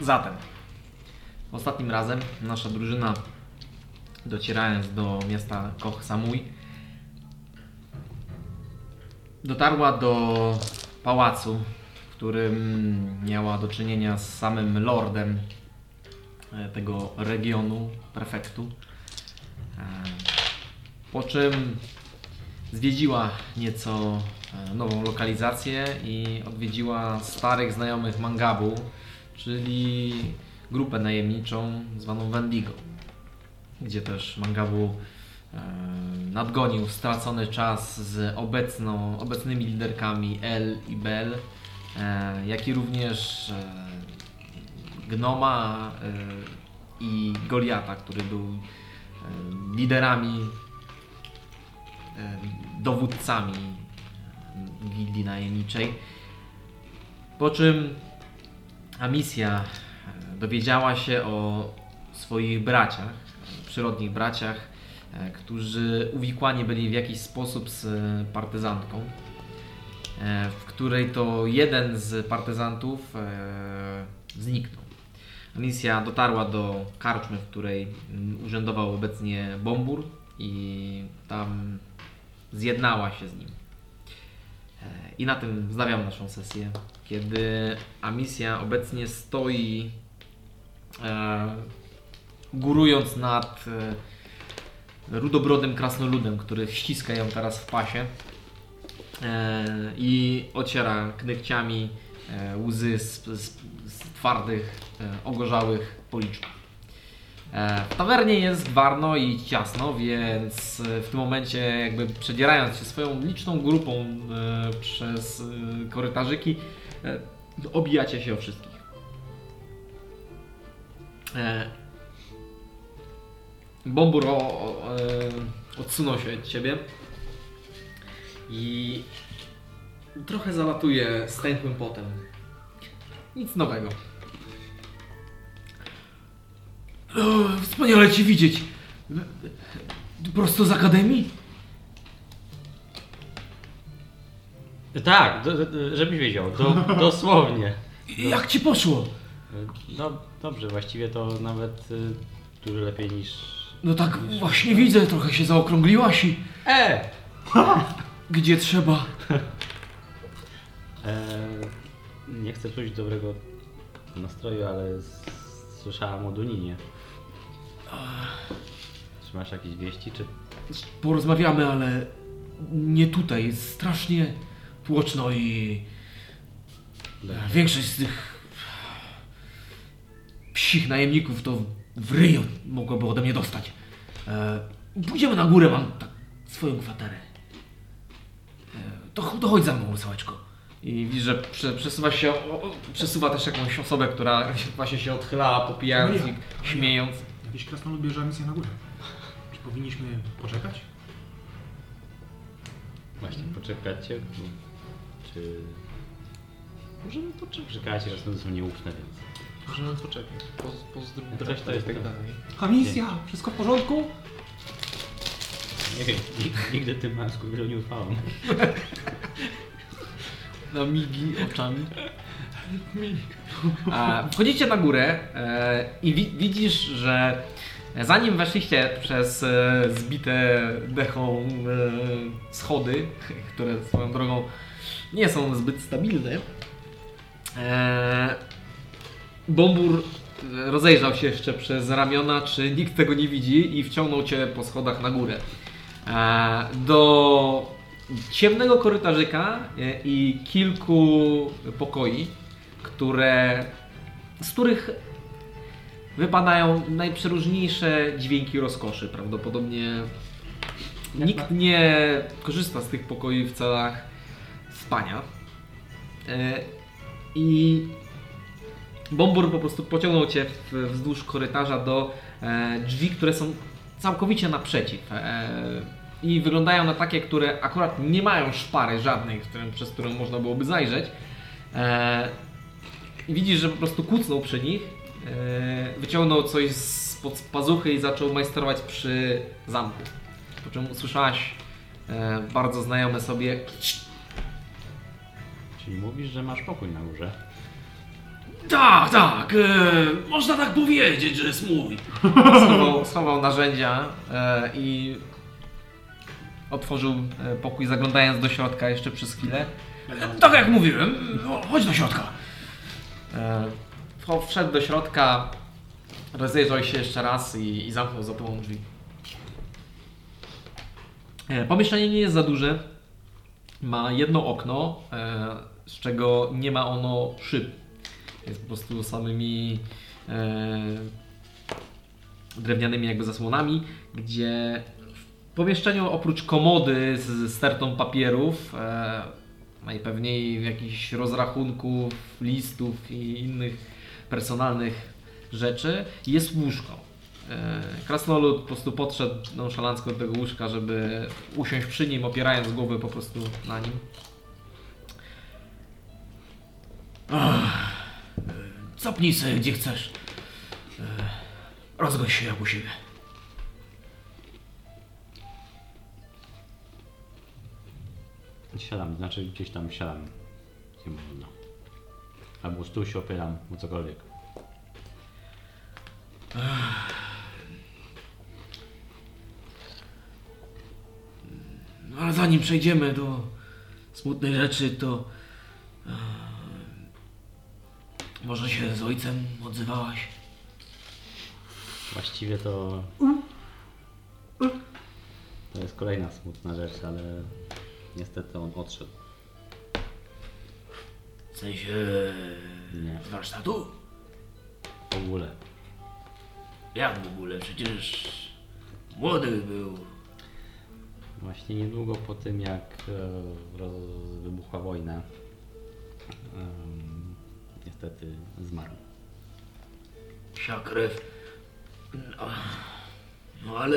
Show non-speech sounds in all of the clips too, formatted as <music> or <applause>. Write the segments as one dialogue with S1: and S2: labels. S1: Zatem.
S2: Ostatnim razem nasza drużyna, docierając do miasta Koh Samui, dotarła do pałacu, w którym miała do czynienia z samym lordem e, tego regionu, prefektu. E, Po czym zwiedziła nieco e, nową lokalizację i odwiedziła starych znajomych Mangabu, czyli grupę najemniczą zwaną Wendigo, gdzie też Mangabu e, nadgonił stracony czas z obecną, obecnymi liderkami El i Bel, e, jak i również e, Gnoma e, i Goliata, który był e, liderami e, dowódcami e, gildii najemniczej. Po czym Amisja e, dowiedziała się o swoich braciach, e, przyrodnich braciach, e, którzy uwikłani byli w jakiś sposób z e, partyzantką, e, w której to jeden z partyzantów e, zniknął. Misja dotarła do karczmy, w której mm, urzędował obecnie Bombur i tam zjednała się z nim. E, I na tym wznawiam naszą sesję, kiedy Amisja obecnie stoi e, górując nad e, rudobrodym krasnoludem, który ściska ją teraz w pasie e, i ociera knykciami e, łzy z, z, z twardych, e, ogorzałych policzków. E, W tawernie jest warno i ciasno, więc e, w tym momencie jakby przedzierając się swoją liczną grupą e, przez e, korytarzyki, e, obijacie się o wszystkich. E, Bombur o, o, e, odsunął się od ciebie i trochę zalatuje stęchłym potem. Nic nowego.
S3: O, Wspaniale Cię widzieć. Prosto z akademii?
S4: Tak, do, do- żebyś wiedział, do, dosłownie.
S3: Jak Ci poszło?
S4: No dobrze, właściwie to nawet y, dużo lepiej niż...
S3: No tak właśnie widzę, trochę się zaokrągliłaś i
S4: E!
S3: gdzie trzeba.
S4: E, nie chcę czuć dobrego nastroju, ale s- słyszałam o Duninie. Czy masz jakieś wieści, czy...
S3: Porozmawiamy, ale nie tutaj. Jest strasznie tłoczno i większość z tych psich najemników to w ryju mogłoby ode mnie dostać. E, Pójdziemy na górę, mam tak swoją kwaterę. E, To, ch- to chodź za mną, rysołeczko.
S2: I widzisz, że prze, przesuwa się, o, o, przesuwa też jakąś osobę, która właśnie się odchylała, popijając
S3: No
S2: i śmiejąc.
S1: Jakiś krasnolud bierze misję na górę. Czy powinniśmy poczekać?
S4: Właśnie, poczekacie? bo- Czy... Możemy poczekać. Czekajcie, raz są nieufne, więc...
S5: Możemy poczekać. Po, pozdrówmy
S4: To też to jest
S5: i tak
S4: to.
S5: dalej.
S1: A misja! Wszystko w porządku?
S4: Nie wiem, nig- nigdy tym męsku wielu nie ufałem.
S2: Na migi oczami. A, wchodzicie na górę e, i wi- widzisz, że zanim weszliście przez e, zbite dechą e, schody, <laughs> które swoją drogą nie są zbyt stabilne, e, Bombur e, rozejrzał się jeszcze przez ramiona, czy nikt tego nie widzi i wciągnął cię po schodach na górę. E, do ciemnego korytarzyka e, i kilku pokoi, które, z których wypadają najprzeróżniejsze dźwięki rozkoszy. Prawdopodobnie nikt nie korzysta z tych pokoi w celach spania. E, I Bombur po prostu pociągnął cię w, wzdłuż korytarza do e, drzwi, które są całkowicie naprzeciw. E, I wyglądają na takie, które akurat nie mają szpary żadnej, w którym, przez którą można byłoby zajrzeć. E, i widzisz, że po prostu kucnął przy nich, e, wyciągnął coś spod pazuchy i zaczął majsterować przy zamku. Po czym usłyszałaś e, bardzo znajome sobie
S4: Czyli mówisz, że masz pokój na górze?
S3: Tak, tak, e, można tak powiedzieć, że jest mój.
S2: Schował, schował narzędzia e, i otworzył e, pokój, zaglądając do środka jeszcze przez chwilę.
S3: E, tak jak mówiłem, no, chodź do środka.
S2: E, wcho- wszedł do środka, rozejrzał się jeszcze raz i, i zamknął za tobą drzwi. E, pomieszczenie nie jest za duże. Ma jedno okno, e, z czego nie ma ono szyb. Jest po prostu samymi e, drewnianymi jakby zasłonami, gdzie w pomieszczeniu oprócz komody z z stertą papierów e, najpewniej jakichś rozrachunków, listów i innych personalnych rzeczy, jest łóżko. E, Krasnolud po prostu podszedł nonszalancko do tego łóżka, żeby usiąść przy nim, opierając głowę po prostu na nim.
S3: Zapnij sobie gdzie chcesz. E, rozgość się jak u siebie.
S4: Siadam, znaczy gdzieś tam siadam. Nie można. Albo stół się opieram, o cokolwiek.
S3: No, ale zanim przejdziemy do smutnej rzeczy, to e, może się z ojcem odzywałaś?
S4: Właściwie to. To jest kolejna smutna rzecz, ale niestety on odszedł.
S3: W sensie
S4: Nie,
S3: z warsztatu?
S4: w ogóle.
S3: Jak w ogóle? Przecież młody był.
S4: Właśnie niedługo po tym, jak e, roz, wybuchła wojna, em, niestety zmarł.
S3: Psia krew. No, no ale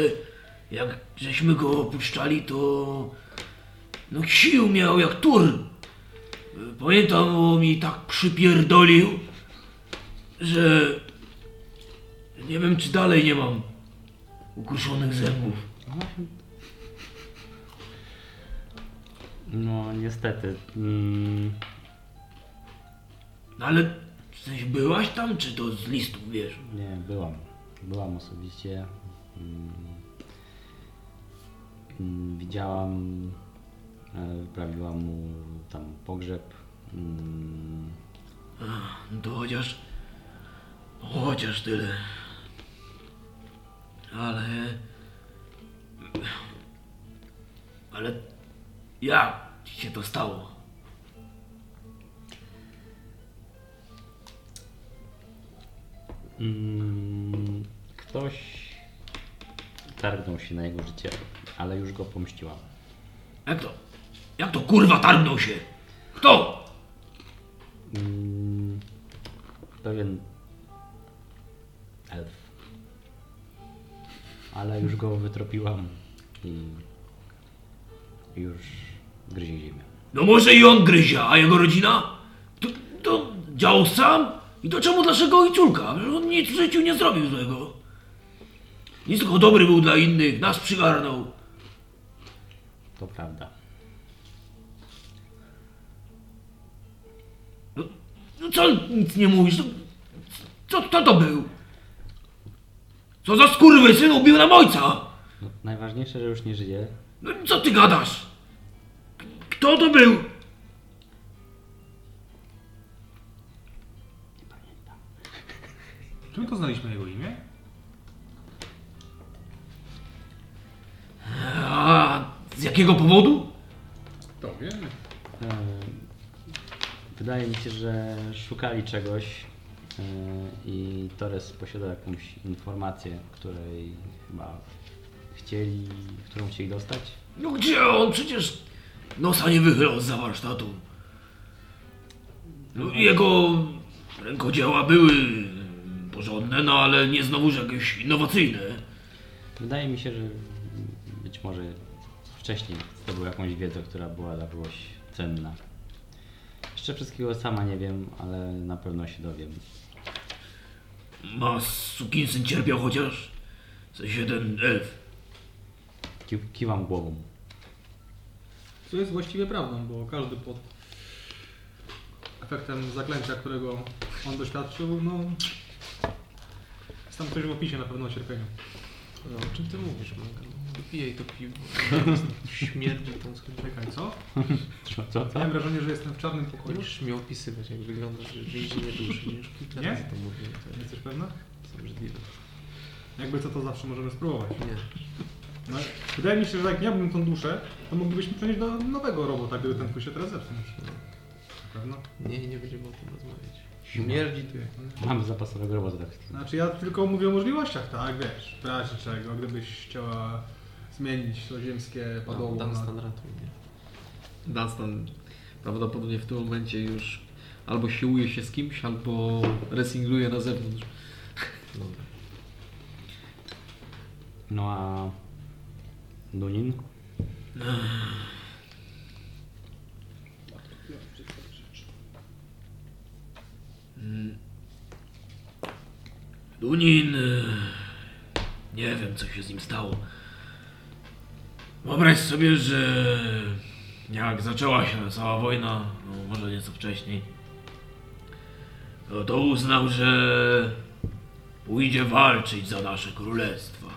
S3: jak żeśmy go opuszczali, to no sił miał jak tur. Pamiętam, bo mi tak przypierdolił, że nie wiem czy dalej nie mam ukruszonych zębów.
S4: No, niestety. Mm,
S3: No ale w sensie byłaś tam, czy to z listów wiesz?
S4: Nie, byłam. Byłam osobiście. Mm, mm, Widziałam, e, wyprawiłam mu tam pogrzeb. Mm,
S3: No to chociaż. Chociaż tyle. Ale. Ale. Jak się to stało?
S4: mm, Ktoś targnął się na jego życie, ale już go pomściłam.
S3: Jak to? Jak to kurwa targnął się? Kto?
S4: Mm, Pewien elf. Ale już go wytropiłam i już gryzie ziemię.
S3: No może i on gryzie, a jego rodzina? To, to działał sam? I to czemu naszego ojcórka? Przecież On nic w życiu nie zrobił złego. Nic tylko dobry był dla innych, nas przygarnął.
S4: To prawda.
S3: No co nic nie mówisz? No, Co, co to był? Co za skurwysyn ubił nam ojca?
S4: No, najważniejsze, że już nie żyje.
S3: No co ty gadasz? K- Kto to był?
S1: Czy my poznaliśmy jego imię?
S3: A z jakiego powodu?
S1: To wiemy.
S4: Eee, Wydaje mi się, że szukali czegoś eee, i Torres posiada jakąś informację, której chyba chcieli, którą chcieli dostać.
S3: No gdzie on? Przecież nosa nie wychylał za warsztatu. No, jego rękodzieła były porządne, no ale nie znowuż jakieś innowacyjne.
S4: Wydaje mi się, że być może wcześniej zdobył jakąś wiedzę, która była dla kogoś cenna. Jeszcze wszystkiego sama nie wiem, ale na pewno się dowiem.
S3: Ma sukinsyn cierpiał chociaż? W sensie ten elf.
S4: Ki- Kiwam głową.
S1: Co jest właściwie prawdą, bo każdy pod efektem zaklęcia, którego on doświadczył, no... Tam ktoś w opisie na pewno o cierpieniu.
S5: No o czym ty mówisz, Maga? Wypijaj to piwo. Śmierdzi tą skrzynkę.
S1: Czekaj, co?
S4: Co, co, co?
S1: Miałem wrażenie, że jestem w czarnym pokoju.
S5: Musisz mi opisywać, jak wyglądasz, że więzi nie duszy. Już kilka
S1: Nie?
S5: razy to mówię. To jest
S1: Jesteś pewna?
S5: obrzydliwe.
S1: Jakby co, to zawsze możemy spróbować.
S5: Nie.
S1: No, wydaje mi się, że jak miałbym tą duszę, to moglibyśmy przenieść do nowego robota, gdyby ten tu się teraz zepsuł. Na pewno.
S5: Nie, nie będziemy o tym rozmawiać. Śmierdzi to jak...
S4: Mamy zapasowego robota. tak.
S1: Znaczy ja tylko mówię o możliwościach, tak, wiesz, w razie czego, gdybyś chciała zmienić to ziemskie
S5: No,
S1: padoło.
S5: dam
S1: na-
S5: stan ratuj mnie.
S2: Dunstan prawdopodobnie w tym momencie już albo siłuje się z kimś, albo wrestlinguje na zewnątrz.
S5: Dobra.
S4: No a... Dunin?
S3: Dunin. e, Nie wiem, co się z nim stało. Wyobraź sobie, że jak zaczęła się cała wojna, no może nieco wcześniej, no, to, to uznał, że pójdzie walczyć za nasze królestwa.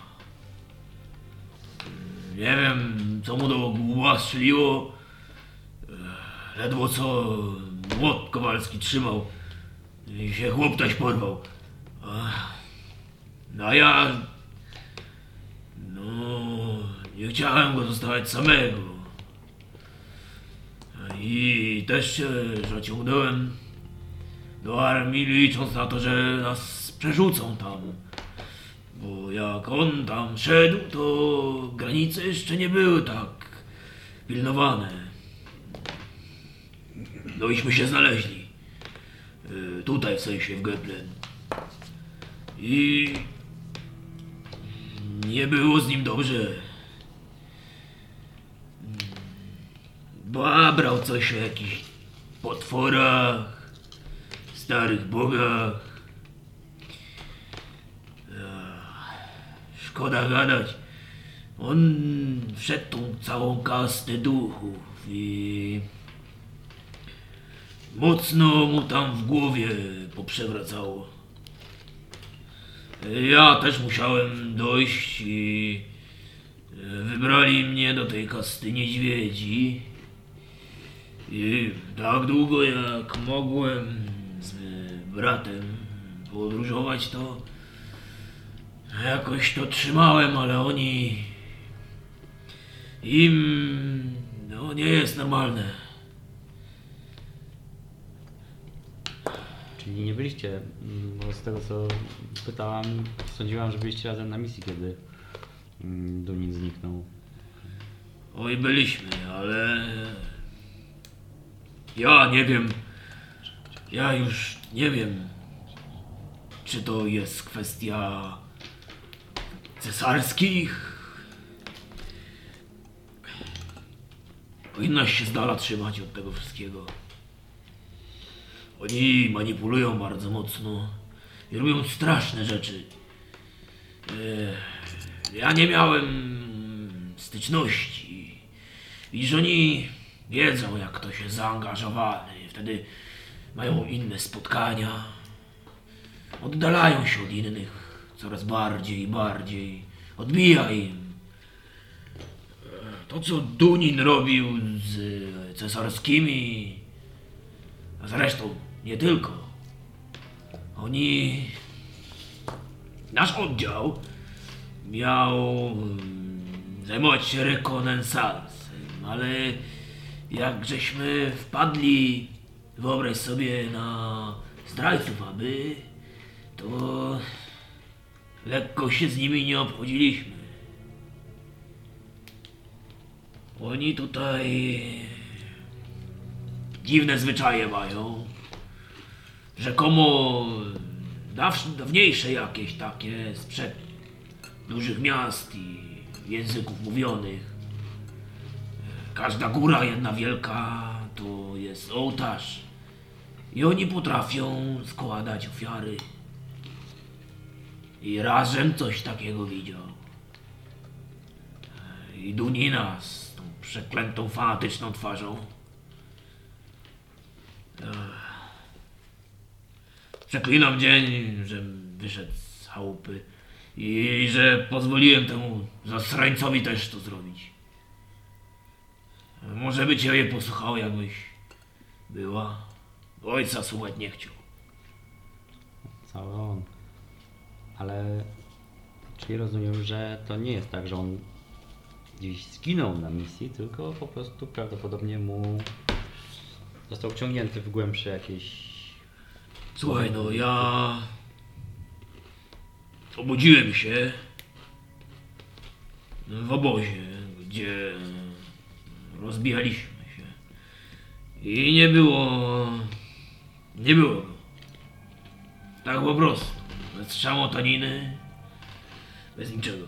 S3: Nie wiem, co mu do głowa strzeliło. Ech, Ledwo co młot Kowalski trzymał i się chłoptaś porwał. Ach. No a ja... No... Nie chciałem go zostawiać samego. I też się zaciągnąłem do armii licząc na to, że nas przerzucą tam. Bo jak on tam szedł, to granice jeszcze nie były tak pilnowane. No iśmy się znaleźli. Y, tutaj w sensie w Geplen. I nie było z nim dobrze. Babrał coś o jakichś potworach, starych bogach. Ech, Szkoda gadać. On wszedł tą całą kastę duchów i mocno mu tam w głowie poprzewracało. Ja też musiałem dojść i e, wybrali mnie do tej kasty niedźwiedzi. I tak długo jak mogłem z e, bratem podróżować to jakoś to trzymałem, ale oni im no nie jest normalne.
S4: Czyli nie byliście, mm, bo z tego co pytałam, sądziłam, że byliście razem na misji, kiedy mm, Dunin zniknął.
S3: Oj byliśmy, ale e, ja nie wiem. Ja już nie wiem, czy to jest kwestia cesarskich. Powinnaś się z dala trzymać od tego wszystkiego. Oni manipulują bardzo mocno i robią straszne rzeczy. E, Ja nie miałem styczności. Widzisz, oni wiedzą, jak ktoś jest zaangażowany. Wtedy mają inne spotkania. Oddalają się od innych coraz bardziej i bardziej. Odbija im. E, To, co Dunin robił z e, cesarskimi, a zresztą nie tylko. Oni. Nasz oddział miał mm, zajmować się rekonesansem, ale jak żeśmy wpadli, wyobraź sobie, na zdrajców aby, to lekko się z nimi nie obchodziliśmy. Oni tutaj dziwne zwyczaje mają. Rzekomo daw- dawniejsze jakieś takie sprzed dużych miast i języków mówionych. Każda góra, jedna wielka, to jest ołtarz. I oni potrafią składać ofiary. I razem coś takiego widział. I Dunina z tą przeklętą, fanatyczną twarzą. Ech. Przeklinam dzień, że wyszedł z chałupy i że pozwoliłem temu zasrańcowi też to zrobić. Może by ciebie posłuchał, jakbyś była. Ojca słuchać nie chciał.
S4: Cały on. Ale czyli rozumiem, że to nie jest tak, że on gdzieś zginął na misji, tylko po prostu prawdopodobnie mu został wciągnięty w głębsze jakieś...
S3: Słuchaj, no ja. Obudziłem się w obozie, gdzie rozbijaliśmy się. I nie było. Nie było. go. Tak po prostu. Bez szamotaniny, bez niczego.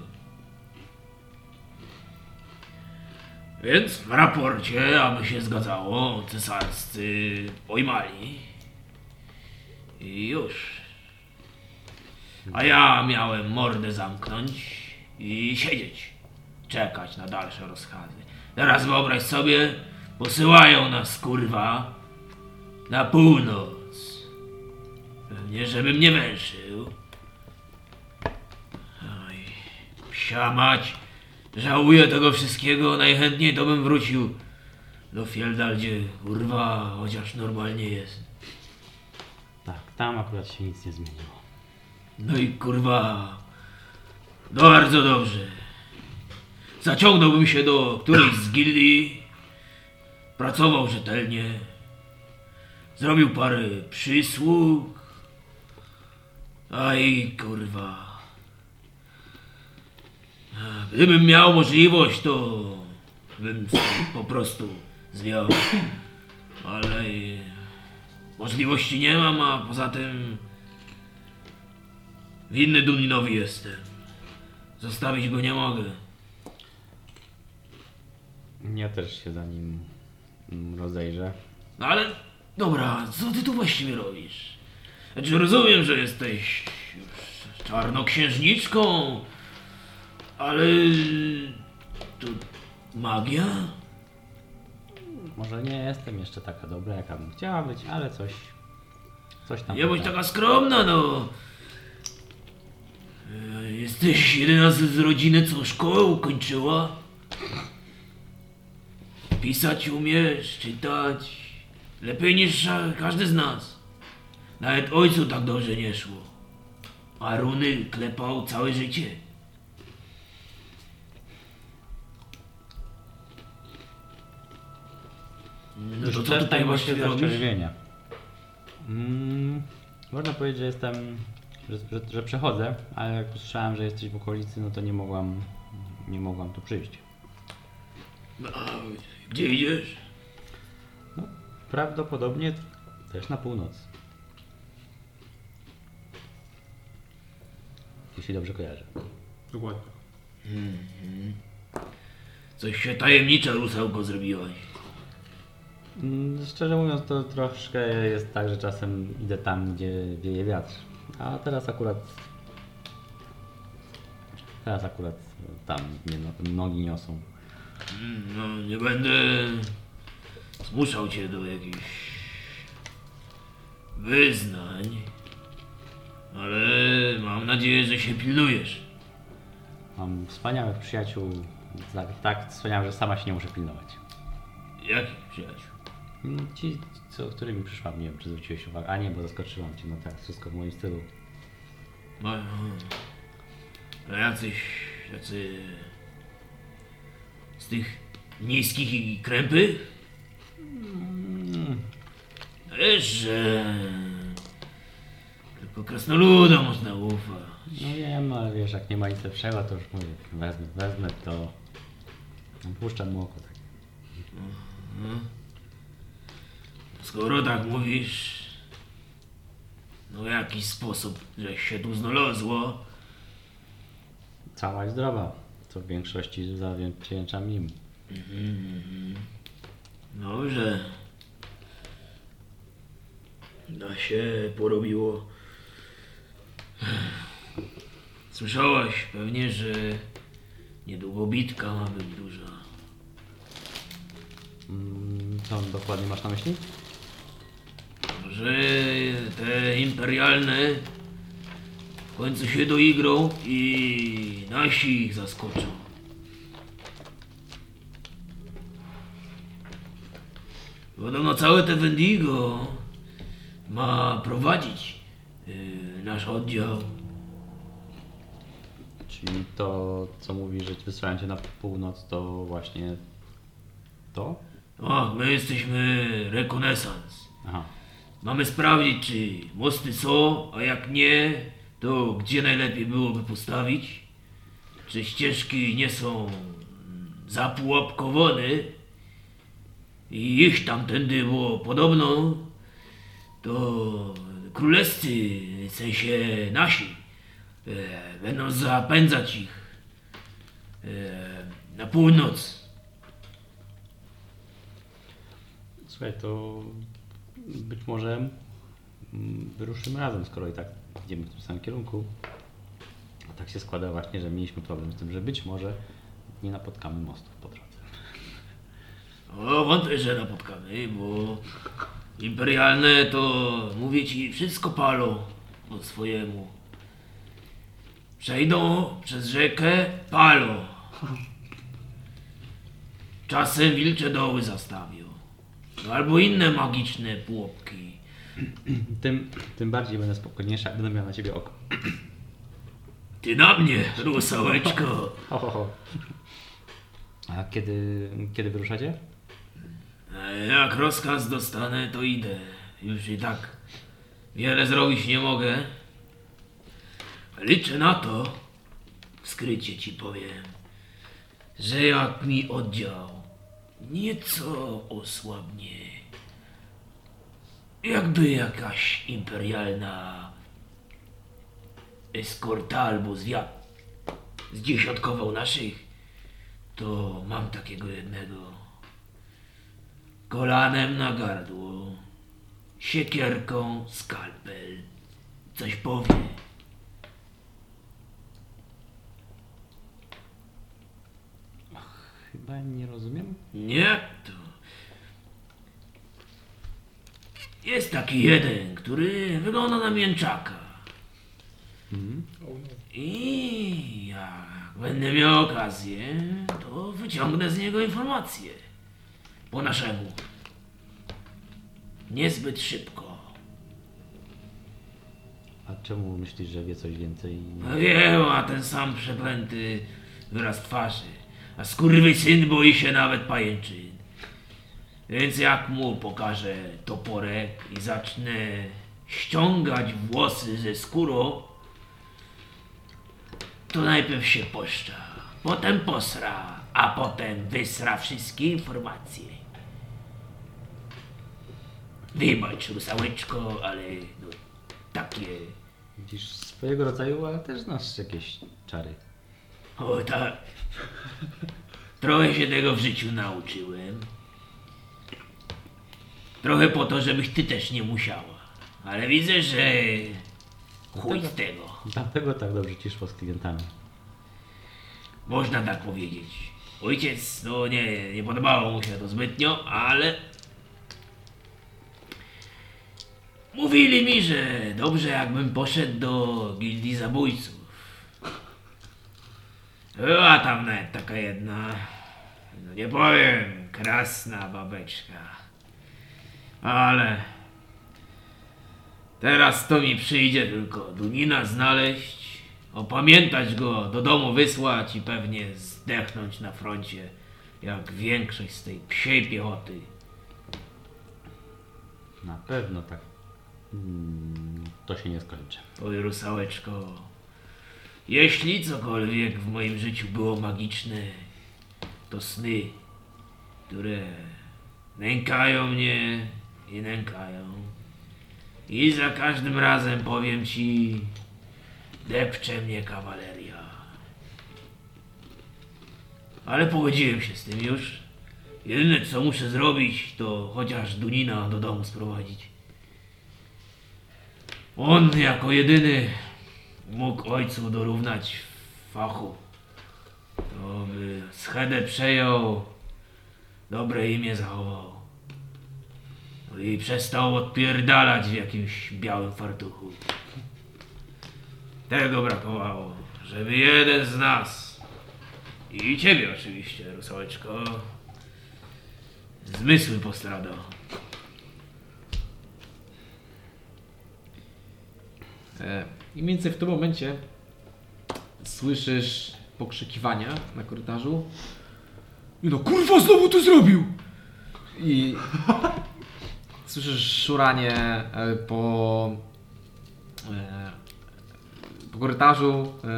S3: Więc w raporcie, aby się zgadzało, cesarscy pojmali i już. A ja miałem mordę zamknąć i siedzieć. Czekać na dalsze rozkazy. Teraz wyobraź sobie, posyłają nas kurwa na północ. Pewnie, żebym nie węszył. Oj, psia mać. Żałuję tego wszystkiego. Najchętniej to bym wrócił do Fielda, gdzie kurwa chociaż normalnie jest.
S4: Tak, tam akurat się nic nie zmieniło.
S3: No i kurwa. Bardzo dobrze. Zaciągnąłbym się do którejś z gildii. Pracował rzetelnie. Zrobił parę przysług. Aj kurwa. Gdybym miał możliwość, to bym po prostu zwiał. Ale możliwości nie mam, a poza tym Winny Duninowi jestem. Zostawić go nie mogę.
S4: Ja też się za nim mm, rozejrzę.
S3: No ale, dobra, co ty tu właściwie robisz? Znaczy rozumiem, że jesteś już czarnoksiężniczką, ale to magia?
S4: Może nie jestem jeszcze taka dobra, jaka bym chciała być, ale coś... Coś tam...
S3: Nie bądź
S4: potrafię.
S3: taka skromna, no. E, Jesteś jedyna z, z rodziny, co szkołę ukończyła. Pisać umiesz, czytać. Lepiej niż e, każdy z nas. Nawet ojcu tak dobrze nie szło. A runy klepał całe życie. No to co tutaj właśnie robisz?
S4: zaczerwienia. Mm, można powiedzieć, że jestem, że, że, że przechodzę, ale jak usłyszałem, że jesteś w okolicy, no to nie mogłam, nie mogłam tu przyjść.
S3: No, a Gdzie idziesz?
S4: Prawdopodobnie też na północ. Jeśli dobrze kojarzę.
S1: Dokładnie.
S3: Coś się tajemnicza rusełko zrobiłaś.
S4: Mm, Szczerze mówiąc, to troszkę jest tak, że czasem idę tam, gdzie wieje wiatr. A teraz akurat. Teraz akurat tam mnie no- nogi niosą.
S3: Mm, No, nie będę zmuszał cię do jakichś wyznań, ale mam nadzieję, że się pilnujesz.
S4: Mam wspaniałych przyjaciół. Tak, tak wspaniałych, że sama się nie muszę pilnować.
S3: Jakich przyjaciół?
S4: No, Ci, co, którymi przyszłam, nie wiem, czy zwróciłeś uwagę. A nie, bo zaskoczyłam cię. No tak, wszystko w moim stylu.
S3: No, no jacyś, jacy z tych niskich i krępy? Wiesz, że tylko krasnoludom można ufać.
S4: No wiem, ale wiesz, jak nie ma nic lepszego, to już mówię, wezmę, wezmę to. Puszczam mu oko tak.
S3: Skoro tak mówisz, no jakiś sposób, że się tu znalazło.
S4: Cała i zdrowa, co w większości zawdzięczam im.
S3: No, że na się porobiło. Słyszałaś pewnie, że niedługo bitka ma być duża.
S4: Mm, Co dokładnie masz na myśli?
S3: Że te imperialne w końcu się doigrą i nasi ich zaskoczą. Podobno całe te Wendigo ma prowadzić yy, nasz oddział.
S4: Czyli to, co mówi, że wysłałem cię na północ, to właśnie to?
S3: A, my jesteśmy rekonesans.
S4: Aha.
S3: Mamy sprawdzić, czy mosty są, a jak nie, to gdzie najlepiej byłoby postawić. Czy ścieżki nie są mm, zapułapkowane i ich tamtędy było podobno, to królewscy, w sensie nasi, e, będą zapędzać ich e, na północ.
S4: Słuchaj, to być może mm, wyruszymy razem, skoro i tak idziemy w tym samym kierunku. A tak się składa właśnie, że mieliśmy problem z tym, że być może nie napotkamy mostów po drodze.
S3: O, wątpię, że napotkamy, bo imperialne to mówię ci, wszystko palą po swojemu. Przejdą przez rzekę, palą. Czasem wilcze doły zastawią. No, albo inne magiczne pułapki.
S4: Tym, tym bardziej będę spokojniejsza, jak będę miał na ciebie oko.
S3: Ty na mnie, rusałeczko.
S4: Ho, ho, ho. A kiedy, kiedy wyruszacie?
S3: E, Jak rozkaz dostanę, to idę. Już i tak wiele zrobić nie mogę. Liczę na to, w skrycie ci powiem, że jak mi oddział nieco osłabnie, jakby jakaś imperialna eskorta albo zwiat zdziesiątkował naszych, to mam takiego jednego kolanem na gardło, siekierką skalpel. Coś powie.
S4: Chyba nie rozumiem.
S3: Nie, to. Jest taki jeden, który wygląda na mięczaka. I jak będę miał okazję, to wyciągnę z niego informacje. Po naszemu. Niezbyt szybko.
S4: A czemu myślisz, że wie coś więcej?
S3: No Wiem, a ten sam przeklęty wyraz twarzy. A skurwysyn boi się nawet pajęczyn. Więc jak mu pokażę toporek i zacznę ściągać włosy ze skórą, to najpierw się poszcza, potem posra, a potem wysra wszystkie informacje. Wybacz, rusałeczko, ale no, takie
S4: Widzisz swojego rodzaju, ale też znasz jakieś czary.
S3: O tak. Trochę się tego w życiu nauczyłem. Trochę po to, żebyś ty też nie musiała. Ale widzę, że chuj z tego.
S4: Dlatego tak dobrze ci szło z klientami.
S3: Można tak powiedzieć. Ojciec, no nie, nie podobało mu się to zbytnio, ale... Mówili mi, że dobrze jakbym poszedł do gildii zabójców. Była tam nawet taka jedna, no nie powiem, krasna babeczka. Ale... Teraz to mi przyjdzie tylko Dunina znaleźć, opamiętać go, do domu wysłać i pewnie zdechnąć na froncie, jak większość z tej psiej piechoty.
S4: Na pewno tak. Mm, to się nie skończy.
S3: Oj, rusałeczko, jeśli cokolwiek w moim życiu było magiczne, to sny, które nękają mnie i nękają. I za każdym razem powiem ci, depcze mnie kawaleria. Ale pogodziłem się z tym już. Jedyne co muszę zrobić, to chociaż Dunina do domu sprowadzić. On jako jedyny mógł ojcu dorównać w fachu. To by schedę przejął, dobre imię zachował. No i przestał odpierdalać w jakimś białym fartuchu. Tego brakowało, żeby jeden z nas i ciebie oczywiście, rusałeczko, zmysły postradał.
S2: E, I mniej więcej w tym momencie słyszysz pokrzykiwania na korytarzu. I no kurwa znowu to zrobił! I <laughs> słyszysz szuranie e, po, e, po korytarzu. e,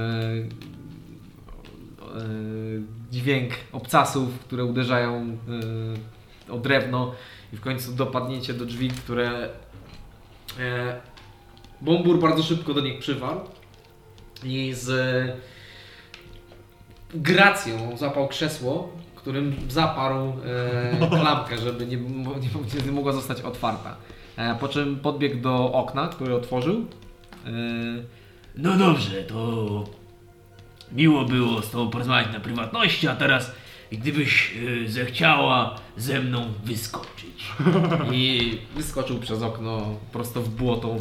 S2: e, Dźwięk obcasów, które uderzają e, o drewno, i w końcu dopadniecie do drzwi, które e, Bombur bardzo szybko do nich przywarł i z e, gracją zapał krzesło, którym zaparł e, klamkę, żeby nie, mo- nie, mo- nie mogła zostać otwarta. E, po czym podbiegł do okna, które otworzył. E,
S3: No dobrze, to miło było z tobą porozmawiać na prywatności, a teraz gdybyś y, zechciała ze mną wyskoczyć.
S2: I wyskoczył przez okno prosto w błoto.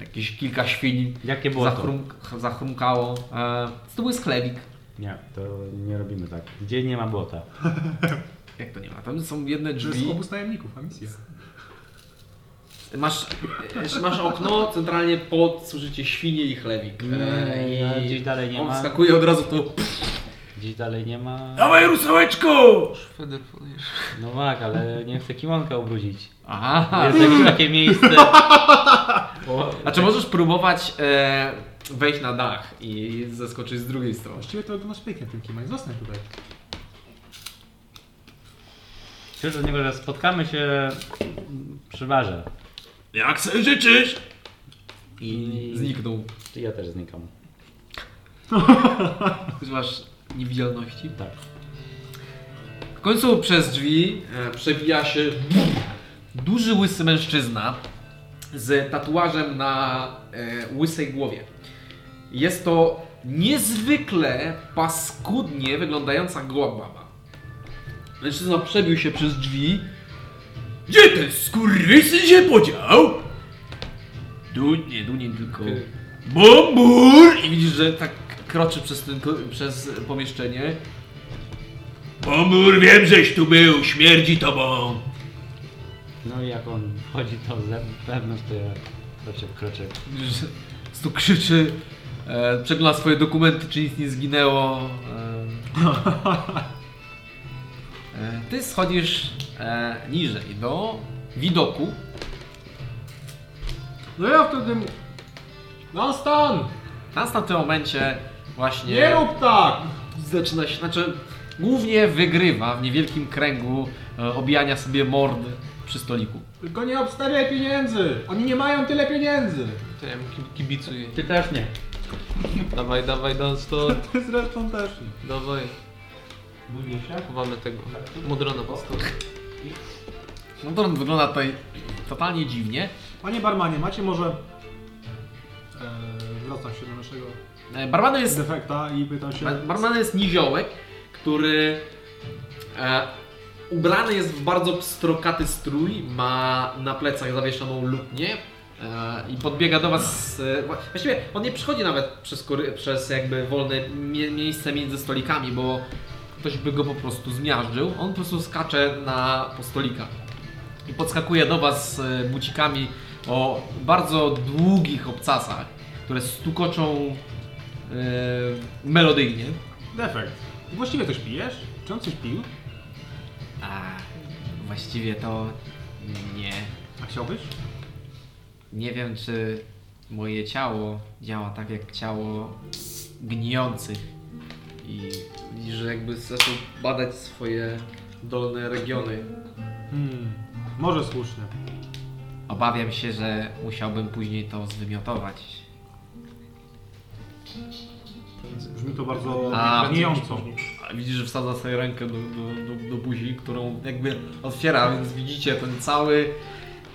S2: Jakieś kilka świń
S4: Jakie było to?
S2: zachrum, zachrumkało. E, to był sklewik.
S4: Nie, to nie robimy tak. Gdzie nie ma błota?
S2: Jak to nie ma? Tam są jedne
S1: To jest
S2: drzwi.
S1: obóz najemników, a misja.
S2: Masz, e, masz okno centralnie pod, słyszycie, świnie i chlewik.
S4: Nie, no, gdzieś dalej nie
S2: on
S4: ma.
S2: wskakuje od razu w to.
S4: Gdzieś dalej nie ma.
S3: <laughs> Dawaj rusałeczko!
S5: Szweder polujesz.
S4: No tak, ale nie chcę kimonka obrudzić.
S2: Aha.
S4: Jest jakieś takie miejsce. <laughs> O,
S2: A czy możesz próbować e, wejść na dach i zeskoczyć z drugiej strony?
S1: Właściwie to do nas pięknie tym kimaj. Zostań tutaj.
S4: Cieszę od niego, że spotkamy się przy barze.
S3: Jak sobie życzysz?
S2: I zniknął.
S4: Czy ja też znikam?
S2: Używasz niewidzialności.
S4: Tak.
S2: W końcu przez drzwi e, przebija się duży łysy mężczyzna z tatuażem na e, łysej głowie. Jest to niezwykle paskudnie wyglądająca goła baba. Mężczyzna przebił się przez drzwi.
S3: Gdzie ten skurwysyn się podział?
S2: Duń, nie, Dunin tylko...
S3: Bombur!
S2: I widzisz, że tak kroczy przez, ten, ko- przez pomieszczenie.
S3: Bombur, wiem, żeś tu był, śmierdzi tobą.
S4: No i jak on wchodzi to z zewnątrz, to ja kroczek, kroczek.
S2: Widzisz, że stu krzyczy. E, przegląda swoje dokumenty, czy nic nie zginęło. E, <laughs> e, ty schodzisz e, niżej do widoku.
S1: No ja wtedy... mu- No stan!
S2: Nas na tym momencie właśnie...
S1: Nie rób tak!
S2: zaczyna się, znaczy głównie wygrywa w niewielkim kręgu e, obijania sobie mord przy stoliku.
S1: Tylko nie obstawiaj pieniędzy! Oni nie mają tyle pieniędzy!
S5: To ja mu ki- kibicuję.
S4: Ty też nie.
S5: Dawaj, dawaj, dan stąd.
S1: Ty <laughs> zresztą też nie.
S5: Dawaj. Chowamy tego. Modrona pod stołem.
S2: No to on wygląda tutaj totalnie dziwnie.
S1: Panie barmanie, macie może... Eee, wracam się do naszego
S2: E, Barmana jest,
S1: defekta i pytam się...
S2: ba- barmana jest niziołek, który e, ubrany jest w bardzo pstrokaty strój, ma na plecach zawieszoną lutnię. e, I podbiega do was. e, wła- Właściwie on nie przychodzi nawet przez, kory- przez jakby wolne mie miejsce między stolikami, bo ktoś by go po prostu zmiażdżył. On po prostu skacze na po stolikach i podskakuje do was e, bucikami o bardzo długich obcasach, które stukoczą e, melodyjnie.
S1: Defekt. Właściwie coś pijesz? Czy on coś pił?
S2: A właściwie to nie.
S1: A chciałbyś?
S2: Nie wiem, czy moje ciało działa tak jak ciało gnijących. I widzisz, że jakby zaczął badać swoje dolne regiony.
S1: Hmm, może słusznie.
S2: Obawiam się, że musiałbym później to zwymiotować.
S1: Brzmi to bardzo
S2: A,
S1: gniejąco.
S2: A Widzisz, że wsadza sobie rękę do, do, do, do buzi, którą jakby otwiera, więc widzicie ten cały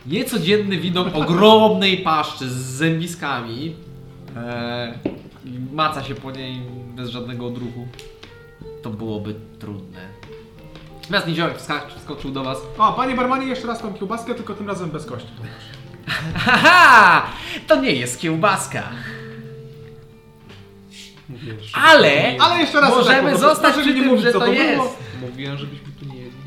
S2: niecodzienny widok ogromnej paszczy z zębiskami. E, i maca się po niej bez żadnego odruchu. To byłoby trudne. Teraz niziołek wskak- wskoczył do was.
S1: O, panie barmanie, jeszcze raz tą kiełbaskę, tylko tym razem bez kości.
S2: Haha! To nie jest kiełbaska.
S5: Mówiłem, że-
S2: Ale-
S1: Ale jeszcze raz
S2: Możemy
S1: tak,
S2: zostać
S1: żeby
S2: przy
S1: nie
S2: tym,
S1: mówić,
S2: że
S1: co
S2: to
S1: to
S2: jest.
S1: Było.
S5: Mówiłem, żebyśmy tu nie jedli.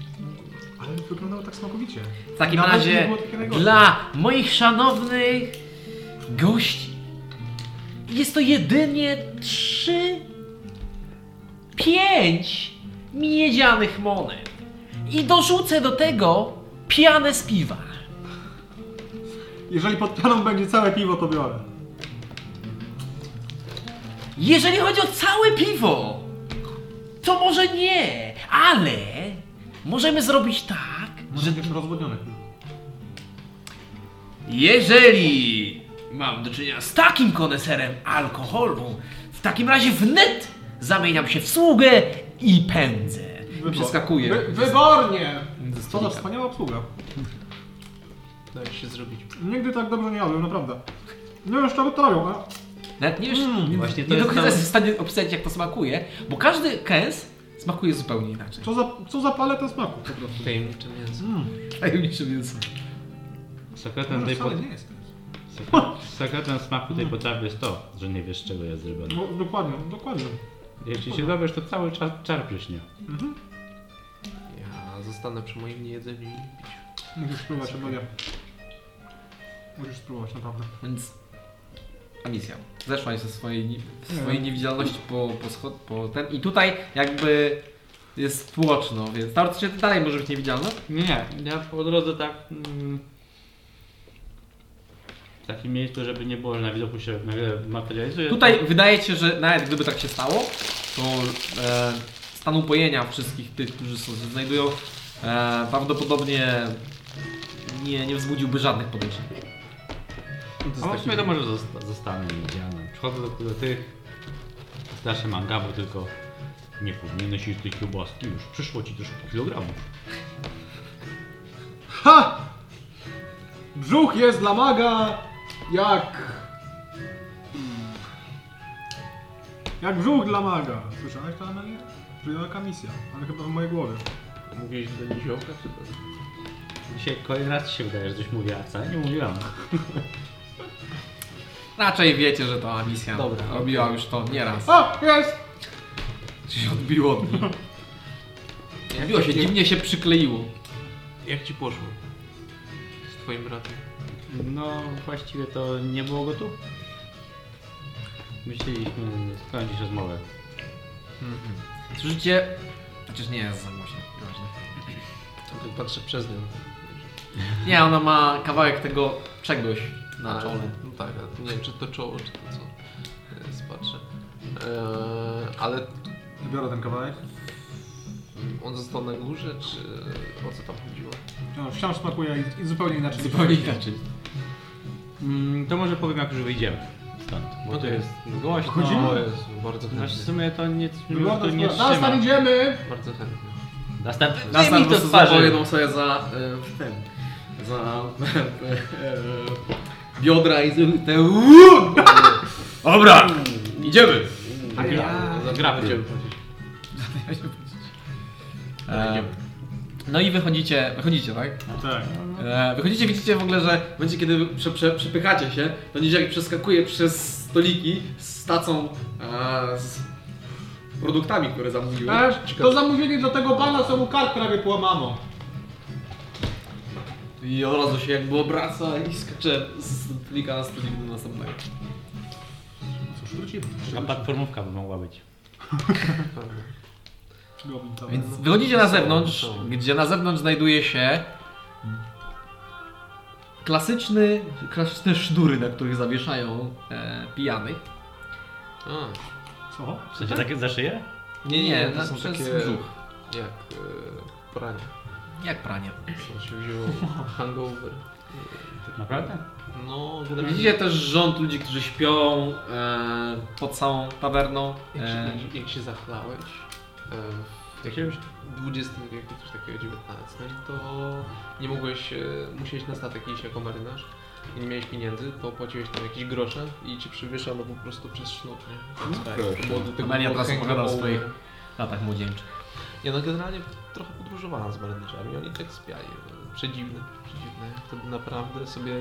S1: Ale wyglądało tak smakowicie.
S2: W takim
S1: Nawet nie
S2: razie
S1: było takie najgorsze.
S2: dla moich szanownych gości jest to jedynie trzy, pięć miedzianych monet. I dorzucę do tego pianę z piwa.
S1: Jeżeli pod pianą będzie całe piwo, to biorę.
S2: Jeżeli chodzi o całe piwo, to może nie, ale możemy zrobić tak,
S1: Może jakieś rozwodnione piwo.
S2: Jeżeli mam do czynienia z takim koneserem alkoholu, w takim razie wnet zamieniam się w sługę i pędzę.
S1: Wybor-
S2: Przeskakuję.
S1: Wy, wybornie!
S2: ze
S1: Co za
S2: stolika.
S1: wspaniała obsługa.
S5: Dajesz się zrobić.
S1: Nigdy tak dobrze nie jadłem, naprawdę. Nie wiem, szczerze to robią, ale...
S2: Nawet nie wiesz,
S4: Mm, Właśnie
S2: nie
S4: to
S2: do
S4: jest
S2: końca
S4: tam...
S2: jestem w stanie opisać jak to smakuje, bo każdy kęs smakuje zupełnie inaczej.
S1: Co za, co za paleta smaku po prostu.
S5: Tajemnicze mięso.
S2: Tajemniczy więc.
S4: Sekretem, tej pot...
S1: Wcale nie jest.
S4: sekre- sekretem smaku tej potrawy jest to, że nie wiesz z czego jest zrobione.
S1: No, dokładnie, dokładnie.
S4: Jeśli się dowiesz, to cały czas czar pryśnie.
S5: Ja zostanę przy moim niejedzeniu i piciu.
S1: Musisz spróbować, Amelia. Musisz spróbować, naprawdę.
S2: Więc misja. Zeszła ze swojej, ni- ze swojej niewidzialności po, po, schod, po ten. I tutaj jakby jest tłoczno, więc teoretycznie ty dalej może być niewidzialna.
S4: Nie, nie, ja po drodze tak... Mm, w takim miejscu, żeby nie było, że na widoku się nagle materializuje.
S2: Tutaj wydaje się, że nawet gdyby tak się stało, to e, stan upojenia wszystkich tych, którzy są, znajdują, e, prawdopodobnie nie, nie wzbudziłby żadnych podejrzeń.
S4: A w sumie to może zosta- zostanę niewidzialny. Przychodzę do, do tych... Starsze mangabu, tylko... Nie powinieneś jeść tej kiełbaski, już przyszło ci troszkę kilogramów.
S1: Ha! Brzuch jest dla maga jak... Jak brzuch dla maga. Słyszałeś to, Amelia? Czyli taka misja, ale chyba w mojej głowie.
S5: Mówiłeś do niziołka czy do...
S4: Dzisiaj kolejny raz ci się wydaje, że coś mówiła, wcale nie mówiłam.
S2: Raczej wiecie, że to misja
S5: Dobra.
S2: robiła już to nieraz.
S1: O, jest!
S2: Czy się odbiło od niej.
S5: Jak,
S2: Odbiło się,
S5: jak,
S2: dziwnie się przykleiło.
S5: jak ci poszło? Z twoim bratem.
S4: No, właściwie to nie było go tu. Myśleliśmy skończyć rozmowę.
S2: Słyszycie? Chociaż nie jest za głośno, nieważne.
S5: To tak patrzę przez nią.
S2: Nie, ona ma kawałek tego czegoś na
S5: Ale-
S2: czole.
S5: No tak, ale nie wiem czy to czoło, czy to co. Teraz patrzę. Eee, ale
S1: Biorę ten kawałek.
S5: on został na górze, czy e, o co tam chodziło?
S1: No, wciąż smakuje i, i zupełnie inaczej.
S2: Zupełnie inaczej.
S4: Mm, to może powiem, jak już wyjdziemy stąd. Bo to jest głośno.
S1: Chodzimy?
S5: O Jezu, bardzo
S4: Znaczy, w
S5: chętnie.
S4: sumie to nic już
S1: Wygląda
S4: tu nie
S1: zupełnie- Nas
S4: trzyma.
S1: tam idziemy!
S5: Bardzo chętnie.
S2: Następny
S4: Następny. Następny
S2: po
S4: to
S2: prostu
S4: twarzy.
S2: zapowiadam sobie za e, ten, za e, biodra i z- te uuu! Dobra, idziemy.
S1: A ja...
S4: Gra będziemy
S2: <laughs> E, no i wychodzicie, wychodzicie, tak?
S1: Tak.
S2: E, wychodzicie, widzicie w ogóle, że w momencie, kiedy prze, prze, przepychacie się, to niziak przeskakuje przez stoliki z tacą e, z produktami, które zamówiły.
S1: Też, to zamówienie dla tego pana, co mu kart prawie połamano.
S2: I od razu się jakby obraca i skacze z stolika na stolik do następnego.
S1: No Cóż, wrócimy.
S4: A platformówka by mogła być.
S1: Przygotuj to.
S2: Więc wychodzicie na zewnątrz, gdzie na zewnątrz znajduje się klasyczny, klasyczne sznury, na których zawieszają e, pijanych.
S5: A,
S1: Co?
S4: W sensie tak za szyję?
S2: Nie, nie,
S5: to
S2: na,
S5: są
S2: przez
S5: takie
S2: brzuch.
S5: jak e, pranie.
S2: Jak pranie.
S5: Co się wzięło
S2: <laughs>
S5: hangover.
S4: Naprawdę?
S5: No, generalnie...
S2: Widzicie też rząd ludzi, którzy śpią e, pod samą tawerną.
S5: Jak się,
S2: E,
S5: jak, jak się zachlałeś e, w jakimś XX wieku, coś takiego XIX, to nie mogłeś, e, musiałeś na statek iść jako marynarz i nie miałeś pieniędzy, to płaciłeś tam jakieś grosze i ci przywieszano po prostu przez sznur, nie? Bo do
S2: Amelia teraz
S5: hangoutu-
S2: opowiada o swoich latach młodzieńczych.
S5: Nie no, generalnie trochę podróżowałem z marynarzami, oni tak spiali. Przedziwne, przedziwne. Wtedy naprawdę sobie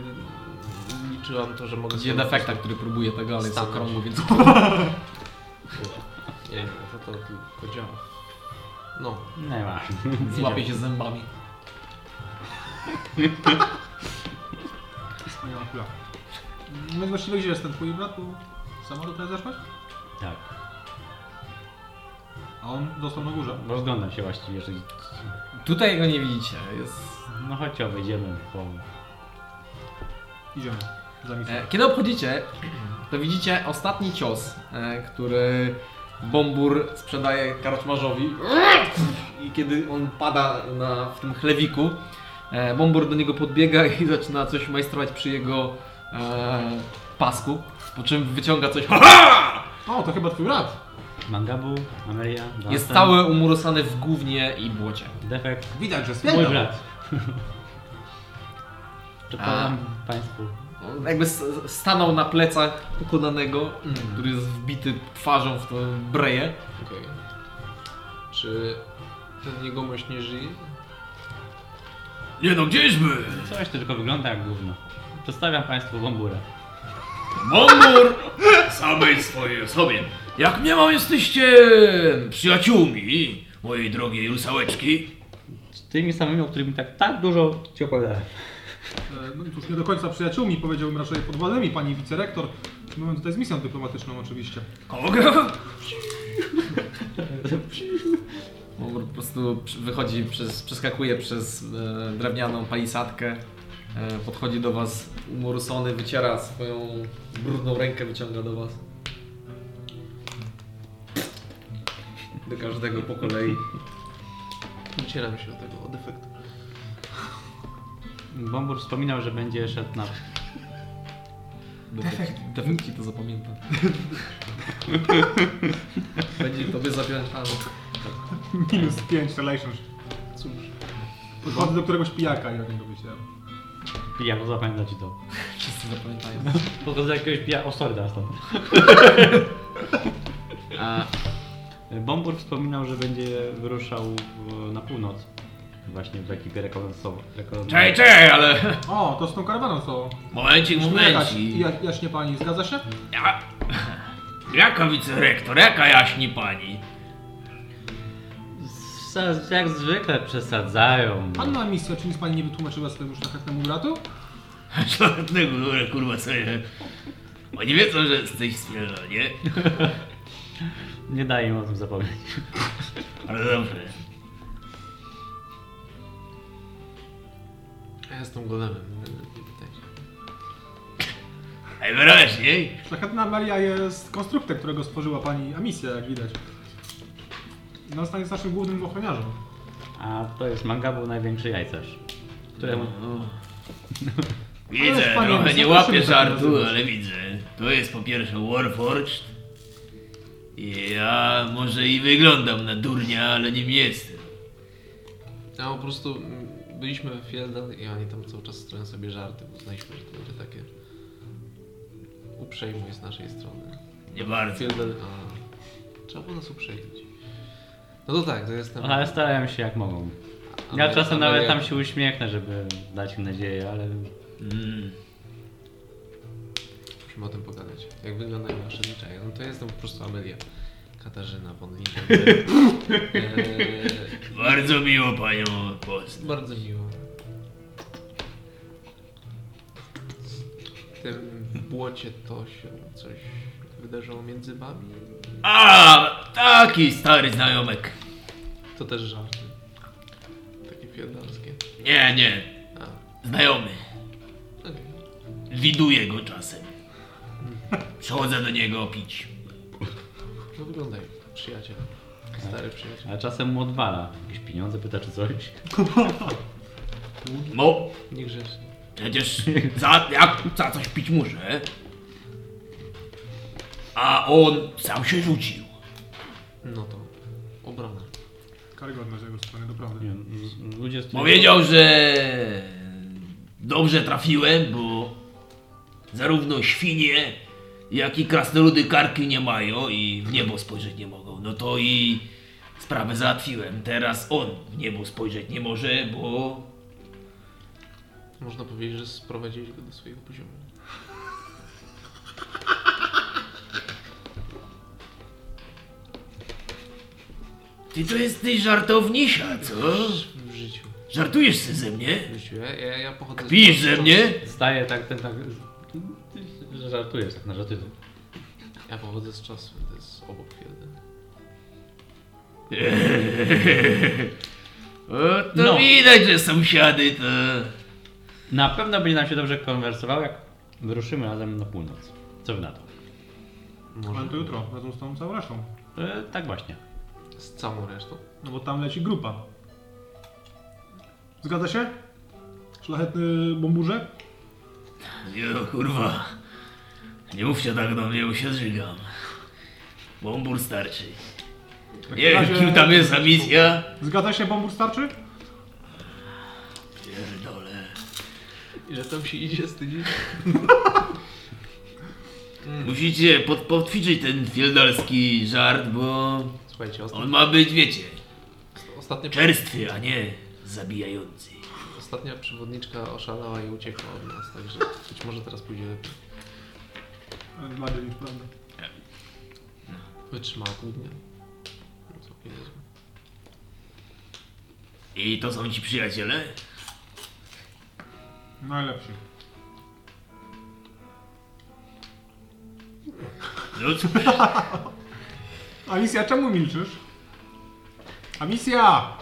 S5: liczyłam to, że mogę
S2: Gdzie
S5: po prostu-
S2: defekta, który próbuje tego, ale jest
S5: Stanąć.
S2: okrągły,
S5: <laughs>
S2: więc...
S5: Nie wiem, to, to tylko działa. No,
S4: No i masz.
S2: Złapie się zębami.
S1: Wspaniała kula. No i właściwie gdzie jest ten twój brat? Bo sama do tego zeszłaś?
S4: Tak.
S1: A on został na górze.
S4: Rozglądam się właściwie, że...
S2: Tutaj go nie widzicie. Jest...
S4: No chodźcie, obejdziemy po...
S1: Idziemy. Za misją.
S2: E, Kiedy obchodzicie, <clears throat> to widzicie ostatni cios, e, który Bombur sprzedaje karczmarzowi. I kiedy on pada na, w tym chlewiku, e, Bombur do niego podbiega i zaczyna coś majstrować przy jego e, pasku. Po czym wyciąga coś. <laughs>
S1: O, to chyba twój brat.
S4: Mangabu, Amelia, Dunstan.
S2: Jest cały umurosany w gównie i błocie.
S4: Defekt.
S1: Widać, że spierdol.
S4: Mój
S2: <laughs>
S4: brat. Przedkładam Państwu.
S2: On jakby s- stanął na plecach pokonanego, który jest wbity twarzą w tę breję.
S5: okej. Czy ten jegomość nie żyje?
S3: Nie no, gdzieśmy?
S4: Coś to tylko wygląda jak gówno. Przedstawiam Państwu bomburę.
S3: Mąbur samej swojej osobie. Jak mnie mam, jesteście przyjaciółmi mojej drogiej rusałeczki.
S4: Z tymi samymi, o których mi tak, tak dużo Ci opowiadałem.
S1: E, No cóż, nie do końca przyjaciółmi, powiedziałbym raczej podwładnymi, pani wicerektor. Mamy tutaj z misją dyplomatyczną oczywiście. <laughs>
S3: Kogo?
S2: On po prostu przy- wychodzi, przez, przeskakuje przez e, drewnianą palisadkę, e, podchodzi do was umorusony, wyciera swoją brudną rękę, wyciąga do was. Do każdego po kolei.
S5: Docieram się do tego, o defektu.
S4: Bombur wspominał, że będzie szedł na...
S2: Defekt, defekt ci to <laughs> zapamięta. Będzie tobie zapiętany.
S1: Minus 5 relationship.
S5: Cóż,
S1: Podchodzę do któregoś pijaka i od niego wycieram.
S4: Pijak, zapamięta Ci to.
S2: Wszyscy zapamiętają.
S4: Podchodzę do jakiegoś pijaka... O, sorry, teraz <laughs> tam.
S2: A,
S4: E, Bombur wspominał, że będzie wyruszał w, na północ. Właśnie w ekipie rekomendowanej.
S3: Czej, czej,
S2: <laughs>
S3: ale...
S1: O, to z tą karawaną co?
S3: Momencik,
S1: Jakaś
S3: momencik.
S1: ja- jaśnie pani, zgadza się?
S3: Ja...
S2: <laughs>
S3: Jaka wicerektor, jaka jaśni pani?
S4: Z- Jak zwykle przesadzają.
S1: Panna misja, czy nic pani nie wytłumaczyła swojemu szlachetnemu bratu?
S3: <laughs> Szlachetnego, dobra, kurwa, sobie. Oni wiedzą, że jesteś spielna, nie?
S4: Nie daje im o tym zapomnieć.
S3: Ale dobrze.
S5: ja jestem golemem, nie pytajcie.
S3: Najwyraźniej.
S1: Szlachetna Maria jest konstruktem, którego stworzyła pani Amisja, jak widać. Dunstan jest naszym głównym ochroniarzem.
S4: A to jest Mangabu, największy jajcarz. Któremu
S1: Ale
S3: Widzę,
S1: wspaniale,
S3: trochę nie
S1: zapraszamy
S3: łapię
S1: tak
S3: żartu,
S1: nazywać.
S3: ale widzę. To jest po pierwsze Warforged. I ja może i wyglądam na durnia, ale nim jestem.
S5: A po prostu mm, byliśmy w Fieldal i oni tam cały czas stroją sobie żarty, bo znaliśmy, że to będzie takie uprzejmość z naszej strony.
S3: Nie bardzo.
S5: Fieldal, a trzeba było nas uprzejmić. No to tak, to jestem...
S4: Ale starają się jak mogą. Ja
S5: Amery-
S4: czasem nawet tam
S5: Ameryka-
S4: się uśmiechnę, żeby dać im nadzieję, ale
S3: Mm.
S5: Musimy o tym pogadać. Jak wyglądają nasze zwyczaje. No to jestem po prostu Amelia. Katarzyna von Linie.
S3: Bardzo miło panią poznać.
S5: Bardzo miło. W tym błocie to się coś wydarzyło między wami.
S3: A, taki stary znajomek.
S5: To też żarty. Takie fiodalskie.
S3: Nie, nie,
S5: A,
S3: znajomy.
S5: okej.
S3: Widuję go czasem. Przychodzę do niego pić.
S5: No wyglądaj, przyjaciel. Stary przyjaciel.
S4: a czasem mu odwala. Jakieś pieniądze pyta czy coś.
S3: Bo
S5: Niegrzeczny.
S3: Przecież za, jak, za coś pić muszę. A on sam się rzucił.
S5: No to obrona.
S1: Karygodne z jego strony,
S4: Nie
S1: doprawdy.
S4: wiem, z- Ludzie z
S3: Powiedział, że dobrze trafiłem, bo zarówno świnie, jak i krasnoludy karki nie mają i w niebo spojrzeć nie mogą. No to i Sprawę załatwiłem, teraz on w niebo spojrzeć nie może, bo...
S5: Można powiedzieć, że sprowadziłeś go do swojego poziomu.
S3: Ty to jesteś żartownisia, co?
S5: W życiu.
S3: Żartujesz se ze mnie?
S5: W życiu. Ja, ja, ja pochodzę...
S3: Pijesz ze mnie?
S4: Staje tak, ten tak... Że żartujesz, tak na żarty.
S5: Ja pochodzę z czasu, to jest obok twierdzy.
S3: O, to
S4: No.
S3: widać, że sąsiady to...
S4: Na pewno będzie nam się dobrze konwersował, jak wyruszymy razem na północ. Co wy na to?
S1: Ale to jutro, razem z tą całą resztą.
S4: E, tak właśnie.
S5: Z całą resztą.
S1: No bo tam leci grupa. Zgadza się? Szlachetny bomburze?
S3: Jo, kurwa. Nie mówcie tak do mnie, bo się zżygam. Bombur starczy.
S1: W
S3: Nie wiem,
S1: takim
S3: kim tam jest za misja.
S1: Zgadza się, bombur starczy?
S3: Pierdolę.
S5: Ile tam się idzie z tydzień?
S3: Musicie pod, potwiczyć ten fieldolski żart, bo on
S5: Słuchajcie, ostat...
S3: ma być, wiecie,
S5: ostatnia,
S3: czerstwy, a nie zabijający.
S5: ostatnia przewodniczka oszalała i uciekła od nas, także być może teraz pójdzie lepiej.
S1: E, Bardziej niż prawda.
S5: Wytrzymała pół dnia. No, całkiem niezłe.
S3: I to są ci przyjaciele?
S1: Najlepszy.
S3: No cóż,
S1: Alicja, czemu milczysz? Amicja!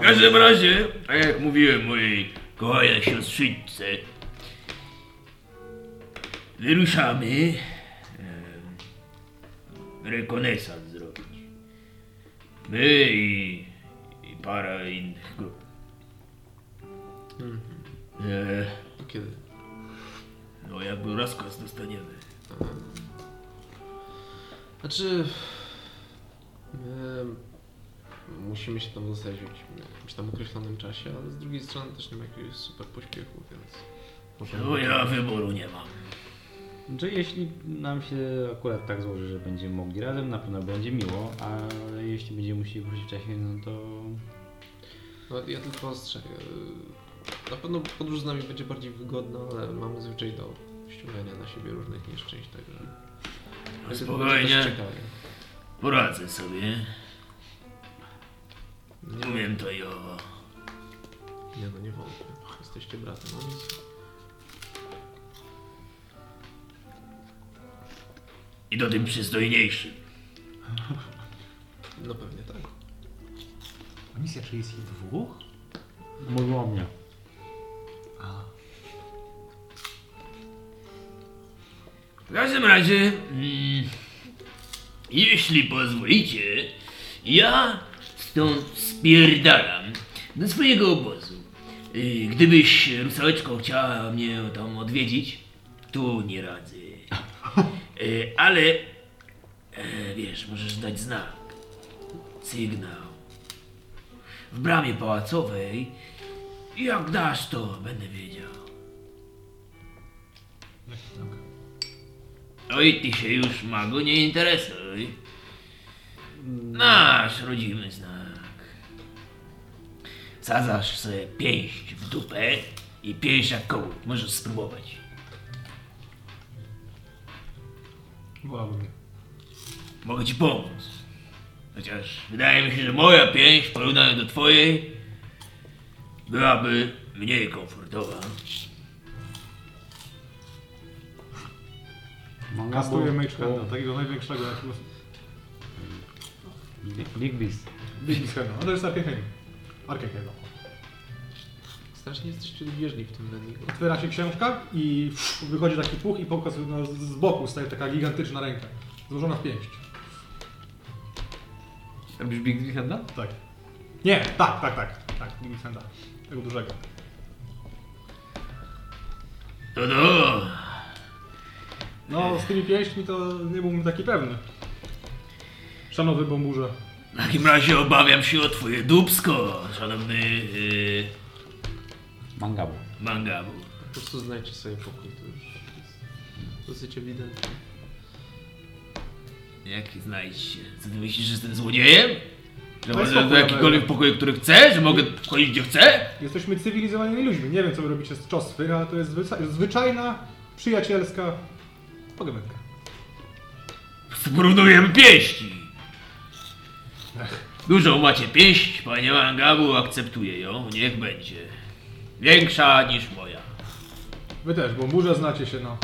S3: w każdym razie, tak jak mówiłem mojej kochanej siostrzyczce, wyruszamy em, rekonesans zrobić. My i, i para innych grup. E,
S5: To kiedy?
S3: No jakby rozkaz dostaniemy.
S5: Znaczy... em, musimy się tam zostawić w jakimś- jakimś tam określonym czasie, ale z drugiej strony też nie ma jakiegoś super pośpiechu, więc... Może
S3: No ja wyboru nie mam.
S4: Czy jeśli nam się akurat tak złoży, że będziemy mogli razem, na pewno będzie miło, ale jeśli będziemy musieli wrócić wcześniej, no to...
S5: No, ja tylko ostrzegam. y, Na pewno podróż z nami będzie bardziej wygodna, ale mamy zwyczaj do ściągania na siebie różnych nieszczęść, także...
S3: No
S5: będzie- będzie też
S3: spokojnie,
S5: ciekawie.
S3: poradzę sobie.
S5: Nie,
S3: Umiem to i owo.
S5: nie no, nie wątpię. Jesteście bratem, no więc...
S3: I do tym przystojniejszym.
S5: No pewnie tak.
S1: Amicja, czy jest ich dwóch?
S4: Mówił o mnie.
S3: W każdym razie, mm, jeśli pozwolicie, ja stąd spierdalam do swojego obozu. Y, Gdybyś rusałeczko chciała mnie tam odwiedzić, tu nie radzę. Y, Ale, e, wiesz, możesz dać znak, sygnał. W bramie pałacowej, jak dasz to, będę wiedział. Oj, ty się już, magu, nie interesuj. Nasz rodzimy znak. Sadzasz sobie pięść w dupę i pięść jak kołut. Możesz spróbować.
S1: Wołałbym mnie.
S3: Mogę ci pomóc. Chociaż wydaje mi się, że moja pięść w porównaniu do twojej byłaby mniej komfortowa.
S1: Kastuję Magehanda, takiego największego jak los.
S4: Big Beast.
S1: Bibi Hena, no to jest lepiej Hena. Arkekiego.
S5: Strasznie jesteście bieżni w tym Lenniego.
S1: Otwiera się książka i wychodzi taki puch i pokazuje no, z- z boku staje taka gigantyczna ręka. Złożona w pięść.
S2: Robisz Big Handa?
S1: Tak. Nie, tak, tak, tak. Tak, Bibi Hena. Tego dużego.
S3: To do.
S1: No, z tymi pięśćmi to nie byłbym taki pewny. Szanowny bomburze.
S3: W takim razie obawiam się o twoje dubsko, szanowny yy,
S4: Mangabu.
S3: mangabu.
S5: Po prostu znajdźcie sobie pokój, to już jest dosyć ewidentne.
S3: Jaki znajdź się? Co ty myślisz, że jestem złodziejem?
S1: To jest
S3: Do, do jakikolwiek pokoju, który chcę, że mogę wchodzić gdzie chcę?
S1: Jesteśmy cywilizowanymi ludźmi. Nie wiem, co wy robicie z czosfy, ale to jest zwycza- zwyczajna, przyjacielska pogawędka.
S3: Porównujemy pięści. Dużą macie pięść, panie Mangabu, akceptuję ją, niech będzie. Większa niż moja.
S1: Wy też, bo burze znacie się, no.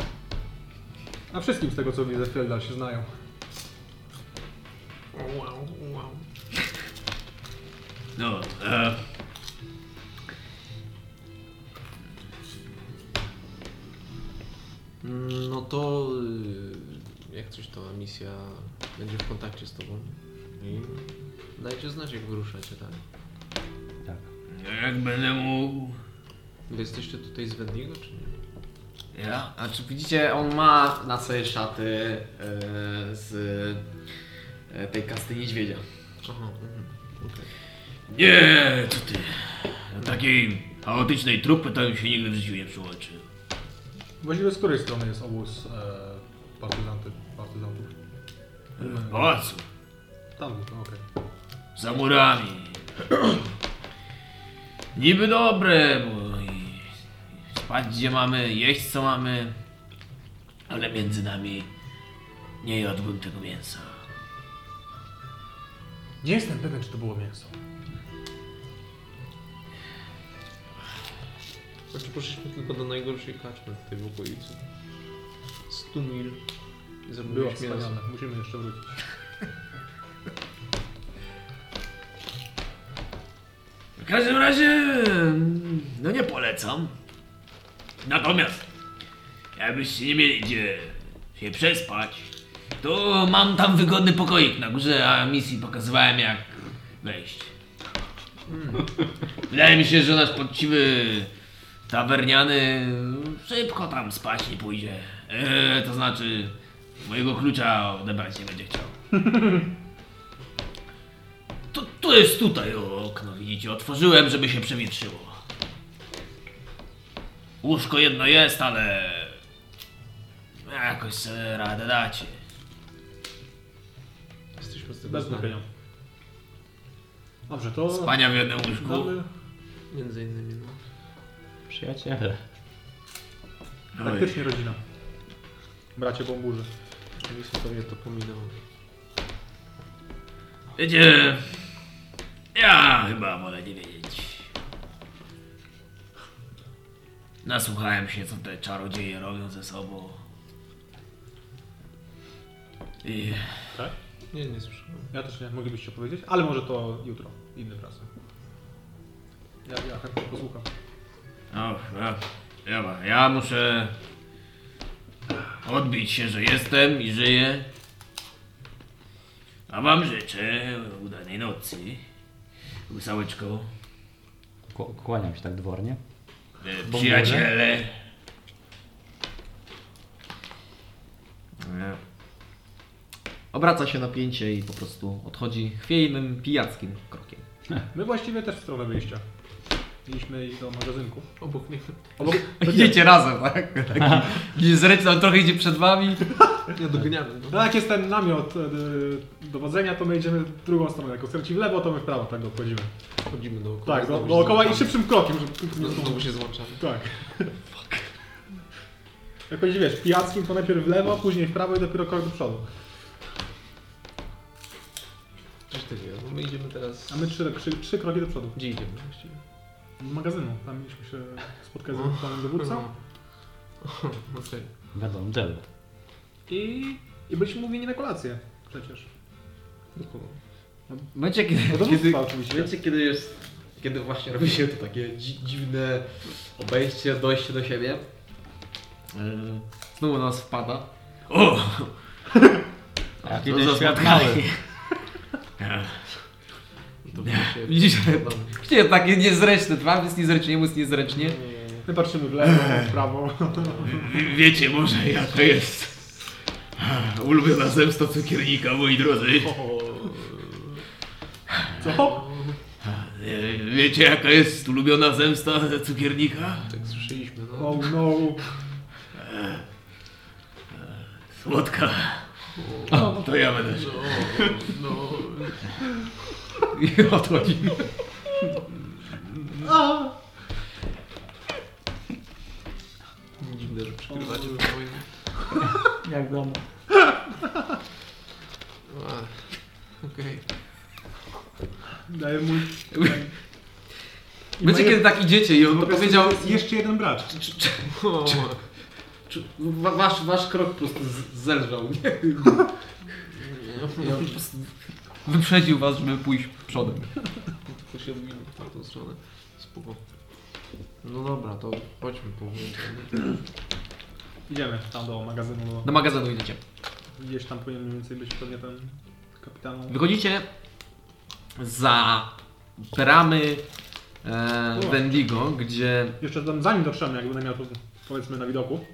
S1: A wszystkim z tego, co widzę, Fielda się znają.
S5: Wow, wow.
S3: No, e...
S5: No to y, jak coś to misja będzie w kontakcie z tobą. I dajcie znać jak wyruszacie, tak?
S4: Tak.
S3: jak będę mógł...
S5: Wy jesteście tutaj z Wendigo, czy nie?
S2: Ja? A czy widzicie, on ma na sobie szaty e, z e, tej kasty niedźwiedzia.
S5: Aha, mhm. okej.
S3: Nie, co ty. Do takiej chaotycznej trupy to bym się nigdy w życiu nie przyłączył.
S1: Właściwie z której strony jest obóz e, partyzanty, partyzantów?
S3: W pałacu,
S1: Tam, no, okej.
S3: za murami. Niby dobre, bo i spać gdzie mamy, jeść co mamy, ale między nami nie jadłbym tego mięsa.
S1: Nie jestem pewien, czy to było mięso.
S5: Znaczy poszliśmy tylko do najgorszej kaczmy w tej w okolicy. 100 mil i
S1: Było
S5: zamówiliśmy mięso.
S1: wspaniale. Musimy jeszcze wrócić.
S3: W każdym razie, no nie polecam. Natomiast, jakbyście nie mieli gdzie się przespać, to mam tam wygodny pokoik na górze, a misji pokazywałem jak wejść. Hmm. Wydaje mi się, że nasz poczciwy tawerniany szybko tam spać nie pójdzie. Eee, to znaczy, mojego klucza odebrać nie będzie chciał. To, to jest tutaj o okno, widzicie? Otworzyłem, żeby się przewietrzyło. Łóżko jedno jest, ale. Jakoś sobie radę dacie.
S5: Jesteśmy z tego
S1: Bez
S5: znani.
S1: wątpienia. Dobrze, to...
S3: Spania w jednym łóżku.
S1: Damy...
S5: Między innymi, no.
S4: Przyjaciele.
S3: No
S1: Praktycznie rodzina. Bracie bomburzy.
S5: Oczywiście pewnie to pominął.
S3: Wiecie. Ja chyba wolę nie wiedzieć. Nasłuchałem się, co te czarodzieje robią ze sobą. I
S1: Tak?
S5: Nie, nie słyszałem.
S1: Ja też nie, moglibyście powiedzieć, ale może to jutro, innym razem. Ja, ja chętnie posłucham.
S3: No, ja, ja, ja muszę odbić się, że jestem i żyję. A wam życzę udanej nocy. Łysałeczko,
S4: Kł- Kłaniam się tak dwornie.
S3: e, przyjaciele.
S2: Obraca się napięcie i po prostu odchodzi chwiejnym, pijackim <laughs> krokiem.
S1: My właściwie też w stronę wyjścia. Mieliśmy iść do magazynku.
S5: Obok mnie.
S1: Obok...
S2: Idziecie razem, tak? <laughs> Taki zrycz tam trochę idzie przed wami.
S5: Ja doganiamy, no.
S1: No jak jest ten namiot e, dowodzenia, to my idziemy w drugą stronę. Jak on skręci w lewo, to my w prawo tak go wchodzimy.
S5: Chodzimy dookoła.
S1: Tak, do,
S5: znowu się
S1: dookoła i
S5: złączamy.
S1: szybszym krokiem, żeby...
S5: No znowu się złączamy.
S1: Tak. Jak będzie, wiesz, pijackim to najpierw w lewo, później w prawo i dopiero krok do przodu.
S5: Przecież ty wiesz, bo my idziemy teraz...
S1: A my trzy, trzy, trzy kroki do przodu.
S5: Gdzie idziemy właściwie?
S1: Do magazynu. Tam mieliśmy się spotkać z panem dowódcą.
S5: No. <laughs> Okej.
S4: Wiadomo, Jello.
S1: I, I byliśmy mówieni na kolację przecież.
S2: W momencie, kiedy,
S1: No
S2: kiedy,
S1: dowództwa oczywiście.
S6: Wiecie, kiedy jest, kiedy właśnie robi się to takie dzi- dziwne obejście, dojście do siebie?
S2: Yy, Znowu nas wpada.
S3: O!
S4: A
S6: Tak.
S2: to
S4: kiedy
S2: za
S4: świat
S2: spotkanie.
S4: mały.
S5: To się...
S2: Widzicie, widzicie, takie niezręczne. Wam jest niezręcznie, mu jest niezręcznie.
S1: My patrzymy w lewo, w prawo.
S3: Wie- Wiecie może jaka jest ulubiona zemsta cukiernika, moi drodzy.
S1: Co?
S3: E, Wiecie jaka jest ulubiona zemsta cukiernika?
S5: Tak słyszeliśmy, no.
S1: Oh no.
S3: Słodka.
S1: No,
S3: to ja będę.
S5: No, no.
S3: I
S4: no.
S3: <laughs> odchodzi.
S5: Dziwne, że przykrywacie to wojnę.
S4: Jak domu.
S5: Ach, Okej.
S1: Daję mu... I
S6: Wiecie,
S1: ma-
S6: kiedy tak idziecie i on
S1: po prostu
S6: powiedział...
S1: jest Jeszcze jeden brat.
S5: <laughs> O,
S6: Czy- wa- Wasz, wasz krok po prostu z- zelżał, nie? Ja po prostu wyprzedził was, żeby pójść przodem.
S5: To się odmieni w tamtą stronę. Spoko. No dobra, to chodźmy po wojnie.
S1: Idziemy tam do magazynu.
S6: Do magazynu idziecie.
S1: Gdzieś tam powinien mniej więcej być pewnie ten kapitan.
S2: Wychodzicie za bramy e, Wendigo, gdzie
S1: Jeszcze tam zanim dotrzemy, jak będę miał to powiedzmy na widoku.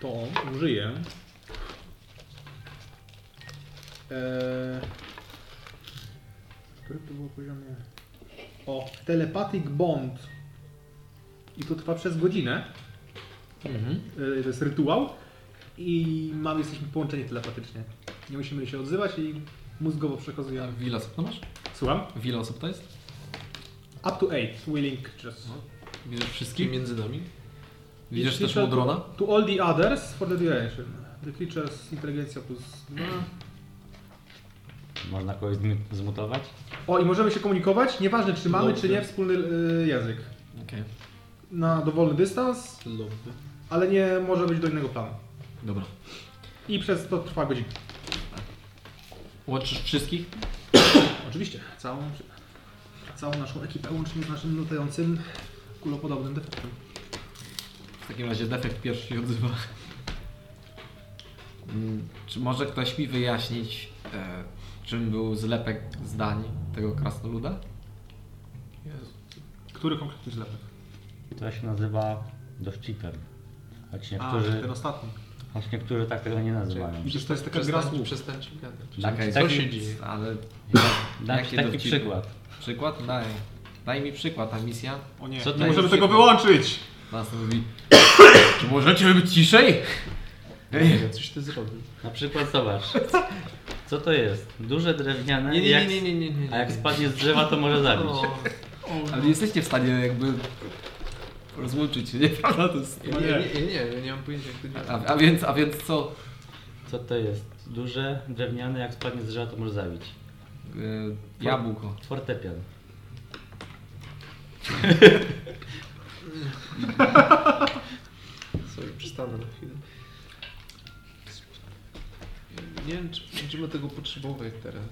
S1: To użyję. Eee... Który to było poziomie? O, telepathic bond. I to trwa przez godzinę. Eee, to jest rytuał. I mamy, jesteśmy połączeni telepatycznie. Nie musimy się odzywać i mózgowo przekazujemy.
S6: Ile osób to masz?
S1: Słucham?
S6: Ile osób to jest?
S1: Up to 8 willing creatures.
S6: Widzisz
S5: Kim
S6: wszystkich?
S5: między nami?
S6: Widzisz
S1: Jeśli
S6: też
S1: to-
S6: Modrona?
S1: To all the others for the duration. The creatures inteligencja plus 2.
S4: Można kogoś zmi- zmutować?
S1: O, i możemy się komunikować, nieważne czy mamy,
S5: Dobrze.
S1: czy nie wspólny y, język.
S2: Okej.
S1: Na dowolny dystans,
S5: Lobby.
S1: ale nie może być do innego planu.
S2: Dobra.
S1: I przez to trwa godzina.
S2: Łączysz wszystkich?
S1: Oczywiście, całą, całą naszą ekipę, łącznie z naszym latającym kulopodobnym defektem.
S2: W takim razie defekt pierwszy się odzywa. Mm, Czy może ktoś mi wyjaśnić, e, czym był zlepek zdań tego krasnoluda?
S5: Jezu.
S1: Który konkretny zlepek?
S4: To się nazywa doszciter. Choć
S1: A,
S4: niektórzy,
S1: ten ostatni.
S4: choć niektórzy tak tego nie nazywają.
S1: Przecież to jest taka gra
S5: Przestań,
S1: słów.
S5: przestańcie gadać.
S4: Taki,
S2: co
S4: taki,
S5: się dzieje?
S2: Ale
S4: dam
S2: Jakie
S4: ci taki
S2: dowcipy?
S4: przykład.
S2: przykład? Daj. Daj mi przykład, a misja?
S1: O nie,
S4: Co
S5: No.
S1: nie
S4: to
S1: możemy
S4: jest?
S1: tego wyłączyć!
S2: Nas mówi. <coughs> Czy możecie być ciszej? Ej,
S5: Ja coś ty zrobił.
S4: Na przykład zobacz. Co to jest? Duże drewniane.
S5: Nie, nie,
S4: jak,
S5: nie, nie, nie, nie. No.
S4: A jak spadnie z drzewa, to może zabić.
S5: O,
S2: ale nie jesteście w stanie jakby rozłączyć się, nie? Prawda? To jest...
S5: ja, nie, nie, nie, nie, ja nie mam pojęcia jak to działa.
S2: a, a więc, a więc co?
S4: Co to jest? Duże drewniane, jak spadnie z drzewa, to może zabić.
S2: Yy, jabłko.
S4: Fortepian.
S5: Sorry, przestanę na chwilę. Nie wiem, czy będziemy tego potrzebować teraz.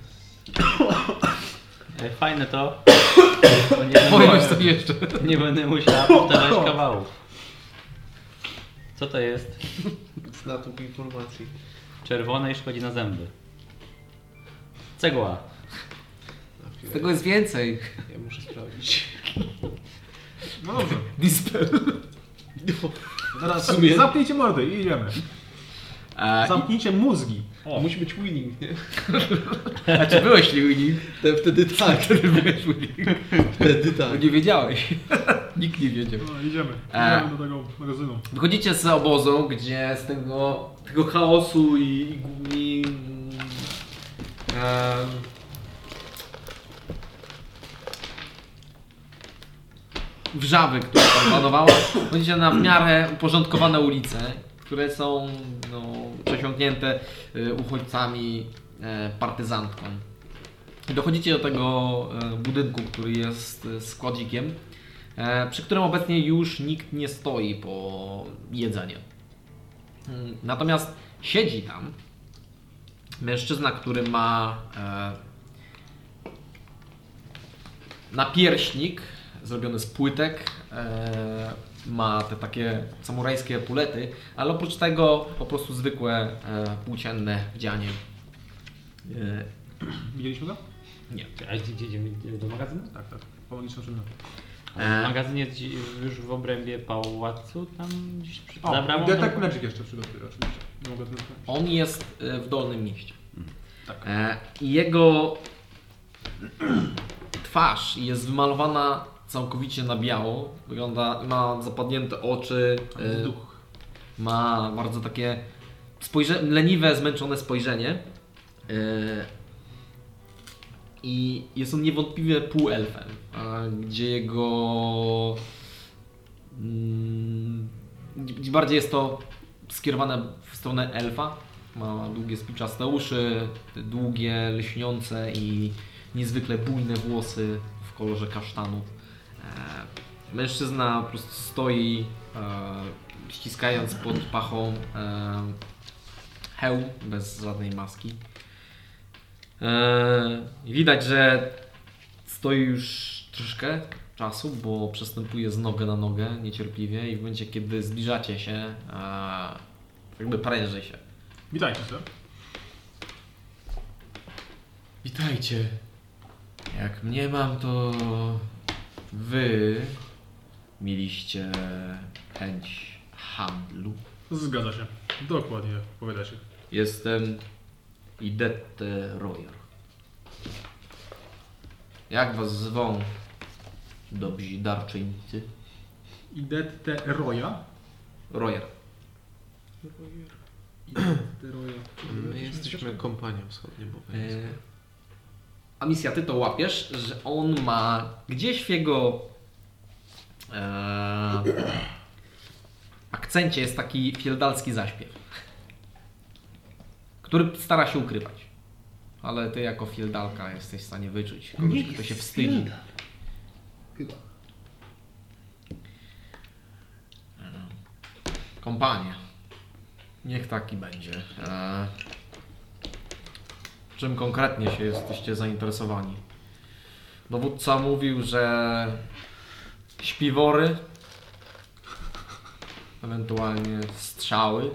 S4: E, Fajne to. <coughs> bo nie, będę,
S6: Powiedz to jeszcze.
S4: nie będę musiała powtarzać kawałów. Co to jest?
S5: Więc natłuk informacji.
S4: Czerwone i szkodzi na zęby. Cegła.
S5: Na chwilę.
S2: Z tego jest więcej.
S5: Ja muszę sprawdzić.
S1: No
S5: <laughs>
S1: dobrze,
S2: Dispel.
S1: <laughs> zaraz zamknijcie mordy i idziemy.
S2: A,
S1: Zamknijcie mózgi. O.
S5: Musi być winning, nie?
S2: a czy znaczy byłeś Liwini?
S5: Te, wtedy tak,
S2: Wtedy byłeś Liwini.
S5: wtedy
S2: Bo
S5: tak.
S2: No nie wiedziałeś. Nikt nie wiedział.
S1: No, idziemy.
S2: E.
S1: Idziemy do tego magazynu.
S2: Wychodzicie z obozu, gdzie z tego, tego chaosu i, i, i mm, em, wrzawy, która tam panowała, wychodzicie na w miarę uporządkowane ulice, które są no, przesiąknięte y, uchodźcami, e, partyzantką. I dochodzicie do tego e, budynku, który jest e, składzikiem, e, przy którym obecnie już nikt nie stoi po jedzeniu. Mm, Natomiast siedzi tam mężczyzna, który ma e, napierśnik zrobiony z płytek, e, ma te takie samurajskie pulety, ale oprócz tego po prostu zwykłe e, płócienne wdzianie. E,
S1: Widzieliśmy go?
S4: A gdzie gdzie idziemy? Idziemy do magazynu?
S1: Tak, tak. Pomogli się
S2: E.
S4: Magazyn jest dzi- już w obrębie pałacu, tam gdzieś przy...
S1: O,
S4: za bramą,
S1: Detect
S4: tam-
S1: Magic jeszcze przygotuję oczywiście. Nie mogę tego zrobić.
S2: On jest e, w dolnym mieście.
S1: Tak.
S2: E, I jego <clears throat> twarz jest wymalowana całkowicie na biało. Wygląda, ma zapadnięte oczy,
S1: Tam
S2: e,
S1: Duch.
S2: ma bardzo takie spojrze- leniwe, zmęczone spojrzenie. Yy, I jest on niewątpliwie półelfem, a gdzie jego. mm, gdzie bardziej jest to skierowane w stronę elfa. Ma długie spiczaste uszy, te długie, lśniące i niezwykle bujne włosy w kolorze kasztanów. E, Mężczyzna po prostu stoi, e, ściskając pod pachą e, hełm bez żadnej maski. E, widać, że stoi już troszkę czasu, bo przestępuje z nogę na nogę niecierpliwie i w momencie, kiedy zbliżacie się, e, jakby pręży się.
S1: Witajcie, sir.
S2: Witajcie. Jak mnie mam, to wy mieliście chęć handlu.
S1: Zgadza się. Dokładnie, powiada się.
S2: Jestem Idette Royer. Jak was zwą, dobrzy darczyńcy?
S1: Idette Roya.
S2: Royer.
S1: Idette Roya.
S5: My jesteśmy kompanią wschodnią, bo
S2: E, A misja, ty to łapiesz, że on ma gdzieś w jego e, akcencie jest taki fieldalski zaśpiew, który stara się ukrywać. Ale ty jako fieldalka jesteś w stanie wyczuć kogoś, kto się wstydzi.
S1: Chyba.
S2: Kompanie. Niech taki będzie. E, czym konkretnie się jesteście zainteresowani? Dowódca mówił, że śpiwory, ewentualnie strzały.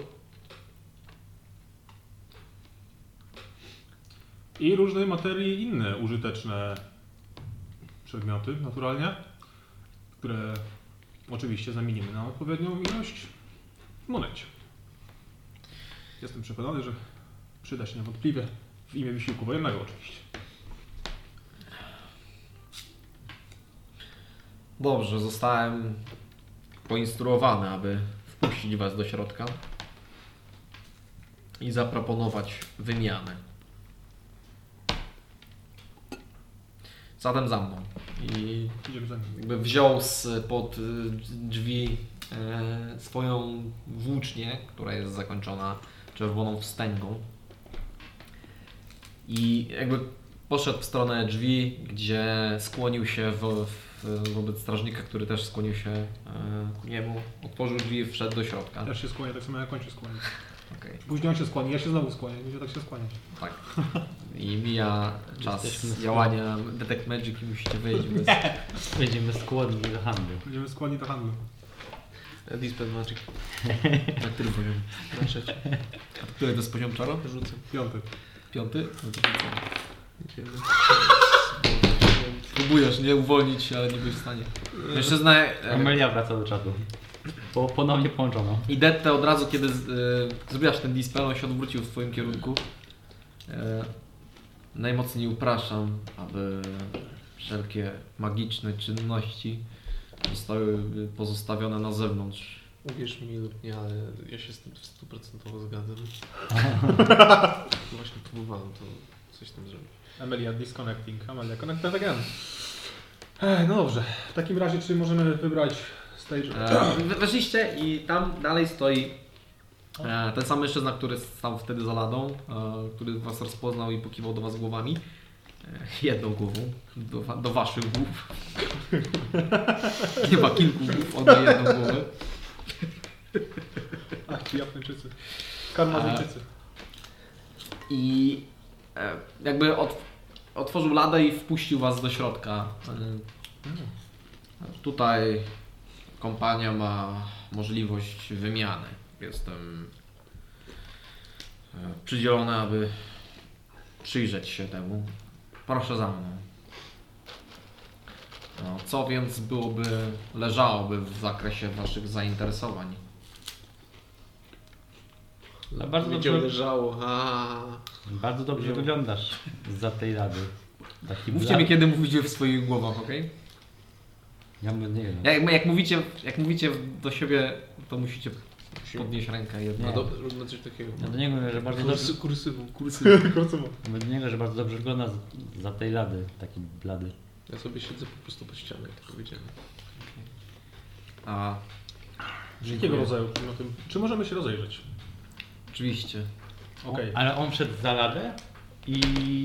S1: I różnej materii inne użyteczne przedmioty, naturalnie, które oczywiście zamienimy na odpowiednią ilość w monecie. Jestem przekonany, że przyda się niewątpliwie w imię wysiłku wojennego oczywiście.
S2: Dobrze, zostałem poinstruowany, aby wpuścić Was do środka i zaproponować wymianę. Zatem za mną. I
S1: Idziemy za nim.
S2: jakby wziął z pod y, drzwi e, swoją włócznię, która jest zakończona czerwoną wstęgą. I jakby poszedł w stronę drzwi, gdzie skłonił się wo- w, wobec strażnika, który też skłonił się e, ku niemu. Otworzył drzwi, wszedł do środka.
S1: Też się skłania, tak samo jak on się skłania.
S2: Okej,
S1: Później on się skłania, ja się znowu skłaniam, będzie tak się skłaniać.
S2: tak. I mija czas
S4: Jesteśmy w-
S2: działania Detect Magic i musicie wyjść bez...
S4: <laughs> Będziemy skłonni do handlu.
S1: Będziemy skłani do handlu.
S5: Dispel Magic
S2: Na który poziom?
S5: na trzeci.
S2: A który to jest poziom czaru?
S5: Rzucę.
S1: Piąty.
S2: Piąty? No to rzucam. Próbujesz nie uwolnić się, ale nie byłeś w stanie. Mężczyzna e,
S4: Amelia wraca do czatu. Po, ponownie połączono.
S2: Idette od razu, kiedy z- e, zrobiłaś ten dispel, on się odwrócił w twoim kierunku. E, najmocniej upraszam, aby wszelkie magiczne czynności zostały pozostawione na zewnątrz.
S5: Uwierz mi lub nie, ale ja się z tym stuprocentowo zgadzam. Właśnie próbowałem to coś tam zrobić.
S1: Amelia disconnecting, Amelia connected again. Ech, no dobrze, w takim razie czy możemy wybrać stage...
S2: E, we- weszliście i tam dalej stoi e, ten sam mężczyzna, który stał wtedy za ladą, e, który was rozpoznał i pokiwał do was głowami. E, jedną głową, do, wa- do waszych głów. <laughs> Nie ma kilku głów, on ma jedną głowę.
S1: Ach,
S2: Tak.
S1: ci Japończycy. Karmazyjczycy.
S2: I e, jakby otw- otworzył ladę i wpuścił was do środka. E, tutaj kompania ma możliwość wymiany. Jestem e, przydzielony, aby przyjrzeć się temu. Proszę za mną. No, co więc byłoby, leżałoby w zakresie waszych zainteresowań?
S4: Ale bardzo
S5: Gdzie
S4: dobrze,
S5: leżało, a
S4: bardzo dobrze wyglądasz za tej rady. Taki
S2: Mówcie
S4: blat-
S2: mi, kiedy mówicie w swoich głowach, okej?
S4: Ja bym nie wiem.
S2: Jak, jak, mówicie, jak mówicie do siebie, to musicie podnieść rękę jedną.
S4: Nie.
S5: No dobrze, róbmy coś takiego.
S4: Ja do niego mówię, że bardzo dobrze,
S5: Kursy, kursywą.
S4: mówię do niego, że bardzo dobrze wygląda z- za tej lady, taki blady.
S5: Ja sobie siedzę po prostu pod ścianą, jak to powiedziałem.
S2: A
S1: Jakiego rodzaju klimatem? Czy możemy się rozejrzeć?
S2: oczywiście.
S1: Okej.
S4: Ale on wszedł za ladę i...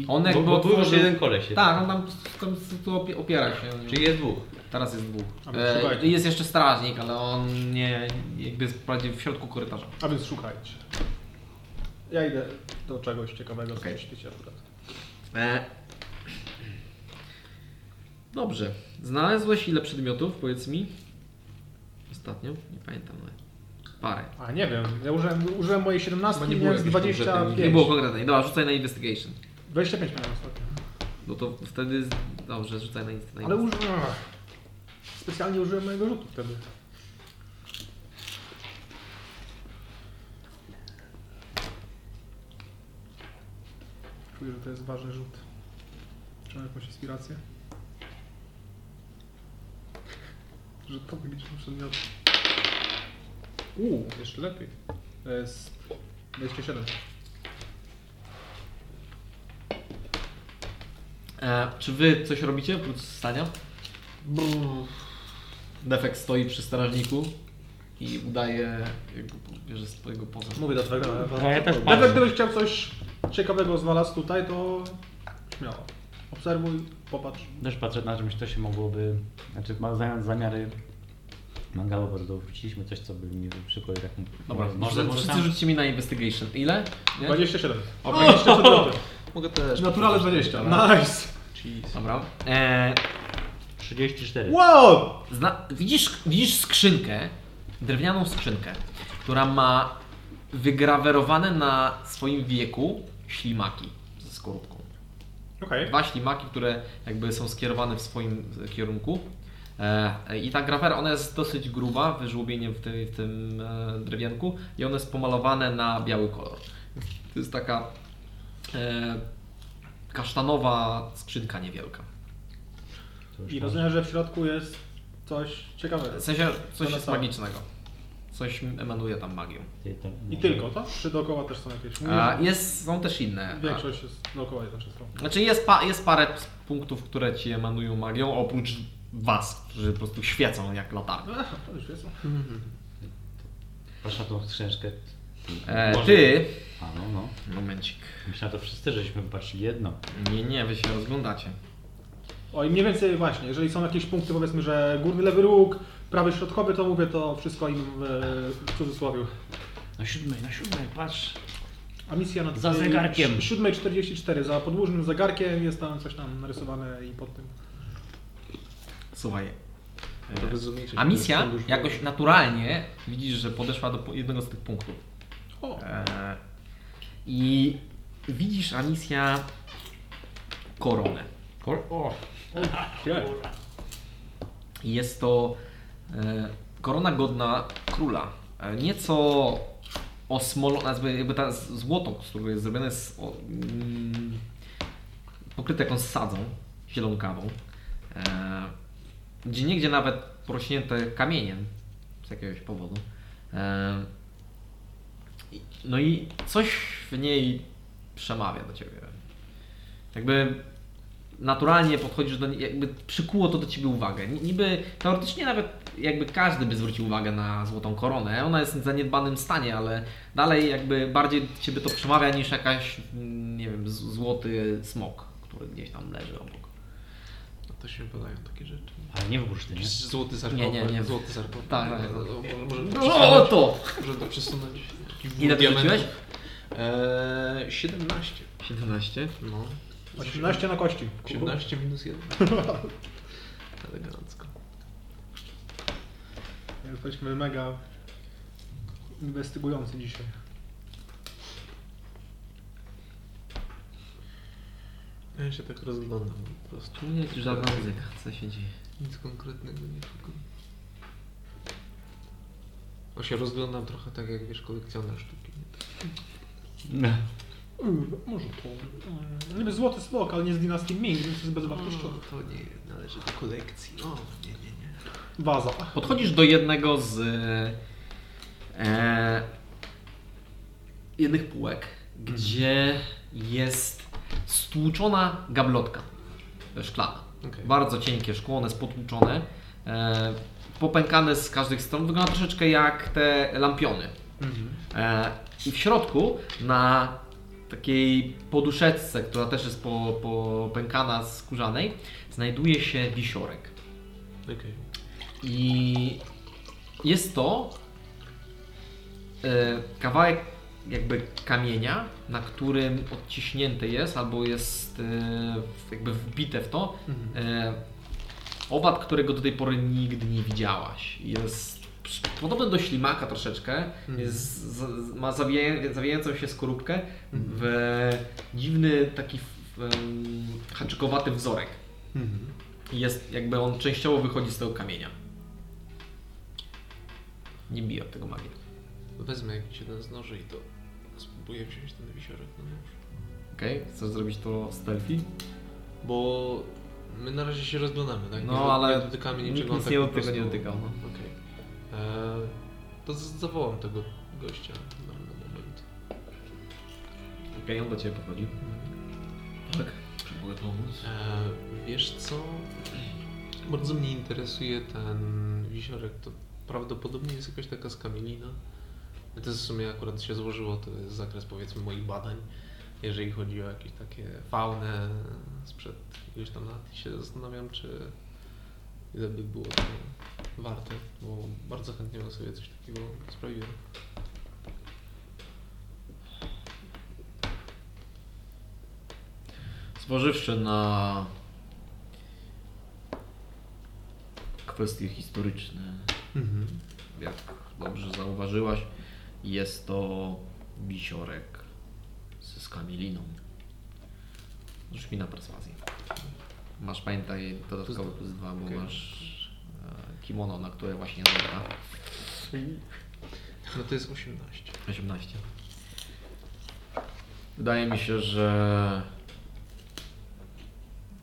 S2: On jakby
S4: bo, bo był już
S2: otworzył-
S4: jeden koleś. jest.
S2: Tak, on tam, tam tu opie- opiera się.
S4: Czyli jest dwóch.
S2: Teraz jest dwóch.
S1: A więc
S2: E,
S1: szukajcie.
S2: jest jeszcze strażnik, ale on nie, jakby jest bardziej w środku korytarza.
S1: A więc szukajcie. Ja idę do czegoś ciekawego w
S2: Okej.
S1: tym świecie akurat.
S2: E. Dobrze. Znalazłeś ile przedmiotów, powiedz mi? Ostatnio? Nie pamiętam. Ale... Parę.
S1: A nie wiem, ja użyłem, użyłem mojej 17,
S5: Chyba nie
S1: nie
S5: było
S1: miałem z
S5: jakiejś konkretnej
S2: Nie
S1: 25.
S2: było konkretnej. Dobra, rzucaj na investigation.
S1: 25 miałem ostatnio.
S2: No to wtedy... z- Dobrze, rzucaj na investigation.
S1: Ale użyłem... Specjalnie użyłem mojego rzutu wtedy. Czuję, że to jest ważny rzut. Czy mam jakąś inspirację? Rzutowy liczby przedmiotów. Uuu, jeszcze lepiej. To jest 27.
S2: E, czy wy coś robicie oprócz stania? Defek stoi przy strażniku i udaje, jakby bierze swojego poza.
S1: Mówię do twojego.
S4: A No, ja też
S1: Nawet
S4: patrzę.
S1: gdybyś chciał coś ciekawego znalazł tutaj, to śmiało. Obserwuj, popatrz.
S4: Też patrzę na czymś, co się mogłoby... Znaczy ma zamiar, zamiary... Mangalowo wróciliśmy coś, co by mi szybko i tak...
S2: Dobra, może,
S4: może, może
S2: wszyscy
S4: tam...
S2: rzućcie mi na investigation. Ile? Nie?
S1: 27. O, 27.
S5: Mogę też.
S1: Naturalne no. 20. Nice.
S5: Jeez.
S2: Dobra. E,
S4: 34.
S1: Wow!
S2: zna, widzisz, widzisz skrzynkę, drewnianą skrzynkę, która ma wygrawerowane na swoim wieku ślimaki ze skorupką.
S1: Okej.
S2: dwa ślimaki, które jakby są skierowane w swoim kierunku. E, I ta grafera, ona jest dosyć gruba, wyżłobieniem w tym, w tym e, drewienku i one jest pomalowane na biały kolor. To jest taka e, kasztanowa skrzynka niewielka.
S4: To już
S1: I
S4: tam-
S1: rozumiem, że w środku jest coś ciekawego.
S2: W sensie
S1: To
S2: coś
S1: na
S2: jest
S1: samo.
S2: magicznego. Coś emanuje tam magią.
S4: Ty tam-
S1: I tylko to? Czy dookoła też są jakieś?
S2: A jest, są też inne. A-
S1: Większość jest dookoła jest zawsze są.
S2: Znaczy jest, pa, jest parę punktów, które ci emanują magią, oprócz was, którzy po prostu świecą jak latarnie.
S1: Ech, To już jest.
S4: Patrz na tą skrzyneczkę.
S2: E,
S4: Może-
S2: ty...
S4: A no, no.
S2: Momencik.
S4: Myślałem, to wszyscy żeśmy wypatrzyli jedno.
S2: Nie, nie, wy się rozglądacie.
S1: O i mniej więcej właśnie, jeżeli są jakieś punkty, powiedzmy, że górny lewy róg, prawy środkowy, to mówię to wszystko im e, w cudzysłowie.
S4: Na siódmej, na siódmej, patrz.
S1: A misja y, na
S4: Za zegarkiem.
S1: 7.44, za podłużnym zegarkiem jest tam coś tam narysowane i pod tym.
S2: Słuchaj.
S5: To bez zmniejszeń.
S2: A misja
S5: To już-
S2: jakoś naturalnie widzisz, że podeszła do po- jednego z tych punktów.
S1: O,
S2: E, I widzisz, a misja koronę.
S4: Kor o.
S2: Jest to e, korona godna króla. E, nieco osmolona, jakby- jakby ta z- złoto, z którego jest zrobione, jest o, mm, pokryte jakąś sadzą zielonkawą. E, gdzie niegdzie nawet porośnięte kamieniem z jakiegoś powodu. E, i- no i coś w niej przemawia do ciebie. Jakby naturalnie podchodzisz do niej, jakby przykuło to do ciebie uwagę. Ni- Niby teoretycznie nawet jakby każdy by zwrócił uwagę na złotą koronę. Ona jest w zaniedbanym stanie, ale dalej jakby bardziej do ciebie to przemawia niż jakaś, mm, nie wiem, z- złoty smok, który gdzieś tam leży obok.
S5: To się wydają takie rzeczy.
S4: Ale nie wybuszny, nie?
S5: Złoty sarkofag.
S2: Nie, nie, nie.
S5: Złoty sarkofag.
S2: Tak, tak, tak.
S5: No, może- Może
S2: O,
S5: przesunąć.
S2: to!
S5: Może to przesunąć.
S2: Ile wyrzuciłeś?
S5: Eee, 17.
S2: 17.
S5: No.
S1: 18 na kości.
S5: 17 minus 1. <laughs> Elegancko.
S1: Jesteśmy mega inwestygujący dzisiaj.
S5: Ja się tak rozglądam po prostu.
S2: Tu nie jest żadna muzyka, co się dzieje.
S5: Nic konkretnego nie szukam. O się rozglądam trochę tak jak wiesz kolekcjoner sztuki. nie?
S1: Mm, Może to. mm, Niby złoty smok, ale nie z dynastii Ming, więc jest bezwartościowy.
S5: No to nie należy do kolekcji. O, nie, nie, nie.
S1: Waza.
S2: Podchodzisz do jednego z e,
S6: jednych półek.
S2: gdzie jest stłuczona gablotka e, szklana.
S5: Okej.
S2: Bardzo cienkie szkło, one jest potłuczone, e, popękane z każdych stron. Wygląda troszeczkę jak te lampiony. E, I w środku na takiej poduszeczce, która też jest po- popękana z skórzanej, znajduje się wisiorek.
S5: Okej.
S2: I jest to e, kawałek jakby kamienia, na którym odciśnięte jest albo jest e, w- jakby wbite w to e, owad, którego do tej pory nigdy nie widziałaś. Jest psz- podobny do ślimaka troszeczkę, jest, z, z- ma zawija, zawijającą się skorupkę w dziwny taki w, em, haczykowaty wzorek.
S5: Mhm.
S2: I Jest jakby on częściowo wychodzi z tego kamienia. Nie bije od tego magii.
S5: Wezmę jakiś jeden z noży i to spróbuję wziąć ten wisiorek no na nóż.
S2: Okej, chcesz zrobić to stealthy?
S5: Bo my na razie się rozglądamy, tak?
S2: No,
S5: do-
S2: ale
S5: nie dotykamy
S2: nikt
S5: niczego. on
S2: nic
S5: tak
S2: nie
S5: po
S2: dotyka,
S5: prostu-
S2: nie dotykał, no.
S5: Okej. Eee, To z- zawołam tego gościa na na moment.
S2: Okej, on do Ciebie podchodzi.
S3: Czy mogę pomóc?
S5: Eee, Wiesz co? Bardzo mnie interesuje ten wisiorek. To prawdopodobnie jest jakaś taka skamielina. To jest w sumie akurat się złożyło, to jest zakres powiedzmy moich badań. Jeżeli chodzi o jakieś takie faunę sprzed iluś tam lat i się zastanawiam, czy ile by było to warte, bo bardzo chętnie bym sobie coś takiego sprawiłem.
S2: Zważywszy na kwestie historyczne,
S5: Mhm.
S2: jak dobrze zauważyłaś, jest to wisiorek ze skamieliną. Rzuć mi na perswazję. Masz, pamiętaj, dodatkowy plus dwa, bo
S5: Okej.
S2: masz e, kimono, na które właśnie zagra.
S5: No to jest 18.
S2: 18. Wydaje mi się, że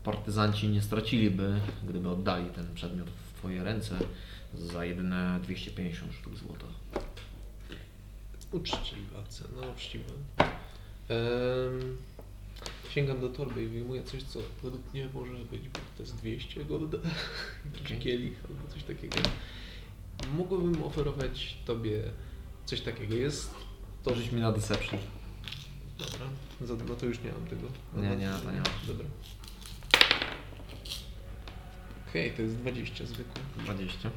S2: partyzanci nie straciliby, gdyby oddali ten przedmiot w Twoje ręce za jedyne 250 sztuk złota.
S5: Uczciwa cena, no uczciwa. Em, sięgam do torby i wyjmuję coś, co według mnie może być warte z 200 golda, czy
S2: Okej.
S5: kielich albo coś takiego. Mogłabym oferować Tobie coś takiego. Jest to...
S2: To rzuć mi na deception.
S5: Dobra, za, no to już nie mam tego.
S2: Nie, nie, to nie ma.
S5: Dobra. Okej, to jest 20 zwykłe.
S2: 20.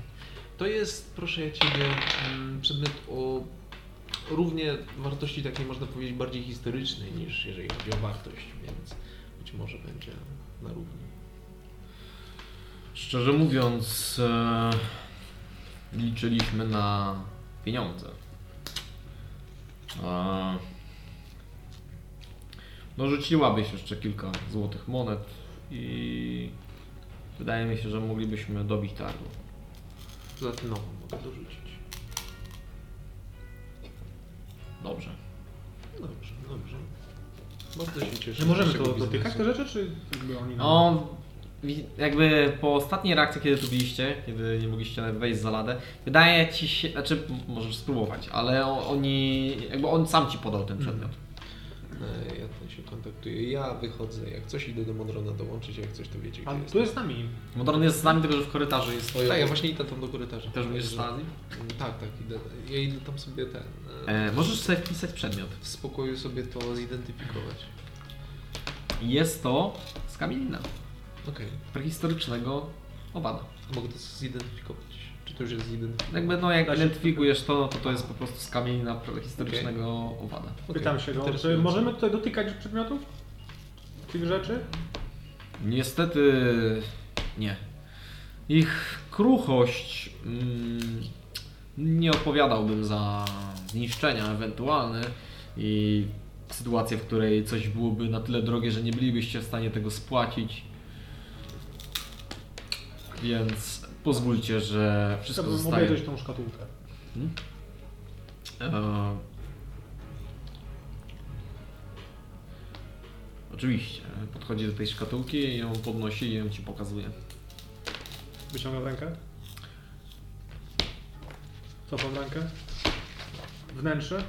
S5: To jest, proszę ja Ciebie, mm, przedmiot o równie wartości takiej, można powiedzieć, bardziej historycznej niż jeżeli chodzi o wartość, więc być może będzie na równi.
S2: Szczerze mówiąc, e, liczyliśmy na pieniądze. E, no rzuciłabyś jeszcze kilka złotych monet i wydaje mi się, że moglibyśmy dobić targu.
S5: Za tę nową mogę dorzucić.
S2: Dobrze.
S5: No Dobrze, dobrze. Bardzo się cieszę.
S1: Że możemy
S5: z
S1: to
S5: naszego
S1: dotykać te
S5: biznesu.
S1: rzeczy, czy jakby oni nam...
S2: No, wi- jakby po ostatniej reakcji, kiedy tu byliście, kiedy nie mogliście nawet wejść za ladę, wydaje ci się, znaczy m- możesz spróbować, ale o- oni, jakby on sam ci podał ten przedmiot.
S5: E, Ja tam się kontaktuję. Ja wychodzę. Jak coś idę do Monrona dołączyć, jak coś to wiecie, gdzie
S1: A
S5: jest.
S1: tu jest z nami.
S2: Modron jest z nami, tylko że w korytarzu jest swoje.
S5: Tak, ja właśnie idę tam do korytarza.
S2: Też będziesz
S5: Także-
S2: stali?
S5: Mm, Tak, tak, idę. Ja idę tam sobie ten. e,
S2: E, możesz sobie wpisać przedmiot.
S5: W spokoju sobie to zidentyfikować.
S2: Jest to z kamienina
S5: Okej.
S2: prehistorycznego owada.
S5: Mogę to zidentyfikować. Czy to już jest zidentyfikowane?
S2: Jakby no, jak
S1: Da się-
S2: identyfikujesz to, to to jest po prostu z kamienina prehistorycznego owada.
S5: Okej,
S1: Pytam się go, czy
S5: interesujące.
S1: możemy tutaj dotykać przedmiotów? Tych rzeczy?
S2: Niestety nie. Ich kruchość mm, nie odpowiadałbym za zniszczenia ewentualne i sytuację, w której coś byłoby na tyle drogie, że nie bylibyście w stanie tego spłacić. Więc pozwólcie, że
S1: Wszystko
S2: wszystko
S1: Chciałbym
S2: zostaje.
S1: obejrzeć tą szkatułkę.
S2: E, Oczywiście. Podchodzi do tej szkatułki i ją podnosi i ją ci pokazuje.
S1: Wyciągam rękę. Cofam rękę. Wnętrze.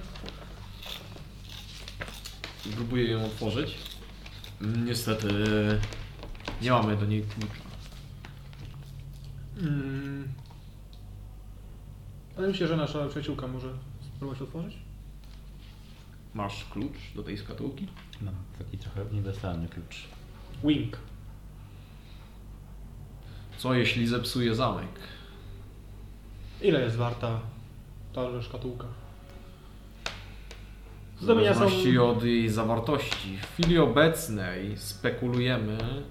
S2: i próbuję ją otworzyć. Niestety nie mamy do niej klucza.
S1: Mm. Ale myślę, że nasza przyjaciółka może spróbować otworzyć.
S2: Masz klucz do tej szkatułki?
S4: Mam No, taki trochę uniwersalny klucz.
S1: Wink.
S2: Co jeśli zepsuje zamek?
S1: Ile jest warta ta szkatułka? Zdobienia
S2: W
S1: są-
S2: zależności od jej zawartości. W chwili obecnej spekulujemy,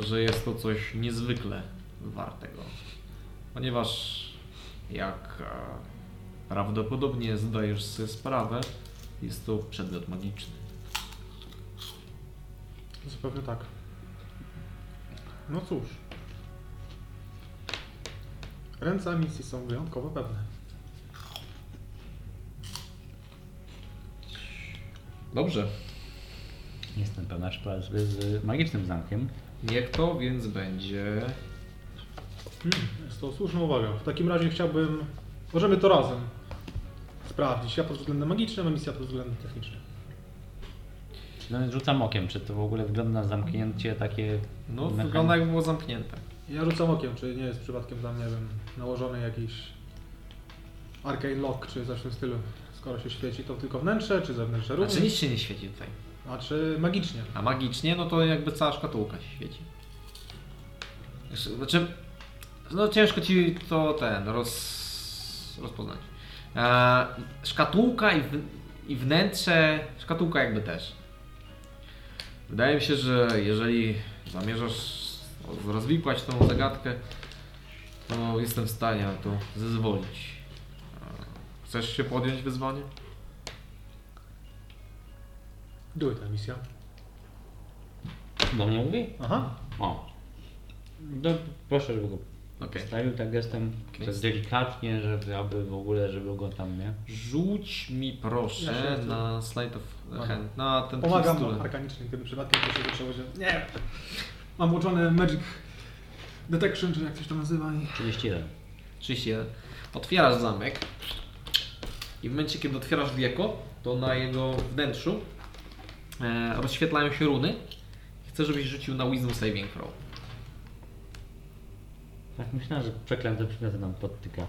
S2: że jest to coś niezwykle wartego. Ponieważ jak e, prawdopodobnie zdajesz sobie sprawę, jest to przedmiot magiczny.
S1: Zupełnie tak. No cóż. Ręce Amicji są wyjątkowo pewne.
S2: Dobrze.
S4: Nie jestem pewna, czy poradzi sobie z magicznym zamkiem.
S2: Niech to więc będzie.
S1: Hmm, jest to słuszna uwaga. W takim razie chciałbym... Możemy to razem sprawdzić. Ja pod względem magicznym, a misja pod względem technicznym.
S4: No, rzucam okiem, czy to w ogóle wygląda na zamknięcie takie...
S2: No,
S4: mechan-
S2: wygląda jak było zamknięte.
S1: Ja rzucam okiem, czy nie jest przypadkiem tam, nie wiem, nałożony jakiś arcane lock, czy coś w tym stylu. Skoro się świeci, to tylko wnętrze, czy zewnętrzne również.
S2: Znaczy nic się nie świeci tutaj.
S1: A czy magicznie?
S2: A magicznie, no to jakby cała szkatułka się świeci. Znaczy, no ciężko ci to ten roz, rozpoznać. E, szkatułka i, w, i wnętrze, szkatułka jakby też. Wydaje mi się, że jeżeli zamierzasz rozwikłać tą zagadkę, to jestem w stanie na to zezwolić. E, Chcesz się podjąć wyzwanie?
S1: Były ta misja.
S4: Do mnie mówi?
S1: Aha.
S4: O. No, proszę, żeby go
S2: Okej.
S4: postawił tak gestem.
S2: Okej.
S4: Tak delikatnie, żeby aby w ogóle, żeby go tam, nie?
S2: Rzuć mi
S1: Ja się
S2: proszę
S1: tu-
S2: na slide of
S1: Dobra.
S2: hand, na ten
S1: Pomagam tak.
S2: pistol.
S1: arkanicznie, gdyby przypadkiem to się wyczyło, że nie Mam włączony magic detection, czy jak coś to nazywa i...
S4: 31.
S2: 31. Otwierasz zamek i w momencie, kiedy otwierasz wieko, to na jego wnętrzu e, rozświetlają się runy. Chcę, żebyś rzucił na Wisdom Saving Throw.
S4: Tak myślałem, że przeklęte przedmioty nam podtyka.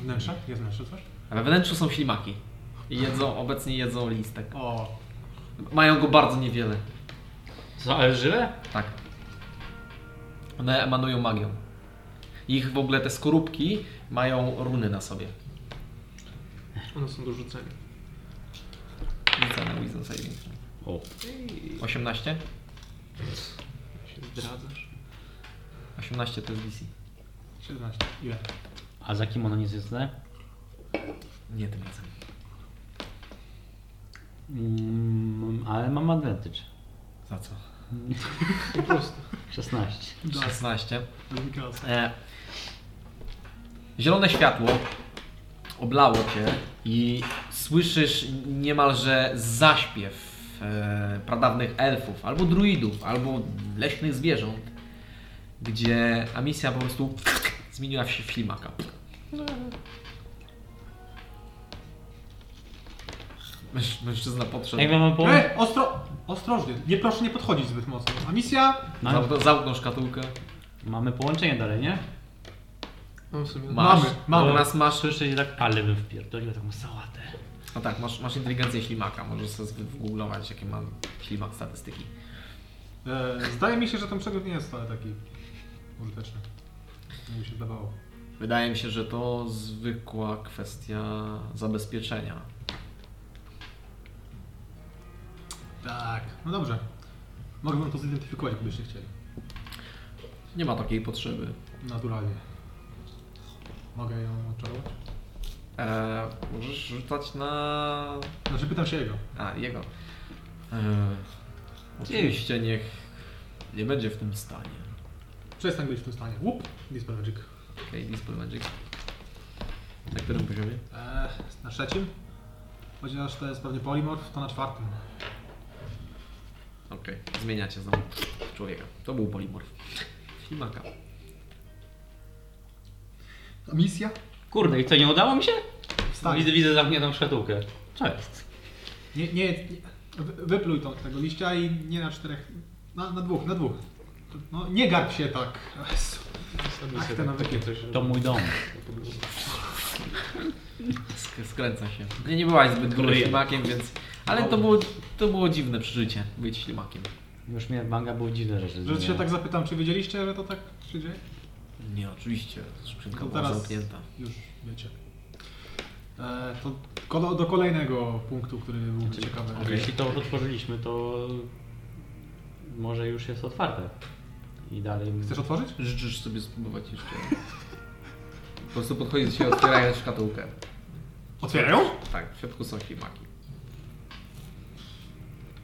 S1: Wnętrze? Jest wnętrze coś?
S2: Ale we wnętrzu są ślimaki. I jedzą, obecnie jedzą listek.
S1: O,
S2: Mają go bardzo niewiele.
S4: Co, ale żywe?
S2: Tak. One emanują magią. Ich w ogóle te skorupki mają runy na sobie.
S5: One są do rzucenia.
S2: Rzucę na Wisdom Saving Throw.
S4: O.
S2: 18?
S5: Się zdradzasz.
S2: 18 to jest DC.
S1: 17. Ile?
S4: A za kim ono nie jest znane?
S2: Nie tym razem.
S4: Mm, ale mam advantage.
S2: Za co?
S5: Po prostu.
S4: 16.
S2: 16.
S1: Mikasa.
S2: E, zielone światło oblało cię i słyszysz niemalże zaśpiew e, pradawnych elfów, albo druidów, albo leśnych zwierząt, gdzie Amisja po prostu zmieniła się w ślimaka. Męż, mężczyzna podszedł.
S4: Tak, Jak mamy pomóc?
S1: E, ostro... Ostrożnie, nie proszę nie podchodzić zbyt mocno. A misja?
S4: Mamy,
S2: Zamknął, zamknął szkatułkę.
S4: mamy połączenie dalej, nie?
S5: No w sumie.
S2: Masz.
S1: Mamy, mamy.
S2: U nas masz
S4: Słyszę i tak, ale bym wpierdolił taką sałatę.
S2: No tak, masz, masz inteligencję ślimaka, możesz sobie wygooglować jakie ma ślimak statystyki.
S1: E, zdaje mi się, że ten przedmiot nie jest wcale taki użyteczny. Jak mi się wydawało.
S2: Wydaje mi się, że to zwykła kwestia zabezpieczenia.
S1: Tak. No dobrze. Mogę wam to zidentyfikować, gdybyście chcieli.
S2: Nie ma takiej potrzeby.
S1: Naturalnie. Mogę ją odczarować?
S2: Eee, możesz rzucać na...
S1: Znaczy pytam się jego.
S2: A, jego. Eee, oczywiście niech nie będzie w tym stanie.
S1: Przestań być w tym stanie. Łup! Dispel Magic.
S2: Okej, display magic. Na którym poziomie?
S1: Eee, na trzecim? Chociaż to jest pewnie polimorf, to na czwartym.
S2: Okej, zmieniacie znowu człowieka. To był polimorf. Ślimaka.
S1: A misja?
S4: Kurde, i co, nie udało mi się?
S1: Wstań.
S4: Widzę, widzę zamkniętą szkatułkę. Co jest?
S1: Nie, nie, nie. Wy- Wypluj to, tego liścia i nie na czterech, na, na dwóch, na dwóch. No nie garb się tak. Jezu.
S5: Sami
S1: Ach, te
S5: sobie tak-
S1: nawyki.
S5: takie coś, że-
S4: To mój dom.
S2: Sk- skręca się. Nie, nie byłaś zbyt dużym ślimakiem, więc... Ale to było, to było dziwne przeżycie, być ślimakiem.
S4: Już mnie manga było dziwne rzeczy.
S1: Że się
S4: zmieniają.
S1: tak zapytam, czy wiedzieliście, że to tak się dzieje?
S2: Nie, oczywiście, skrzynka
S1: To
S2: była
S1: teraz-
S2: zamknięta.
S1: Już wiecie. E, to ko- do kolejnego punktu, który był ciekawy.
S4: Jeśli to już otworzyliśmy, to może już jest otwarte. I dalej.
S1: Chcesz otworzyć?
S2: Życzysz sobie spróbować jeszcze. Po prostu podchodzisz do siebie, otwierając szkatułkę.
S1: Otwierają?
S2: Tak, w środku są ślimaki.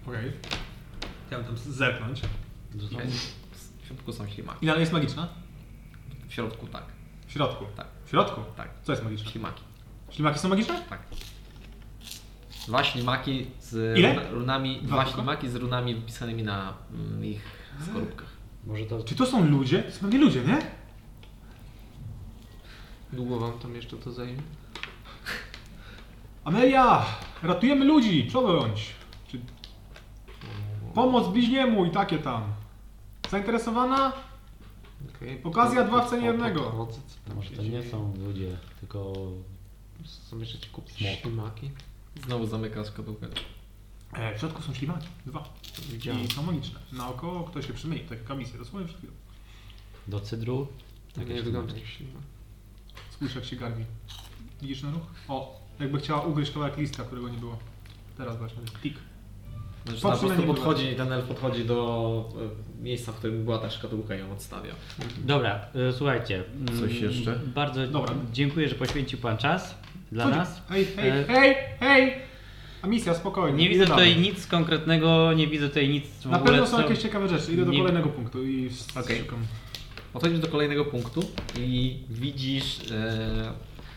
S1: Okej. Chciałem tam zerknąć.
S2: No. W środku są ślimaki.
S1: I dalej jest magiczna?
S2: W środku, tak.
S1: W środku.
S2: Tak.
S1: W środku?
S2: Tak.
S1: Co jest magiczne?
S2: Ślimaki.
S1: Ślimaki są magiczne?
S2: Tak. Dwa ślimaki z
S1: Ile?
S2: runa- runami.
S1: Dwa
S2: Dwa,
S1: tylko?
S2: ślimaki z runami wypisanymi na mm, ich skorupkach.
S4: Może to.
S1: Czy to są ludzie? To są pewnie ludzie, nie?
S5: Długo wam tam jeszcze to zajmie?
S1: Amelia! Ratujemy ludzi! Przodądź! Czy... Pomoc bliźniemu i takie tam. Zainteresowana?
S5: Okej.
S1: Okazja dwa w cenie
S5: Po- po- po-
S1: jednego.
S5: pomocy, co
S4: Może to
S5: się
S4: nie
S5: dzieje?
S4: są ludzie, tylko.
S5: Są jeszcze ci kupić
S4: Smok.
S5: ślimaki?
S2: Znowu zamyka szkatułkę.
S1: E, w środku są ślimaki. Dwa.
S5: Widziałem.
S1: I są magiczne. Naokoło ktoś się przymyli. Tak jak kamisję. Dosłownie przed chwilą.
S4: Do cydru.
S5: Tak
S4: Takie
S5: nie
S4: się
S5: wygląda jak ślimak.
S1: Spójrz jak się garbi. Widzisz ten ruch? O! Jakby chciała ugryźć kawałek listka, którego nie było. Teraz właśnie. Tik.
S2: Znaczy, tam po
S1: Patrzę na
S2: prostu
S1: niego.
S2: podchodzi, ten elf podchodzi do e, miejsca, w którym była ta szkatułka i ją odstawia.
S4: Dobra, y, słuchajcie. mm,
S2: Coś jeszcze?
S4: Bardzo
S1: Dobra.
S4: dziękuję, że poświęcił Pan czas dla
S1: Chodź.
S4: nas.
S1: Hej, hej,
S4: E,
S1: hej, hej! A misja, spokojnie.
S4: Nie widzę
S1: idę
S4: tutaj
S1: dalej.
S4: nic konkretnego, nie widzę tutaj nic w
S1: Na
S4: ogóle.
S1: pewno są
S4: co-
S1: jakieś ciekawe rzeczy. Idę do
S4: nie-
S1: kolejnego punktu i
S2: Okej.
S1: szukam.
S2: Podchodzisz do kolejnego punktu i widzisz e,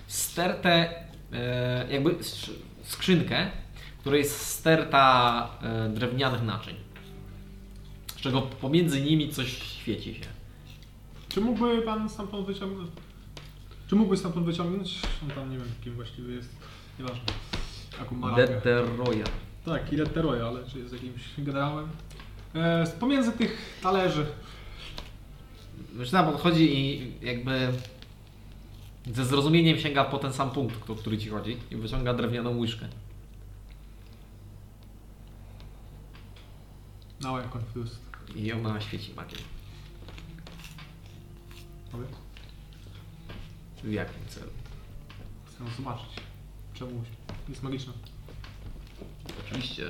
S2: stertę, e, jakby sz- skrzynkę, w której jest sterta e, drewnianych naczyń. Z czego pomiędzy nimi coś świeci się.
S1: Czy mógłby pan stamtąd wyciągnąć? Czy mógłby stamtąd wyciągnąć? On tam nie wiem kim właściwie jest. Nieważne. Jaką ma rangę.
S2: Deteroja.
S1: Tak, i Letteroy, ale czy jest jakimś generałem? E, z pomiędzy tych talerzy.
S2: Mężczyzna podchodzi i jakby ze zrozumieniem sięga po ten sam punkt, o który ci chodzi i wyciąga drewnianą łyżkę.
S1: Now I'm confused.
S2: I ona świeci makiem.
S1: Powiedz.
S2: W jakim celu?
S1: Chcę zobaczyć. Czemu jest magiczna.
S2: Oczywiście.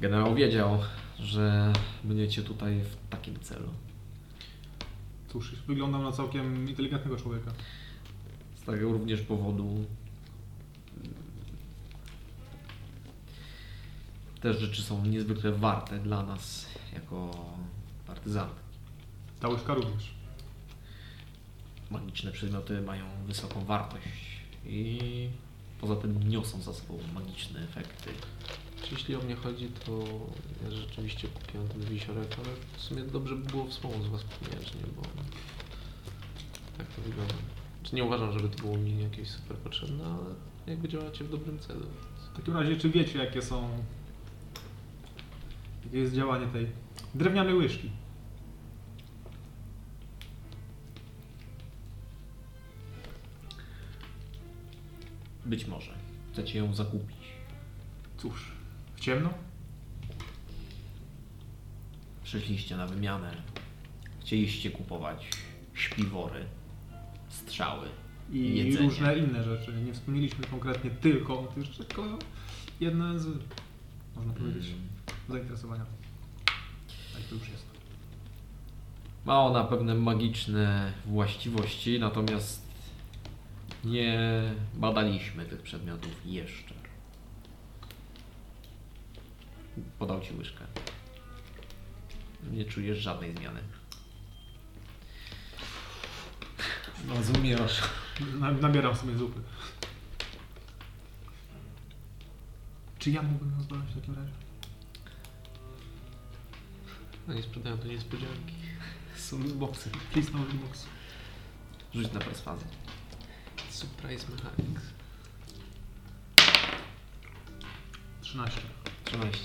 S2: Generał wiedział, że będziecie tutaj w takim celu.
S1: Cóż, wyglądam na całkiem inteligentnego człowieka.
S2: Z tego również powodu mm, te rzeczy są niezwykle warte dla nas jako partyzantów.
S1: Ta łyżka również.
S2: Magiczne przedmioty mają wysoką wartość i poza tym niosą za sobą magiczne efekty.
S5: Czy Jeśli o mnie chodzi, to ja rzeczywiście kupiłem ten wisiorek, ale w sumie dobrze by było wspomóc was pieniężnie, bo tak to wygląda. Czy nie uważam, żeby to było mi jakieś super potrzebne, ale jakby działacie w dobrym celu.
S1: W takim razie, czy wiecie, jakie są. Jakie jest działanie tej drewnianej łyżki?
S2: Być może chcecie ją zakupić.
S1: Cóż, w ciemno?
S2: Przyszliście na wymianę. Chcieliście kupować śpiwory, strzały.
S1: i
S2: Jedzenie.
S1: różne inne rzeczy. Nie wspomnieliśmy konkretnie tylko o tych rzeczach, tylko jedne z, można powiedzieć, zainteresowania. Tak to już jest.
S2: Ma ona pewne magiczne właściwości, natomiast nie badaliśmy tych przedmiotów jeszcze. Podał ci łyżkę. Nie czujesz żadnej zmiany. Rozumiesz.
S1: Na, nabieram sobie zupy. Czy ja mógłbym ją zdobyć w takim razie?
S5: No nie sprzedają to niespodzianki.
S2: Są boksy.
S1: Please no box.
S2: Rzuć na perswazję.
S5: Surprise mechanics.
S1: 13.
S2: 13.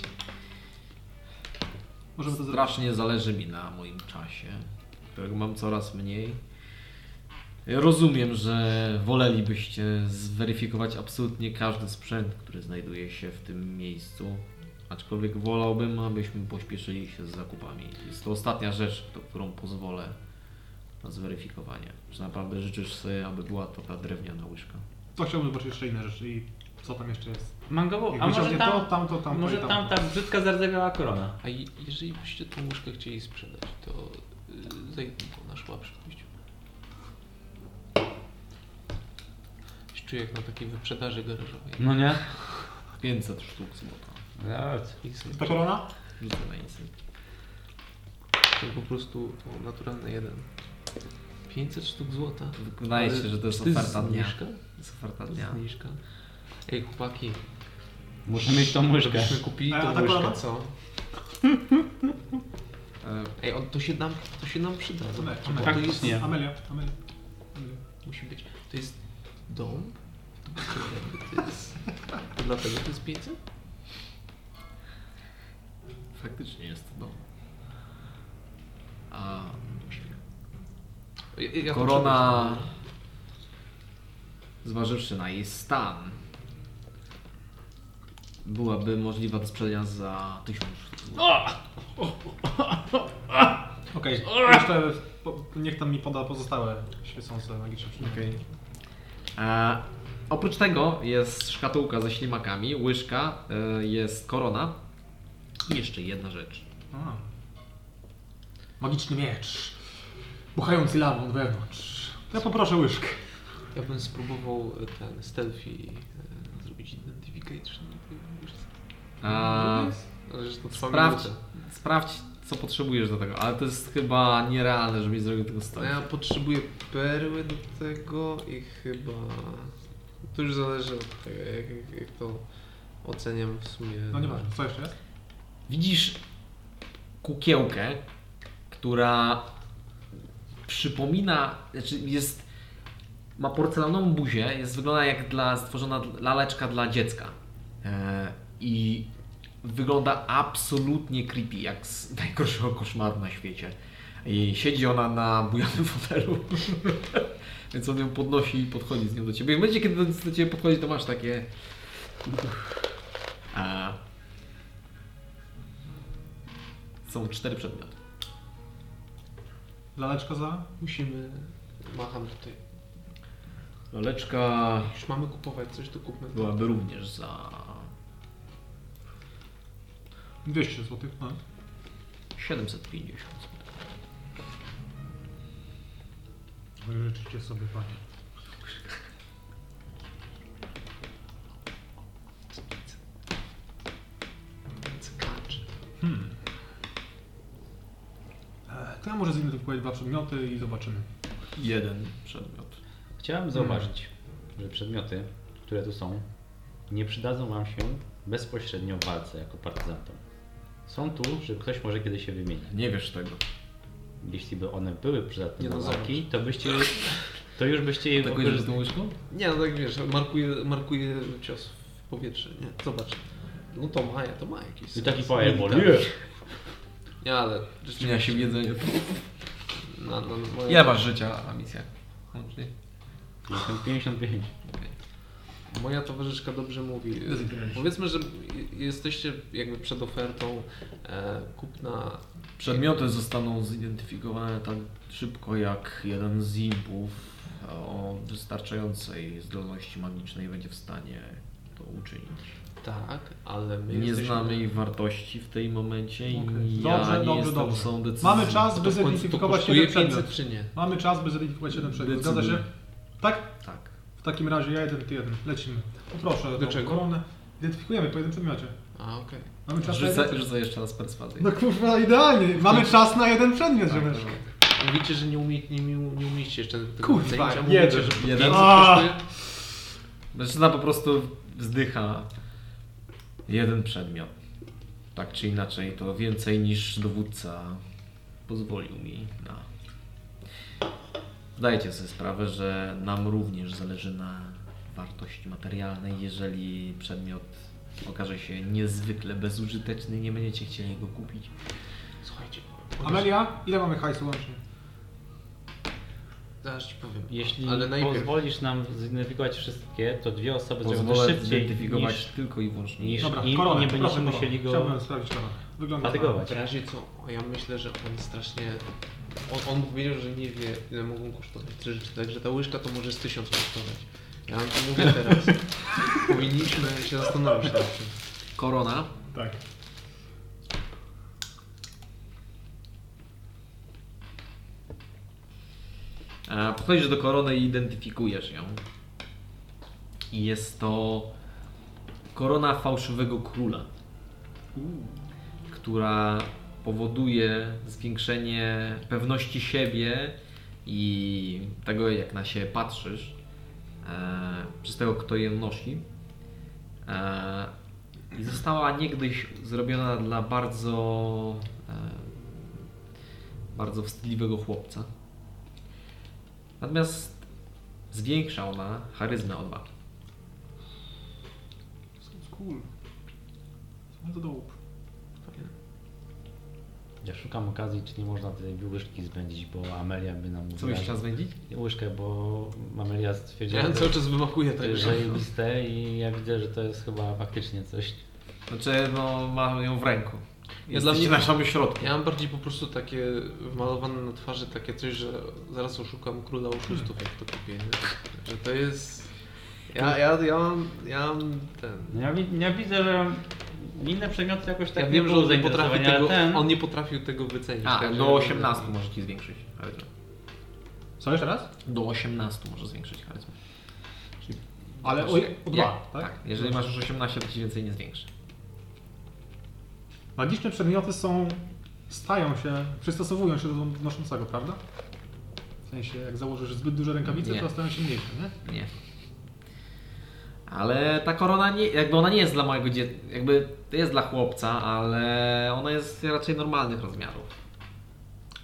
S1: Możemy to zrobić.
S2: Strasznie zależy mi na moim czasie, którego mam coraz mniej. Rozumiem, że wolelibyście zweryfikować absolutnie każdy sprzęt, który znajduje się w tym miejscu. Aczkolwiek wolałbym, abyśmy pośpieszyli się z zakupami. Jest to ostatnia rzecz, do- którą pozwolę na zweryfikowanie. Czy naprawdę życzysz sobie, aby była to ta drewniana łyżka?
S1: To chciałbym zobaczyć jeszcze inne rzeczy i co tam jeszcze jest.
S4: Mangowo,
S1: Jak
S4: a może
S1: wyciągnie
S4: tam,
S1: to, tamto, tamto
S4: może
S1: i tamto.
S4: tam ta brzydka zardzewiała korona.
S5: A i- jeżeli byście tą łóżkę chcieli sprzedać, to y, zajmij tą nasz łap przypuść. Czuję jak na takiej wyprzedaży garażowej.
S4: No nie?
S2: 500 sztuk złota.
S5: Instinct.
S1: Ta korona?
S2: Rzucę na instynkt.
S5: To po prostu o, naturalny jeden. 500 sztuk złota.
S2: Wydaje się, że to jest oferta dnia.
S5: zniżka?
S2: To jest oferta
S5: To
S2: dnia.
S5: zniżka. Ej, chłopaki,
S4: Muszę mieć tą łyżkę.
S5: żebyśmy kupili
S1: A, a
S5: tą
S1: ta
S5: łyżkę,
S1: kolana?
S5: co?
S2: E,
S5: Ej, on, to, się nam, to tak, się nam przyda. Zobaczcie, bo to jest,
S4: Faktycznie.
S1: Amelia, Amelia. Amelia.
S5: musi być. To jest dom? To jest... To dlatego to jest 500?
S2: Faktycznie jest to dom. A
S5: Ja- ja- ja to
S2: korona,
S5: przeczytam.
S2: zważywszy na jej stan, byłaby możliwa do sprzedania za 1000 sztuk.
S1: Okej, jeszcze po, niech tam mi poda pozostałe świecące magiczne przedmioty.
S2: E, oprócz tego jest szkatułka ze ślimakami, łyżka, e, jest korona i jeszcze jedna rzecz.
S1: A. Magiczny miecz. Buchający lawą od wewnątrz. Ja poproszę łyżkę.
S5: Ja bym spróbował e, ten stealth i e, zrobić identification. Wiesz co?
S2: E,
S5: Ale że to trwa
S2: Sprawdź.
S5: minutę.
S2: sprawdź co potrzebujesz do tego, ale to jest chyba nierealne, żebyś zrobił tego
S5: A
S2: stąd.
S5: No ja potrzebuję perły do tego i chyba... To już zależy od tego, jak, jak, jak to oceniam w sumie.
S1: No nieważne, co jeszcze jest?
S2: Widzisz kukiełkę, która przypomina, znaczy jest, ma porcelanową buzię, jest wygląda jak dla, stworzona dla- laleczka dla dziecka. E, I wygląda absolutnie creepy, jak z <laughs> najgorszego koszmaru na świecie. I siedzi ona na bujanym fotelu. <laughs> Więc on ją podnosi i podchodzi z nią do ciebie. I w momencie, kiedy do ciebie podchodzi, to masz takie... A, są cztery przedmioty.
S1: Laleczka za?
S5: Musimy... Macham tutaj.
S2: Laleczka
S5: Już mamy kupować coś, to kupmy.
S2: byłaby również za
S1: 200 zł. No.
S2: 750 zł.
S1: Wy Życzycie sobie, panie.
S5: Cykacz.
S1: E, To ja może zidentyfikuję dwa przedmioty i zobaczymy.
S2: Jeden przedmiot.
S5: Hmm.
S4: Chciałem zauważyć, że przedmioty, które tu są, nie przydadzą Wam się bezpośrednio w walce jako partyzantom. Są tu, że ktoś może kiedyś się wymienić.
S2: Nie wiesz tego.
S4: Jeśli by one były
S5: Nie
S4: przydatne
S5: no,
S4: do walki, to byście to już byście je
S2: Atakujesz z
S4: wykorzystali.
S2: tą łyżką?
S5: Nie, no tak wiesz, markuje, markuje cios w powietrze, nie? Zobacz. No to ma, to ma jakiś
S4: I
S5: sens.
S4: taki fireball.
S5: Militarny.
S4: nie.
S5: Nie, ale
S2: Zmienia się w jedzeniu.
S1: <laughs>
S5: No, no, no, moje,
S2: Ile masz życia na misjach? Łącznie?
S4: 55.
S5: moja towarzyszka dobrze mówi. Powiedzmy, że jesteście jakby przed ofertą e, kupna.
S2: Przedmioty zostaną zidentyfikowane tak szybko jak jeden z impów o wystarczającej zdolności magicznej będzie w stanie to uczynić.
S5: Tak, ale my
S2: Nie
S5: jesteśmy...
S2: znamy ich wartości w tej momencie i
S1: Okej.
S2: ja
S1: Dobrze,
S2: nie
S1: dobrze,
S2: jestem
S1: dobrze.
S2: są decyzji.
S1: Mamy czas, by
S5: To w końcu to
S1: zidentyfikować
S5: kosztuje
S1: jeden
S5: 500
S1: przedmiot.
S5: czy nie?
S1: Mamy czas, by zidentyfikować jeden przedmiot. Zgadza się?
S2: Decyduj.
S1: Tak?
S2: Tak.
S1: W takim razie ja jeden, ty jeden. Lecimy. Poproszę
S5: Do
S1: tą
S5: czego?
S1: koronę. Identyfikujemy po jednym przedmiocie.
S5: A, okej.
S1: Mamy czas na
S2: Rzucę,
S1: jeden...
S2: rzucę jeszcze raz perswazję.
S1: No kurwa, idealnie.
S5: No.
S1: Mamy czas na jeden przedmiot,
S2: Tak,
S1: żebyś.
S5: Mówicie, że nie, umie, nie, umie- nie umieliście jeszcze tego
S1: Kurwa,
S5: ocenić, a
S1: jeden,
S5: mówicie, że po
S2: jeden.
S5: 500
S1: A!
S5: kosztuje?
S2: Mężczyzna po prostu wzdycha jeden przedmiot. Tak czy inaczej, to więcej niż dowódca pozwolił mi na. Zdajcie sobie sprawę, że nam również zależy na wartości materialnej, jeżeli przedmiot okaże się niezwykle bezużyteczny, nie będziecie chcieli go kupić.
S5: Słuchajcie,
S1: Amelia, ile mamy hajsu łącznie?
S5: zaraz ci powiem.
S4: Jeśli
S5: Ale najpierw.
S4: pozwolisz nam zidentyfikować wszystkie, to dwie osoby zrobią to
S2: Pozwolę
S4: szybciej
S2: zidentyfikować
S4: niż...
S2: tylko i wyłącznie.
S4: niż-
S2: Niż...
S1: Dobra,
S4: i
S1: koronę,
S4: nie będziemy
S1: proszę,
S4: musieli go
S1: Chciałbym sprawdzić koronę. Wygląda
S4: fatygować.
S5: W razie co, ja myślę, że on strasznie... On, on powiedział, że nie wie, ile mogą kosztować te rzeczy, także ta łyżka to może z tysiąc kosztować. Ja wam to mówię
S1: <laughs>
S5: teraz. Powinniśmy się zastanowić nad tym.
S2: Korona.
S1: Tak.
S2: E, Podchodzisz do korony i identyfikujesz ją. I jest to korona fałszywego króla, która powoduje zwiększenie pewności siebie i tego, jak na siebie patrzysz, e, przez tego, kto je nosi. E, I została niegdyś zrobiona dla bardzo, e, bardzo wstydliwego chłopca. Natomiast zwiększa ona charyzmę o dwa.
S1: Sounds cool. Sounds dope.
S4: Ja szukam okazji, czy nie można tej łyżki zbędzić, bo Amelia by nam
S2: Co byś
S4: mówiła...
S2: chciał zwędzić?
S4: Łyżkę, bo Amelia stwierdziła,
S5: Ja
S4: że
S5: cały czas tak, wymakuję
S4: to
S5: tego.
S4: jest zajebiste i ja widzę, że to jest chyba faktycznie coś.
S2: Znaczy, no, ma ją w ręku.
S5: Ja
S2: Ja
S5: dla
S2: dla
S5: mnie-
S2: na samym środku.
S5: Ja mam bardziej po prostu takie wmalowane na twarzy takie coś, że zaraz oszukam króla oszustów, jak to kupię. nie? Że to jest... Ja, ja, ja, mam, ja mam ten...
S4: No ja, wi- ja widzę, że inne przedmioty jakoś tak
S5: Ja
S4: nie
S5: wiem, że
S4: było
S5: on nie, potrafi
S4: zainteresowania,
S5: tego,
S4: ale ten...
S5: on nie potrafił tego wycenić. tak,
S2: A, no
S5: także-
S2: do 18 może ci zwiększyć charyzmę.
S1: Co jeszcze raz?
S2: Do 18 może zwiększyć charyzmę.
S1: Ale o, o dwa,
S2: Jak-
S1: tak?
S2: tak? Jeżeli masz już 18, to ci więcej nie zwiększy.
S1: Magiczne przedmioty są, stają się, przystosowują się do noszącego, prawda? W sensie, jak założysz zbyt duże rękawice,
S2: Nie.
S1: to stają się mniejsze, nie?
S2: Nie. Ale ta korona, nie, jakby ona nie jest dla małego dziecka, jakby to jest dla chłopca, ale ona jest raczej normalnych rozmiarów.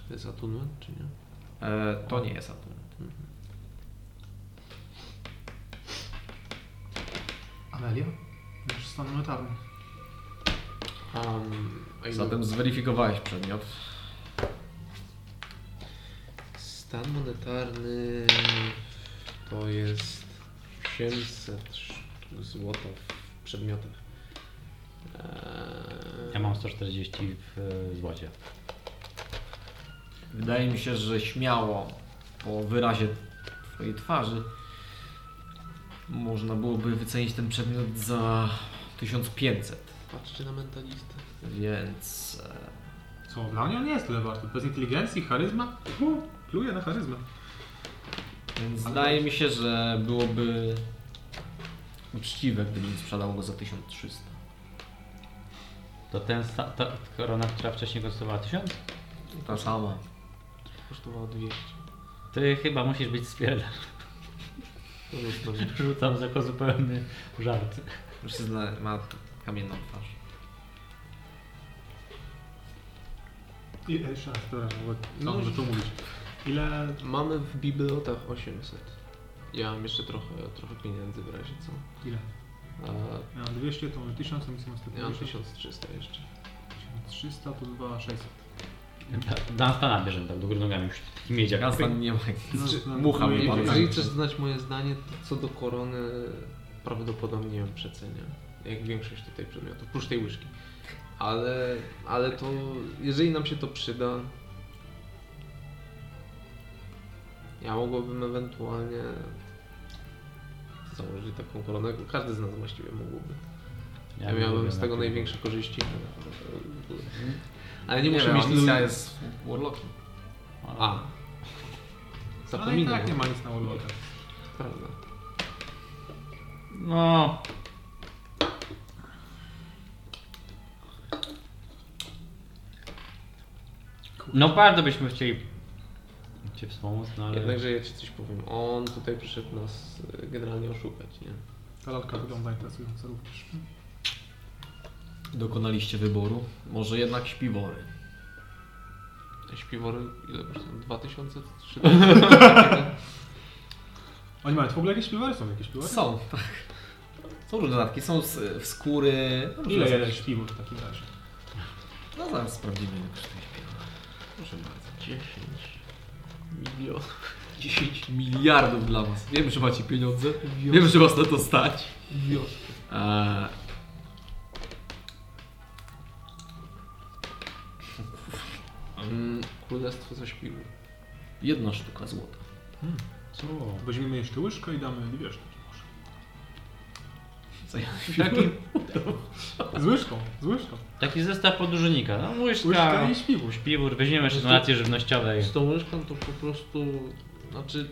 S5: To jest atunment, czy nie?
S2: E, to nie jest atom.
S1: Amelia? Masz stan monetarny.
S5: Um, a
S2: Hm,
S5: ile-
S2: Zatem zweryfikowałeś przedmiot.
S5: Stan monetarny to jest 800 zł w przedmiotach. Eee,
S4: Ja mam 140 w e, złocie.
S2: Wydaje mi się, że śmiało po wyrazie twojej twarzy można byłoby wycenić ten przedmiot za 1500,
S5: Patrzcie na mentalistę.
S2: więc
S1: Co, dla mnie on nie jest tyle warty. Bez inteligencji, charyzma? Hu, Pluję na charyzmę.
S2: e, więc wydaje mi się, że byłoby uczciwe, gdybym sprzedał go za 1300.
S4: To ten sta- ta korona, która wcześniej kosztowała 1000?
S2: Ta sama.
S5: Kosztowało 200.
S4: Ty chyba musisz być spierdem.
S5: To jest dobrze.
S4: <laughs> Rzucam za jako zupełny żart.
S2: Mężczyzna ma kamienną twarz.
S1: I e, jeszcze raz, przepraszam, bo
S5: No,
S1: co no, tu mówić. Ile...
S5: Mamy w bibliotach 800. Ja mam jeszcze trochę, trochę pieniędzy w razie co.
S1: ile?
S5: Eee,
S1: Ja mam 200, to mam 1000, to mi są
S5: ja mam
S1: 150.
S5: 1300 jeszcze.
S1: 300 to 2600.
S4: Danstana bierzemy tak do grudnogami już. Taki miedziak.
S2: Ja tam nie ma.
S1: No,
S2: Mucha
S1: no,
S2: mi
S1: i-
S2: padła.
S5: Jeżeli chcesz znać moje zdanie, to co do korony prawdopodobnie ją przeceniam. Jak większość tutaj przedmiotów, oprócz tej łyżki. Ale, ale to, jeżeli nam się to przyda, ja mogłabym ewentualnie założyć taką koronę. Każdy z nas właściwie mógłby. Ja,
S4: bym lubił
S5: miałbym z
S4: na
S5: tego
S4: tym. Mhm.
S5: największe korzyści. Ale nie muszę
S2: wiem,
S5: mieć
S2: Amicia
S5: ludzi-
S2: jest warlockiem.
S5: A.
S1: Ale i
S5: Zapominam.
S1: tak nie ma nic na urlopie.
S5: Prawda.
S4: No. No bardzo byśmy chcieli Cię wspomóc, no ale...
S5: Jednakże ja ci coś powiem. On tutaj przyszedł nas y, generalnie oszukać, nie?
S1: Ta lalka wygląda interesująco również.
S2: Dokonaliście wyboru. Może jednak śpiwory.
S5: Te śpiwory, ile kosztują? 2000? 3000?
S2: Tak.
S1: Oni mają, to w ogóle jakieś piwory są? Jakieś piwory?
S2: Są. Są różne dodatki, są z, w skóry. no, różne
S1: Ile
S2: są.
S1: jeden śpiwór w takim razie?
S2: No zaraz sprawdzimy, ile kosztuje śpiewa. Proszę bardzo.
S5: 10 milionów.
S2: 10 miliardów dla was. Wiem, że macie pieniądze. Wiem, że was na to stać. E, A... Mm,
S5: Królestwo zaśpiło.
S2: Jedna sztuka złota.
S4: Co?
S1: Weźmiemy jeszcze łyżkę i damy dwie sztuki może.
S2: Co <laughs> ja
S4: Taki,
S1: Z łyżką, z łyżką.
S4: taki zestaw podróżnika. No, łyżka,
S1: Łyżka i śpiwór.
S4: śpiwór, weźmiemy jeszcze donację żywnościowej.
S5: Z tą łyżką to po prostu, znaczy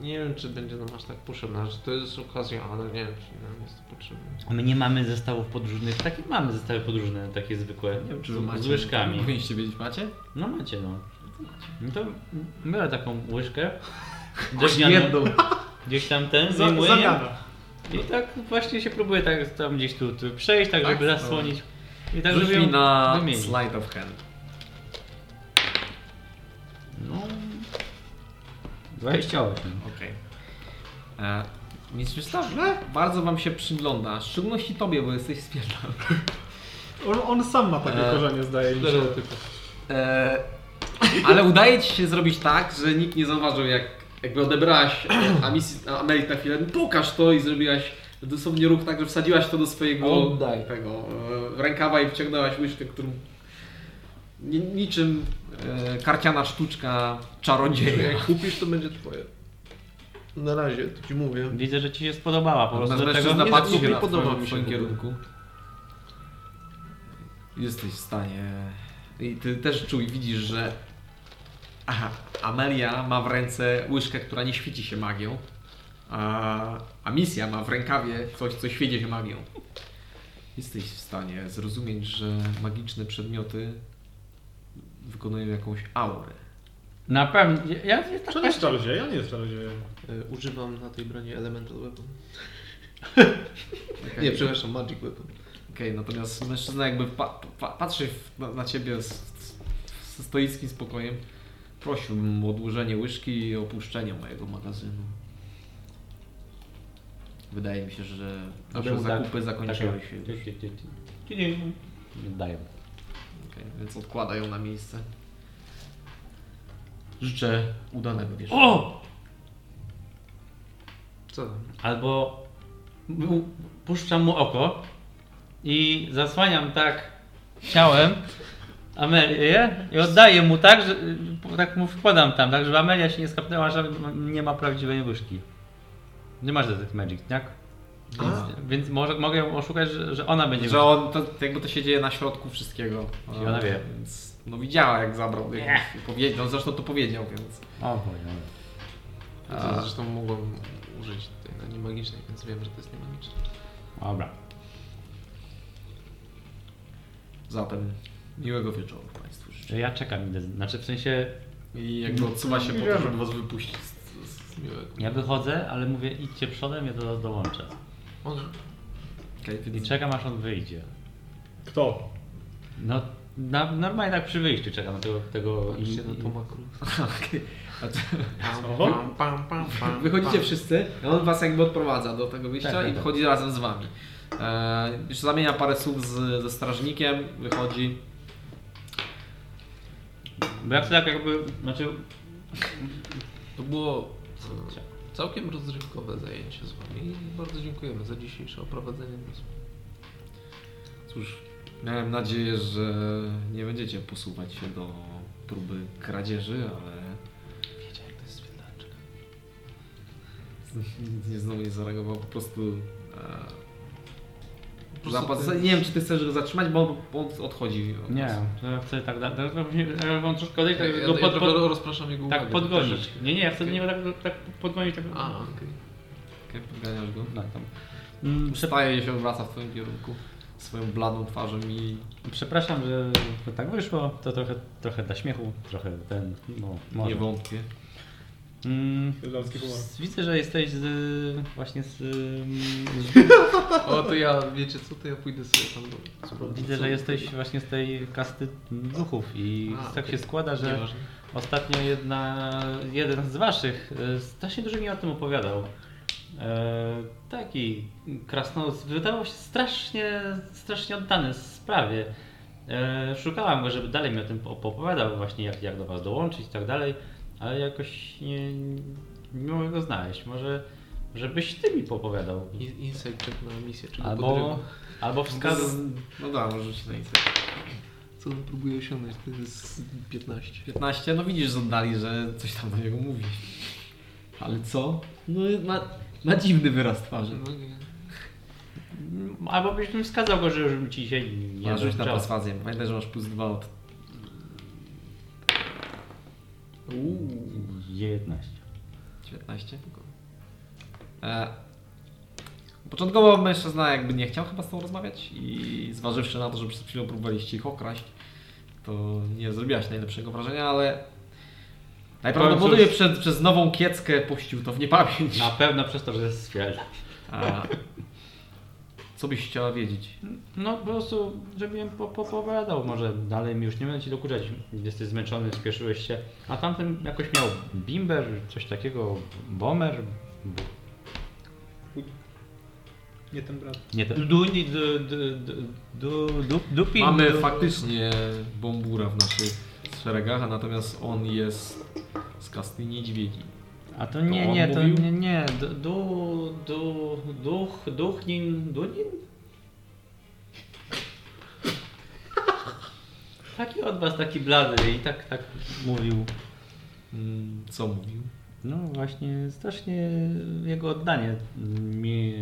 S5: nie wiem czy będzie nam aż tak potrzebna, że to jest okazja, ale nie wiem czy nam jest to potrzebne.
S4: A My nie mamy zestawów podróżnych, takie mamy zestawy podróżne, takie zwykłe,
S2: Nie wiem, czy
S4: z-
S2: wy macie.
S4: z łyżkami.
S2: Powinniście wiedzieć, macie?
S4: No macie no. No to biorę taką łyżkę,
S6: Choć
S4: Drewnianą.
S6: jedną.
S4: gdzieś tam ten
S1: Za-
S4: zdejmuję
S1: Zamiana.
S4: i tak właśnie się próbuję tak tam gdzieś tu, tu przejść, tak, żeby zasłonić. I tak
S2: no. Rzuć
S4: żeby
S2: mi
S4: ją
S2: na
S4: wymienić.
S2: slide of hand.
S4: No. 28.
S2: Okej. Okay. Mistrz Stawle, bardzo wam się przygląda, w szczególności tobie, bo jesteś spierdolony.
S1: On, on sam ma takie
S2: E,
S1: korzenie, zdaje mi się.
S2: E,
S6: Ale udaje ci się zrobić tak, że nikt nie zauważył, jak jakby odebrałaś Amisji- a Amelit na chwilę, pokaż to i zrobiłaś dosłownie ruch tak, że wsadziłaś to do swojego
S2: Oddaj.
S6: tego e, rękawa i wciągnęłaś łyżkę, którą ni- niczym
S2: e, karciana sztuczka czarodzieja.
S5: Jak kupisz to będzie twoje. Na razie, to ci mówię.
S4: Widzę, że ci się spodobała po prostu.
S2: Natomiast
S4: Dlatego
S2: mężczyzna
S5: nie-
S2: patrzy
S5: nie
S2: się na
S5: podoba
S2: twoim,
S5: mi się
S2: twoim
S5: w ogóle.
S2: kierunku. Jesteś w stanie... I ty też czuj, widzisz, że Aha, Amelia ma w ręce łyżkę, która nie świeci się magią, a, a misja ma w rękawie coś, co świeci się magią. Jesteś w stanie zrozumieć, że magiczne przedmioty wykonują jakąś aurę.
S4: na pewno. Ja, ja, ja tak
S1: Czy on jest czarodziejem? On nie jest czarodziejem.
S5: Y, Używam na tej broni Elemental Weapon.
S2: Taka-
S5: Nie, przepraszam, Magic Weapon.
S2: Okej, natomiast mężczyzna jakby pa- pa- patrzy w- na, na ciebie z, z, ze stoickim spokojem. Prosiłbym o odłożenie łyżki i opuszczenie mojego magazynu. Wydaje mi się, że nasze
S4: Był tak-
S2: zakupy zakończyły
S4: tak-
S2: się.
S4: ty-
S2: już.
S4: ty- ty- ty- Dają.
S2: Okej, więc odkładają na miejsce. Życzę udanego wieczoru.
S3: O!
S5: Co tam?
S4: Albo mu- puszczam mu oko i zasłaniam tak ciałem Amelię i oddaję mu tak, że tak mu wkładam tam, tak żeby Amelia się nie skapnęła, że nie ma prawdziwej łyżki. Nie masz Detect Magic, tak? Więc, więc może, mogę ją oszukać, że, że ona będzie
S2: Że on, to, jakby to się dzieje na środku wszystkiego.
S4: I ona wie.
S2: Więc, no widziała jak zabrał. Jak powiedział, no zresztą to powiedział, więc...
S4: O, o,
S5: No To zresztą mogłem użyć tej na niemagicznej, więc wiem, że to jest niemagiczne.
S4: o. Dobra.
S2: Zatem miłego wieczoru Państwu życzę.
S4: Ja czekam, idę- znaczy w sensie
S2: I jakby odsuwa się po to, żeby was wypuścić z, z, z miłego.
S4: ja wychodzę, ale mówię idźcie przodem, ja do was dołączę.
S5: Może.
S2: Okej,
S4: I
S2: więc
S4: czekam aż on wyjdzie.
S1: Kto?
S4: No, na, normalnie tak przy wyjściu czekam na tego, tego i,
S5: Patrzcie na
S4: i,
S5: Toma Cruise.
S2: <laughs> Okej. A to-
S5: Pam, pam, pam,
S2: <laughs>
S5: pam,
S2: Wychodzicie
S5: pam.
S2: wszyscy, a on was jakby odprowadza do tego wyjścia
S4: Tak, tak,
S2: i
S4: tak.
S2: wchodzi razem z wami. E, już zamienia parę słów z, ze strażnikiem, wychodzi.
S4: Bo ja tak jakby, znaczy,
S5: To było e, całkiem rozrywkowe zajęcie z wami i bardzo dziękujemy za dzisiejsze oprowadzenie rozmowy.
S2: Cóż, miałem nadzieję, że nie będziecie posuwać się do próby kradzieży, ale
S5: Wiecie jak to jest Finlandczyk.
S2: <laughs> nie znowu nie zareagował, po prostu... E,
S5: Po prostu
S2: Zapas-
S5: to jest-
S2: Nie wiem, czy ty chcesz go zatrzymać, bo on on odchodzi. od
S4: nie,
S2: nas.
S4: to ja chcę tak, da- teraz wam się- ja wam troszkę odejść,
S5: No Ja,
S4: tak
S5: ja,
S4: go
S5: ja
S4: pod,
S5: trochę
S4: pod,
S5: rozpraszam jego
S4: tak
S5: uwagę.
S4: podgonić.
S5: troszeczkę.
S4: Nie, nie, ja chcę
S5: Okej.
S4: nie tak, tak podgonić, tak,
S5: A, okej.
S2: Okej, podganiasz go.
S4: no, tam. Mm, prze,
S2: Przestaje się obraca w twoim kierunku. Swoją bladną twarzą i...
S4: przepraszam, że to tak wyszło, to trochę, trochę dla śmiechu, trochę ten, no, może.
S2: Nie wątpię.
S4: Mm,
S1: Irlandzki humor.
S4: s- widzę, że jesteś z, właśnie z,
S5: <laughs>
S4: z
S5: O, to ja, wiecie co, to ja pójdę sobie tam do... sprawdzę,
S4: Widzę,
S5: co-
S4: że jesteś właśnie z tej kasty duchów i
S5: A,
S4: tak
S5: okej.
S4: się składa, że
S5: Nieważne.
S4: e, ostatnio jedna, jeden z waszych y, strasznie dużo mi o tym opowiadał. E, taki krasnolud wydawał się strasznie, strasznie oddany sprawie. E, szukałam go, żeby dalej mi o tym op- opowiadał, właśnie jak, jak do was dołączyć i tak dalej, ale jakoś nie, nie mogę go znaleźć. Może żebyś ty mi popowiadał.
S5: In- Insight check na misję, czy go
S4: Albo,
S5: podrywa.
S4: albo wskaz.
S2: No da, może się na insight.
S5: Co on próbuje osiągnąć? To jest 15.
S2: 15, no widzisz z oddali, że coś tam do niego mówi. Ale co? No ma, ma dziwny wyraz twarzy.
S5: No nie.
S4: Albo byś mi wskazał go, że już ci się nie
S2: Nie, rzuć na
S4: odechciało.
S2: perswazję. Pamiętaj, że masz plus 2 od...
S5: Uuu.
S4: 19.
S2: 19? E, początkowo mężczyzna jakby nie chciał chyba z tobą rozmawiać i zważywszy na to, że przed chwilą próbowaliście ich okraść, to nie zrobiłaś najlepszego wrażenia, ale najprawdopodobniej
S4: cóż.
S2: przed, przez nową kieckę puścił to w niepamięć.
S4: Na pewno przez to, że jest z Fielda.
S2: A, co byś chciała wiedzieć?
S4: No po prostu, żebym po- po- popowiadał może dalej mi już nie będę ci dokuczać. Jesteś zmęczony, spieszyłeś się. A tamten jakoś miał bimber, coś takiego, bomber. b-
S1: Nie ten brat.
S4: Nie ten. Du, du, du, du, du, du, dupi.
S2: Mamy
S4: du-
S2: faktycznie bombura w naszych szeregach, a natomiast on jest z kasty niedźwiedzi.
S4: A to nie,
S2: To on
S4: nie, to
S2: mówił?
S4: nie, nie. Du, du, du, duch, duchnin, dunin? Taki od was, taki blady i tak, tak mówił.
S2: Mm, Co mówił?
S4: No właśnie, strasznie jego oddanie mi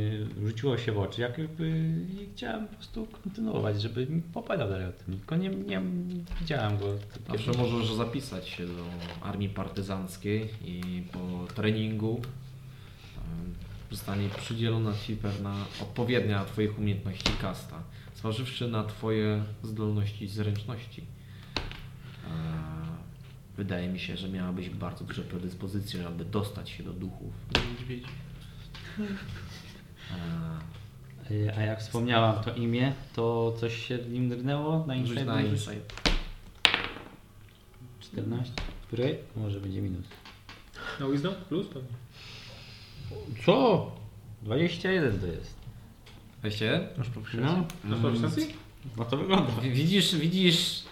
S4: rzuciło się w oczy. Jak jakby i chciałem po prostu kontynuować, żeby mi popadał dalej o tym. Tylko nie, nie widziałem go.
S2: Zawsze możesz zapisać się do armii partyzanckiej i po treningu em, zostanie przydzielona ci pewna odpowiednia twoich umiejętności kasta, zważywszy na twoje zdolności i zręczności. E, Wydaje mi się, że miałabyś bardzo duże predyspozycje, żeby dostać się do duchów.
S5: Niedźwiedzi.
S2: E,
S4: A jak wspomniałam to imię, to coś się nim drgnęło na
S2: Rzuć
S4: Instagram?
S2: na insight.
S4: 14? Której? Może będzie minus.
S1: Na Wisdom? Plus pewnie.
S4: Co? 21 to jest.
S2: Weźcie? Masz
S4: No,
S1: Na proficiency?
S4: no to wygląda.
S2: Wi- Widzisz, widzisz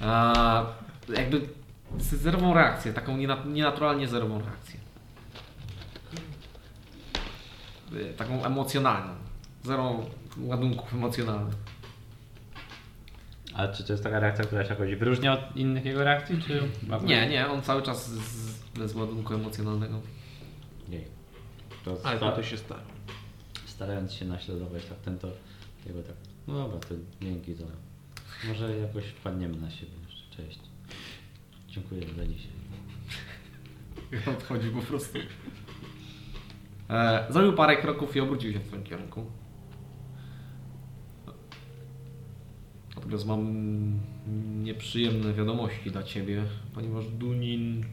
S2: a, jakby z- zerową reakcję, taką nienat- nienaturalnie zerową reakcję. Y, Taką emocjonalną. Zerą ładunków emocjonalnych.
S4: A czy to jest taka reakcja, która się jakoś wyróżnia od innych jego reakcji, czy...
S2: Nie, nie, on cały czas z, bez ładunku emocjonalnego.
S4: nie. To
S5: Ale
S4: sta-
S5: to się stało.
S4: starając się naśladować tak ten to jego tak, no dobra, to dzięki za. Może jakoś wpadniemy na siebie jeszcze. Cześć. Dziękuję za dzisiaj.
S2: I <laughs> on Odchodzi po prostu. E, zrobił parę kroków i obrócił się w twoim kierunku. Natomiast mam nieprzyjemne wiadomości dla ciebie, ponieważ Dunin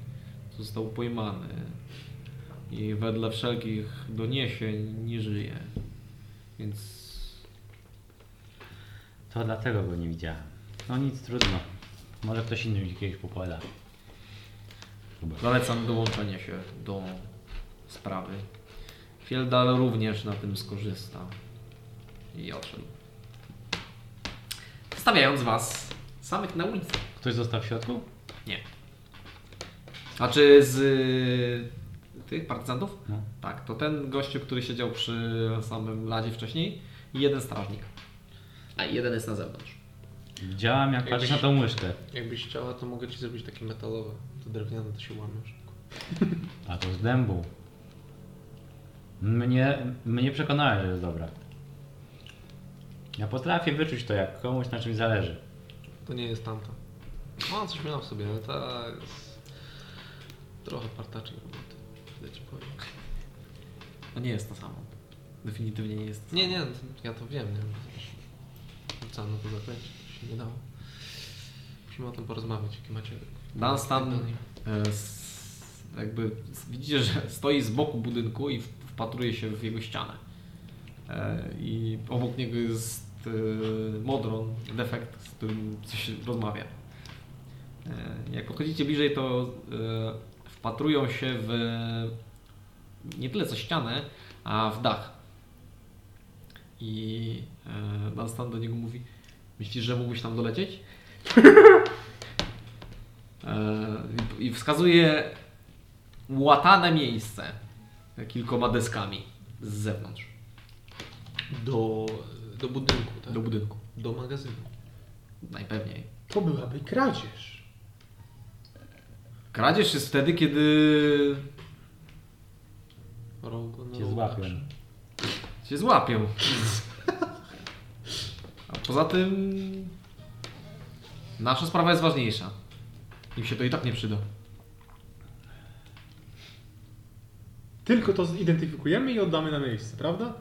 S2: został pojmany i wedle wszelkich doniesień nie żyje. Więc
S4: To dlatego go nie widziałem. No nic, trudno. Może ktoś inny mi kiedyś popada.
S2: zalecam dołączenie się do sprawy. Fieldal również na tym skorzysta i odszedł. Stawiając was samych na ulicy.
S4: Ktoś został w środku?
S2: Nie. Znaczy z y, tych partyzantów?
S4: No.
S2: Tak, to ten gościu, który siedział przy samym ladzie wcześniej i jeden strażnik. A i jeden jest na zewnątrz.
S4: Widziałam jak patrzysz na
S5: Jakbyś-
S4: tą łyżkę.
S5: Jakbyś chciała, to mogę ci zrobić takie metalowe. To drewniane, to się łamiesz.
S4: A to z dębu. Mnie, mnie przekonałeś, że jest dobra. Ja potrafię wyczuć to, jak komuś na czymś zależy.
S5: To nie jest tamta. No, coś miałam w sobie, ale ta jest... Trochę partaczej roboty. Ja ci powiem.
S2: To nie jest to samo. Definitywnie nie jest.
S5: Nie, nie, ja to wiem, nie wiem. Rzucano to zaklęcie, to się nie dało. Musimy o tym porozmawiać, jakie macie...
S2: Dan Stan e, s- jakby s- widzicie, że <laughs> stoi z boku budynku i w- wpatruje się w jego ścianę. E, I obok niego jest e, modron, defekt, z którym coś rozmawia. E, Jak podchodzicie bliżej, to e, wpatrują się w nie tyle co ścianę, a w dach. I e, Van Stan do niego mówi, myślisz, że mógłbyś tam dolecieć? <laughs> E, i- I wskazuje łatane miejsce e, kilkoma deskami z zewnątrz
S5: Do, do budynku, tak?
S2: do
S5: Do,
S2: budynku.
S5: magazynu.
S2: Najpewniej.
S1: To byłaby kradzież.
S2: Kradzież jest wtedy, kiedy
S5: Rogo, no,
S4: Cię złapię.
S2: Cię złapią. <laughs> A poza tym. Nasza sprawa jest ważniejsza. Im się to i tak nie przyda.
S1: Tylko to zidentyfikujemy i oddamy na miejsce, prawda?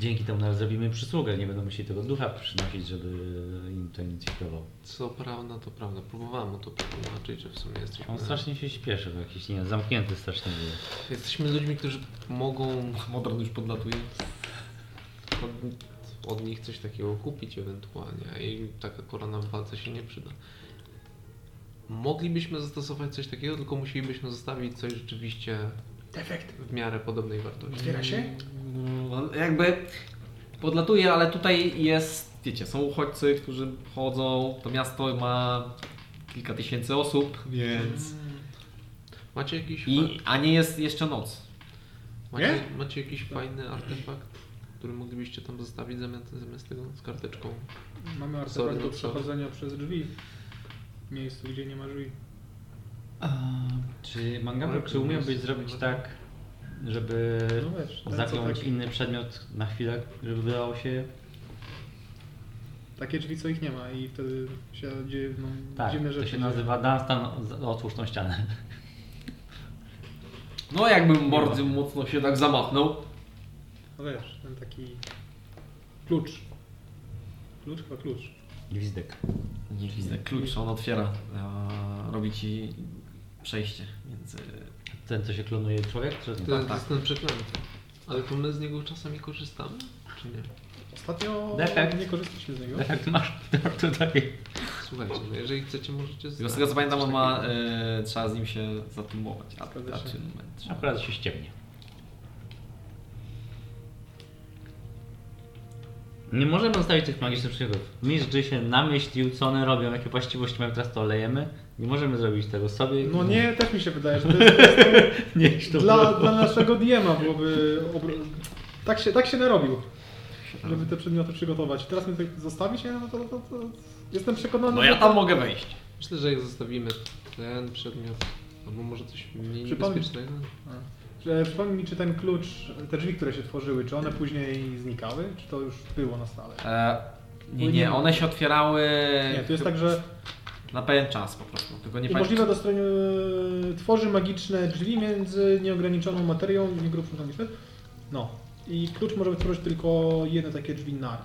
S4: Dzięki temu nawet zrobimy przysługę, nie będą musieli tego ducha przynosić, żeby im to inicjował.
S5: Co prawda, to prawda. Próbowałem mu to przetłumaczyć, że w sumie jesteśmy...
S4: On strasznie się śpieszy, bo jakiś nie wiem, zamknięty strasznie jest.
S5: Jesteśmy ludźmi, którzy mogą
S2: Modron już podlatuje.
S5: od, od nich coś takiego kupić ewentualnie, a im taka korona w walce się nie przyda. Moglibyśmy zastosować coś takiego, tylko musielibyśmy zostawić coś rzeczywiście
S1: Defekt.
S5: w miarę podobnej wartości.
S1: Otwiera się?
S2: No, jakby podlatuje, ale tutaj jest, wiecie, są uchodźcy, którzy chodzą. To miasto ma kilka tysięcy osób, więc.
S5: Macie jakiś,
S2: I, a nie jest jeszcze noc.
S5: fa- macie, macie jakiś fajny artefakt, który moglibyście tam zostawić zamiast, zamiast tego z karteczką?
S1: Mamy
S5: Sorry,
S1: artefakt do
S5: no co?
S1: przechodzenia przez drzwi. W miejscu, gdzie nie ma drzwi.
S4: Czy Mangabu, czy umiałbyś zrobić tak, żeby
S1: No wiesz, ten, co
S4: zakląć
S1: taki-
S4: inny przedmiot na chwilę, żeby wydało się...
S1: Takie drzwi, co ich nie ma i wtedy się dzieje no,
S4: Tak,
S1: dziwne
S4: to
S1: rzeczy.
S4: się nazywa Dunstan, z- otwórz tą ścianę.
S2: No, jakbym bardzo mocno się tak zamachnął.
S1: No wiesz, ten taki klucz. Klucz chyba klucz.
S4: Gwizdek.
S2: Nie widzę klucz, on otwiera. e, Robi ci przejście między.
S1: Tak.
S4: Ten, co się klonuje człowiek, czy
S2: Tak,
S5: To,
S4: nie?
S5: jest- to jest ten przeklęty. Ale to my z niego czasami korzystamy, czy nie?
S1: Ostatnio
S4: Defekt.
S1: nie korzystaliśmy z niego.
S4: <laughs> Defekt masz tutaj.
S5: Słuchajcie, no jeżeli chcecie, możecie
S2: Z tego co pamiętam, on
S5: coś
S2: ma,
S5: takiego.
S2: e, trzeba z nim się zatumować. A,
S1: Zgadza
S2: a
S1: się.
S2: czym moment? trzeba?
S4: Akurat się ściemnie. Nie możemy zostawić tych magicznych przygód. Mistrz gry się namyślił, co one robią, jakie właściwości mają, teraz to lejemy. Nie możemy zrobić tego sobie.
S1: No nie, też mi się wydaje, że to
S4: <laughs>
S1: jest
S4: nie już to
S1: dla,
S4: było.
S1: dla naszego DM-a byłoby... Obro... Tak, się, tak się narobił, żeby te przedmioty przygotować. Teraz mi tak zostawić, ja no to, to, to jestem przekonany,
S2: No
S1: że
S2: ja tam mogę wejść.
S5: Myślę, że jak zostawimy ten przedmiot, albo może coś mniej
S1: Przypomnij-
S5: niebezpiecznego.
S1: E, Przypomnij mi, czy ten klucz, te drzwi, które się tworzyły, czy one później znikały, czy to już było na stałe?
S2: E, nie, nie, one się otwierały
S1: Nie, to jest tak, że
S2: na pewien czas po prostu. Tylko nie pamiętam.
S1: możliwe do strony y, tworzy magiczne drzwi między nieograniczoną materią i niegrubszą magiczną. No. I klucz może wytworzyć tylko jedno takie drzwi naraz.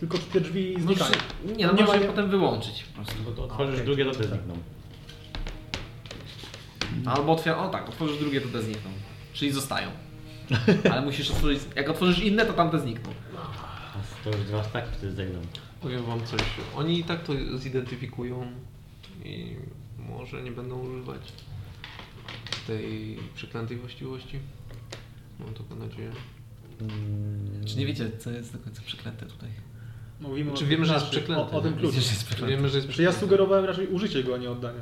S1: Tylko te drzwi
S2: No,
S1: znikają.
S2: przy- nie, no
S1: Nie
S2: nie
S1: ma-
S2: można je
S1: nie-
S2: potem wyłączyć po prostu.
S4: Bo to otworzysz drugie, to też znikną.
S2: Albo otwier... o tak, otworzysz drugie, to te znikną. Czyli zostają.
S1: <laughs>
S2: Ale musisz otworzyć. Jak otworzysz inne, to tamte znikną.
S4: A To już dwa staki wtedy zejdą.
S5: Powiem wam coś. Oni i tak to zidentyfikują i może nie będą używać tej przeklętej właściwości. Mam taką nadzieję.
S2: Czy nie wiecie, co jest do końca przeklęte tutaj?
S1: Mówimy
S5: Czy wiemy, że jest
S1: o-
S5: przeklęty?
S1: O, o tym kluczu.
S2: Wiecie, że jest przeklęte.
S5: Wiemy, że jest
S1: Czy Znaczy, ja
S5: przeklęty.
S1: sugerowałem raczej użycie go, a nie oddanie.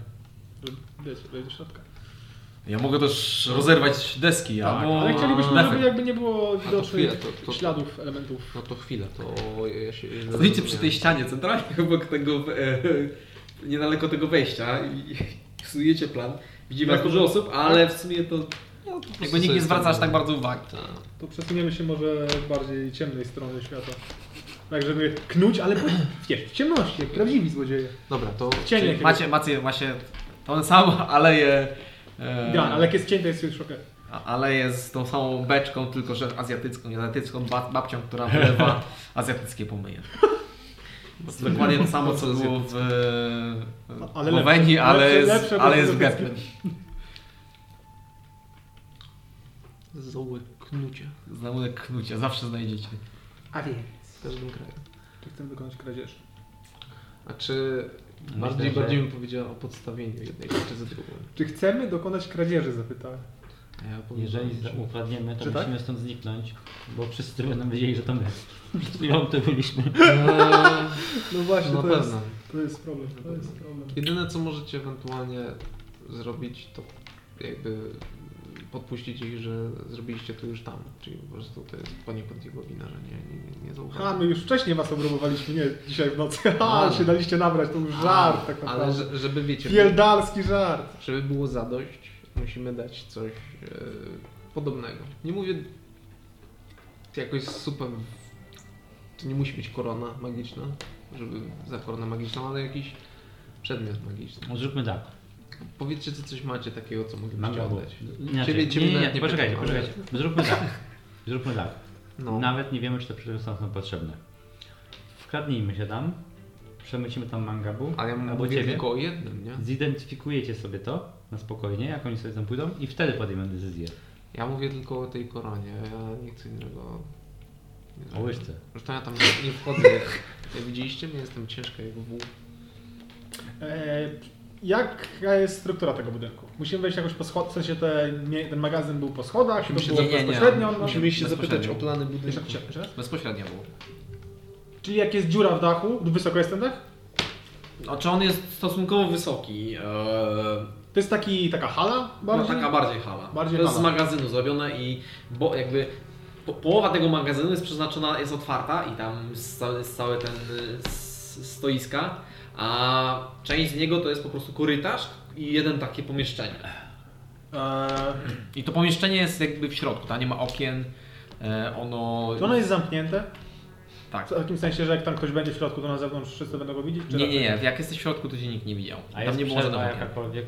S1: Że Wiesz, wejść do środka.
S5: Tak,
S2: Ja mogę też rozerwać deski,
S1: Tak,
S2: albo
S1: ale chcielibyśmy,
S2: defekt.
S1: żeby jakby nie było
S5: no, to
S1: widocznych
S5: chwila, to- to-
S1: śladów elementów.
S5: No to chwila, to ja się...
S2: Stoicie przy tej ścianie centralnie. <laughs>
S6: obok tego, e, niedaleko tego wejścia
S2: <laughs>
S6: i i psujecie plan. Widzimy jak dużo osób, ale w sumie to
S2: Jakby nikt nie zwraca aż tak bardzo uwagi.
S5: Tak.
S1: To przesuniemy się może w bardziej ciemnej strony świata. Tak, żeby knuć, ale po- wiesz, w ciemności, jak prawdziwi złodzieje.
S5: Dobra, to...
S1: W cieniu jakiegoś.
S2: Macie, macie, macie tą samą <laughs> aleję. E,
S1: Ja, ale jak jest cień, to jest już okej.
S2: a- aleję z tą samą beczką, tylko że azjatycką, nie azjatycką, ba- babcią, która <laughs> wylewa azjatyckie <laughs> pomyje. To jest dokładnie to samo, co było w
S1: No, Ale
S2: ale Moweni,
S1: lepsze.
S2: ale,
S1: Lepsze,
S2: jest-
S1: lepsze,
S2: ale
S1: bo
S2: jest w
S1: azjatyckie.
S2: Getman.
S5: Zoły knucie
S2: Znamy knucia, zawsze znajdziecie.
S1: A więc.
S5: w każdym kraju.
S1: Czy chcemy dokonać kradzieży?
S5: A czy Bardziej,
S4: Myślę, że-
S5: bardziej bym powiedziała o podstawieniu jednej rzeczy za drugą.
S1: Czy chcemy dokonać kradzieży? Zapytałem.
S5: A ja powiem,
S4: Jeżeli
S5: że-
S4: ukradniemy, to
S1: Czy tak?
S4: musimy stąd zniknąć, bo wszyscy będą wiedzieli, że to my. Przed chwilą to byliśmy.
S5: <laughs>
S1: No właśnie,
S5: Eee, Na
S1: to, jest,
S5: pewno.
S1: to jest problem. To jest problem.
S5: Jedyne co możecie ewentualnie zrobić, to jakby podpuścić ich, że zrobiliście to już tam. Czyli po prostu to jest poniekąd jego wina, że nie, nie, nie, nie
S1: Ha,
S5: zauważył.
S1: my już wcześniej was obrobowaliśmy, nie dzisiaj w nocy. <laughs> Ha, się daliście nabrać, to był żart tak naprawdę.
S5: Ale że, żeby wiecie,
S1: Pierdalski żart.
S5: żeby było zadość, musimy dać coś e, podobnego. Nie mówię jakoś super. To nie musi być korona magiczna, żeby za korona magiczną, ale jakiś przedmiot magiczny.
S4: Zróbmy tak.
S5: Powiedzcie, co coś macie takiego, co moglibyście
S4: Manga było.
S5: oddać.
S4: No Inaczej.
S5: Ciebie-
S4: Znaczy, nie,
S5: ciebie
S4: nie,
S5: nawet
S4: nie,
S5: nie
S4: poczekajcie,
S5: pytam, ale-
S4: poczekajcie. Zróbmy tak. <laughs> Zróbmy tak.
S5: No.
S4: Nawet nie wiemy, czy te przedmioty są nam potrzebne. Wkradnijmy się tam, przemycimy tam mangabu,
S5: Ale ja
S4: albo
S5: mówię
S4: ciebie.
S5: tylko o jednym, nie?
S4: Zidentyfikujecie sobie to na spokojnie, jak oni sobie tam pójdą i wtedy podejmę decyzję.
S5: Ja mówię tylko o tej koronie, ja nie chcę innego...
S4: O łyżce.
S5: Zresztą ja tam nie, nie wchodzę. Jak, jak widzieliście mnie, jestem ciężka jak wół.
S1: E, jaka jest struktura tego budynku? Musimy wejść jakoś po schodach, w sensie te, nie, ten magazyn był po schodach,
S5: Musimy
S1: to
S2: za-
S1: było
S5: się
S2: nie, nie.
S1: bezpośrednio. No.
S5: Musimy się
S2: Bezpośrednio.
S5: zapytać o plany
S1: Jeszcze,
S5: budynku.
S1: jeszcze, jeszcze raz.
S2: Bezpośrednio było.
S1: Czyli jak jest dziura w dachu, wysoko jest ten dach?
S2: Znaczy on jest stosunkowo wysoki. e,
S1: To jest taki, taka hala
S2: No,
S1: bardziej?
S2: taka bardziej hala.
S1: Bardziej
S2: to jest
S1: hala.
S2: z magazynu zrobione i bo jakby po, połowa tego magazynu jest przeznaczona, jest otwarta i tam jest cały, jest cały ten y, s- stoiska, a część z niego to jest po prostu korytarz i jeden takie pomieszczenie.
S1: Eee,
S2: I to pomieszczenie jest jakby w środku, tam nie ma okien, e, ono...
S1: to ono jest zamknięte?
S2: Tak.
S1: W takim sensie, że jak tam ktoś będzie w środku, to na zewnątrz wszyscy będą go widzieć? Czy
S2: Nie, nie,
S1: raczej-
S2: nie, jak jesteś w środku to cię nikt nie widział.
S4: A
S2: tam
S4: jest
S2: nie było
S4: przerwa
S2: żadnego okien.
S4: jakakolwiek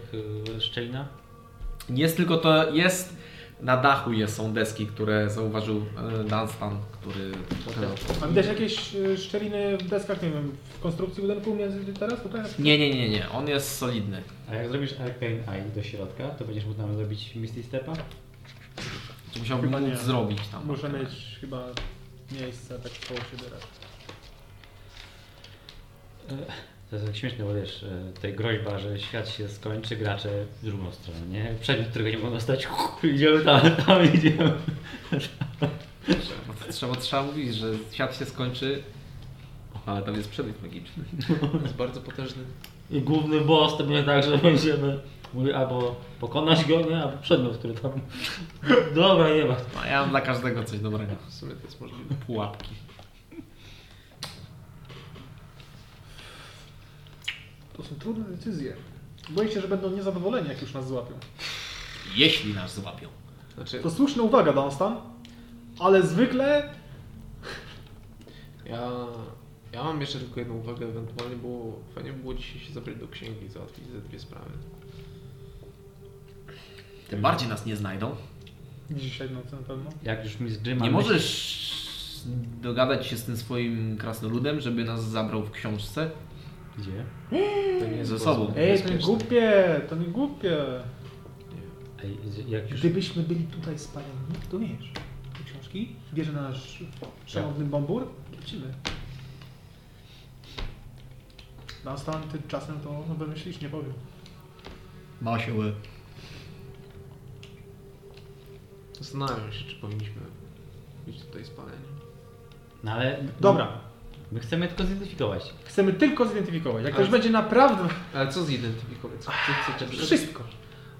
S4: y, szczelina?
S2: Jest tylko to, jest na dachu jest, są deski, które zauważył e, Dunstan, który...
S1: A widać jakieś e, szczeliny w deskach, nie wiem, w konstrukcji budynku między teraz tutaj?
S2: Nie, nie, nie, nie, on jest solidny.
S4: A jak zrobisz Arcane Eye do środka, to będziesz mógł nam zrobić Misty Stepa?
S2: Czy musiałbym
S1: Chyba nie.
S2: móc zrobić tam.
S1: Muszę mieć chyba miejsce tak koło siebie raczej.
S4: To jest tak śmieszne, bo wiesz, e, tutaj groźba, że świat się skończy, gracze w drugą stronę, nie? Przedmiot, którego nie mogą dostać, <laughs> idziemy tam, tam idziemy.
S2: No to trzeba, trzeba mówić, że świat się skończy, ale tam jest przedmiot magiczny.
S5: To jest bardzo potężny.
S4: I główny boss to będzie tak, że będziemy mówię, albo pokonać go, nie? Albo przedmiot, który tam... <laughs> Dobra, nie ma.
S2: No, ja mam dla każdego coś dobrego.
S5: W sumie to jest możliwe.
S2: Pułapki.
S1: To są trudne decyzje. Boję się, że będą niezadowoleni, jak już nas złapią.
S2: Jeśli nas złapią.
S5: Znaczy,
S1: To słuszna uwaga, Dunstan, ale zwykle
S5: ja, ja mam jeszcze tylko jedną uwagę, ewentualnie było, fajnie by było dzisiaj się zabrać do księgi i załatwić ze dwie sprawy.
S2: Tym bardziej nas nie znajdą.
S1: dzisiaj w nocy na pewno.
S4: Jak już mi z Grzyma
S2: Nie
S4: myśl-
S2: możesz dogadać się z tym swoim krasnoludem, żeby nas zabrał w książce
S4: Gdzie?
S5: To nie
S2: ze sobą.
S1: Ej, to nie
S5: Bezpieczne.
S1: głupie, to nie głupie.
S4: Ej, jak już...
S1: Gdybyśmy byli tutaj spaleni, to wiesz, te książki, bierze nasz szanowny bombur, lecimy. Dunstan, ty czasem to no, wymyślisz, nie powiem.
S2: Ma siły.
S5: no, Zastanawiam się, czy powinniśmy być tutaj spaleni.
S4: No ale...
S1: Dobra,
S4: My chcemy tylko zidentyfikować.
S1: chcemy tylko zidentyfikować. Jak ktoś będzie naprawdę...
S5: Ale co zidentyfikować? Co, co, co, co,
S1: Wszystko.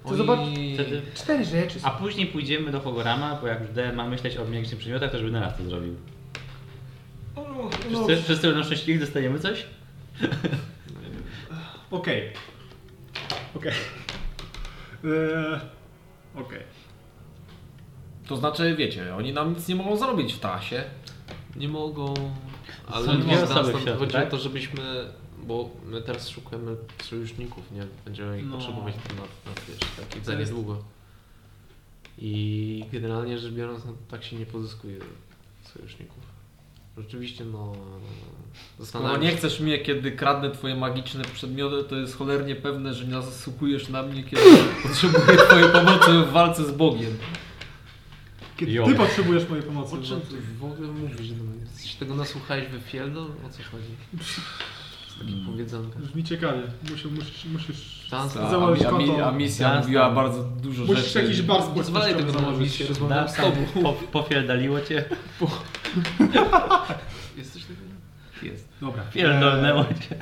S1: To
S5: Oni-
S1: zobacz-
S4: Wtedy...
S1: Cztery rzeczy.
S4: A później pójdziemy do Hogorama, bo jak już D ma myśleć o mniejszych przedmiotach, to żeby na raz to zrobił. Wszyscy, wszyscy będą szczęśliwi, dostajemy coś?
S1: Okej. Okej. Eee, Okej.
S2: To znaczy, wiecie, oni nam nic nie mogą zrobić w trasie.
S5: Nie mogą. Ale
S4: Są dwie
S5: można
S4: osoby w
S5: stąd-
S4: środku,
S5: chodzi
S4: tak?
S5: o to, żebyśmy. Bo my teraz szukamy sojuszników, nie? Będziemy ich
S1: No.
S5: potrzebować na, na wiesz, tak, za
S2: jest-
S5: niedługo. I generalnie rzecz biorąc, no, tak się nie pozyskuje sojuszników. Rzeczywiście, no.
S2: No
S5: Zastanawiam
S2: nie
S5: się-
S2: chcesz mnie, kiedy kradnę twoje magiczne przedmioty, to jest cholernie pewne, że zasługujesz na mnie, <laughs> kiedy potrzebuję twojej pomocy w walce z Bogiem.
S1: Kiedy
S4: Jo.
S1: ty potrzebujesz mojej pomocy.
S5: O czym
S1: bo-
S5: ty w ogóle mówisz? No, jesteś tego nasłuchałeś we Fieldo? O co chodzi? Jest takie powiedzonka.
S1: Brzmi ciekawie. Musisz, musisz, musisz
S5: Szansa.
S1: Tak.
S7: A, mi-
S1: Założyć
S7: a, mi-
S1: konto.
S7: a misja
S4: Jasne.
S7: mówiła bardzo dużo
S1: Musisz
S7: rzeczy.
S1: jakiś bar społecznościowy
S5: Zwalaj tego
S1: założyć.
S5: założyć, rozmawiam z
S4: Darka,
S5: tobą.
S4: po, pofierdaliło cię?
S5: Jest coś takiego?
S1: Dobra. E,
S4: Pierdolnęło cię.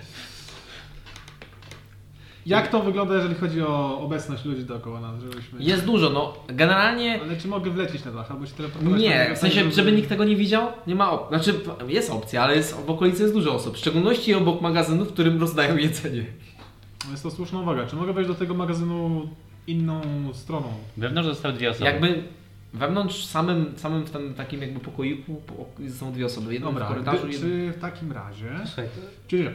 S1: Jak to wygląda, jeżeli chodzi o obecność ludzi dookoła nas? Żebyśmy...
S2: Jest dużo, no generalnie
S1: Ale czy mogę wlecieć na dach, albo się teleportować? na
S2: nie,
S1: dach,
S2: w sensie,
S1: żeby-
S2: żeby nikt tego nie widział, nie ma opcji. Znaczy, p- jest opcja, ale jest, w okolicy jest dużo osób, w szczególności obok magazynu, w którym rozdają jedzenie.
S1: No Jest to słuszna uwaga. Czy mogę wejść do tego magazynu inną stroną?
S4: Wewnątrz zostały dwie osoby.
S2: Jakby wewnątrz, samym, samym w tym takim jakby pokoiku po- są dwie osoby, jedna w
S1: Dobra,
S2: korytarzu,
S1: gdy,
S2: jedna...
S1: czy w takim razie...
S4: Słuchaj,
S1: Czyli e,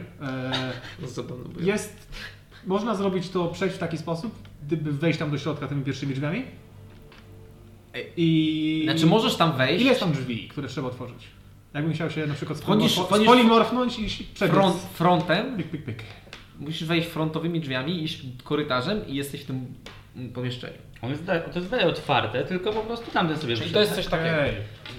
S5: No zabawno było.
S1: jest... Można zrobić to, przejść w taki sposób, gdyby wejść tam do środka tymi pierwszymi drzwiami? I...
S2: Znaczy możesz tam wejść,
S1: Ile są drzwi, które trzeba otworzyć? Jakbym chciał się na przykład
S2: Wchodzisz-
S1: spolimorfo-
S2: wchodzisz-
S1: spolimorfnąć i
S2: front,
S1: przebiec.
S2: frontem,
S1: Pyk, pyk, pyk.
S2: musisz wejść frontowymi drzwiami, iść korytarzem i jesteś w tym mm, pomieszczeniu.
S4: On jest, da- to jest dalej otwarte, tylko po prostu tamten sobie tak?
S7: Czyli
S4: przyszedł.
S7: to Tak jest coś takiego.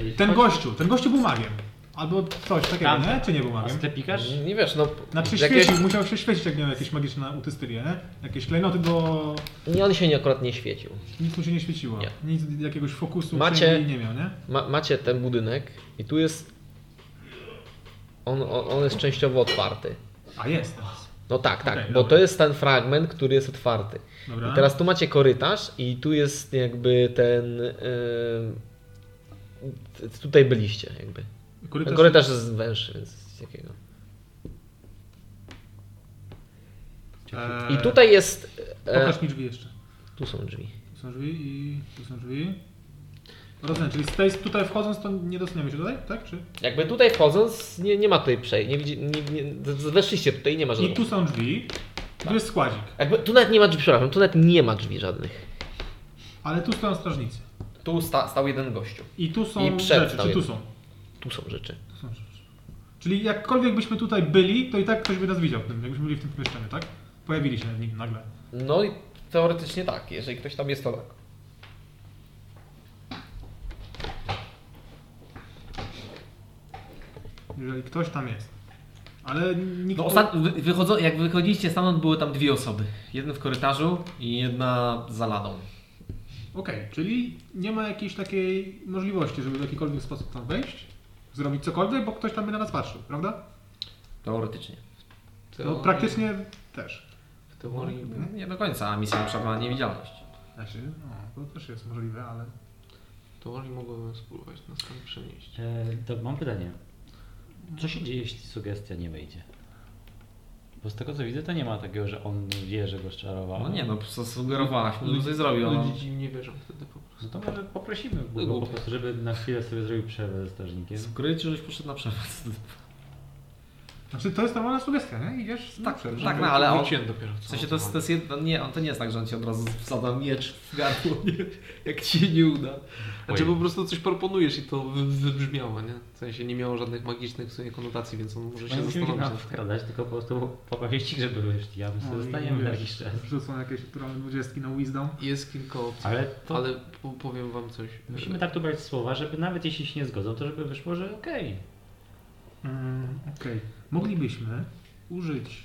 S1: Ej. Ten gościu, ten gościu był magiem. Albo coś takiego,
S4: Tamten.
S1: nie? Czy nie był
S4: A
S1: magiem?
S4: sklepikarz?
S7: Nie wiesz, no...
S1: Znaczy
S7: jakieś-
S1: świecił, musiał się świecić, jak miał jakieś magiczne utystylie, nie? Jakieś klejnoty do...
S7: Nie, on się nie, akurat nie świecił.
S1: Nic mu się nie świeciło.
S7: Nie.
S1: Nic, jakiegoś fokusu
S7: Macie-
S1: przynajmniej nie miał, nie?
S7: Ma, macie ten budynek i tu jest... On, on, on jest częściowo otwarty.
S1: A jest teraz.
S7: No tak, tak,
S1: Okej,
S7: bo
S1: dobra.
S7: to jest ten fragment, który jest otwarty.
S1: Dobra.
S7: I teraz tu macie korytarz i tu jest jakby ten... ym, t- tutaj byliście jakby. Ten
S1: korytarz...
S7: korytarz jest węższy, więc z jakiego.
S1: Eee,
S7: I tutaj jest... E,
S1: Pokaż mi drzwi jeszcze.
S7: tu są drzwi.
S1: Tu są drzwi i tu są drzwi. Rozumiem, czyli z tej, tutaj wchodząc to nie dostaniemy się tutaj, tak? Czy?
S7: Jakby tutaj wchodząc, nie, nie ma tutaj przejść. Nie, widzi- nie, nie, z- weszliście tutaj i nie ma
S1: I
S7: żadnych.
S1: tu są drzwi. Tu jest składzik,
S7: Jakby, tu nawet nie ma drzwi, przepraszam, tu nawet nie ma drzwi żadnych.
S1: ale tu stoją strażnicy.
S2: Tu sta, stał jeden gościu.
S1: I tu są
S7: I przed
S1: rzeczy,
S7: stał
S1: czy tu
S7: jeden.
S1: są?
S7: Tu są rzeczy.
S1: Tu są rzeczy. Czyli jakkolwiek byśmy tutaj byli, to i tak ktoś by nas widział w tym, jakbyśmy byli w tym pomieszczeniu, tak? Pojawili się w nim nagle.
S2: No i teoretycznie tak, jeżeli ktoś tam jest, to tak.
S1: Jeżeli ktoś tam jest. Ale nikt...
S2: No ostat... wy- wychodzą... Jak wychodziliście stamtąd, były tam dwie osoby. Jedna w korytarzu i jedna za ladą.
S1: Okej, czyli nie ma jakiejś takiej możliwości, żeby w jakikolwiek sposób tam wejść, zrobić cokolwiek, bo ktoś tam by na nas patrzył, prawda?
S2: Teoretycznie.
S1: To praktycznie też.
S5: W teorii.
S2: Nie do końca, a misja na przykład ma niewidzialność.
S1: Znaczy, no, to też jest możliwe, ale...
S5: W teorii mogłem spróbować nas tam przenieść.
S4: E, to mam pytanie. Co się dzieje, jeśli sugestia nie wejdzie? Bo z tego co widzę, to nie ma takiego, że on wie, że go szczarował.
S2: No nie no, po prostu sugerowałaś, mu coś zrobił. No.
S5: Ludzie im nie wierzą wtedy po prostu.
S4: No to może poprosimy go po
S5: Głupie.
S4: prostu, żeby na chwilę sobie zrobił przerwę ze strażnikiem.
S2: Skrycił, żeś poszedł na przewóz.
S1: Znaczy, to jest normalna sugestia, nie? Idziesz z
S2: Tak,
S1: naprzód,
S2: tak,
S1: żeby-
S2: no ale on...
S5: Wróciłem dopiero co.
S2: W sensie to jest, to jest jedno, nie, on to nie jest tak, że on ci od razu wsadza miecz w gardło, nie? jak ci się nie uda.
S5: Znaczy po prostu coś proponujesz i to wy- wybrzmiało, nie? W sensie nie miało żadnych magicznych w sumie konotacji, więc on może
S4: No
S5: się
S4: nie musimy się
S5: zastanowić.
S4: nawet wkradać, tylko po prostu poprosić ich, żeby wyszli, a my sobie
S1: No i
S4: zostaniemy na
S1: wiesz,
S4: jakiś czas.
S1: Rzucą jakieś naturalne dwudziestki na wisdom.
S5: Jest kilka opcji, ale,
S4: Ale to
S5: po- powiem wam coś.
S4: musimy tak tu brać słowa, żeby nawet jeśli się nie zgodzą, to żeby wyszło, że okej.
S1: Mm, Okej. Moglibyśmy użyć...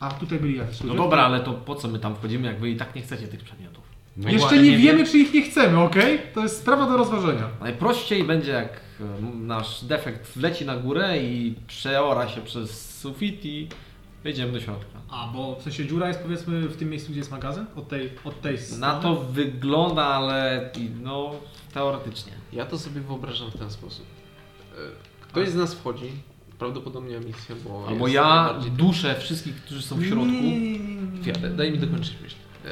S1: A, tutaj byli jacyś
S2: No
S1: ludzie?
S2: dobra, ale to po co my tam wchodzimy, jak wy i tak nie chcecie tych przedmiotów?
S4: No
S1: Jeszcze
S4: właśnie
S1: nie wiemy, czy ich nie chcemy, okej? To jest sprawa do rozważenia.
S2: Najprościej będzie jak e, nasz defekt wleci na górę i przeora się przez sufit i wejdziemy do środka.
S1: A, bo w sensie dziura jest powiedzmy w tym miejscu, gdzie jest magazyn? Od tej, od tej strony?
S2: Na to wygląda, ale no teoretycznie.
S5: E, Ja to sobie wyobrażam w ten sposób. E, Ktoś z nas wchodzi, prawdopodobnie misja, bo.
S2: Albo
S5: jest
S2: ja
S5: najbardziej- tak.
S2: duszę wszystkich, którzy są w
S1: Nie, nie,
S2: środku.
S1: nie, nie, nie.
S5: Chwila, daj- daj mi dokończyć myśl. E,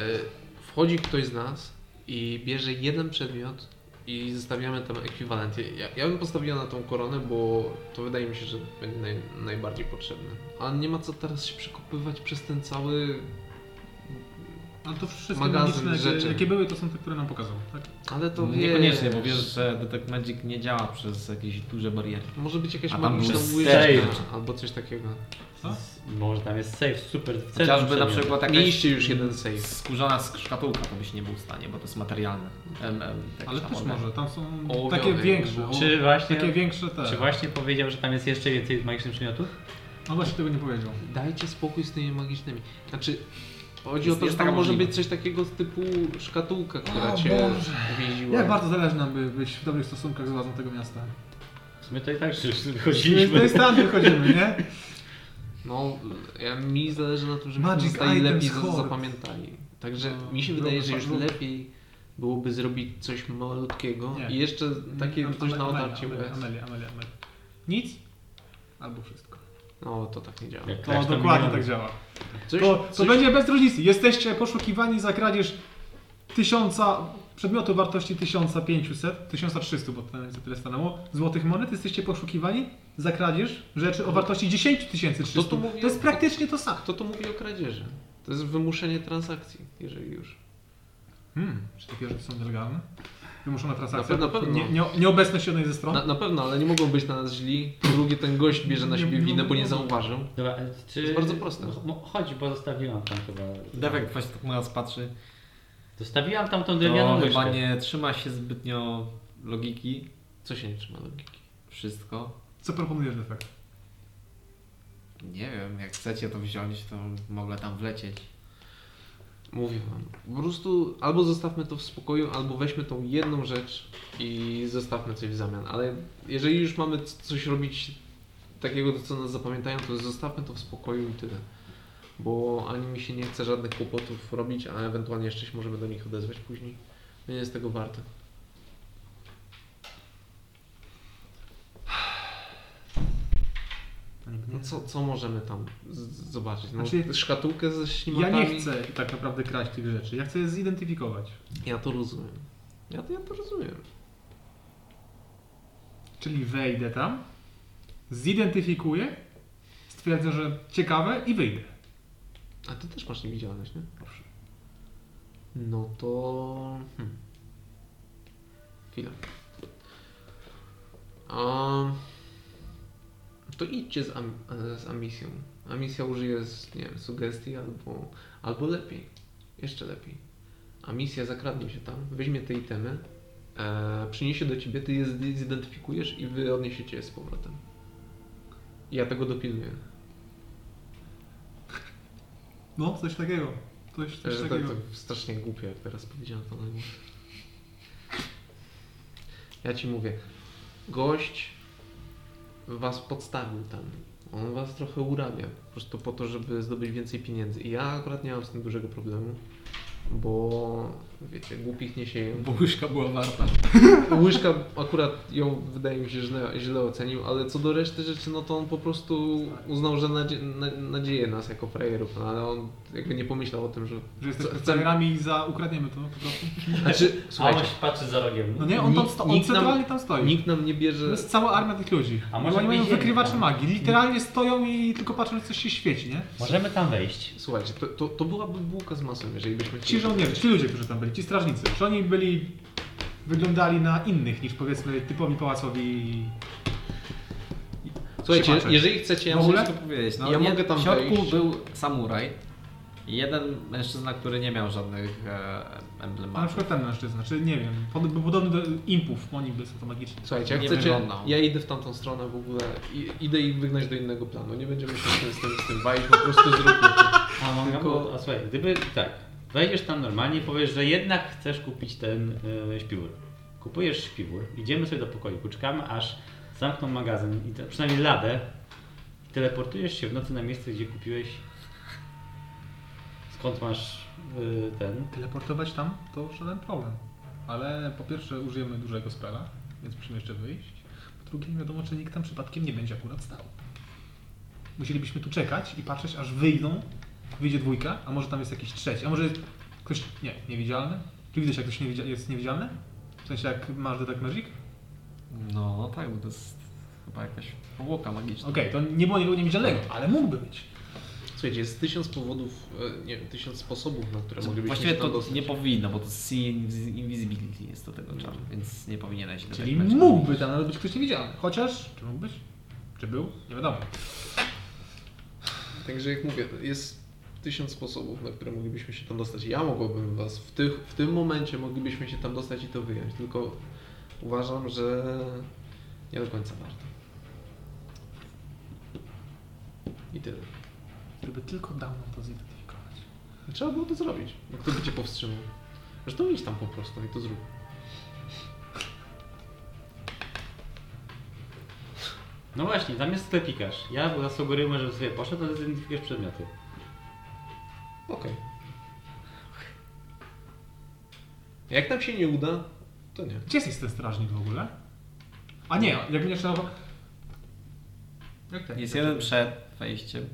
S5: Wchodzi ktoś z nas i bierze jeden przedmiot i zostawiamy tam ekwiwalent. Ja, ja bym postawiła na tą koronę, bo to wydaje mi się, że będzie naj, najbardziej potrzebne. A nie ma co teraz się przekopywać przez ten cały...
S1: Ale to wszystkie
S5: Magazyn
S1: magiczne, jakie,
S5: rzeczy.
S1: jakie były, to są te, które nam pokazał, tak?
S5: Ale to wiesz...
S2: Niekoniecznie, bo wiesz, że Detect Magic nie działa przez jakieś duże bariery.
S5: Może być jakaś
S2: A tam
S5: magiczna
S2: był
S5: łyżeczka
S4: safe.
S5: albo coś takiego.
S1: Co?
S4: Może tam jest safe, super. w centrum
S2: Chociażby na
S4: przedmiotu.
S2: przykład jakaś
S5: Mieliście już jeden save.
S2: skórzana sk- szkatułka, to byś nie był w stanie, bo to jest materialne. Em, em, tak
S1: Ale
S2: się
S1: też
S2: nazywa.
S1: może, tam są
S5: Ołowionej
S1: takie
S5: może.
S1: większe.
S4: Czy właśnie,
S1: Takie większe te.
S4: czy właśnie powiedział, że tam jest jeszcze więcej magicznych przedmiotów?
S1: On No właśnie tego nie powiedział.
S5: Dajcie spokój z tymi magicznymi. Znaczy, chodzi
S2: Jest-
S5: o to, że
S2: jest
S5: tam
S2: taka
S5: może
S2: możliwość.
S5: być coś takiego typu szkatułka, która
S1: O
S5: cię
S1: Boże.
S5: uwięziła.
S1: Jak bardzo zależy nam, by być w dobrych stosunkach z władzą tego miasta.
S4: W sumie to i tak już
S1: My
S4: wychodziliśmy.
S1: tutaj stąd wychodzimy, nie?
S5: No, ja, mi zależy na tym, żebyśmy
S1: Magic
S5: zostali
S1: items
S5: lepiej za-
S1: hoard.
S5: zapamiętani. Także
S1: No,
S5: mi się
S1: dobra,
S5: wydaje, że
S1: fa-
S5: już
S1: dobra.
S5: lepiej byłoby zrobić coś malutkiego
S1: Nie.
S5: i jeszcze takie
S1: Am-
S5: coś na
S1: Amelia,
S5: otarcie
S1: Amelia,
S5: łez.
S1: Amelia, Amelia, Amelia. Nic? Albo wszystko.
S5: No, to tak nie działa.
S4: Jak
S1: To
S4: tak, to
S1: dokładnie
S4: miniony.
S1: tak działa.
S5: Coś,
S1: To, to będzie bez różnicy. Jesteście poszukiwani za kradzież tysiąca przedmiotu wartości 1500, 1300, bo to za tyle stanęło, złotych monet. Jesteście poszukiwani za kradzież rzeczy o wartości 10 300.
S5: Kto tu mówi
S1: To jest
S5: o-
S1: praktycznie to samo.
S5: Kto tu mówi o kradzieży? To jest wymuszenie transakcji, jeżeli już.
S1: Hmm, czy takie rzeczy są nielegalne? Wymuszona transakcja.
S5: Na pewno.
S1: Nie, nie, nieobecność jednej ze stron.
S5: Na, na pewno, ale nie mogą być na nas źli. Po Drugie, ten gość bierze na
S1: Nie-
S5: siebie
S1: nie
S5: winę, bo nie
S1: mogą.
S5: zauważył.
S4: Dobra, e, czy...
S5: jest bardzo proste.
S4: No, Chodź, bo zostawiłam tam chyba.
S2: Dewek właśnie tak na nas patrzy.
S4: Zostawiłam tam tą
S2: To
S4: drewnianą
S2: chyba
S4: łyżkę.
S2: nie trzyma się zbytnio logiki.
S5: Co się nie trzyma logiki?
S2: Wszystko.
S1: Co proponujesz, tak? Defekt?
S2: Nie wiem, jak chcecie to wziąć, to mogę tam wlecieć.
S5: Mówię wam. Po prostu albo zostawmy to w spokoju, albo weźmy tą jedną rzecz i zostawmy coś w zamian. Ale jeżeli już mamy c- coś robić takiego, co nas zapamiętają, to zostawmy to w spokoju i tyle. Bo ani mi się nie chce żadnych kłopotów robić, a ewentualnie jeszcze się możemy do nich odezwać później. Nie jest tego warte. No co, co możemy tam z- zobaczyć? No,
S1: Znaczy,
S5: szkatułkę ze
S1: Ja
S5: ślimakami?
S1: nie chcę tak naprawdę kraść tych rzeczy. Ja chcę je zidentyfikować.
S5: Ja to rozumiem. Ja to, ja to rozumiem.
S1: Czyli wejdę tam, zidentyfikuję, stwierdzę, że ciekawe i wyjdę.
S5: A ty też masz niewidzialność, nie? Owszem. No to... Hmm. Chwila. Um, to idźcie z, am, e, z Amisją. Amisja użyje, z, nie wiem, sugestii albo, albo lepiej. Jeszcze lepiej. Amisja zakradnie się tam, weźmie te itemy, e, przyniesie do ciebie, ty je zid- zidentyfikujesz i wy odniesiecie je z powrotem. Ja tego dopilnuję.
S1: No, coś takiego. Coś, coś
S5: Że tak,
S1: takiego.
S5: to strasznie głupie, jak teraz powiedziałem to na nim. Ja ci mówię, gość was podstawił tam. On was trochę urabia, po prostu po to, żeby zdobyć więcej pieniędzy. I ja akurat nie mam z tym dużego problemu, bo wiecie, głupich nie sieję.
S2: Bo łyżka była warta.
S5: Łyżka akurat ją wydaje mi się, że źle- źle ocenił, ale co do reszty rzeczy, no to on po prostu uznał, że nadzie na nadzieje nas jako frajerów, no, ale on jakby nie pomyślał o tym, że
S1: Że jesteśmy
S5: Co-
S1: frajerami i za ukradniemy to po prostu.
S5: Znaczy,
S4: A on
S5: <laughs> słuchajcie,
S4: się patrzy za rogiem.
S1: No nie, on, tam
S5: Nikt-
S1: sto, on
S5: nikt nam-
S1: centralnie tam stoi.
S5: nikt e, nam nie
S1: To
S5: bierze.
S1: jest cała armia tych ludzi.
S4: A
S1: A
S4: może
S1: może oni mają
S4: wyjdziemy
S1: wykrywacze
S4: tam?
S1: magii. Literalnie stoją i tylko patrzą, czy coś się świeci, nie?
S4: Możemy tam wejść.
S5: Słuchajcie, to, to, to byłaby bułka z masłem, jeżeli byśmy
S1: Ci żołnierze, ci ludzie, którzy tam byli, ci strażnicy, czy oni byli, wyglądali na innych niż powiedzmy typowi pałacowi
S5: Słuchajcie,
S1: Siemacze.
S5: jeżeli chcecie, ja
S1: W
S5: mogę-
S1: ogóle?
S2: Muszę to powiedzieć. No,
S5: Ja
S2: nie-
S5: mogę tam
S2: W środku
S5: wejść.
S2: był samuraj. i Jeden mężczyzna, który nie miał żadnych e,
S1: A na
S2: emblematów.
S1: przykład ten mężczyzna, czy nie wiem, pod, był podobny do impów, oni by są to magiczni.
S5: Słuchajcie, jak
S2: Nie
S5: chcecie,
S2: wyglądał.
S5: ja idę w tamtą stronę w ogóle, i, idę ich wygnać do innego planu. Nie będziemy się z tym, z tym, z tym bawić, po prostu zróbmy <laughs> to.
S4: A mam
S5: Tylko-
S4: Tylko... A słuchaj, gdyby tak, wejdziesz tam normalnie, powiesz, że jednak chcesz kupić ten e, śpiwór. Kupujesz śpiwór, idziemy sobie do pokoiku, czekamy aż zamkną magazyn i te, przynajmniej ladę. I teleportujesz się w nocy na miejsce, gdzie kupiłeś. Skąd masz e, ten?
S1: Teleportować tam to żaden problem. Ale po pierwsze użyjemy dużego spela, więc musimy jeszcze wyjść. Po drugie nie wiadomo, czy nikt tam przypadkiem nie będzie akurat stał. Musielibyśmy tu czekać i patrzeć, aż wyjdą, wyjdzie dwójka, a może tam jest jakiś trzeci, a może jest ktoś, nie, niewidzialny? Czy widać, jak ktoś niewidzia- jest niewidzialny? W sensie, jak masz Detect Magic?
S2: No tak, bo to jest chyba jakaś powłoka magiczna.
S1: Okej, to nie było nikogo niewidzialnego, ale mógłby być.
S5: Słuchajcie, jest tysiąc powodów, e, nie wiem, tysiąc sposobów, na które moglibyśmy
S2: Właściwie
S5: się tam
S2: to
S5: dostać.
S2: nie powinno, bo to see invis- invisibility jest do tego czaru, więc nie powinieneś do
S1: Czyli
S2: tego meczu
S1: mógłby
S2: mówić.
S1: tam nawet być ktoś niewidzialny. Chociaż, czy mógł być? Czy był? Nie wiadomo.
S5: Także jak mówię, jest tysiąc sposobów, na które moglibyśmy się tam dostać. Ja mogłabym was, w, tych, w tym momencie moglibyśmy się tam dostać i to wyjąć, tylko uważam, że nie do końca warto. I tyle.
S1: Gdyby tylko dał nam to zidentyfikować.
S5: Trzeba było to zrobić. No, kto by cię powstrzymał? Zresztą idź tam po prostu i to zrób.
S4: No właśnie, tam jest sklepikarz. Ja zasugeruję, żeby sobie poszedł, ale zidentyfikujesz przedmioty.
S5: Okej. Jak nam się nie uda, to nie.
S1: Gdzie jest ten strażnik w ogóle? A nie, jak mnie szanował... Jak ten?
S2: Jest jeden przed wejściem,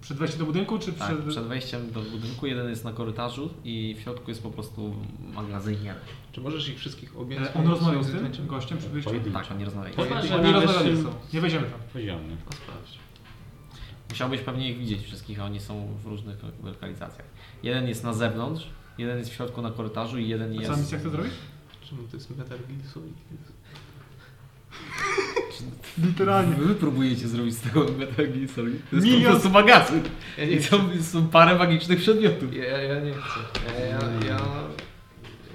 S1: Przed wejściem do budynku, czy
S2: tak,
S1: przed...
S2: przed wejściem do budynku, jeden jest na korytarzu i w środku jest po prostu magazynier.
S5: Czy możesz ich wszystkich objąć?
S1: E, on rozmawiał z tym
S5: Zdjęciem?
S1: gościem przy wyjściu?
S4: Pojedynczo.
S2: Tak, oni rozmawiają.
S4: Poza,
S1: Nie,
S4: że na
S1: nie rozmawiali ze
S4: wyższym
S1: sobą. Nie wejdziemy tam.
S4: poziomie.
S5: A sprawdź.
S2: Musiałbyś pewnie ich widzieć wszystkich, a oni są w różnych lokalizacjach. Jeden jest na zewnątrz, jeden jest w środku na korytarzu i jeden
S1: A co
S2: jest...
S1: misja chce zrobić?
S5: Czemu to jest Metal Gear Solid?
S1: Literalnie.
S2: Wy próbujecie zrobić z tego Metal Gear Solid. To jest
S1: Milion-
S2: po prostu magazyn.
S5: Ja nie
S2: I
S5: chcę.
S2: tam są parę magicznych przedmiotów.
S5: Ja, ja nie chcę. Ja, ja, ja,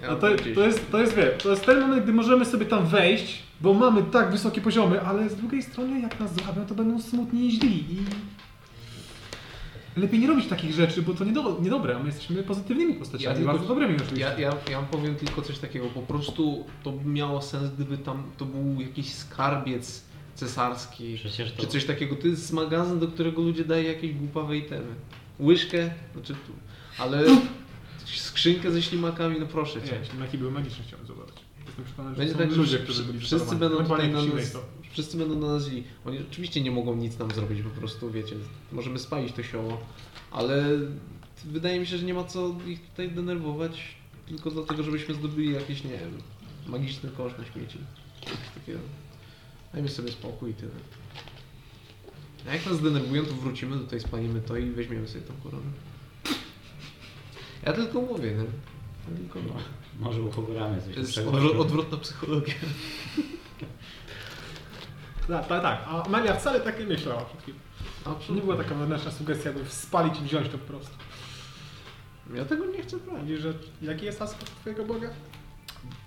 S5: ja
S1: No to,
S5: gdzieś-
S1: to jest, to jest, wie, to jest ten moment, gdy możemy sobie tam wejść, bo mamy tak wysokie poziomy, ale z drugiej strony jak nas złapią, to będą smutni i źli i... Lepiej nie robić takich rzeczy, bo to niedo- niedobre, a my jesteśmy pozytywnymi
S5: Ja
S1: postaciami,
S5: tylko-
S1: bardzo dobrymi oczywiście.
S5: Ja, ja, ja powiem tylko coś takiego, po prostu to by miało sens, gdyby tam to był jakiś skarbiec cesarski,
S4: Przecież to...
S5: czy coś takiego. To jest magazyn, do którego ludzie dają jakieś głupawe itemy. Łyżkę, znaczy tu, ale skrzynkę ze ślimakami, no proszę cię.
S1: Nie, ślimaki były magiczne, chciałem zobaczyć. Jestem przekonany, że
S5: Będzie
S1: są
S5: tak, że
S1: ludzie,
S5: wszy-
S1: którzy byli No,
S5: wszyscy
S1: wyczarowani.
S5: będą
S1: Ewentualnie
S5: tutaj na
S1: jakiś inny
S5: nas-
S1: jest
S5: Wszyscy będą na nas źli. Oni oczywiście nie mogą nic nam zrobić, po prostu wiecie, możemy spalić to sioło, ale wydaje mi się, że nie ma co ich tutaj denerwować, tylko dlatego, żebyśmy zdobyli jakieś, nie wiem, magiczny kosz na śmieci. Coś takiego. Dajmy sobie spokój i tyle. A jak nas zdenerwują, to wrócimy tutaj, spalimy to i weźmiemy sobie tą koronę. Ja tylko mówię, nie? Ja tylko mówię.
S4: Może uchowamy coś
S5: To jest
S4: lepszego.
S5: odwrot, odwrotna psychologia.
S1: to. Tak, tak, tak. A Amelia wcale tak nie myślała przed chwilą. To nie
S5: Absolutnie.
S1: była taka wewnętrzna sugestia, by spalić i wziąć to po prostu.
S5: Ja tego nie chcę brać.
S1: Widzisz, że jaki jest aspekt twojego Boga?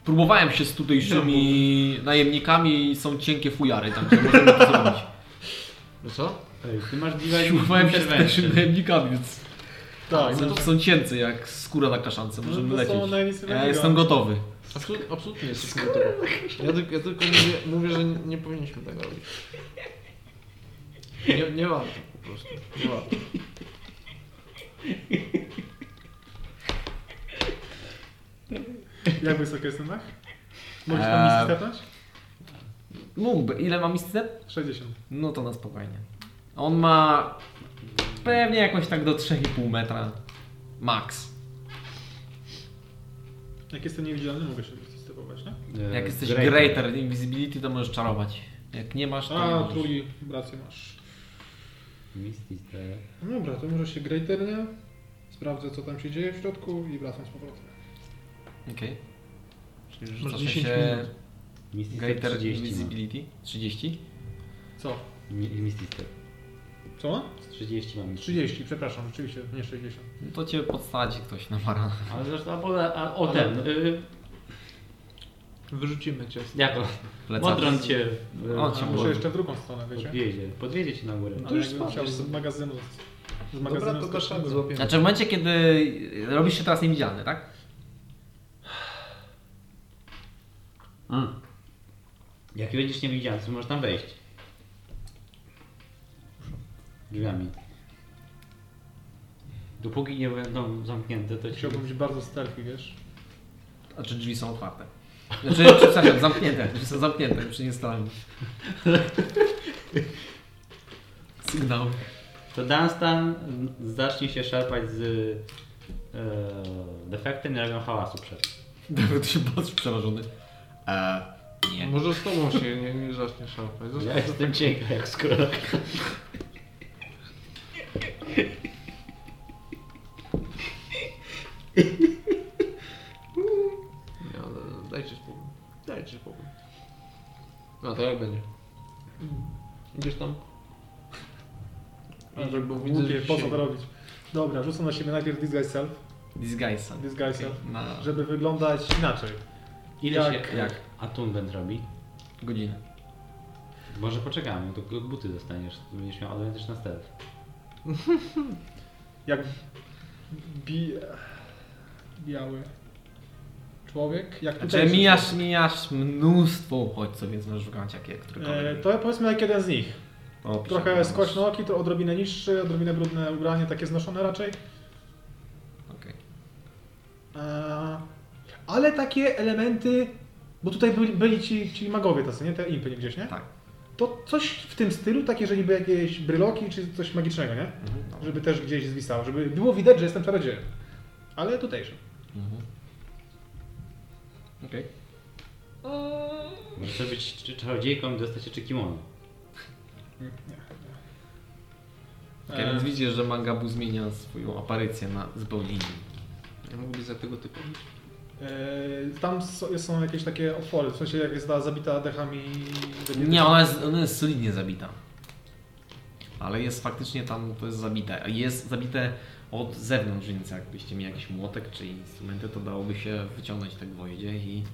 S2: Próbowałem się z tutejszymi najemnikami i są cienkie fujary, także możemy to zrobić.
S5: No co?
S4: Ej, Ty masz dziwne
S2: Próbowałem się z tutejszymi najemnikami, więc
S5: No
S1: Tak,
S2: są, no są ciency jak skóra na kaszance, możemy
S1: to są
S2: lecieć.
S1: najwięcej
S2: Ja
S1: wroga.
S2: jestem gotowy.
S5: Absolut, absolutnie jest gotowy. Ja, tylko- ja tylko mówię, mówię że nie, nie powinniśmy tego robić. Nie, nie warto po prostu. Nie warto.
S1: Jak wysoko jest ten dach? Możesz tam misję
S2: Eee.
S1: stepnąć?
S2: Mógłby. Ile mam istnet?
S1: 60.
S2: No to na spokojnie. On ma pewnie jakoś tak do 3,5 metra. Max.
S1: Jak jestem niewidzialny, mogę się stepować, nie?
S4: E, Eee,
S2: Jak jesteś greater, invisibility, to możesz czarować. Jak nie masz, to nie
S1: A,
S2: możesz.
S1: trój, rację masz.
S4: Misty Stare.
S1: No Dobra, to może się grejternie. Sprawdzę, co tam się dzieje w środku i wracam z powrotem.
S2: Okej. Czyli
S5: Masz
S2: rzucasz
S5: 10
S2: się
S5: minut.
S4: Misty Stare
S2: greater
S4: 30 ma.
S2: invisibility. 30?
S1: Co?
S4: Mi- Misty Step.
S1: Co?
S4: 30 mam.
S1: 30, przepraszam, rzeczywiście, nie 60.
S2: No to cię podsadzi ktoś na barana.
S4: Ale zresztą, a, po- a o ten, y,
S5: Wyrzucimy cię. z-
S4: jako,
S2: Plecak.
S4: Modron cię y,
S2: O,
S1: A
S2: cię
S1: muszę
S2: może.
S1: jeszcze w drugą stronę, wiecie?
S4: podwiedzie, podwiedzie cię na górę.
S1: No
S5: To już
S1: jakbym chciał
S5: spadłeś.
S1: z magazynu. Z magazynu
S5: Dobra, to
S1: skoczyć.
S5: dasz radę, złapiemy.
S2: Znaczy w momencie, kiedy robisz się teraz niewidzialny, tak?
S4: Mm. Jak będziesz niewidzialny, to możesz tam wejść. Drzwiami. Dopóki nie będą zamknięte, to ci...
S1: Chciałbym być bardzo stealthy, wiesz?
S2: A czy drzwi są otwarte? Znaczy, czy, przepraszam, zamknięte. Drzwi są zamknięte, przy nie staram. Sygnał.
S4: To Dunstan zacznie się szarpać z y, e, defektem i robią hałasu przed.
S2: Dawid się patrzy przerażony. Eee, nie.
S5: Może z tobą się nie, nie zacznie szarpać.
S4: Ja
S5: Zostań
S4: jestem cienka jak skóra.
S5: Nie, ale dajcie spokój. Dajcie spokój. No to jak będzie? Idziesz tam?
S1: Ale
S5: bo
S1: Głupie, po co
S5: się-
S1: to robić? Dobra, rzucę na siebie najpierw disguise self,
S2: Disguise.
S1: disguise self,
S2: Na
S1: żeby wyglądać inaczej.
S4: Ile
S1: Jak-
S4: się
S2: Tak. jak?
S4: Atunbent robi?
S2: godzinę.
S4: Może poczekamy, to buty dostaniesz, to będziesz miał odrętyczny stealth.
S1: Jak bi... biały człowiek. Jak tutaj
S2: Znaczy mijasz, mijasz mnóstwo uchodźców, więc możesz szukać jakie,
S1: E,
S2: którekolwiek.
S1: to powiedzmy jak jeden z nich.
S2: O,
S1: Trochę
S2: przepraszam.
S1: skośne oki, to odrobinę niższy, odrobinę brudne ubranie, takie znoszone raczej.
S2: Okej.
S1: E, ale takie elementy, bo tutaj byli, byli ci, ci magowie tacy, nie? Te impy gdzieś, nie?
S2: Tak.
S1: To coś w tym stylu, takie, że niby jakieś bryloki czy coś magicznego, nie?
S2: Mhm, dobra.
S1: Żeby też gdzieś zwisało, żeby było widać, że jestem czarodziejem. Ale tutejszy.
S2: Mhm. Okej.
S4: Może być czy czarodziejką i dostać jeszcze kimono.
S2: Okej,
S1: E.
S2: więc widzisz, że Mangabu zmienia swoją aparycję na zupełnie inną.
S5: Ja mógłbyś za tego typu.
S1: E, tam so- są jakieś takie otwory, w sensie jak jest ta zabita dechami...
S2: Nie, ona jest, ona jest solidnie zabita. Ale jest faktycznie tam, to jest zabite. Jest zabite od zewnątrz, więc jakbyście mieli jakiś młotek czy instrumenty, to dałoby się wyciągnąć te gwoździe i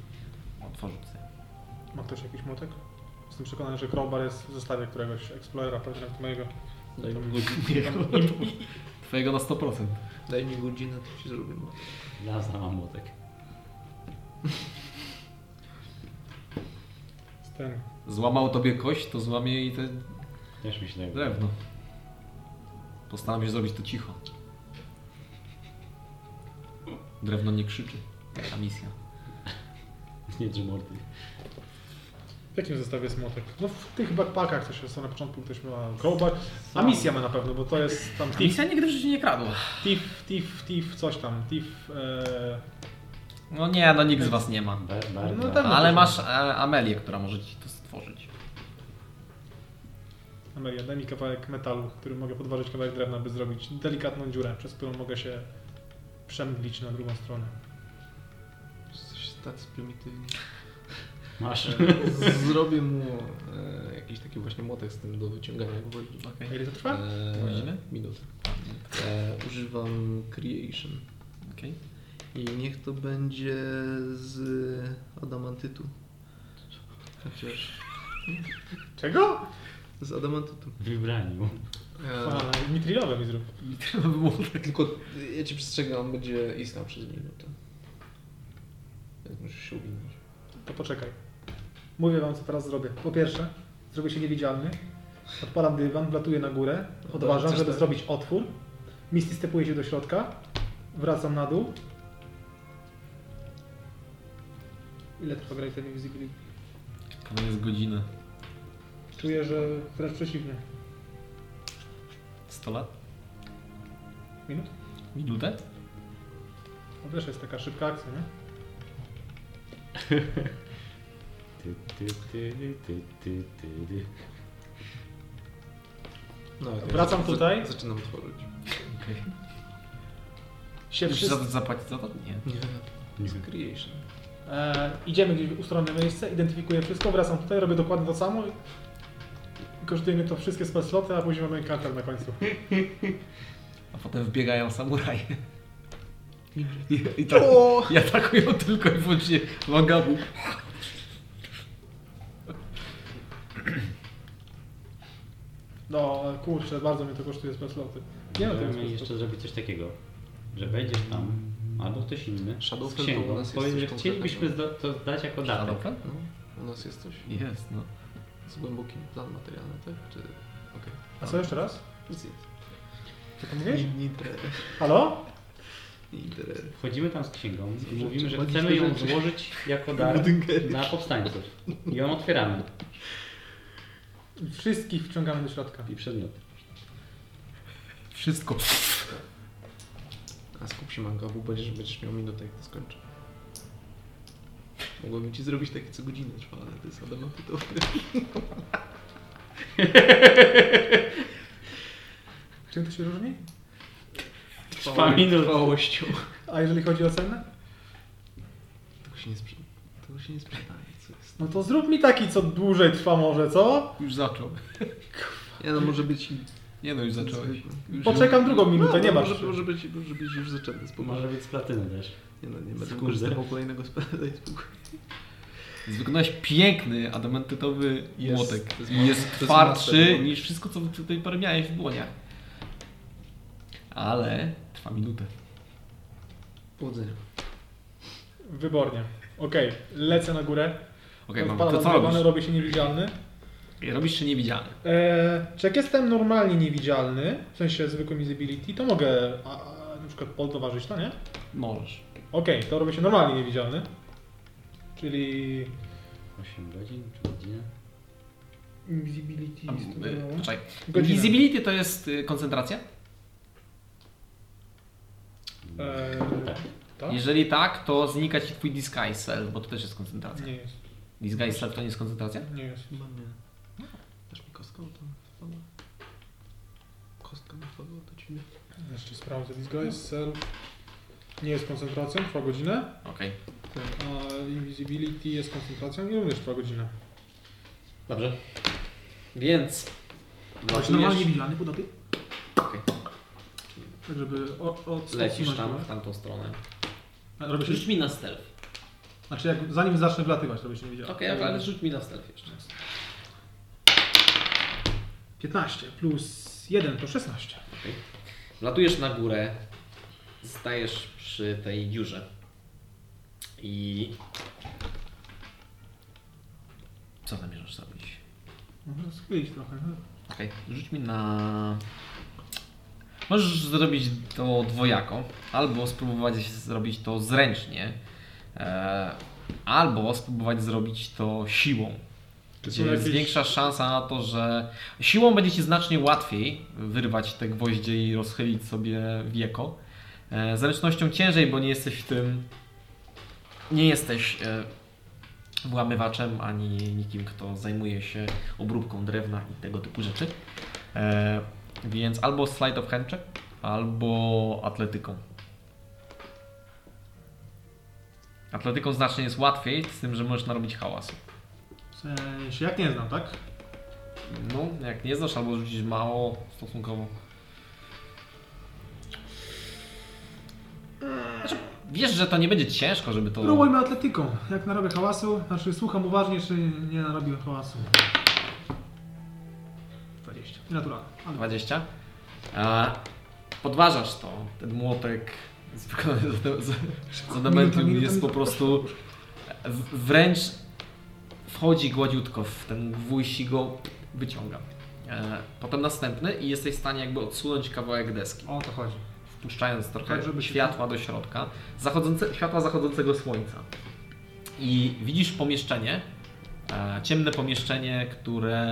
S2: otworzyć sobie.
S1: Ma ktoś jakiś młotek? Jestem przekonany, że crowbar jest w zestawie któregoś Explorera, pewnie nawet mojego.
S2: Daj mi Twojego na 100%.
S5: Daj mi godzinę, to się zrobię. bo-
S4: Ja znam młotek.
S1: Z ten.
S2: Złamał tobie kość, to złamie jej te
S4: Też mi się tak wydaje.
S2: drewno. Postaram się zrobić to cicho. Drewno nie krzyczy. Taka misja.
S4: Nie Dżimorty.
S1: W jakim zestawie jest młotek? No w tych backpackach coś jest, na początku ktoś ma crowbar. A misja ma na pewno, bo to jest tam tif,
S2: Misja nigdy w życiu nie kradła.
S1: tif, tif, tif, coś tam, tif. E...
S2: No nie, no nikt z was nie ma.
S4: Bar, bar,
S1: No
S4: bar.
S1: tak.
S2: Ale masz e, Amelię, która może ci to stworzyć.
S1: Amelia, daj mi kawałek metalu, który mogę podważyć kawałek drewna, by zrobić delikatną dziurę, przez którą mogę się przemglić na drugą stronę.
S5: Jesteś tak tacy prymitywni.
S4: Masz.
S5: E, <laughs> Zrobię mu e, jakiś taki właśnie młotek z tym do wyciągania gwoździ.
S2: Okej.
S1: A Ile to
S5: Tak? E,
S1: trwa?
S2: Godzinę?
S5: Minut. E, używam creation.
S2: Okej.
S5: I niech to będzie z adamantytu. Chociaż
S1: Czego?
S5: z adamantytu.
S4: W wybraniu.
S5: E,
S1: A, mitrilowe mi zrób.
S5: tylko ja cię przestrzegam, on będzie istniał przez minutę. Więc musisz się uwinąć.
S1: To poczekaj. Mówię wam, co teraz zrobię. Po pierwsze, zrobię się niewidzialny. Odpalam dywan, wlatuję na górę, odważam,
S5: Coś
S1: żeby
S5: tak.
S1: zrobić otwór. Misty stepuje się do środka. Wracam na dół. Ile trwa gra ten Invisibility?
S2: To jest godzina.
S1: Czuję, że wręcz przeciwnie.
S2: 100 lat?
S1: Minut?
S2: Minutę?
S1: To też jest taka szybka akcja, nie?
S4: Ty, ty, ty, ty, ty, ty, ty.
S5: No, ja
S1: Wracam
S5: zac-
S1: tutaj.
S5: Zaczynam tworzyć.
S2: Okej.
S1: Się
S2: Musisz za
S1: wszyscy...
S2: to zapłacić za to? Nie.
S5: Nie,
S4: Nie.
S5: z creation.
S1: e, idziemy gdzieś w ustronne miejsce, identyfikuję wszystko, wracam tutaj, robię dokładnie to samo. i- Kosztuje mnie to wszystkie spell sloty, a później mamy encounter na końcu.
S2: A potem wbiegają samuraje. I, i, tak, I atakują tylko i wyłącznie Mangabu.
S1: No kurczę, bardzo mnie to kosztuje spell sloty. Nie no, to
S4: Możemy
S1: jest
S4: jeszcze zrobić coś takiego, że wejdziesz tam, albo ktoś inny,
S5: Shadow
S4: z
S5: Fell to u
S4: księgą,
S5: nas jest
S4: powiedz,
S5: coś
S4: że chcielibyśmy
S5: konkretnego.
S4: zda- to zdać jako datę.
S2: Shadowfell?
S5: No, u nas jest coś
S2: Jest, no.
S5: z głębokim plan materialny, tak? Czy... Okej.
S1: A co jeszcze raz?
S5: Nic jest.
S1: Co to mówisz?
S5: Nie interesuje.
S1: Halo?
S5: Nie interesuje.
S4: Wchodzimy tam z księgą i mówimy, że
S5: Magiczne
S4: chcemy ją
S5: rzeczy.
S4: złożyć
S1: <laughs>
S4: jako dar dla powstańców. I ją otwieramy.
S1: Wszystkich wciągamy do środka.
S4: I przedmioty.
S2: Wszystko.
S5: A skup się manga, bo będziesz, będziesz miał minutę, jak to skończę. Mogłabym ci zrobić takie co godzinę trwa, ale to jest adamantytowe.
S1: Czym to się różni?
S4: Trwa minut.
S5: Trwałością.
S1: A jeżeli chodzi o cenę?
S5: Tego się nie sprzeda. Tego się nie sprzedaje, co jest.
S1: No to zrób mi taki, co dłużej trwa może, co?
S2: Już zaczął.
S5: Nie no, może być i...
S2: Nie no, już zacząłeś. Już
S1: Poczekam drugą minutę,
S5: No,
S1: nie
S5: no,
S1: ma
S5: może,
S1: przy-
S5: może, być, może być już zaczęte, spokojnie.
S4: Może być z platyny też.
S5: Nie no, nie będę
S4: Skurde.
S5: wykorzystywał kolejnego spela, daj spokój.
S2: Więc wykonałeś piękny, adamantytowy
S5: Jest,
S2: młotek.
S5: to jest
S2: I jest
S5: master, to jest
S2: twardszy
S5: master.
S2: niż wszystko, co tutaj parę miałeś w dłoniach. Ale trwa minutę.
S5: Powodzenia.
S1: Wybornie. Okej, lecę na górę.
S2: Okej,
S6: No,
S2: mam
S1: Odpalam
S2: to co
S1: dragony,
S2: robisz?
S1: robię się niewidzialny.
S2: Robisz czy niewidzialny?
S1: E, czy jak jestem normalnie niewidzialny, w sensie zwykłym visibility, to mogę a, a, na przykład podtowarzyć to, nie?
S2: Możesz.
S1: Okej, to robię się normalnie niewidzialny. Czyli
S4: 8 godzin czy godzinę?
S1: invisibility...
S2: Tam,
S1: jest to
S2: y,
S6: no.
S1: było?
S2: Poczekaj.
S1: Godzina.
S2: Invisibility to jest y, koncentracja?
S1: E, tak?
S2: Jeżeli tak, to znika ci twój disguise self, bo to też jest koncentracja.
S1: Eee, Nie jest,
S2: Disguise self to nie jest koncentracja?
S1: nie jest.
S5: Mam je. Dasz mi kostkę, bo tam wpadła. Kostka mi wpadła, to dziwne.
S1: Jeszcze sprawdzę. Disguise self nie jest koncentracją, trwa godzinę, Tak,
S2: Okej.
S1: a invisibility jest koncentracją i również trwa godzinę.
S6: Dobrze. Więc.
S1: Znaczy
S6: latujesz.
S1: normalnie widziany podobnie?
S6: No, Okej.
S1: Tak, żeby o- odsunąć
S6: Lecisz tam,
S1: go.
S6: w tamtą stronę.
S1: A Robię się,
S6: Rzuć mi na stealth.
S1: znaczy jak, zanim zacznę wlatywać, robię się niewidzialny.
S6: Okej, okay, ale rzuć mi na stealth jeszcze.
S1: 15 plus 1 to 16.
S6: Latujesz na górę, stajesz przy tej dziurze i
S2: Co zamierzasz zrobić?
S1: Można skleić trochę. no.
S2: Okej, rzuć mi na. Możesz zrobić to dwojako, albo spróbować zrobić to zręcznie, e, albo spróbować zrobić to siłą. Gdzie
S1: są
S2: jest
S1: jakieś-
S2: większa szansa na to, że siłą będzie ci znacznie łatwiej wyrwać te gwoździe i rozchylić sobie wieko. E, zręcznością ciężej, bo nie jesteś w tym. Nie jesteś e, włamywaczem ani nikim, kto zajmuje się obróbką drewna i tego typu rzeczy. E, więc albo slide of hand check, albo atletyką. Atletyką znacznie jest łatwiej, z tym, że możesz narobić hałas.
S1: W sensie jak nie znam, tak?
S2: No, jak nie znasz, albo rzucisz mało stosunkowo. Znaczy, wiesz, że to nie będzie ciężko, żeby to...
S1: Próbujmy atletyką. Jak narobię hałasu, znaczy słucham uważnie, czy nie narobiłem hałasu. 20. Naturalnie. Ale
S2: 20. A, podważasz to. Ten młotek z- wykonany z, adem- z, z
S1: Minuta,
S2: adamentu
S1: minuta,
S2: jest po
S1: minuta.
S2: prostu w, wręcz wchodzi gładziutko w ten gwóźdź i go wyciąga. E, potem następny i jesteś w stanie jakby odsunąć kawałek deski,
S1: O to chodzi.
S2: wpuszczając trochę
S1: Tak, żeby się-
S2: światła do środka, zachodzące, światła zachodzącego słońca. I widzisz pomieszczenie, e, ciemne pomieszczenie, które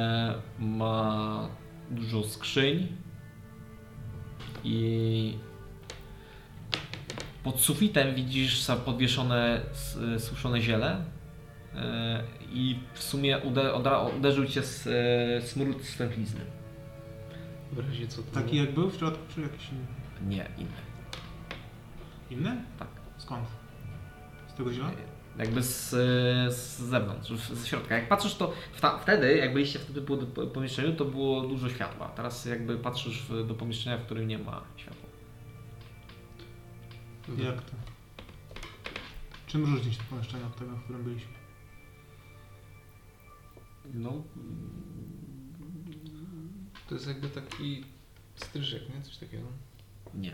S2: ma dużo skrzyń i pod sufitem widzisz za- podwieszone s- suszone ziele e, i w sumie ude, odra, uderzył cię s- e, smród stęchlizny.
S5: W razie co to
S1: Taki jak był w środku, czy jakiś inny?
S2: Nie, inny.
S1: Inny?
S2: Tak.
S1: Skąd? Z tego ziela?
S2: Jakby z, z zewnątrz, w- ze środka. Jak patrzysz, to w ta, wtedy, jak byliście w tym typu po- pomieszczeniu, to było dużo światła. Teraz jakby patrzysz w, do pomieszczenia, w którym nie ma światła.
S1: Jak to? Czym różni się to pomieszczenie od tego, w którym byliśmy?
S2: No,
S5: To jest jakby taki stryżek, nie? Coś takiego.
S2: nie.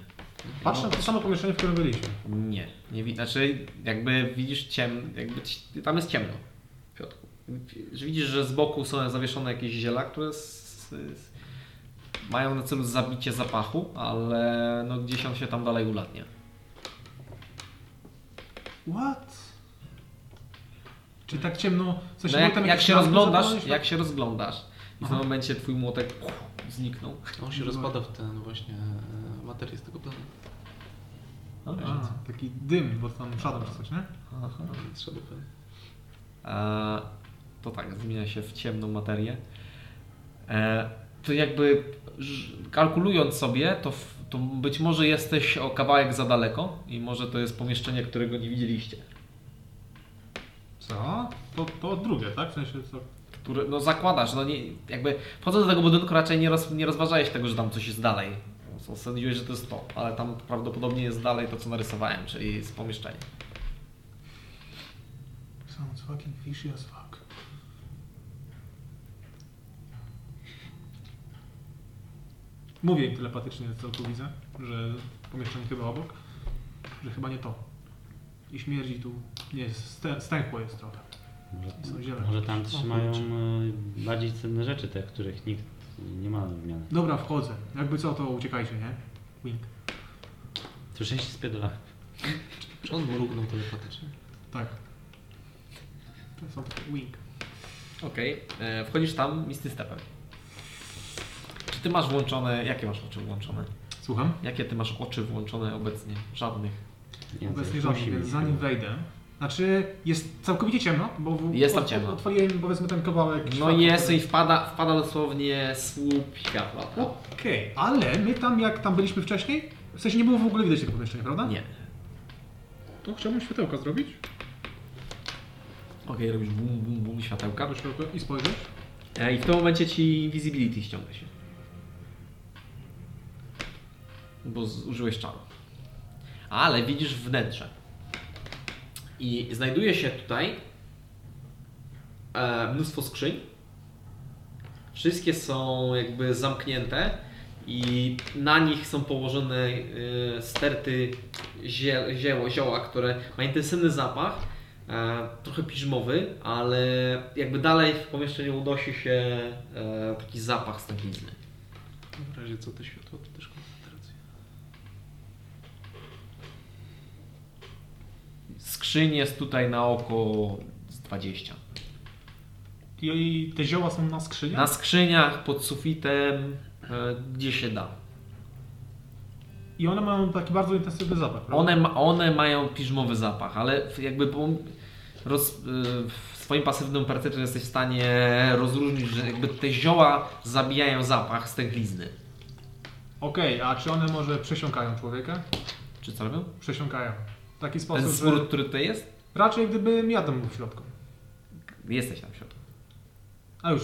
S1: Patrzę na to samo pomieszczenie, w którym byliśmy.
S2: No, nie, nie widać. Znaczy, jakby widzisz ciem, jakby ci, tam jest ciemno. Piotr. Że widzisz, że z boku są zawieszone jakieś ziela, które s, s, mają na celu zabicie zapachu, ale no gdzieś on się tam dalej ulatnia.
S1: What? Czy tak ciemno? W sensie
S2: No
S1: było
S2: jak,
S1: tam
S2: jak,
S1: jakieś
S2: się
S1: lampy
S2: rozglądasz,
S1: zapalone?
S2: jak się rozglądasz i w tym momencie twój młotek puch, zniknął.
S5: On się rozpada w ten właśnie e, materię z tego planu.
S1: tak? A, taki dym, bo tam szadł czy coś, nie?
S2: No, Aha.
S5: Trzeba pewnie.
S2: E, to tak, zmienia się w ciemną materię. E, to jakby ż- kalkulując sobie, to, w- to być może jesteś o kawałek za daleko i może to jest pomieszczenie, którego nie widzieliście.
S1: Co? To, to drugie, tak? W sensie co?
S2: Które, no zakładasz, no nie, jakby wchodząc do tego budynku raczej nie, roz, nie rozważałeś tego, że tam coś jest dalej. Sądziłeś, że to jest to, ale tam prawdopodobnie jest dalej to, co narysowałem, czyli z pomieszczenia.
S1: Sounds
S8: It's fucking fishy as fuck.
S1: Mówię im telepatycznie, co tu widzę, że pomieszczenie chyba obok, że chyba nie to. I śmierdzi tu, nie, stę- stęchło jest trochę. I są zielone.
S4: Może tam trzymają
S1: O kurczę.
S4: e, bardziej cenne rzeczy, te, których nikt nie ma w wymianę.
S1: Dobra, wchodzę. Jakby co, to uciekajcie, nie? Wink.
S4: Słyszeliście z piedolach?
S5: Czy on mrugnął telepatycznie?
S1: Tak. To są wink.
S2: Okej, e, wchodzisz tam misty stepem. Czy ty masz włączone, jakie masz oczy włączone?
S1: Słucham?
S2: Jakie ty masz oczy włączone obecnie? Żadnych.
S4: Nie wiem,
S1: Obecnie
S4: coś
S1: żadnych,
S4: musi
S1: więc
S4: mieć
S1: zanim
S4: chyba.
S1: wejdę. Znaczy, jest całkowicie ciemno, bo w,
S2: Jest tam
S1: ot-
S2: ciemno.
S1: Otworzyłem powiedzmy ten kawałek.
S2: No
S1: światła,
S2: jest
S1: który-
S2: i wpada, wpada dosłownie słup światła.
S1: Okej, ale my tam jak tam byliśmy wcześniej, w sensie nie było w ogóle widać tego pomieszczenia, prawda?
S2: Nie.
S1: To chciałbym światełka zrobić.
S2: Okej, robisz bum, bum, bum światełka.
S1: Albo światełka i spojrzeć.
S2: E, I w tym momencie ci visibility ściąga się. Bo zużyłeś czaru. Ale widzisz wnętrze.
S6: I znajduje się tutaj e, mnóstwo skrzyń. Wszystkie są jakby zamknięte i na nich są położone e, sterty zie, zioło, zioła, które ma intensywny zapach, e, trochę piżmowy, ale jakby dalej w pomieszczeniu unosi się e, taki zapach stęchlizny.
S5: W razie co to światło, to też koncentrację.
S2: Skrzyń jest tutaj na oko z 20.
S1: I, I te zioła są na skrzyni.
S2: Na skrzyniach, pod sufitem, e, gdzie się da.
S1: I one mają taki bardzo intensywny zapach, prawda?
S2: One, ma- one mają piżmowy zapach, ale w- jakby po, roz, y, w swoim pasywnym percepcją jesteś w stanie rozróżnić, że jakby te zioła zabijają zapach stęchlizny.
S1: Okej, a czy one może przesiąkają człowieka?
S2: Czy co robią?
S1: Przesiąkają. W taki
S2: Ten
S1: sposób,
S2: smród,
S1: znaczy, że
S2: który tutaj jest?
S1: raczej gdybym ja tam był w środku.
S2: Jesteś tam w środku.
S1: A już,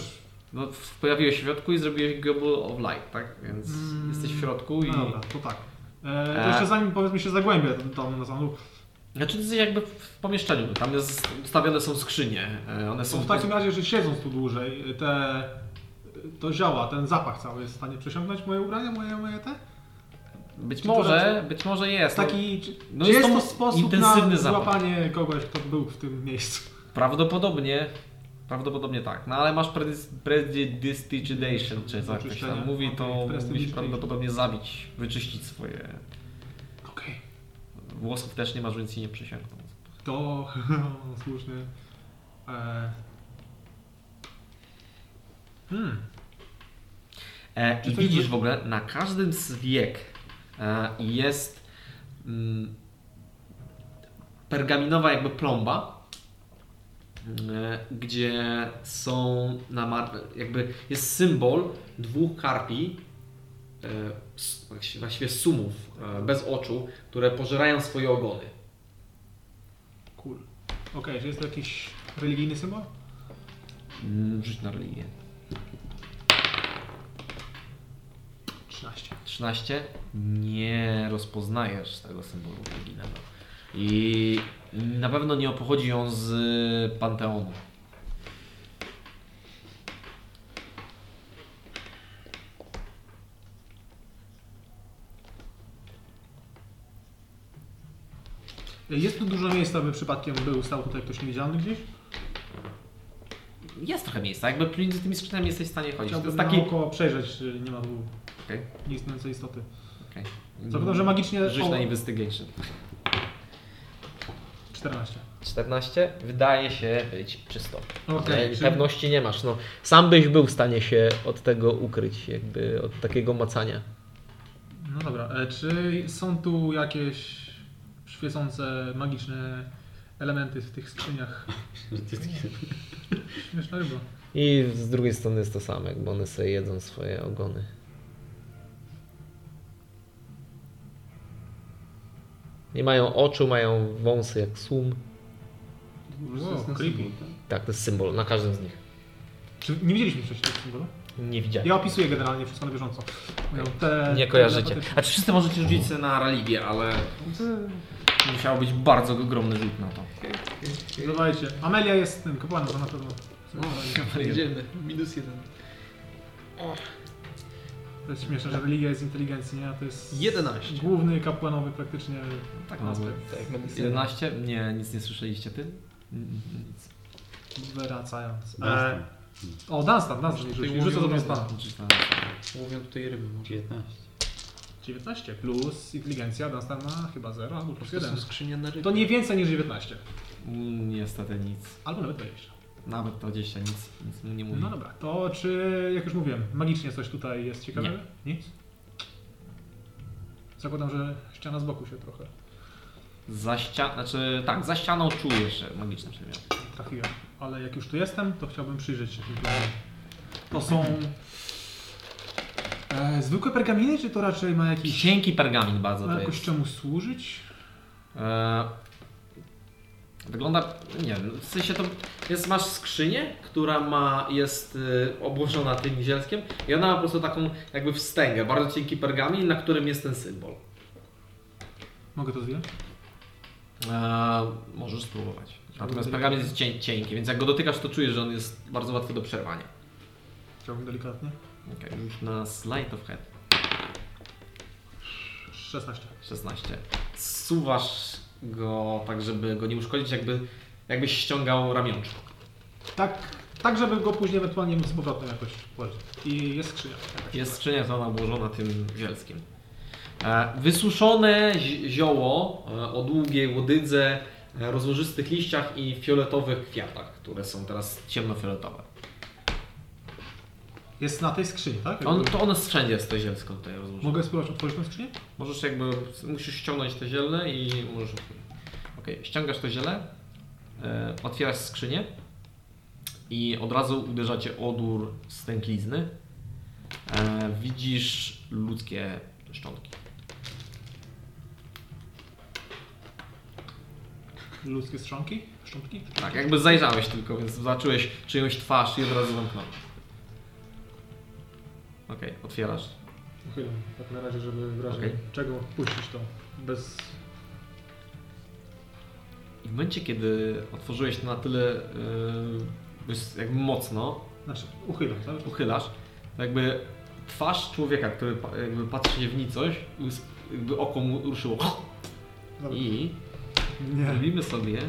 S2: No, w- pojawiłeś się w środku i zrobiłeś Gobble of Light, tak? Więc
S1: Mm,
S2: jesteś w środku i...
S1: no dobra, to tak. E, to
S2: E.
S1: jeszcze zanim powiedzmy się zagłębię tam, tam na samą
S2: Znaczy ty jesteś jakby w pomieszczeniu, tam jest, ustawione są skrzynie, e, one
S1: To
S2: są...
S1: No w takim razie, że siedząc tu dłużej, te, to zioła, ten zapach cały jest w stanie przesiągnąć moje ubrania, moje, moje te?
S2: Być
S1: czy to
S2: może,
S1: znaczy-
S2: być może jest.
S1: Taki, czy,
S2: no
S1: czy
S2: jest
S1: jest,
S2: to
S1: to sposób
S2: intensywny
S1: na
S2: zapach.
S1: złapanie kogoś, kto był w tym miejscu? <laughs>
S2: Prawdopodobnie, prawdopodobnie tak, no ale masz predys- predistitation, czy co jak to się
S1: Oczyszczenie?
S2: tam mówi, to
S1: Okej,
S2: musisz
S1: prestidigitation.
S2: prawdopodobnie zabić, wyczyścić swoje...
S1: Okej.
S2: Włosów też nie masz, więc ci nie przysięgną.
S1: To <laughs> słusznie. E, hmm.
S2: E,
S1: Czy
S2: I
S1: coś
S2: widzisz
S1: by-
S2: w ogóle, na każdym z wiek e, jest mm, pergaminowa jakby plomba, e, gdzie są na mar- jakby jest symbol dwóch karpi, e, s- właści- właściwie sumów e, bez oczu, które pożerają swoje ogony.
S1: Cool. Okej, czy jest to jakiś religijny symbol?
S2: Mm, Rzuć na religię.
S1: 13.
S2: 13. Nie rozpoznajesz tego symbolu religijnego. I na pewno nie pochodzi on z Panteonu.
S1: Jest tu dużo miejsca, by przypadkiem był, stał tutaj ktoś niewidzialny gdzieś?
S2: Jest trochę miejsca, jakby między tymi skrzyniami jesteś w stanie chodzić. To
S1: Chciałbym
S2: jest
S1: taki...
S2: taki...
S1: naokoło przejrzeć, czy nie ma tu
S2: Okej.
S1: nieistniejącej istoty.
S2: Okay.
S1: Zapytam, no, że magicznie...
S2: Rzuć
S1: o,
S2: na investigation.
S1: 14.
S7: 14? Wydaje się być czysto.
S1: Okej,
S7: Ale
S1: czy-
S7: Pewności nie masz. No, sam byś był w stanie się od tego ukryć, jakby od takiego macania.
S1: No dobra, e, czy są tu jakieś świecące magiczne elementy w tych skrzyniach? E. Śmieszna ryba.
S7: I z drugiej strony jest to samo, jakby one sobie jedzą swoje ogony. Nie mają oczu, mają wąsy jak sum.
S1: Wow, creepy.
S7: Tak, to jest symbol na każdym z nich.
S1: Czy nie widzieliśmy wcześniej tego symbolu?
S7: Nie widziałem.
S1: Ja opisuję generalnie wszystko na bieżąco. Mają te,
S7: Nie kojarzycie.
S1: te-
S2: Znaczy wszyscy możecie rzucić sobie na religię, ale
S1: te-
S2: musiał być bardzo ogromny rzut na to.
S1: Dawajcie. Amelia jest tym kapłanem, to na pewno.
S5: Idziemy. No, Minus jeden.
S1: To jest śmieszne, że religia jest inteligencji, nie? A To jest
S5: 11.
S1: główny kapłanowy praktycznie tak
S2: O,
S1: aspekt.
S5: Tak, minus
S2: 11? Nie, nic nie słyszeliście ty? Mm, Nic.
S1: Wracając. E,
S4: Dunstan.
S1: o, Dunstan, Dunstan. Rzucę, rzucę do Dunstana.
S2: Czytałem.
S5: Mówią tutaj ryby. może.
S4: 19.
S1: 19 plus inteligencja, Dunstan ma chyba 0 albo plus
S5: To są
S1: 1.
S5: skrzynia na ryby.
S1: To nie więcej niż 19.
S2: Mm, Niestety nic.
S1: Albo nawet 20.
S2: Nawet 20 nic, nic mu nie mówi.
S1: No dobra, to czy, jak już mówiłem, magicznie coś tutaj jest ciekawego? Nic? Zakładam, że ściana z boku się trochę
S2: Za ścianą, znaczy tak, za ścianą czujesz że magiczne przedmioty.
S1: trafiła. Ale jak już tu jestem, to chciałbym przyjrzeć się tym planom. To są... E, zwykłe pergaminy, czy to raczej ma jakiś...
S2: Cienki pergamin bardzo
S1: Ma
S2: to
S1: jakoś
S2: jest.
S1: czemu służyć?
S2: E, wygląda, nie wiem, w sensie to
S6: Więc masz skrzynię, która ma, jest
S2: e,
S6: y, obłożona tym zielskiem i ona ma po prostu taką jakby wstęgę, bardzo cienki pergamin, na którym jest ten symbol.
S1: Mogę to zdjąć?
S2: E, możesz spróbować. Natomiast pergamin jest cień, cienki, więc jak go dotykasz, to czujesz, że on jest bardzo łatwy do przerwania.
S1: Chciałbym delikatnie.
S2: Okay, już na slide of head
S1: 16.
S2: 16. Suwasz go tak, żeby go nie uszkodzić, jakby, jakbyś ściągał ramionczko.
S1: Tak, tak żeby go później ewentualnie z powrotem jakoś położyć. I jest skrzynia.
S2: Jest skrzynia cała obłożona tym zielskiem. E, Wysuszone zi- zioło e, o długiej łodydze, e, rozłożystych liściach i fioletowych kwiatach, które są teraz ciemnofioletowe.
S1: Jest na tej skrzyni, tak?
S2: On,
S1: Jakby-
S2: to ono wszędzie jest to zielsko tutaj rozłożone.
S1: Mogę spróbować otworzyć tą skrzynię?
S2: Możesz jakby, musisz ściągnąć te ziele i możesz... Okej, ściągasz to ziele, e, otwierasz skrzynię i od razu uderza Cię odór z tęklizny. E, widzisz ludzkie szczątki.
S1: Ludzkie strzonki? Szczątki?
S2: Tak, jakby zajrzałeś tylko, więc zobaczyłeś czyjąś twarz i od razu zamknąłeś. Okej, otwierasz.
S1: Uchylam tak na razie, żeby w razie
S2: Okej.
S1: czego puścić to bez...
S2: I w momencie, kiedy otworzyłeś to na tyle e, dość jakby mocno,
S1: Znaczy, uchylam, tak?
S2: uchylasz, to jakby twarz człowieka, który pa- jakby patrzy się w nicość, us- jakby oko mu ruszyło.
S1: Dobra.
S2: I
S1: Nie.
S2: robimy sobie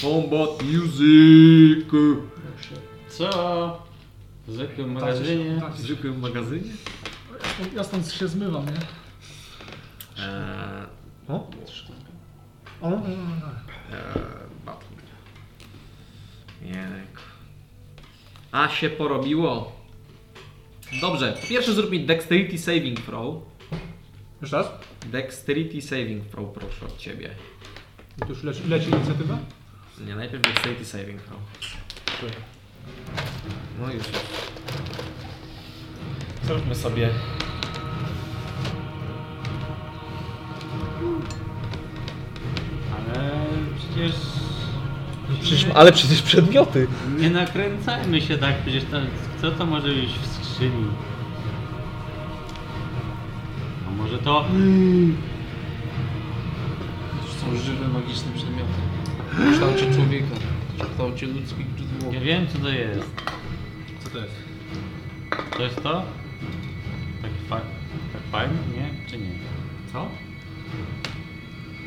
S2: combat music
S1: Tak
S4: Co? W zwykłym magazynie?
S1: tak.
S2: w zwykłym magazynie.
S1: Ja stąd się zmywam, nie?
S2: Eee,
S1: O? O, o, o, o.
S2: Eee, Batman. Jejku. A się porobiło. Dobrze, pierwszy zrób mi Dexterity Saving Throw.
S1: Jeszcze raz?
S2: Dexterity Saving Throw proszę od ciebie.
S1: I tu już leci, leci inicjatywa?
S2: Nie, najpierw Dexterity Saving Throw. No już. Zróbmy sobie.
S4: Ale przecież...
S7: Przecież, ale przecież przedmioty.
S4: Nie nakręcajmy się tak, przecież to, co to może być w skrzyni? A może to...
S5: To są żywe, magiczne przedmioty. W kształcie człowieka. W kształcie ludzkich dwóch.
S4: Ja wiem co to jest.
S1: Co to jest?
S4: To jest to? Taki fa... tak fajny, nie? Czy nie?
S1: Co?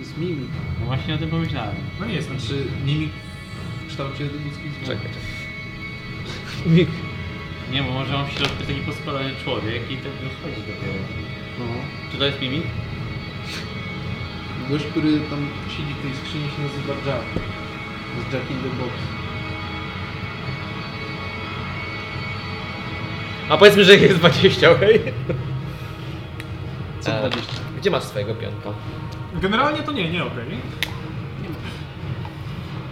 S5: Z mimik.
S4: No właśnie o tym pomyślałem.
S1: No nie jest,
S5: Znaczy mimik w kształcie ludzkich dwóch.
S7: Czekaj. Mik.
S4: Nie, bo może on w środku jest taki poskalony człowiek i tak rozchodzi dopiero.
S5: No.
S4: Czy to jest mimik?
S5: Gość, który tam siedzi w tej skrzyni się nazywa Jack. Z Jack in the Box.
S7: A powiedzmy, że ich jest 20, okej?
S5: Co
S7: E,
S5: eee.
S7: Gdzie masz swojego pionka?
S1: Generalnie to nie, nie okej.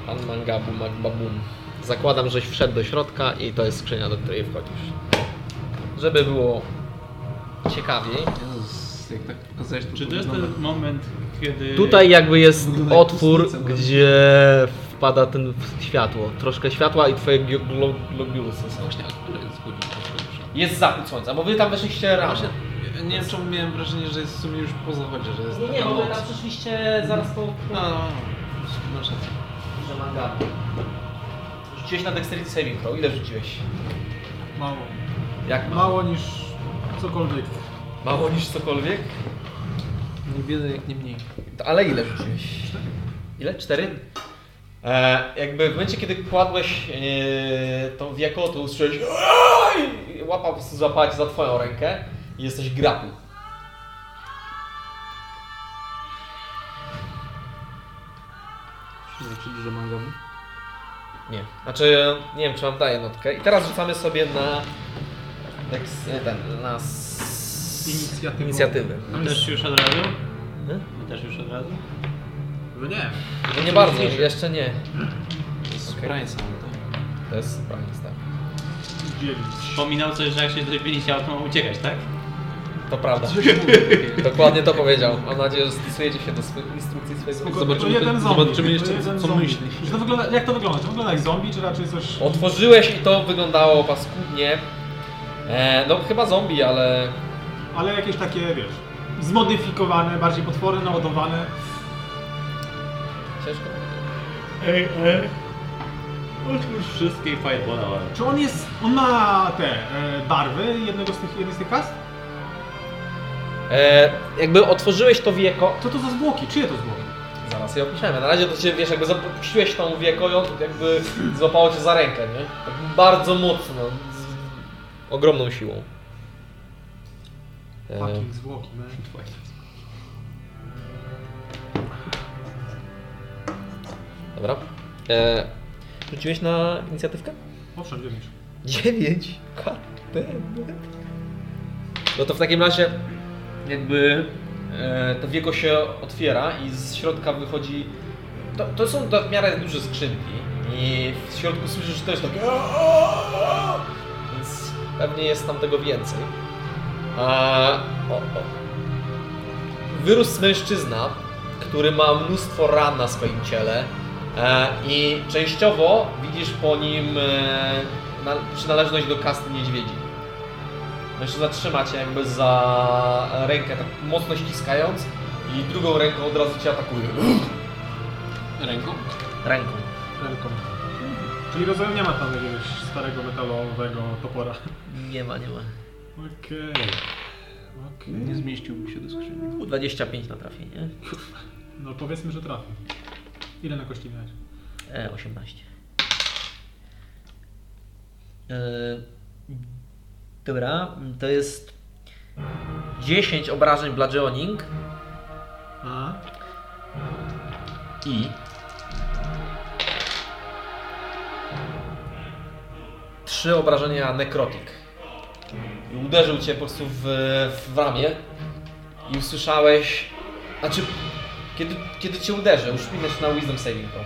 S7: Pan Mangabu Magbabum. Zakładam, żeś wszedł do środka i to jest skrzynia, do której wchodzisz. Żeby było ciekawiej.
S5: Jezus, jak tak pokazałeś to
S4: Czy to jest ten moment, kiedy...
S7: Tutaj jakby jest
S5: Wygląda jak
S7: otwór,
S5: pustnica,
S7: gdzie wpada ten światło. Troszkę światła i twoje glo- glo- globulusy są.
S5: Właśnie, a która jest godzina?
S2: Jest zachód słońca, bo wy tam weszliście rano.
S5: Właśnie, ja nie wiem czemu miałem wrażenie, że jest w sumie już po zachodzie, że jest taka noc.
S2: przyszliście zaraz po...
S5: No, no, no. Masz rację.
S2: że ma gardę. Rzuciłeś na Dexterity Saving Throw. Ile rzuciłeś?
S1: Mało.
S2: Jak ma?
S1: Mało niż cokolwiek.
S2: Mało niż cokolwiek?
S5: Nie wiele, jak nie mniej.
S2: To- Ale ile rzuciłeś? Ile? Cztery? E, jakby w momencie, kiedy kładłeś e, tą wiakotę, usłyszałeś "Oj!" i łapa po prostu złapała cię za twoją rękę i jesteś grapu.
S5: Znaczy, że mam
S2: Nie. Znaczy, nie wiem, czy mam daję notkę. I teraz rzucamy sobie na... Dex, e, ten, na... s-
S1: Inicjatywę.
S2: Inicjatywy.
S5: No,
S4: My No też już od razu?
S2: Hmm?
S4: My też już od razu?
S1: No nie.
S2: No nie bardzo, jeszcze nie.
S5: Sprite sam, tak?
S2: To jest surprise, tak.
S1: Dziewięć.
S4: Wspominał coś, że jak się dowiedzieliście, to ma uciekać, tak?
S2: To prawda. Dokładnie to powiedział. Mam nadzieję, że stosujecie się do swych instrukcji swojego.
S5: Zobaczymy,
S1: to jeden
S5: to-
S1: zombie,
S5: zobaczymy
S1: to
S5: jeszcze,
S1: jeden
S5: co
S1: zombie.
S5: myśli.
S1: Czy to wygląda, jak to wygląda? Czy to wygląda jak zombie, czy raczej coś...
S2: Otworzyłeś i to wyglądało paskudnie. E, no chyba zombie, ale
S1: Ale jakieś takie, wiesz, zmodyfikowane, bardziej potwory naładowane.
S2: ciężko.
S4: Ej, ej. Otwórz wszystkie i fireballa.
S1: Czy on jest, on ma te e, barwy jednego z tych, jednej z tych kas?
S2: E, jakby otworzyłeś to wieko.
S1: Co to za zwłoki? Czyje to zwłoki?
S2: Zaraz je opiszemy. Na razie to cię wiesz, jakby zapuściłeś tą wieko i on jakby złapało cię za rękę, nie? Tak bardzo mocno. Z ogromną siłą. E,
S1: Fucking zwłoki, man.
S2: dobra. E, rzuciłeś na inicjatywkę?
S1: Owszem, dziewięć.
S2: 9 No to w takim razie jakby e, to wieko się otwiera i z środka wychodzi. To, to są to w miarę duże skrzynki i w środku słyszysz też takie. Więc pewnie jest tam tego więcej. A, o, o. Wyrósł mężczyzna, który ma mnóstwo ran na swoim ciele. E, I częściowo widzisz po nim e, na, przynależność do kasty niedźwiedzi. Mężczyzna trzyma cię jakby za rękę, tak mocno ściskając i drugą ręką od razu cię atakuje.
S5: Ręką?
S2: Ręką.
S1: Ręką. Czyli rozumiem, nie ma tam jakiegoś starego metalowego topora. <laughs>
S2: Nie ma, nie ma.
S1: Okej. Okej.
S5: Nie zmieściłby się do skrzyni.
S2: U 25 na trafienie.
S1: No powiedzmy, że trafi. Ile na kości miałeś?
S2: E, 18. E, dobra, to jest 10 obrażeń bludgeoning
S1: A?
S2: i 3 obrażenia necrotic. I uderzył cię po prostu w, w ramię i usłyszałeś... Znaczy, kiedy, kiedy cię uderzył, szpinasz na wisdom saving throw.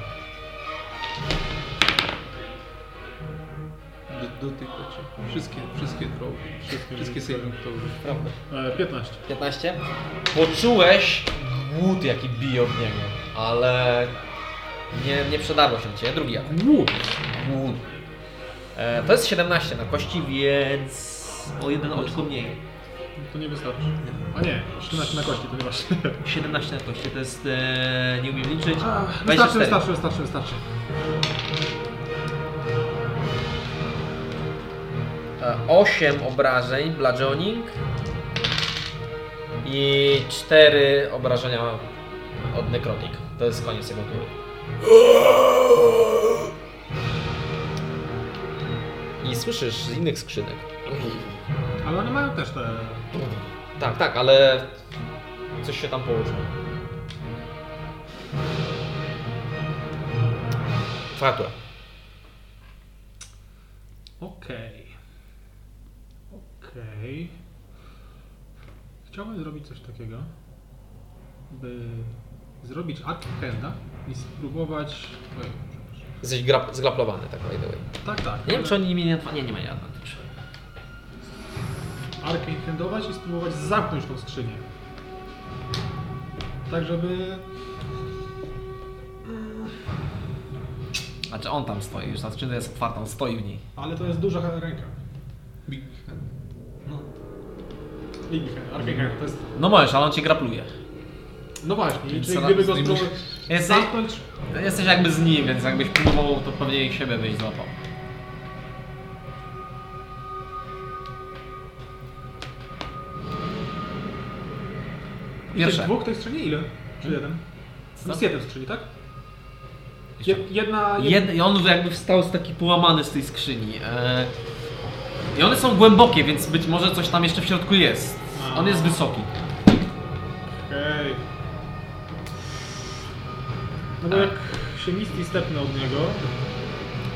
S5: Do, dotyka cię. Wszystkie, wszystkie throw. Wszystkie, wszystkie saving throw.
S2: Prawda.
S1: E, 15.
S2: 15. Poczułeś głód, jaki bije od niego, ale nie, nie przedarło się cię. Drugi atak.
S1: Łuk.
S2: Głód. E, to jest 17 na kości, więc o jeden oczko mniej.
S1: To nie wystarczy. A nie, 13 na kości, to <laughs> nie właśnie.
S2: 17 na kości, to jest... E, nie umiem liczyć.
S1: A,
S2: 24.
S1: Wystarczy, wystarczy, wystarczy, wystarczy.
S2: E, 8 obrażeń, bludgeoning i 4 obrażenia od necrotic. To jest koniec jego tury. I słyszysz z innych skrzynek.
S1: Ale one mają też te...
S2: Tak, tak, ale coś się tam położyło. Twoja tura.
S1: Okej. Okej. Chciałbym zrobić coś takiego, by zrobić akt Kenda i spróbować... Oj, przepraszam.
S2: Jesteś grap- zgraplowany, tak by the way.
S1: Tak, tak.
S2: Nie wiem, czy oni mi nie... Nie, nie mają advantage.
S1: Arcane handować i spróbować zamknąć tą skrzynię. Tak, żeby...
S2: Znaczy on tam stoi, już ta skrzynka jest otwarta, on stoi w niej.
S1: Ale to jest duża ręka.
S5: Big hand.
S1: Arcane hand, to jest...
S2: No możesz, ale on cię grapluje.
S1: No właśnie, czyli
S2: Więc
S1: gdyby
S2: z
S1: go
S2: nim
S1: spróbować...
S2: musisz-
S9: Jesteś,
S1: Zamknąć.
S9: jesteś jakby z nim, więc jakbyś próbował, to pewnie ich siebie byś złapał.
S1: I tych
S9: Pierwsze.
S1: dwóch to jest strzeli ile? Czy jeden? Plus jeden strzeli, tak? Je- Jedna, jedna...
S9: Jed, I on jakby wstał z taki połamany z tej skrzyni. E, I one są głębokie, więc być może coś tam jeszcze w środku jest.
S1: A.
S9: On jest wysoki.
S1: Okej. No bo jak się Misty stepnę od niego,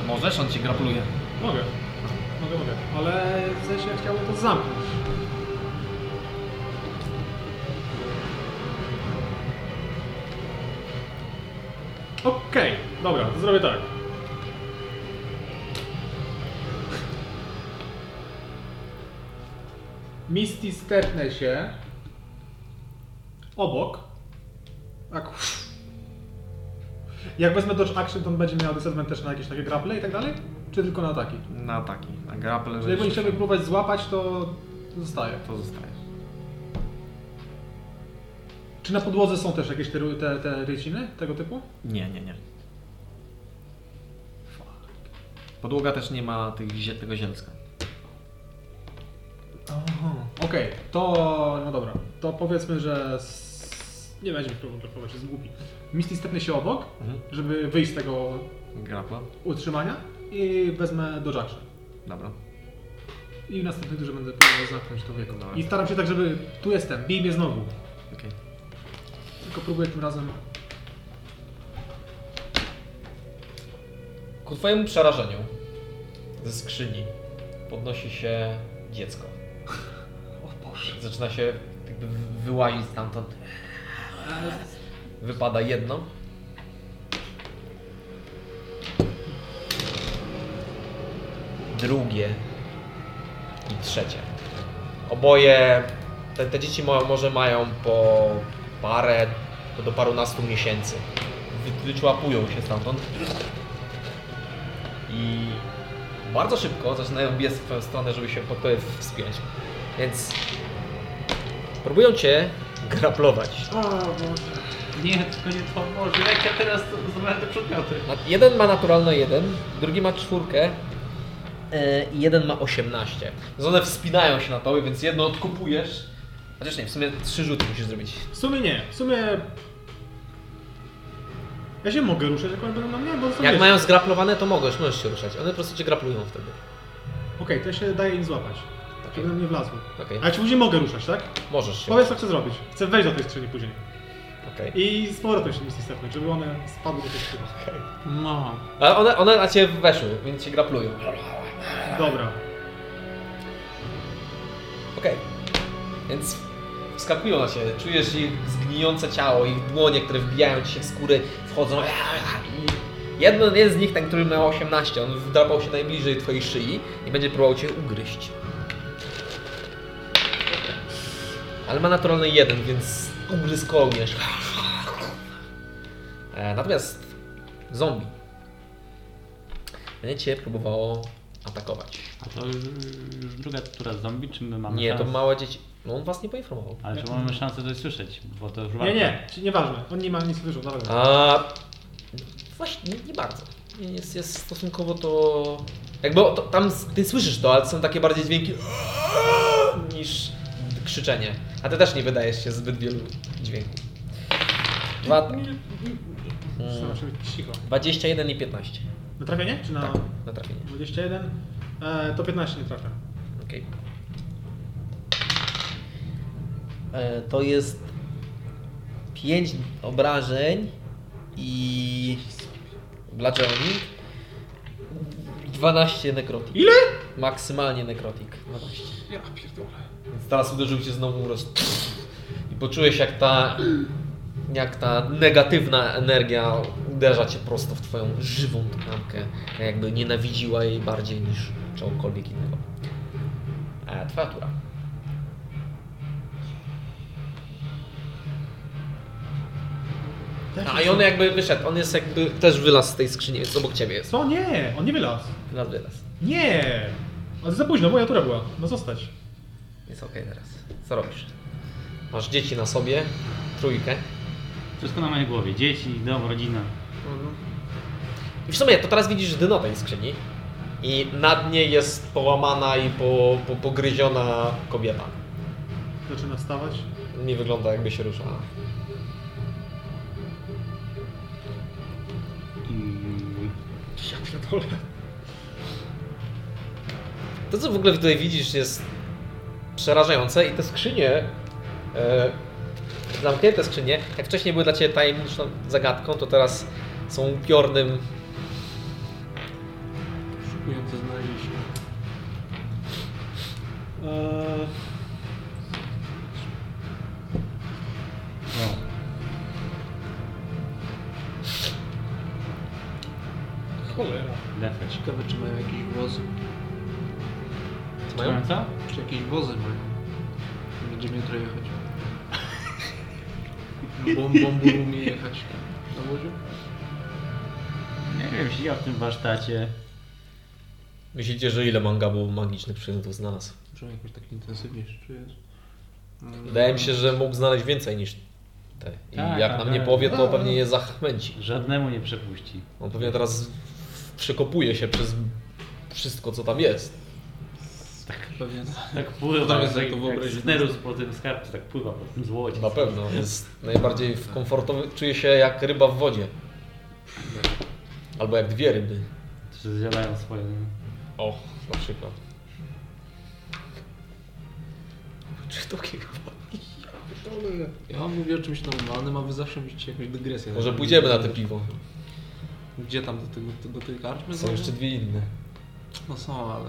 S9: A możesz? On ci gratuluje.
S1: mogę. Mogę, mogę. Ale w sensie ja chciałbym to zamknąć. Okej, dobra, to zrobię tak. Misty stepnę się obok. Tak. Jak wezmę dodge action, to on będzie miał disadvantage na jakieś takie grapple i tak dalej? Czy tylko na ataki?
S9: Na taki, na grapple.
S1: Jeżeli będziesz chciałby próbować złapać, to zostaje.
S9: To zostaje.
S1: Czy na podłodze są też jakieś te, ru- te, te ryciny tego typu?
S9: Nie, nie, nie. Fuck. Podłoga też nie ma tych, zie- tego zielska.
S1: Okej, to no dobra. To powiedzmy, że s... nie będziemy próbował blokować, jest głupi. Misty stepnie się obok,
S9: Mhm.
S1: żeby wyjść z tego
S9: Grapla?
S1: utrzymania i wezmę do action.
S9: Dobra.
S1: I w następnej turze będę próbował zamknąć to wieko.
S9: Dobra.
S1: I staram się tak, żeby tu jestem, bij mnie znowu.
S9: Okej.
S1: Tylko próbuję tym razem.
S2: Ku twojemu przerażeniu ze skrzyni podnosi się dziecko.
S1: O Boże.
S2: Zaczyna się jakby wyłazić stamtąd. Wypada jedno. Drugie i trzecie. Oboje, te, te dzieci mo- może mają po parę, do, do parunastu miesięcy. Wy, wyczłapują się stamtąd. I bardzo szybko zaczynają biec w twoją stronę, żeby się pod tobie wspiąć. Więc próbują cię graplować.
S4: Nie, tylko nie to może. Jak ja teraz zobaczę te przedmioty?
S2: Na- Jeden ma naturalne jeden, drugi ma czwórkę e, i jeden ma 18. Więc one wspinają się na tobie, więc jedno odkupujesz. Chociaż nie, w sumie trzy rzuty musisz zrobić.
S1: W sumie nie, w sumie. Ja się mogę ruszać, jak oni będą na mnie, bo są
S2: Jak
S1: wiesz-
S2: mają zgraplowane, to możesz, możesz się ruszać. One po prostu cię graplują wtedy.
S1: Okej, to ja się daję im złapać.
S2: Tak.
S1: Żeby na mnie wlazły.
S2: Okej,
S1: A ja ci później mogę ruszać, tak?
S2: możesz się.
S1: Powiedz co chcę zrobić. Chcę wejść do tej skrzyni później.
S2: Okej.
S1: I z powrotem się misji stepnąć, żeby one spadły do tej skrzyni.
S9: No.
S2: Ale one, one na ciebie weszły, więc cię graplują.
S1: Dobra.
S2: Okej. Więc wskakują na ciebie. Czujesz ich zgnijące ciało, ich dłonie, które wbijają ci się w skóry, wchodzą. I jeden jest z nich, ten, który miał 18, on wdrapał się najbliżej twojej szyi i będzie próbował cię ugryźć. Ale ma naturalny jeden, więc ugryz kołnierz. E, Natomiast zombie będzie cię próbowało atakować.
S4: A to już, już druga tura zombie, czy my mamy
S2: Nie, to
S4: szansę?
S2: małe dzieci. No on was nie poinformował.
S4: Ale czy mamy szansę to słyszeć? Bo to już
S1: Nie,
S4: warto.
S1: nie, ci- nieważne. On nie ma nic wyrzut, nawet.
S2: A właśnie nie, nie bardzo. Nie, Jest, jest stosunkowo to. Jakby to, tam s- ty słyszysz to, ale są takie bardziej dźwięki <gasps> niż krzyczenie. A ty też nie wydajesz się zbyt wielu dźwięków. Dwa,
S1: Staram się być cicho.
S2: 21 i 15.
S1: Na trafienie? Czy na.
S2: Tak, na trafienie.
S1: 21? E, to 15 nie trafia.
S2: Okej. E, To jest 5 obrażeń i bludgeoning. 12 nekrotik.
S1: Ile?
S2: Maksymalnie nekrotik. 12. Więc teraz uderzył cię znowu roz... I poczułeś jak ta jak ta negatywna energia uderza cię prosto w twoją żywą tkankę, jakby nienawidziła jej bardziej niż czegokolwiek innego. E, twoja tura. No, A i on jakby wyszedł, on jest jakby też wylazł z tej skrzyni, więc obok ciebie jest.
S1: Co? Nie, on nie wylazł.
S2: Wylazł, wylazł.
S1: Nie! Ale za późno, moja tura była. Ma No zostać.
S2: Jest okej teraz. Co robisz? Masz dzieci na sobie, trójkę.
S4: Wszystko na mojej głowie. Dzieci, dom, rodzina.
S2: Mhm. I w sumie to teraz widzisz dno tej skrzyni i nad niej jest połamana i po, po, pogryziona kobieta.
S1: Zaczyna stawać.
S2: Nie wygląda jakby się ruszała.
S4: Mm,
S2: To co w ogóle tutaj widzisz jest przerażające i te skrzynie, e, zamknięte skrzynie, jak wcześniej były dla Ciebie tajemniczą zagadką, to teraz są upiornym
S5: Szukujące znalezisko.
S1: Eee,
S4: no.
S5: Cholera.
S4: Defek.
S5: Ciekawe, czy mają jakieś wozy.
S2: Co mają?
S4: Co?
S5: Czy jakieś wozy mają. Będziemy jutro jechać. Na Bom, bombu umie jechać. Na łodziu?
S4: Nie wiem, siedział w tym warsztacie.
S2: Myślicie, że ile manga było magicznych przedmiotów znalazł?
S5: Może on jakoś tak intensywnie się czuje. Mm.
S2: Wydaje mi się, że mógł znaleźć więcej niż te. I
S4: Tak,
S2: jak
S4: tak,
S2: nam nie
S4: tak.
S2: powie, to pewnie je zachmęci.
S4: Żadnemu nie przepuści.
S2: On pewnie teraz przekopuje się przez wszystko, co tam jest.
S5: Pewien.
S4: Tak pływa.
S5: Tam jest jak to
S4: jak
S5: wyobrazić.
S4: Snerus po tym skarbcu, tak pływa po tym złocie.
S2: Na pewno jest najbardziej w komfortowy, czuje się jak ryba w wodzie. Albo jak dwie ryby.
S4: Czy zjadają swoje...
S2: O, na przykład. Czy to kilka?
S5: Ja wam mówię o czymś normalnym, a wy zawsze myślicie jakąś dygresję. tak?
S2: Może pójdziemy na te piwo.
S5: Gdzie tam do, tego, do tej karczmy?
S2: Są jeszcze dwie inne.
S5: No są, ale...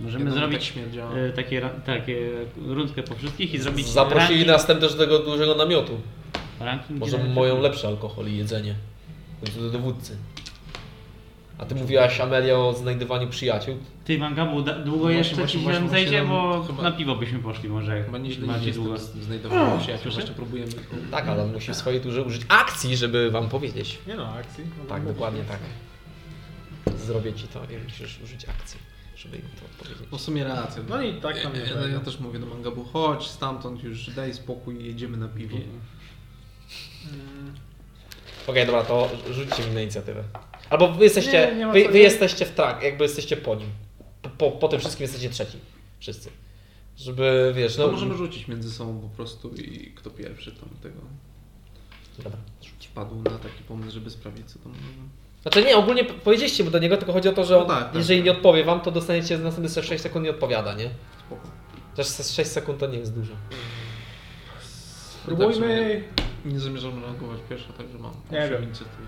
S4: Możemy
S5: jedno mi Tak
S4: zrobić
S5: śmierdziało.
S4: e, takie, ra- takie rundkę po wszystkich i zrobić
S2: Zaprosili
S4: ranking-
S2: nas tam też do tego dużego namiotu.
S4: ranking
S2: Może
S4: ginezy-
S2: moją lepsze alkohol i jedzenie. Bądź do dowódcy. A ty mówiłaś, Amelia, o znajdywaniu przyjaciół.
S4: Ty, Mangabu, da- długo
S5: Właśnie,
S4: jeszcze
S5: właśnie,
S4: ci się
S5: właśnie,
S4: tam
S5: właśnie
S4: zejdzie,
S5: nam
S4: bo
S5: chyba-
S4: na piwo byśmy poszli może jak
S5: Chyba nieźle
S4: bardziej
S5: idzie
S4: długo.
S5: długo znajdowało przyjaciół, właśnie próbujemy...
S2: Tak, ale on musi w swojej turze użyć akcji, żeby wam powiedzieć.
S1: nie no, akcji. No,
S2: Tak,
S1: no,
S2: dokładnie tak. Zrobię ci to i musisz użyć akcji, żeby im to
S5: No w
S2: powiedzieć.
S5: sumie racja.
S1: No i tak tam
S5: ja,
S1: jest.
S5: E, ja, ja też mówię do Mangabu, chodź stamtąd już, daj spokój, jedziemy na piwo.
S1: Mhm. Mm.
S5: tak
S2: Okej, dobra, to rzućcie mi na inicjatywę. Albo wy jesteście,
S1: Nie, nie ma
S2: wy,
S1: co-
S2: wy
S1: nie-
S2: jesteście w trak, jakby jesteście po nim. Po, po, po tym wszystkim jesteście trzeci. Wszyscy. Żeby, wiesz,
S5: No
S2: no...
S5: możemy rzucić między sobą po prostu i kto pierwszy tam tego
S2: Dobra.
S5: wpadł na taki pomysł, żeby sprawdzić co tam.
S2: Znaczy nie, ogólnie p- powiedzieliście mu do niego, tylko chodzi o to, że
S5: No
S2: on,
S5: tak, tak,
S2: jeżeli
S5: tak.
S2: nie odpowie wam, to dostaniecie z następnych 6 sekund nie odpowiada, nie?
S5: Spoko.
S2: Też 6 sekund to nie jest dużo.
S1: Spróbujmy.
S5: Tak Nie zamierzam reagować pierwsza, także mam.
S1: Nie
S5: osiem
S1: wiem.
S5: Inicjatywy.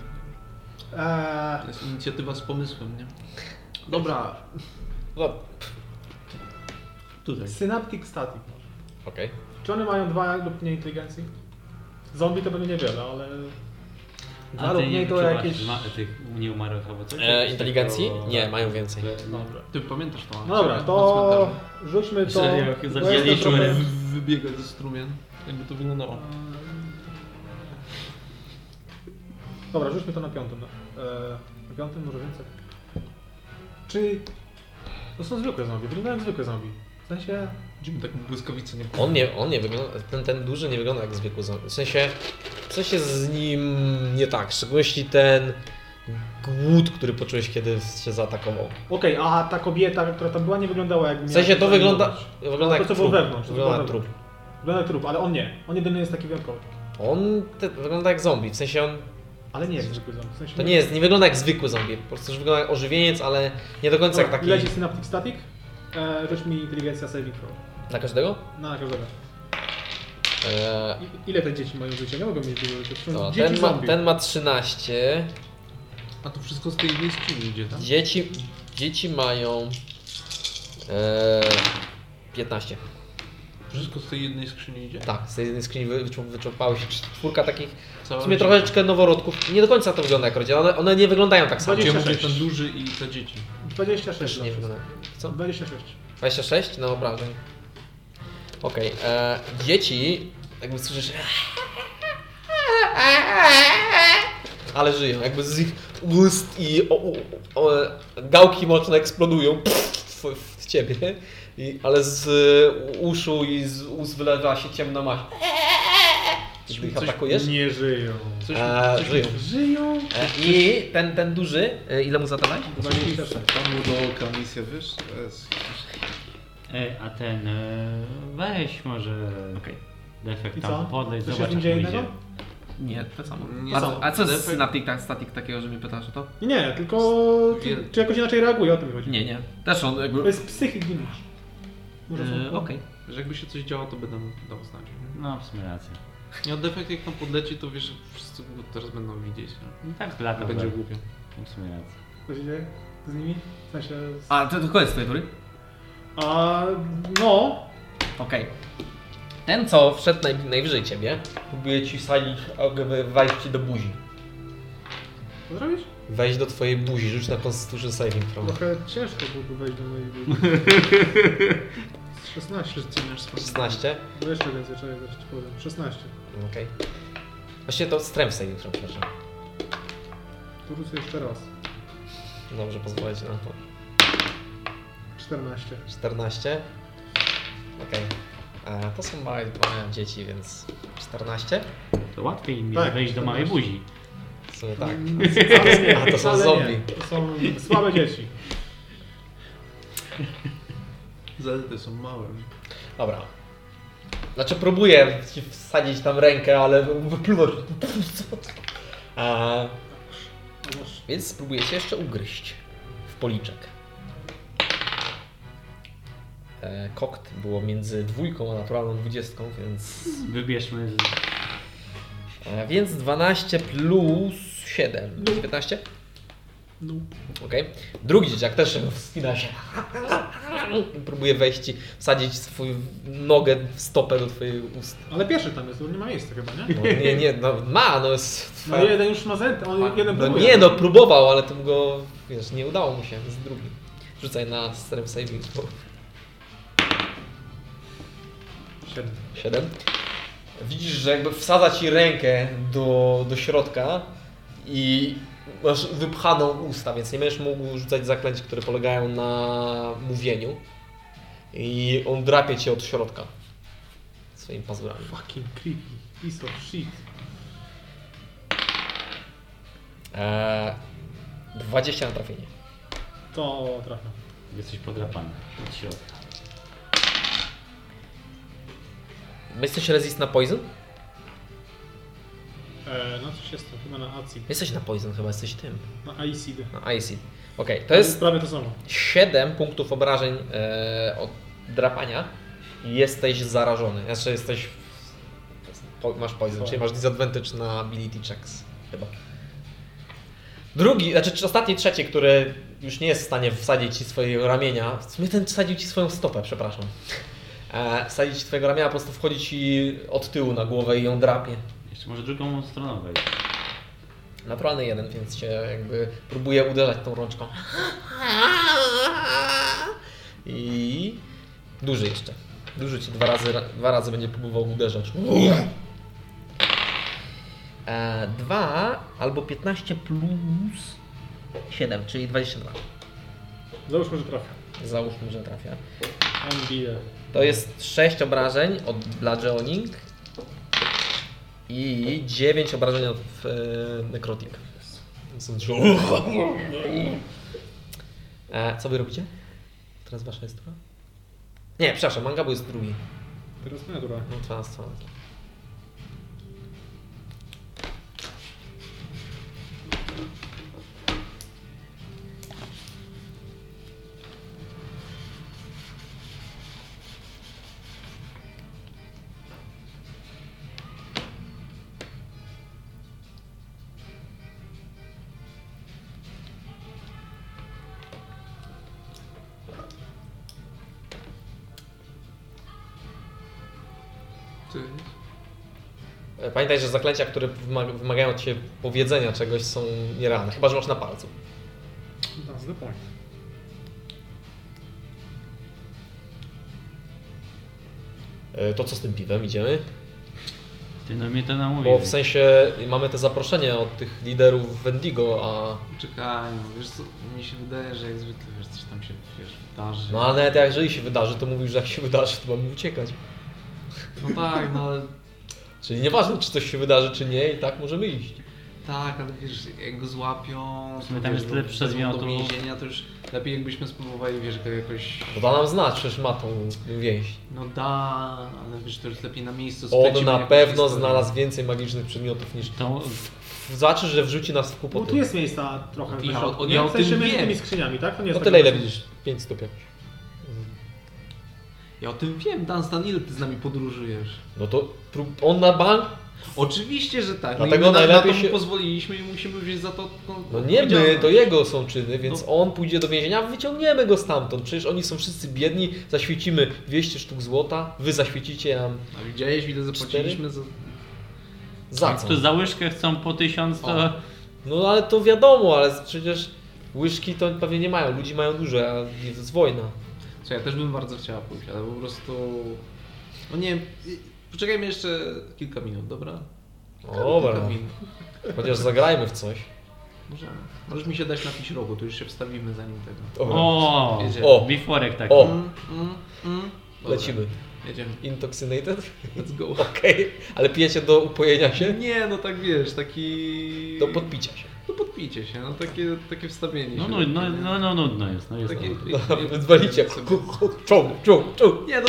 S1: Eee,
S5: To jest inicjatywa z pomysłem, nie? Dobra,
S2: No,
S5: tutaj.
S1: synaptic static.
S2: okej.
S1: Czy one mają dwa lub mniej inteligencji? Zombie to będzie niewiele, ale... Dwa
S4: A
S1: lub
S4: ty nie
S1: mniej to
S4: wyczułaś
S1: jakieś...
S4: ma- tych nieumarłych albo coś?
S2: E,
S4: Jakieś
S2: inteligencji?
S4: takiego-
S2: Nie, mają więcej.
S1: Dobra.
S5: Ty pamiętasz to?
S1: No dobra, to rzućmy to...
S4: Myślę, że jak
S1: to
S4: zadzieliśmy-
S1: jest to trochę-
S5: Wybiega ze strumien. Jakby to wyglądało.
S1: Dobra, rzućmy to na piątym. no. E, Na piątym może więcej. Czy... To są zwykłe zombie, wyglądają jak zwykłe zombie. W sensie...
S5: Widzimy taką błyskawicę, nie?
S2: On nie, on nie wygląda, ten, ten duży nie wygląda jak zwykły zombie. W sensie, coś jest z nim nie tak, w szczególności ten głód, który poczułeś, kiedy się zaatakował.
S1: Okej, aha, ta kobieta, która tam była, nie wyglądała jak...
S2: W
S1: miała
S2: sensie to
S1: coś
S2: wygląda,
S1: zajmować.
S2: wygląda
S1: To,
S2: jak
S1: co było
S2: trup.
S1: wewnątrz, to
S2: Wygląda
S1: było
S2: jak trup.
S1: Wygląda jak trup, ale on nie. On jedyny jest taki wyjątkowy.
S2: On te, wygląda jak zombie, w sensie on
S1: Ale nie jak zwykły zombie. W sensie
S2: To nie jest, nie wygląda jak zwykły zombie. Po prostu już wygląda jak ożywieniec, ale nie do końca jak
S1: Dobra,
S2: taki.
S1: Leci synaptic static. E, rzuć mi inteligencja saving throw.
S2: Na każdego?
S1: Na każdego.
S2: Eee,
S1: I, ile te dzieci mają życia? Nie mogą mieć dużo życia. To są
S2: to,
S1: dzieci
S2: ten, ma,
S1: zombie.
S2: ten ma 13.
S5: A to wszystko z tej wiejskini idzie, tak?
S2: Dzieci, dzieci mają eee, 15.
S5: Wszystko z tej jednej skrzyni idzie.
S2: Tak, z tej jednej skrzyni wy- wyczu- wyczerpały się czwórka takich. W
S5: Cała
S2: sumie
S5: rodzina.
S2: troszeczkę noworodków. Nie do końca to wygląda jak rodzina. One, one nie wyglądają tak samo.
S1: Dwadzieścia-
S5: Gdzie mówię
S1: 26.
S5: ten duży i te dzieci.
S2: Też
S1: 26
S2: nie
S1: dla
S2: wyglądają. Co?
S1: 26.
S2: 26 na obrażeń. No, Okej, e, dzieci, jakby słyszysz. Ale żyją, jakby z ich ust i o, u- o, gałki moczne eksplodują w, w ciebie, I, ale z uszu i z ust wylewa się ciemna maść. Żeby ich atakujesz?
S1: Nie żyją.
S5: Coś,
S2: A,
S5: coś
S2: Eee, żyją.
S1: Żyją?
S2: E, I ten, ten duży, e, ile mu zadawałeś?
S1: 26.
S5: Tam mu do oka misja, wiesz?
S4: E, a ten e, weź może
S10: Okej.
S4: defekt
S1: I
S4: tam
S1: co?
S4: podleć,
S1: Coś
S4: zobacz jak
S1: będzie
S4: mu idzie.
S1: innego?
S10: Nie, to samo.
S5: Nie
S10: a,
S5: są.
S10: a co jest
S5: Defekt.
S10: static, tak, static takiego, że mnie pytasz o to?
S1: Nie, tylko czy,
S5: Wiel-
S1: czy jakoś inaczej reaguje, o tym mi chodzi.
S10: Nie, nie. Też on jakby...
S1: To jest psychik, nie masz. Może są
S2: y, E,
S10: Yy,
S1: kłopoty.
S10: Okej.
S5: Że jakby się coś działo, to będę dał znać.
S4: No w sumie racja.
S5: Nie od defekt jak tam podleci, to wiesz, że wszyscy go teraz będą widzieć. nie?
S4: No tak lata
S5: Będzie głupio.
S4: W sumie racja.
S1: Co się dzieje z nimi? W sensie... Z...
S10: A, to, to koniec twojej tury?
S1: A, no,
S2: Okej. Ten, co wszedł naj, najwyżej ciebie, próbuje ci wsadzić, jakby wejść ci do buzi.
S1: co zrobisz?
S2: Wejść do twojej buzi, rzuć na Constitution Saving Throw.
S1: Trochę ciężko byłoby wejść do mojej gry. Z 16.
S5: Wszyscy masz swoje.
S2: 16.
S1: No jeszcze więcej, czekaj, zaraz ci powiem. 16.
S2: Okej. Właśnie to Strength Saving Throw, przepraszam.
S1: Tu rzucę jeszcze raz.
S2: Dobrze, pozwolę ci na to.
S1: 14.
S2: 14. Okej. A, To są małe, małe dzieci, więc 14?
S4: To łatwiej mi
S1: Tak,
S4: wejść do małej
S1: to
S4: buzi.
S2: W sumie
S1: <laughs>
S2: tak.
S1: Mm, Wcale nie,
S2: A, to są
S1: wcale
S2: zombie.
S1: nie. To są słabe dzieci.
S5: Zalety są małe.
S2: Dobra. Znaczy próbuję ci wsadzić tam rękę, ale wypluwasz. Co to? A,
S1: A masz-
S2: więc spróbuję się jeszcze ugryźć w policzek. E, kokt było między dwójką a naturalną dwudziestką, więc...
S4: Wybierzmy z...
S2: E, więc 12 plus 7. 19?
S1: No.
S2: Okej. Drugi dzieciak też wspina się. Próbuje wejść i wsadzić swoją nogę w stopę do twojej ust.
S1: Ale pierwszy tam jest, bo nie ma miejsca chyba, nie?
S2: No, nie, nie, no ma, no jest...
S1: No jeden już ma zęty, on jeden
S2: No
S1: próbuje.
S2: nie, no próbował, ale to mu go, wiesz, nie udało mu się z drugim. Rzucaj na strength saving throw.
S1: Siedem.
S2: 7. Widzisz, że jakby wsadza ci rękę do, do środka i masz wypchaną usta, więc nie będziesz mógł rzucać zaklęć, które polegają na mówieniu. I on drapie cię od środka swoimi pazurami.
S1: Fucking creepy. Piece of shit.
S2: Eee, 20 na trafienie.
S1: To trafia.
S4: Jesteś podrapany od środka.
S2: Jesteś resist na poison?
S1: E, no coś jest to, chyba na ACID.
S2: Jesteś na poison, chyba jesteś tym.
S1: Na ACID.
S2: Na acid. Okej, to jest
S1: prawie to samo.
S2: 7 punktów obrażeń e, od drapania i jesteś zarażony. Znaczy jesteś. Po, masz poison, czyli masz disadvantage na ability checks. Chyba. Drugi, znaczy ostatni, trzeci, który już nie jest w stanie wsadzić ci swojego ramienia. W sumie ten wsadził ci swoją stopę, przepraszam. E, wsadzić ci twojego ramienia, po prostu wchodzi ci od tyłu na głowę i ją drapie.
S4: Jeszcze może drugą stroną wejść.
S2: Naturalny jeden, więc się jakby próbuje uderzać tą rączką. I duży jeszcze. Duży ci dwa razy, dwa razy będzie próbował uderzać. E, Dwa albo 15 plus 7, czyli 22.
S1: Załóżmy, że trafia.
S2: Załóżmy, że trafia.
S1: NBA.
S2: To jest 6 obrażeń od bludgeoning i 9 obrażeń od e, necrotic. Są trzy- E, co wy robicie? Teraz wasza jest tura? Nie, przepraszam, Mangabu jest drugi.
S1: Teraz moja tura.
S2: No, 12.
S5: Ty.
S2: E, Pamiętaj, że zaklęcia, które wymaga- wymagają od ciebie powiedzenia czegoś są nierane, chyba że masz na palcu.
S1: That's the point.
S2: E, to co z tym piwem, idziemy?
S4: Ty no mnie to namówił.
S2: Bo w sensie mamy te zaproszenie od tych liderów Wendigo, a
S5: Czekaj, no wiesz co, mi się wydaje, że jak zwykle wiesz, coś tam się wiesz, wydarzy.
S2: No ale nawet jak jeżeli się wydarzy, to mówisz, że jak się wydarzy, to mamy uciekać.
S5: No tak, no ale
S2: Czyli nieważne, czy coś się wydarzy, czy nie, i tak możemy iść.
S5: Tak, ale wiesz, jak go złapią...
S4: W sumie tam jest tyle
S5: wezmą
S4: przedmiotów.
S5: Do więzienia to już lepiej jakbyśmy spróbowali, wiesz, to jakoś...
S2: Bo da nam znać, przecież ma tą więź.
S5: No da, ale wiesz, to już lepiej na miejscu
S2: On
S5: splecimy
S2: na
S5: jakąś
S2: pewno
S5: historię.
S2: znalazł więcej magicznych przedmiotów niż...
S4: To
S2: Zobaczysz, że wrzuci nas w
S1: Bo
S2: kłopoty.
S1: No tu jest miejsca trochę
S5: Ja
S1: na
S5: o-
S1: środku,
S5: ja
S1: nie?
S5: o
S1: W sensie
S5: tym
S1: między
S5: wiem.
S1: tymi skrzyniami, tak? To nie jest
S2: No
S1: tak
S2: tyle, ile
S1: bardzo-
S2: widzisz. 5 stóp jakoś.
S5: Ja o tym wiem, Dan Stan, ile ty z nami podróżujesz?
S2: No to prób- on na bank...
S5: Oczywiście, że tak.
S2: Dlatego
S5: no i my na, na to
S2: najlepiej
S5: mu
S2: się-
S5: pozwoliliśmy i musimy wziąć za to... No,
S2: No nie my,
S5: odpowiedzialność.
S2: to jego są czyny, więc
S5: No.
S2: on pójdzie do więzienia, wyciągniemy go stamtąd. Przecież oni są wszyscy biedni, zaświecimy 200 sztuk złota, wy zaświecicie nam
S5: A widziałeś, ile zapłaciliśmy za...
S2: za
S5: Tak,
S4: jak
S2: co?
S4: tu za łyżkę chcą po tysiąc, to
S2: No ale to wiadomo, ale przecież łyżki to pewnie nie mają, ludzi mają dużo, a jest wojna.
S5: Co, ja też bym bardzo chciała pójść, ale po prostu... No nie, y, poczekajmy jeszcze kilka minut, dobra?
S2: Dobra,
S5: Kilka minut.
S2: chociaż zagrajmy w coś.
S5: Możemy. Możesz mi się dać napić rogu, to już się wstawimy zanim tego.
S2: Dobra,
S4: o,
S5: Jedzie.
S2: O.
S4: biforek taki.
S2: O.
S5: Mm, mm, mm. Dobra,
S2: lecimy.
S5: Jedziemy.
S2: Intoxicated?
S5: Let's go.
S2: <laughs> Okej, ale pijecie do upojenia się?
S5: Nie, no tak wiesz, taki...
S2: Do podpicia się.
S5: No podpicie się, no takie, takie wstawienie
S4: No,
S5: się.
S4: no, no, no, no nudno jest, no jest.
S5: Takie...
S4: nudno.
S2: Wywalicie.
S5: sobie-
S2: <laughs> Czum, czum, czum.
S5: Nie, no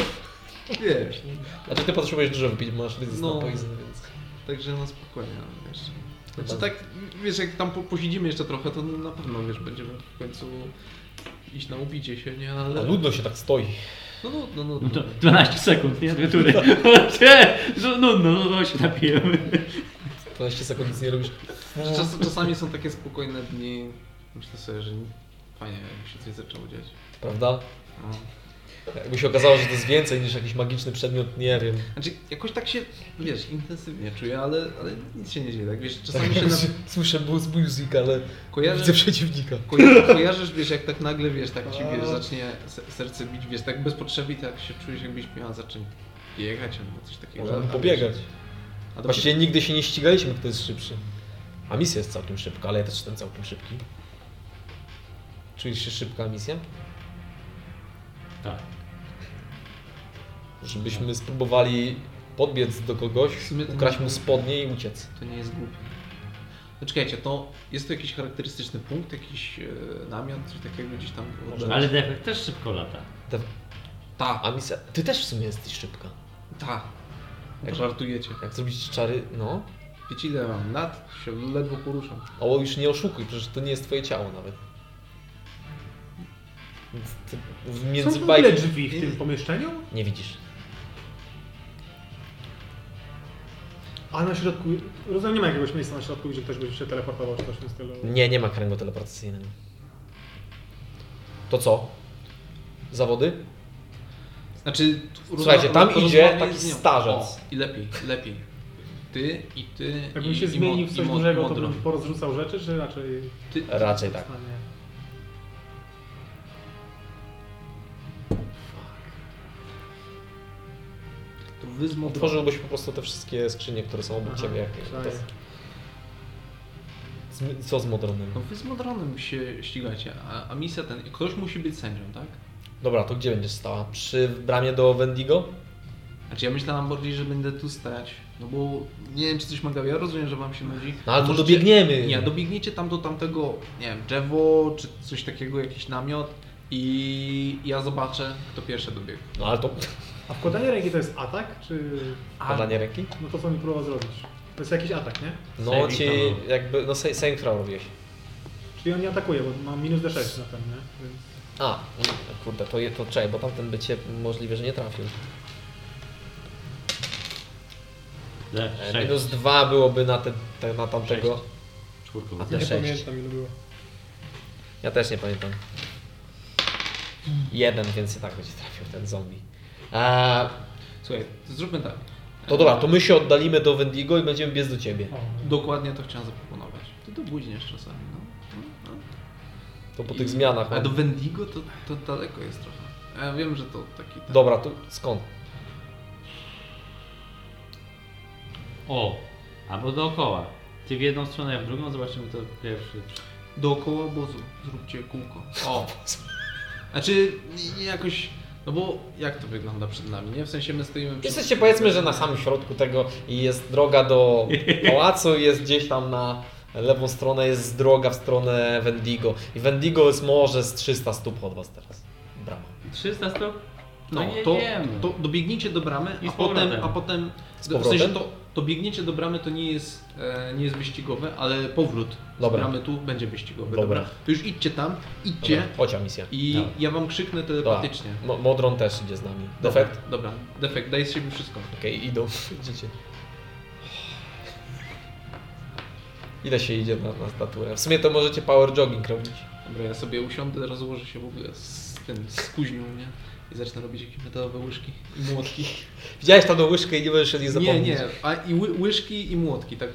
S5: wiesz,
S2: Znaczy ty potrzebujesz dużo wypić, bo masz resist
S5: No.
S2: na poison, więc...
S5: także no spokojnie, no jeszcze. Znaczy tak, wiesz, jak tam po- posiedzimy jeszcze trochę, to na pewno, wiesz, będziemy w końcu iść na ubicie się, nie, ale...
S2: A nudno się tak stoi.
S5: No nudno,
S4: No
S5: nudno.
S4: to 12 sekund, nie? Dwie <laughs> tury. No nudno, no, no się napijemy.
S2: 12 sekund nic nie robisz.
S5: Że Czas, czasami są takie spokojne dni, myślę sobie, że fajnie, jakby się coś zaczęło dziać.
S2: Prawda?
S5: No.
S2: Jakby się okazało, że to jest więcej niż jakiś magiczny przedmiot, nie wiem.
S5: Znaczy, jakoś tak się, wiesz, intensywnie czuję, ale, ale nic się nie dzieje, tak wiesz,
S2: <laughs>
S5: czasami się na...
S2: Słyszę blues music, ale widzę
S5: kojarzysz,
S2: przeciwnika.
S5: koja- kojarzysz, wiesz, jak tak nagle, wiesz, tak ci, wiesz, zacznie se- serce bić, wiesz, tak bez potrzeby, tak się czujesz, jakbyś miała zacząć biegać albo coś takiego.
S2: Możemy pobiegać.
S5: A to
S2: Właściwie nigdy się nie ścigaliśmy, kto jest szybszy. A misja jest całkiem szybka, ale ja też jestem całkiem szybki. Czujesz się szybka misja?
S4: Tak.
S2: Żebyśmy spróbowali podbiec do kogoś,
S5: W sumie to
S2: ukraść
S5: nie-
S2: mu spodnie i uciec.
S5: To nie jest głupie. No czekajcie, to jest to jakiś charakterystyczny punkt, jakiś e, namiot, coś takiego gdzieś tam...
S2: Może.
S4: Ale defekt też szybko lata.
S2: Te-
S5: Tak,
S2: A misja... Ty też w sumie jesteś szybka.
S5: tak.
S2: Jak-
S5: Jak żartujecie.
S2: Jak zrobić czary... no.
S5: Wiecie ile mam lat? Się ledwo poruszam.
S2: O, już nie oszukuj, przecież to nie jest twoje ciało nawet. Więc ty w-
S1: Są
S2: Między
S1: tu ile
S2: bajki...
S1: drzwi w tym pomieszczeniu?
S2: Nie widzisz.
S1: A na środku, rozumiem, nie ma jakiegoś miejsca na środku, gdzie ktoś by się teleportował czy coś w tym stylu.
S2: Nie, nie ma kręgu teleportacyjnego. To co? Zawody?
S5: Znaczy,
S2: Słuchajcie, tam
S5: rozma-
S2: idzie
S5: rozmawiaj
S2: taki
S5: z nią.
S2: starzec.
S5: O, I lepiej, lepiej. Ty i ty.
S1: Jakbym
S5: i,
S1: się
S5: i
S1: zmienił
S5: mo-
S1: w
S5: i
S1: coś
S5: mo-
S1: dużego, to
S5: modro.
S1: bym porozrzucał rzeczy, czy raczej...
S5: Ty,
S2: Raczej tak.
S1: A nie.
S5: to wy z modro.
S2: Otworzyłbyś po prostu te wszystkie skrzynie, które są obok
S1: Aha,
S2: ciebie. Jak,
S1: przynajmniej.
S2: to, z, co z modronym?
S5: No wy z modronem się ścigacie, a, a misja ten. Ktoś musi być sędzią, tak?
S2: Dobra, to gdzie będziesz stała? Przy bramie do Wendigo?
S5: Znaczy ja myślałam bardziej, że będę tu stać. No bo nie wiem czy coś ma Ja rozumiem, że wam się nudzi.
S2: No ale to
S5: Możecie-
S2: dobiegniemy.
S5: Nie, dobiegniecie tam do tamtego, nie wiem, drzewo czy coś takiego, jakiś namiot i ja zobaczę, kto pierwszy dobiegł.
S2: No ale to
S1: A wkładanie ręki to jest atak, czy...
S2: podanie ręki?
S1: No to co mi próbował zrobić? To jest jakiś atak, nie?
S2: No
S4: Saving
S2: ci
S4: throw.
S2: jakby, no sa- saving throw robiłeś.
S1: Czyli on nie atakuje, bo mam minus D6 na ten, nie? Więc...
S2: A, mm, kurde, to, je- to czekaj, bo tamten by cię możliwe, że nie trafił. E,
S4: Def,
S2: E,
S4: sześć.
S2: Minus dwa byłoby na, te, te, na tamtego.
S4: Sześć. Czwórką.
S2: A te
S1: Nie
S2: sześć.
S1: pamiętam ilu było.
S2: Ja też nie pamiętam. Jeden, więc i tak będzie trafił ten zombie. A,
S5: Słuchaj, zróbmy tak.
S2: to dobra, to my się oddalimy do Wendigo i będziemy biec do ciebie.
S5: Dokładnie to chciałem zaproponować. Ty to bluźniesz czasami, no. no. no.
S2: To po
S5: I-
S2: tych zmianach. no.
S5: A do
S2: mam-
S5: Wendigo to, to daleko jest trochę. Ja wiem, że to taki... Ten...
S2: Dobra, to skąd?
S4: O, albo dookoła. Ty w jedną stronę, ja w drugą, zobaczymy to pierwszy.
S5: tak, Dookoła obozu. Zróbcie kółko. O! Znaczy, nie- nie jakoś... No bo jak to wygląda przed nami, nie? W sensie my stoimy... przed-
S2: <laughs> Jesteście powiedzmy, że na samym środku tego i jest droga
S5: <laughs>
S2: do pałacu, jest gdzieś tam na lewą stronę, jest droga w stronę Wendigo. I Wendigo jest może z 300 stóp od was teraz. Brama.
S11: 300 stóp?
S5: No,
S4: No nie
S5: to,
S4: wiemy.
S5: to dobiegnijcie do bramy,
S4: I
S5: a
S4: z powrotem.
S5: potem, a potem
S2: Z
S5: w sensie
S2: powrotem?
S5: to, to biegniecie do bramy to nie jest, e, nie jest wyścigowe, ale powrót
S2: Dobra.
S5: z bramy tu będzie wyścigowy.
S2: Dobra.
S5: To już idźcie tam, idźcie
S2: Dobra, chodź misja.
S5: i
S4: Dobra.
S5: ja wam krzyknę
S2: Dobra.
S5: telepatycznie.
S2: Mo- Modron też idzie z nami. Defekt?
S5: Dobra, dobra. defekt, daj z siebie wszystko.
S2: Okej, idą. <laughs> Idziecie. Ile się idzie na, na staturę? W sumie to możecie power jogging robić.
S5: Dobra, ja sobie usiądę, rozłożę się w ogóle z tym, z kuźnią, nie? I zacznę robić jakieś metalowe łyżki i młotki.
S2: Widziałeś tą łyżkę i nie będziesz o niej
S5: Nie,
S2: zapomnieć.
S5: nie, a i ły, łyżki i młotki, tak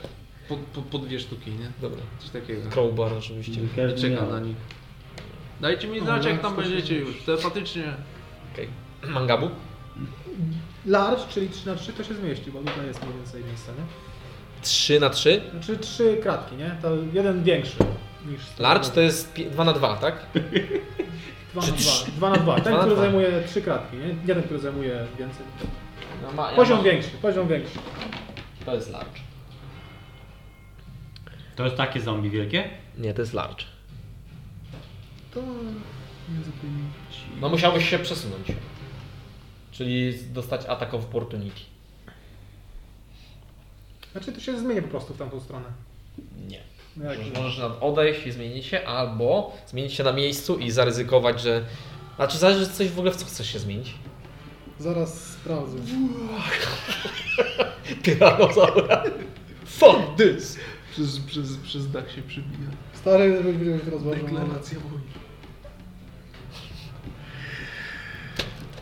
S5: po, po, po dwie sztuki, nie?
S2: Dobra.
S5: Coś takiego.
S2: Crowbar oczywiście.
S5: Ja czekam na nich. Dajcie mi znać, jak tam będziecie już, telepatycznie.
S2: Okej. Mangabu?
S1: Large, czyli 3 na 3 to się zmieści, bo tutaj jest mniej więcej miejsca, nie?
S2: 3 na 3
S1: Znaczy 3 kratki, nie? To jeden większy niż... sto-
S2: Large to jest 2 na 2, tak?
S1: Dwa na dwa. Dwa na dwa. Ten,
S2: Dwa na
S1: który
S2: dwa.
S1: zajmuje trzy kratki, nie? Jeden, który zajmuje więcej.
S2: No ma,
S1: Poziom większy, poziom większy.
S2: To jest large.
S4: To jest takie zombie wielkie?
S2: Nie, to jest large.
S1: To... między tymi-
S2: No musiałbyś się przesunąć. Czyli dostać atak of opportunity.
S1: Znaczy to się zmieni po prostu w tamtą stronę.
S2: Nie.
S1: No jak-
S2: Możesz- Możesz na- odejść i zmienić się, albo zmienić się na miejscu i zaryzykować, że... Znaczy zależy coś w ogóle w co chcesz się zmienić. <laughs>
S1: Zaraz sprawdzę.
S2: Tyranozaura. Fuck this!
S5: Przez, przez, przez dach się przybija.
S1: Stary, żebyś wiedział, że teraz ważą.
S5: Deklaracja wojny.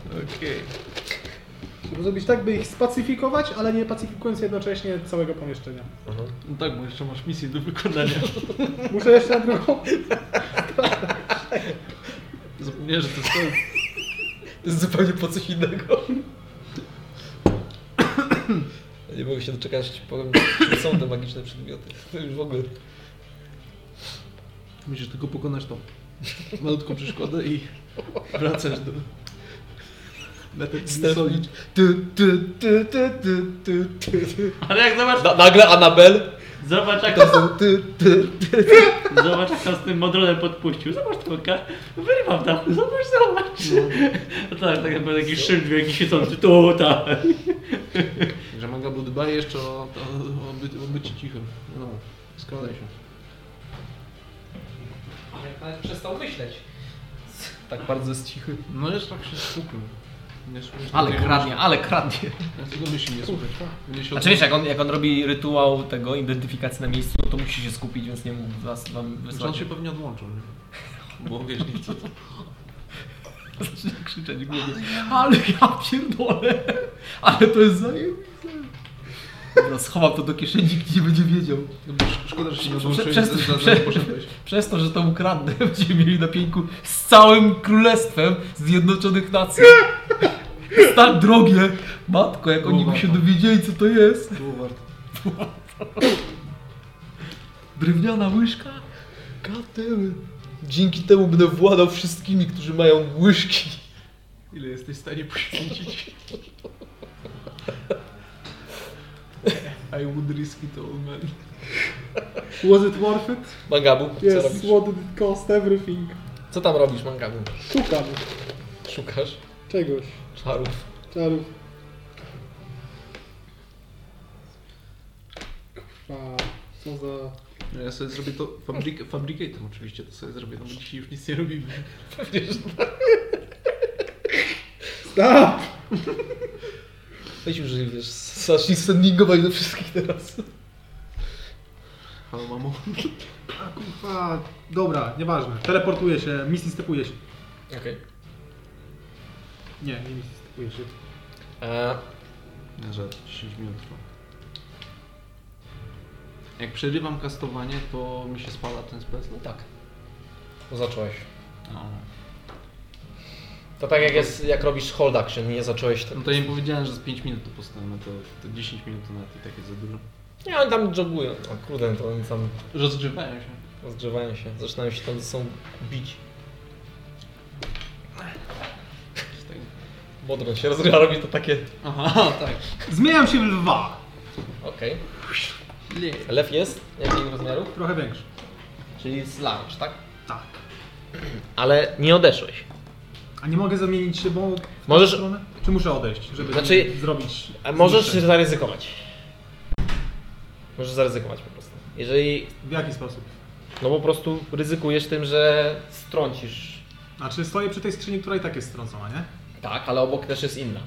S5: Okej.
S1: Żeby zrobić tak, by ich spacyfikować, ale nie pacyfikując jednocześnie całego pomieszczenia.
S5: No tak, bo jeszcze masz misję do <laughs> wykonania.
S1: Muszę jeszcze na drugą.
S5: Zapomniałem, że to jest koniec.
S2: To jest zupełnie po coś innego. Ja Nie mogę się doczekać, aż ci powiem, czym są te magiczne przedmioty. To już w ogóle.
S5: Musisz tylko pokonać tą malutką przeszkodę i wracasz do... Na ten solid.
S2: Ty, ty, ty, ty, ty, ty, ty.
S4: Ale jak zobacz,
S2: Na, nagle Anabel.
S4: zobacz jak,
S2: Ty, ty, ty.
S4: zobacz jak to z tym modronem podpuścił. Zobacz tą kartę, wyrywa w dachu, zobacz, zobacz. No. <laughs> tak, tak jakby taki szyld wielki siedzący tak. tutaj.
S5: Że Mangabu dbaj jeszcze o, o, o, by, o bycie cichym. No, składaj się.
S2: Przestał myśleć. Tak bardzo jest cichy.
S5: No jeszcze tak się skupił. Nie słyszę.
S12: Ale
S5: tego
S12: kradnie, ale kradnie.
S5: myśli- Ja tego myśli nie słyszę.
S1: tak.
S5: Będzie się
S12: Znaczy wiesz, jak on, jak on robi rytuał tego identyfikacji na miejscu, to musi się skupić, więc nie mógł was wam
S5: Znaczy on
S12: wysłać.
S5: się pewnie odłączył, nie? Bo wiesz, nie co to.
S12: Zaczyna krzyczeć w głowie. <laughs> Ale ja pierdolę! Ale to jest zajebiste! Dobra, schowam to do kieszeni, gdzie nie będzie wiedział.
S5: No bo sz- szkoda, że się nie
S12: Prze-
S5: odłączyłeś,
S12: przez-
S5: że za- za
S12: prze-
S5: nie poszedłeś.
S12: Przez to, że to ukradnę, <laughs> będziemy mieli na pieńku z całym królestwem Zjednoczonych Nacji. <laughs> Jest tak drogie! Matko, jak oni by się dowiedzieli, co to jest.
S5: Było warto.
S12: Drewniana łyżka?
S2: Katemy. Dzięki temu będę władał wszystkimi, którzy mają łyżki.
S5: Ile jesteś w stanie <laughs> poświęcić? I would risk it all, man.
S1: Was it worth it?
S2: Mangabu, co
S1: Yes,
S2: robisz?
S1: what it cost everything.
S2: Co tam robisz, Mangabu?
S1: Szukam
S2: Szukasz
S1: czegoś.
S2: czarów.
S1: Czarów. Kurwa, co za...
S5: No ja sobie zrobię to fabryk fabrykatem oczywiście, to sobie zrobię, no bo dzisiaj już nic nie robimy.
S1: Stop!
S2: Weź już, wiesz, zacznij sendingować do wszystkich teraz.
S5: Halo mamo.
S1: A kurwa, dobra, nieważne. Teleportuję się, misji stepuje się.
S2: Okej.
S1: Nie, nie misji stepuje się.
S2: E,
S5: Nie, że 10 minut trwa. Jak przerywam kastowanie, to mi się spala ten spell slot?
S2: tak. No zacząłeś. To tak jak, jest, jak robisz hold action, nie zacząłeś... Te...
S5: No to ja im powiedziałem, że z 5 minut to postanę, to, to 10 minut to nawet i tak jest za dużo.
S2: Nie, oni tam jogują. O kurde, to oni tam
S5: Rozgrzewają się.
S2: rozgrzewają się. Zaczynają się tam ze sobą bić.
S5: Z tego.
S2: Bodron się rozgrywa, robi to takie...
S5: Aha, tak.
S1: Zmieniam się w lwa.
S2: Okej.
S5: Nie.
S2: Lew jest jakiego rozmiaru?
S1: Trochę większy.
S2: Czyli slouch, tak?
S1: Tak.
S2: Ale nie odeszłeś.
S1: A nie mogę zamienić się, bo. w tą
S2: Możesz-
S1: Stronę? Czy muszę odejść, żeby
S2: Znaczy-
S1: zrobić.
S2: A możesz
S1: zniszczenie?
S2: zaryzykować. Możesz zaryzykować po prostu. Jeżeli...
S1: W jaki sposób?
S2: No po prostu ryzykujesz tym, że strącisz
S1: Znaczy, stoję przy tej skrzyni, która i tak jest strącona, nie?
S2: Tak, ale obok też jest inna.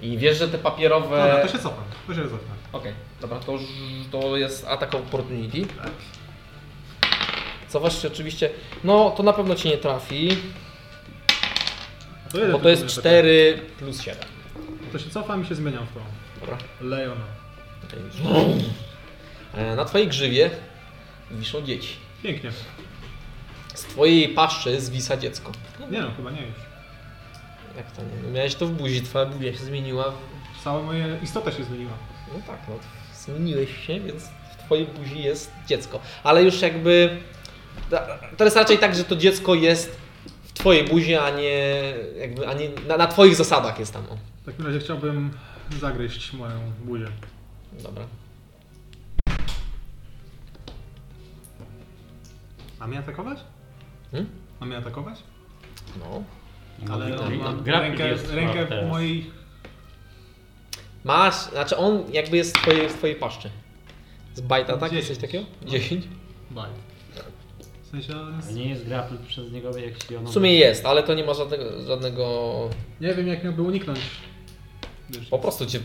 S2: I wiesz, że te papierowe.
S1: Dobra, to się cofam. To się cofam.
S2: Okej, dobra, to, ż- to jest atak opportunity. Cofasz się oczywiście. No, to na pewno cię nie trafi,
S1: A To jeden
S2: bo to
S1: No, tylko tak.
S2: jest
S1: mnie
S2: 4 plus 7.
S1: pyta. To się cofam i się zmieniam w tą.
S2: Dobra.
S1: Leona. <clears throat>
S2: E, Na twojej grzywie wiszą dzieci.
S1: Pięknie.
S2: Z twojej paszczy zwisa dziecko.
S1: Nie no, chyba nie już.
S2: Jak to nie? No miałeś to w buzi, twoja buzia się zmieniła. w-
S1: Cała moja istota się zmieniła.
S2: No tak, no zmieniłeś się, więc w twojej buzi jest dziecko. Ale już jakby. ta- To jest raczej tak, że to dziecko jest w twojej buzi, a nie. Jakby, a nie na, na twoich zasadach jest tam. O.
S1: W takim razie chciałbym zagryźć moją buzię.
S2: Dobra.
S1: A mnie atakować?
S2: Hmm?
S1: A mnie atakować?
S2: No.
S1: Ale
S4: Czyli
S1: mam
S4: grappling
S1: rękę,
S4: jest
S1: rękę
S4: smart
S1: w
S4: teraz.
S1: mojej...
S2: Masz, znaczy on jakby jest w twojej, w twojej paszczy. Z bajta, tak? Jest coś
S1: Dziesięć. No.
S2: takiego? 10?
S1: Baj. W sensie... on
S4: A
S1: jest-
S4: nie jest grapple przez niego, jak
S1: No,
S4: się ono...
S2: W sumie jest, ale to nie ma żadnego. żadnego
S1: Nie wiem jak miałby uniknąć. Wiesz,
S2: po prostu cię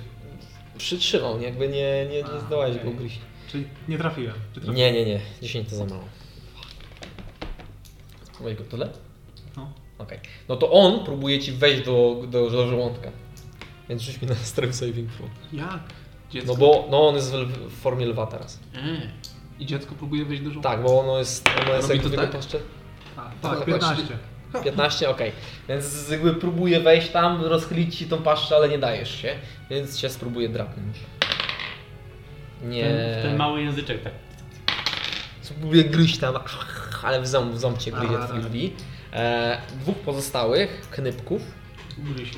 S2: przytrzymał, nie? jakby nie, nie, nie
S1: A,
S2: zdołałeś
S1: okej.
S2: go ugryźć.
S1: Czyli nie trafiłem. Czy trafiłem?
S2: Nie, nie, nie. 10 to za mało. Weź go tyle?
S1: No.
S2: Okej. No to on próbuje ci wejść do, do, do żołądka. Więc rzuć mi na strength saving throw.
S1: Jak?
S5: Dziecko.
S2: No bo no on jest w, lw- w formie lwa teraz.
S5: E, I dziecko próbuje wejść do żołądka.
S2: Tak, bo ono jest, ono jest
S5: Robi
S2: jakby
S5: to tak?
S2: jeszcze
S1: A,
S2: tak,
S1: tak, 15.
S2: 15, okej. Więc jakby próbuje wejść tam, rozchylić ci tą paszczę, ale nie dajesz się. Więc cię spróbuje drapnąć. Nie.
S4: Ten, ten mały języczek tak.
S2: Spróbuję gryźć tam, ale w ząb, w ząb cię gryzie
S1: Aha,
S2: twój
S1: tak.
S2: lwi. E, dwóch pozostałych knypków.
S5: Ugryź.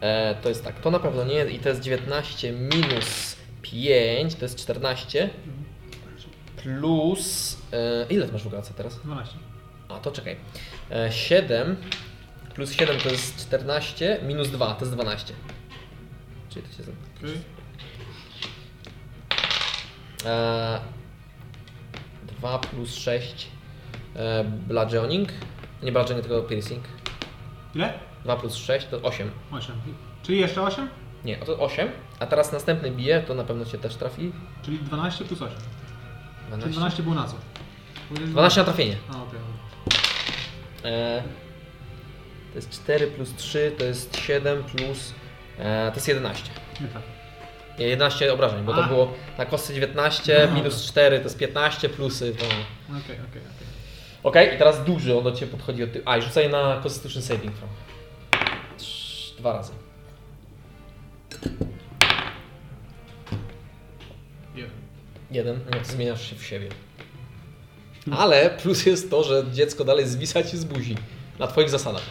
S2: E, to jest tak, to na pewno nie i to jest 19 minus 5, to jest 14. Plus. E, ile ty masz w ogóle AC teraz?
S1: 12.
S2: A to czekaj. E, 7 plus 7 to jest 14, minus 2 to jest 12. Czyli to się zna.
S1: Okej.
S2: E, 2 plus 6 e, bludgeoning. Nie bludgeoning, tylko piercing.
S1: Ile?
S2: 2 plus 6 to 8.
S1: 8. Czyli jeszcze 8?
S2: Nie, to 8. A teraz następny bije, to na pewno cię też trafi.
S1: Czyli 12 plus 8.
S2: 12.
S1: Czyli 12 było na co?
S2: 12 na trafienie.
S1: A, okej. dobra.
S2: E, to jest 4 plus 3, to jest 7 plus... E, to jest 11.
S1: Nie tak.
S2: Nie, 11 obrażeń, bo to
S1: A.
S2: było na kostce 19,
S1: No.
S2: minus 4 to jest 15, plusy to...
S1: Okej, okej, okej.
S2: Okej, i teraz duży, on do Ciebie podchodzi od tyłu. A, i rzucaj na Constitution Saving Throw. Trz- Dwa razy.
S1: Jeden.
S2: Jeden, no to zmieniasz się w siebie. Ale plus jest to, że dziecko dalej zwisa Ci z buzi. Na Twoich zasadach.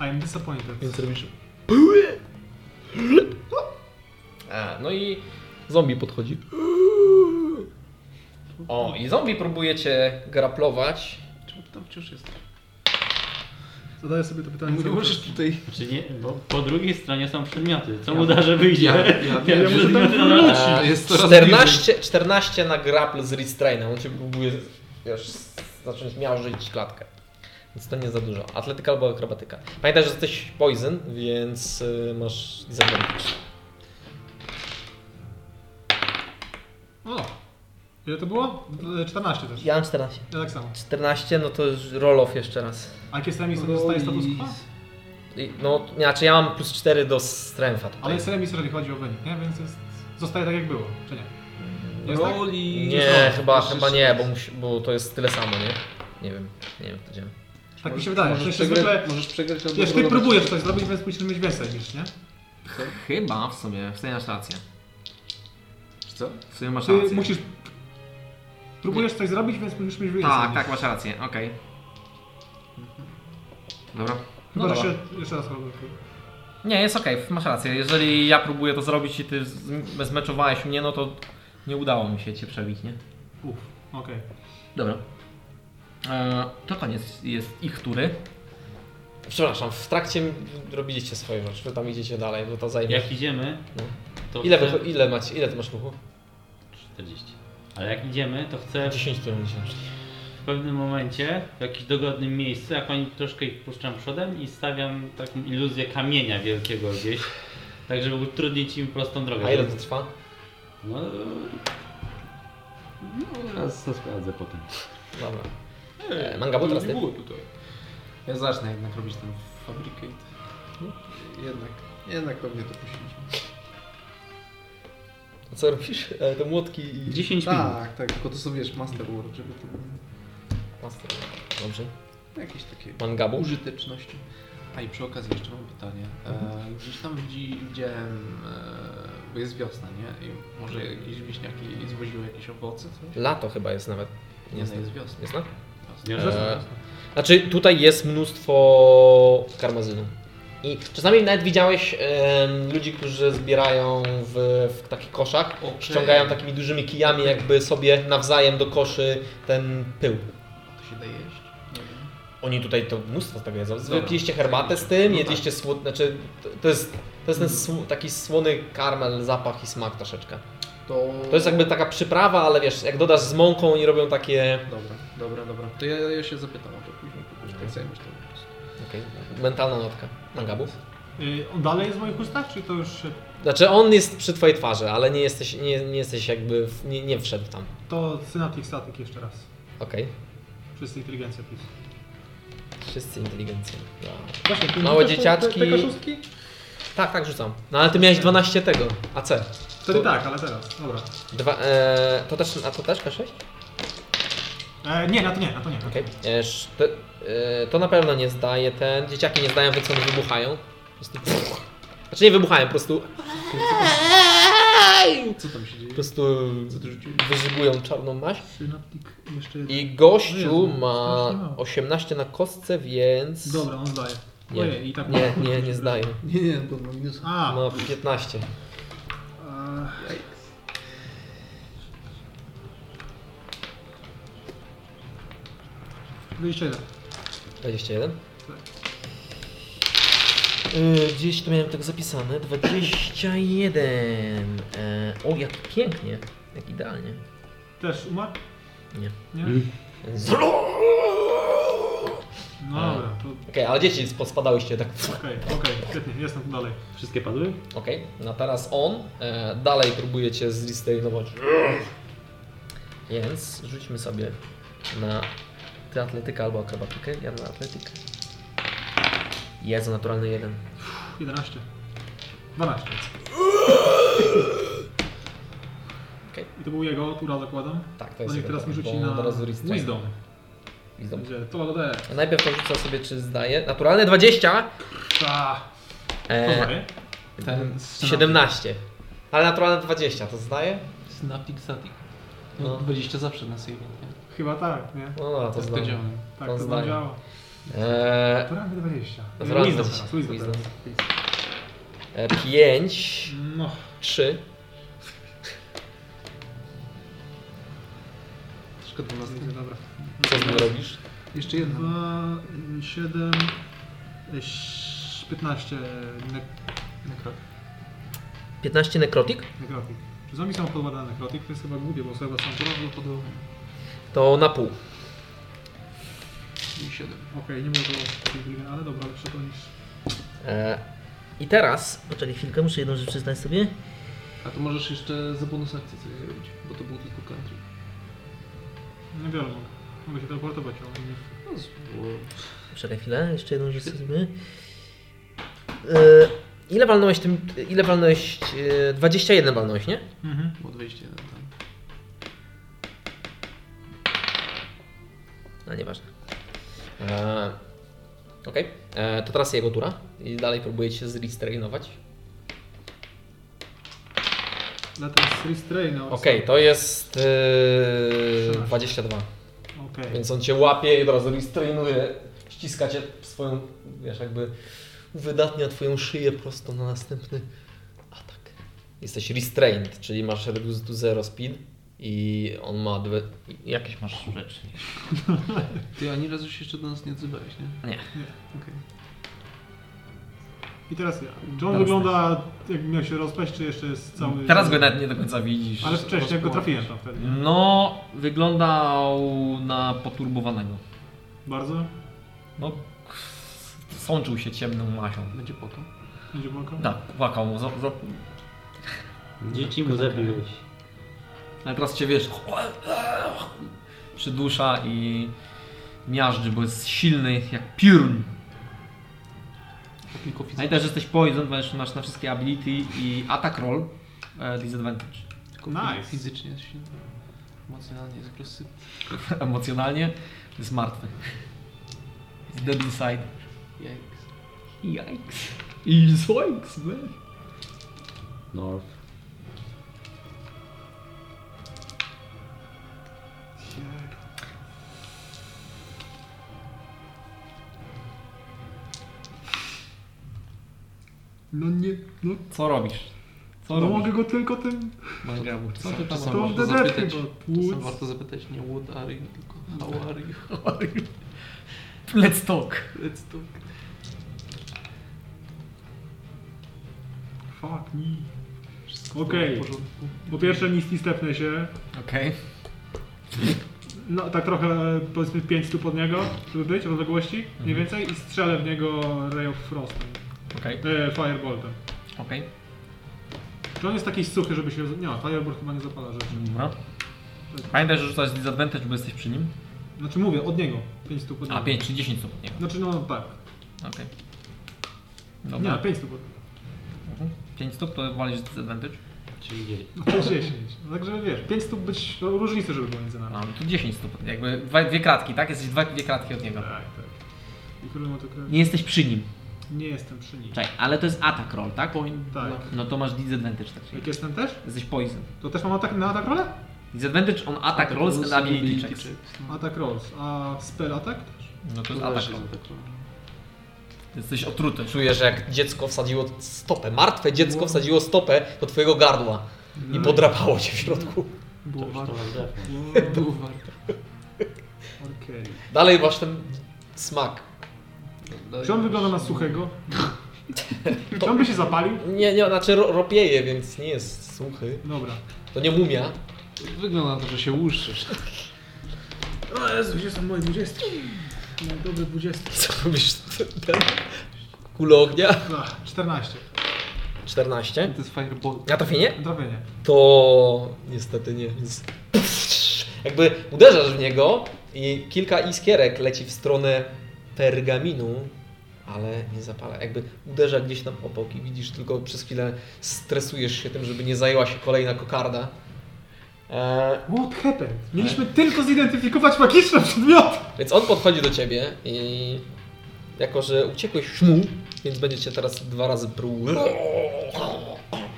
S1: I am disappointed.
S2: Więc robisz... A, no i zombie podchodzi. O, i zombie próbuje Cię graplować.
S5: Czemu tam wciąż jesteś?
S1: Zadaję sobie to pytanie.
S5: Nie
S1: cały
S5: możesz
S1: czas.
S5: tutaj...
S4: Znaczy nie, bo po drugiej stronie są przedmioty. Co mu da, że wyjdzie? <laughs>
S5: Ja, ja
S4: Jak
S5: wiem, że
S4: przedmioty
S5: tam
S4: na-
S5: wróci. Jest coraz
S2: 14, 14 E, na grapple z restrainem. On cię próbuje wiesz, zacząć miażdżyć klatkę. Więc to nie za dużo. Atletyka albo akrobatyka. Pamiętaj, że jesteś poison, więc y, masz disadvantage.
S1: O! Ile to było? D- 14 też.
S2: Ja mam 14.
S1: Ja tak samo.
S2: 14, no to już roll-off jeszcze raz.
S1: A jak jestem
S5: No
S1: istotny, dostaję status quo?
S2: I- No, znaczy ja mam plus 4 do strengtha
S1: Ale
S2: tutaj.
S1: jest remis, jeżeli chodzi o wynik, nie? Więc jest... zostaje tak jak było, czy nie? Jest tak?
S5: Roli...
S2: Nie, chyba, chyba nie, bo, musi, bo to jest tyle samo, nie? Nie wiem, nie wiem, jak to działa.
S1: Tak mi się wydaje.
S5: Możesz
S1: Przecież zwykle-
S5: przegrać, możesz przegrać albo
S1: Wiesz, ty
S5: wygrać.
S1: próbujesz coś zrobić, więc musisz mieć więcej niż, nie?
S13: Chyba w sumie, w sumie masz rację.
S5: Wiesz Co?
S13: W sumie masz
S1: Ty
S13: rację.
S1: musisz Próbujesz coś zrobić, więc musisz mieć więcej.
S14: Tak, tak, masz rację, okej. Dobra.
S1: No
S14: dobra.
S1: jeszcze, jeszcze raz robię.
S14: Nie, jest okej, masz rację. Jeżeli ja próbuję to zrobić i ty z- zmeczowałeś mnie, no to nie udało mi się cię przebić, nie?
S1: Uff, okej.
S14: Dobra. E, to koniec jest ich tury.
S2: Przepraszam, w trakcie robiliście swoje rzeczy, wy tam idziecie dalej, bo to zajmie.
S4: Jak idziemy, to
S2: Ile,
S4: chcę...
S2: wy, ile macie, ile ty masz ruchu?
S4: 40. Ale jak idziemy, to chcę
S2: 10 tu będziemy szli.
S4: w pewnym momencie, w jakimś dogodnym miejscu, jak oni troszkę ich puszczam przodem i stawiam taką iluzję kamienia wielkiego gdzieś, tak żeby utrudnić im prostą drogę.
S2: A ile to trwa?
S4: No... no raz to sprawdzę potem.
S2: Dobra. E, manga, bo teraz
S5: nie
S2: ty.
S5: było tutaj. Ja zacznę jednak robić ten fabricate. Jednak, jednak pewnie to puścić.
S2: A Co robisz? E, te młotki i...
S4: 10 minut.
S5: Tak, tak, tylko to są wiesz Master World, żeby to było
S2: Master. Dobrze.
S5: jakieś takie
S2: Mangabu?
S5: użyteczności. A i przy okazji jeszcze mam pytanie. E,
S2: Mhm.
S5: gdzieś tam widzi, widziałem, e, bo jest wiosna, nie? I może jakieś wieśniaki zwoziły jakieś owoce? Coś?
S2: Lato chyba jest nawet.
S5: Nie,
S2: Jest- tak.
S5: no jest wiosna.
S2: Jest na?
S4: Nie,
S2: Eee,
S4: że-
S2: Znaczy, tutaj jest mnóstwo karmazynu. I czasami nawet widziałeś em, ludzi, którzy zbierają w, w takich koszach,
S5: Okej.
S2: ściągają takimi dużymi kijami, jakby sobie nawzajem do koszy ten pył.
S5: To się daje jeść? Nie wiem.
S2: Oni tutaj to mnóstwo tego jedzą. Wy
S5: Dobra.
S2: piliście herbatę z tym,
S5: No Mhm.
S2: jedliście słod... Znaczy, to, to jest, to jest ten sł- taki słony karmel, zapach i smak troszeczkę.
S5: To... tak-
S2: To jest jakby taka przyprawa, ale wiesz, jak dodasz z mąką, oni robią takie...
S5: Dobra, dobra, dobra. To ja, ja się zapytam, może później, później tak zajmiesz to.
S2: Okej, mentalna notka. Mangabu.
S1: Okay. Y, On dalej jest w moich ustach, czy to już się-
S2: Znaczy on jest przy twojej twarzy, ale nie jesteś, nie, nie jesteś jakby, w, nie, nie wszedł tam.
S1: to synaptic static jeszcze raz.
S2: Okej.
S1: Wszyscy inteligencja plus.
S2: Wszyscy inteligencja. No.
S1: Właśnie, ty
S2: Małe
S1: rzucasz te-
S2: dzieciaczki.
S1: Te, te koszówki?
S2: Tak, tak rzucam. No ale ty miałeś 12 tego, AC.
S1: Wtedy
S2: To-
S1: tak, ale teraz, dobra.
S2: Dwa, e, to też, a to też K6?
S1: E, nie, na to nie, na to nie.
S2: Okej. E, sz- te- e, To na pewno nie zdaje ten, dzieciaki nie zdają, więc one wybuchają. Po prostu pff. Znaczy nie wybuchają, po prostu
S5: Co tam się dzieje?
S2: po prostu wyżygują czarną maść.
S1: Synaptic jeszcze jedno.
S2: I gościu
S1: Jezu,
S2: ma
S1: strasznie mało.
S2: 18 na kostce, więc...
S1: Dobra, on zdaje.
S2: Nie,
S1: Ojej, i tak
S2: nie, nie, nie No, zdaje.
S5: Nie, nie, bo mam minus.
S1: A,
S2: Ma 15.
S1: e, wyjście jeden.
S2: 21?
S1: Tak.
S2: Yy, gdzieś tu miałem tak zapisane. 21. E, o, jak pięknie. Jak idealnie.
S1: Też umarł?
S2: Nie.
S1: Nie?
S2: A.
S1: No dobra, to
S2: Okej, ale dzieci pospadałyście tak.
S1: okej, okej, świetnie, jestem tu dalej.
S4: Wszystkie padły?
S2: Okej, no teraz on. E, dalej próbujecie zlistejować. Więc rzućmy sobie na ty atletykę albo akrobatykę. Ja na atletykę. Jezu, naturalny jeden.
S1: Uff, 11. 12.
S2: Okej.
S1: I to był jego tura, zakładam.
S2: Tak, to
S1: No
S2: jest
S1: niech
S2: jeden,
S1: teraz mi
S2: bo
S1: rzuci
S2: on
S1: na
S2: od razu restrain.
S1: Wisdom.
S2: Wisdom.
S1: Gdzie? To D.
S2: A Najpierw to rzuca sobie, czy zdaje. Naturalne 20.
S1: Ta. To
S2: E,
S1: zdaje?
S5: Ten
S2: 17. Ale naturalne 20, to zdaje?
S5: Synaptic Static.
S2: No.
S5: No, 20 zawsze na saving, nie?
S1: Chyba tak, nie?
S2: No, no to
S5: To
S2: zdaje.
S5: działa.
S1: Tak,
S2: To
S1: to
S2: zdaje.
S1: będzie działa.
S2: E,
S1: Naturalny 20.
S2: Naturalny
S1: Wisdom
S2: 20.
S1: teraz, wisdom
S2: Wisdom. E,
S1: teraz.
S2: 5,
S1: No,
S2: 3.
S5: Troszkę 12.
S1: będzie dobra.
S2: Co z nim robisz?
S5: Jeszcze jedna.
S1: 2, 7, 15 nek-
S5: Nekro.
S2: 15 nekrotik.
S1: nekrotik. Czy zombie są podładane nekrotik? To jest chyba głupie, bo sobie są
S5: Kurwa, podobnie.
S2: To na pół.
S5: I 7.
S1: Okej, nie może było ale dobra, lepsze to niż...
S2: E, I teraz. Poczekaj chwilkę, muszę jedną rzecz przyznać sobie.
S5: A to możesz jeszcze za bonus akcji coś zrobić, bo to był tylko country.
S1: Nie biorę mogę. Mogę się teleportować, ale nie.
S5: No, z-
S2: Poczekaj chwilę, jeszcze jedną rzecz zrobimy. E, ile walnąłeś tym. Ile walnąłeś. E, 21 walnąłeś, nie?
S1: Mhm.
S5: było 21 tam.
S2: No nieważne. E, Okej, E, to teraz jego tura i dalej próbujecie zrestrainować.
S1: Na ten restrain. no,
S2: Okej, to jest yy,
S1: 13.
S2: 22.
S1: Okej.
S2: Więc on cię łapie i od razu restrainuje, ściska cię swoją, wiesz, jakby uwydatnia twoją szyję prosto na następny atak. Jesteś restrained, czyli masz reduce to zero speed i on ma dwie... Jakieś masz rzeczy.
S5: Ty ani razu się jeszcze do nas nie odzywałeś, nie?
S7: Nie.
S5: Okej.
S1: I teraz ja. Czy on
S7: Teraz
S1: wygląda jak miał się rozpaść, czy jeszcze jest cały...
S7: Teraz go nawet nie do końca widzisz.
S1: Ale wcześniej, jak go trafiłem tam wtedy, nie?
S7: No, wyglądał na poturbowanego.
S1: Bardzo?
S7: No, sączył się ciemną masią.
S5: Będzie po to.
S1: Będzie błąka?
S7: Tak, płakał mu. Za, za...
S4: Dzieci mu zabiłeś.
S7: Ale teraz cię wiesz. Przydusza i miażdży, bo jest silny jak piórn.
S5: Tylko fizycznie.
S7: Pamiętaj, że jesteś poison, ponieważ masz na wszystkie ability i attack roll. E, disadvantage. <laughs>
S5: Tylko
S1: Nice.
S5: Fizycznie się emocjonalnie jest agresywny.
S7: Emocjonalnie jest martwy. Jest dead inside.
S5: Jajks.
S7: Yikes. I swoinks, man.
S4: North.
S1: No nie, no.
S7: Co robisz? Co
S1: No
S7: robisz?
S1: mogę go tylko tym...
S7: Mangabu, co ty tam
S5: Czasem
S1: robisz?
S7: robisz?
S5: warto
S1: To DDT
S5: zapytać,
S1: chyba.
S5: czasem
S1: Woods.
S5: warto zapytać nie what are you, tylko how are you.
S7: <laughs> Let's talk.
S5: Let's talk.
S1: Fuck me.
S5: Wszystko
S1: Okej.
S5: w porządku.
S1: Po pierwsze nic nie stepnę się.
S7: Okej.
S1: No tak trochę powiedzmy 5 stóp od niego, żeby być w odległości mniej więcej i strzelę w niego Ray of Frostem.
S7: Okej.
S1: E, fireboltem.
S7: Okej.
S1: Czy on jest taki suchy, żeby się... Nie, firebolt chyba nie zapala rzeczy.
S7: Dobra. Pamiętaj, że rzucasz disadvantage, bo jesteś przy nim.
S1: Znaczy mówię, od niego. 5 stóp od niego.
S7: A, 5 czy 10 stopni.
S1: Znaczy no tak.
S7: Okej.
S1: Nie,
S7: Dobra.
S1: 5 stóp od
S7: 5 stóp to walisz disadvantage.
S4: Czyli gdzieś.
S1: No to 10. No, Także wiesz, 5 stóp być no, różnicy, żeby było między nami.
S7: No, to 10 stóp. Jakby dwa, dwie kratki, tak? Jesteś dwa, dwie kratki od niego.
S1: Tak, tak. I królem to krew.
S7: Nie jesteś przy nim.
S1: e, Nie jestem przy nim.
S7: Czekaj, ale to jest attack roll, tak?
S1: Tak.
S7: No to masz disadvantage, tak?
S1: Jak jestem też?
S7: Jesteś poison.
S1: To też mam atak na atak rolę?
S7: Disadvantage on attack rolls and ability checks.
S1: Atak rolls. A spell atak? też?
S7: No to jest attack roll.
S5: <laughs>
S7: Jesteś otruty.
S2: Czujesz, jak dziecko wsadziło stopę, martwe dziecko wsadziło stopę do twojego gardła i
S1: No.
S2: podrapało cię w środku.
S5: Było warto.
S1: Wow.
S5: Było warto.
S1: Okej.
S2: Dalej masz ten smak.
S1: Czy on wygląda na suchego? Czy on by się zapalił?
S2: Nie, nie, znaczy ro- ropieje, więc nie jest suchy.
S1: Dobra.
S2: To nie mumia. <laughs>
S5: Wygląda na to, że się łuszczysz.
S1: O Jezu, gdzie są moje dwudziestki? Moje dobre dwudziestki.
S2: Co robisz? Ten kulę ognia?
S1: Ach, 14.
S2: 14.
S5: To jest fireball.
S2: Na trafienie?
S1: Trafienie.
S2: To niestety nie. Więc... <laughs> Jakby uderzasz w niego i kilka iskierek leci w stronę pergaminu, ale nie zapala. Jakby uderza gdzieś tam obok i widzisz tylko przez chwilę stresujesz się tym, żeby nie zajęła się kolejna kokarda. Eee,
S1: What happened? Mieliśmy tylko zidentyfikować magiczne przedmioty!
S2: więc on podchodzi do ciebie i jako, że uciekłeś w szmu, więc będzie cię teraz dwa razy próbował.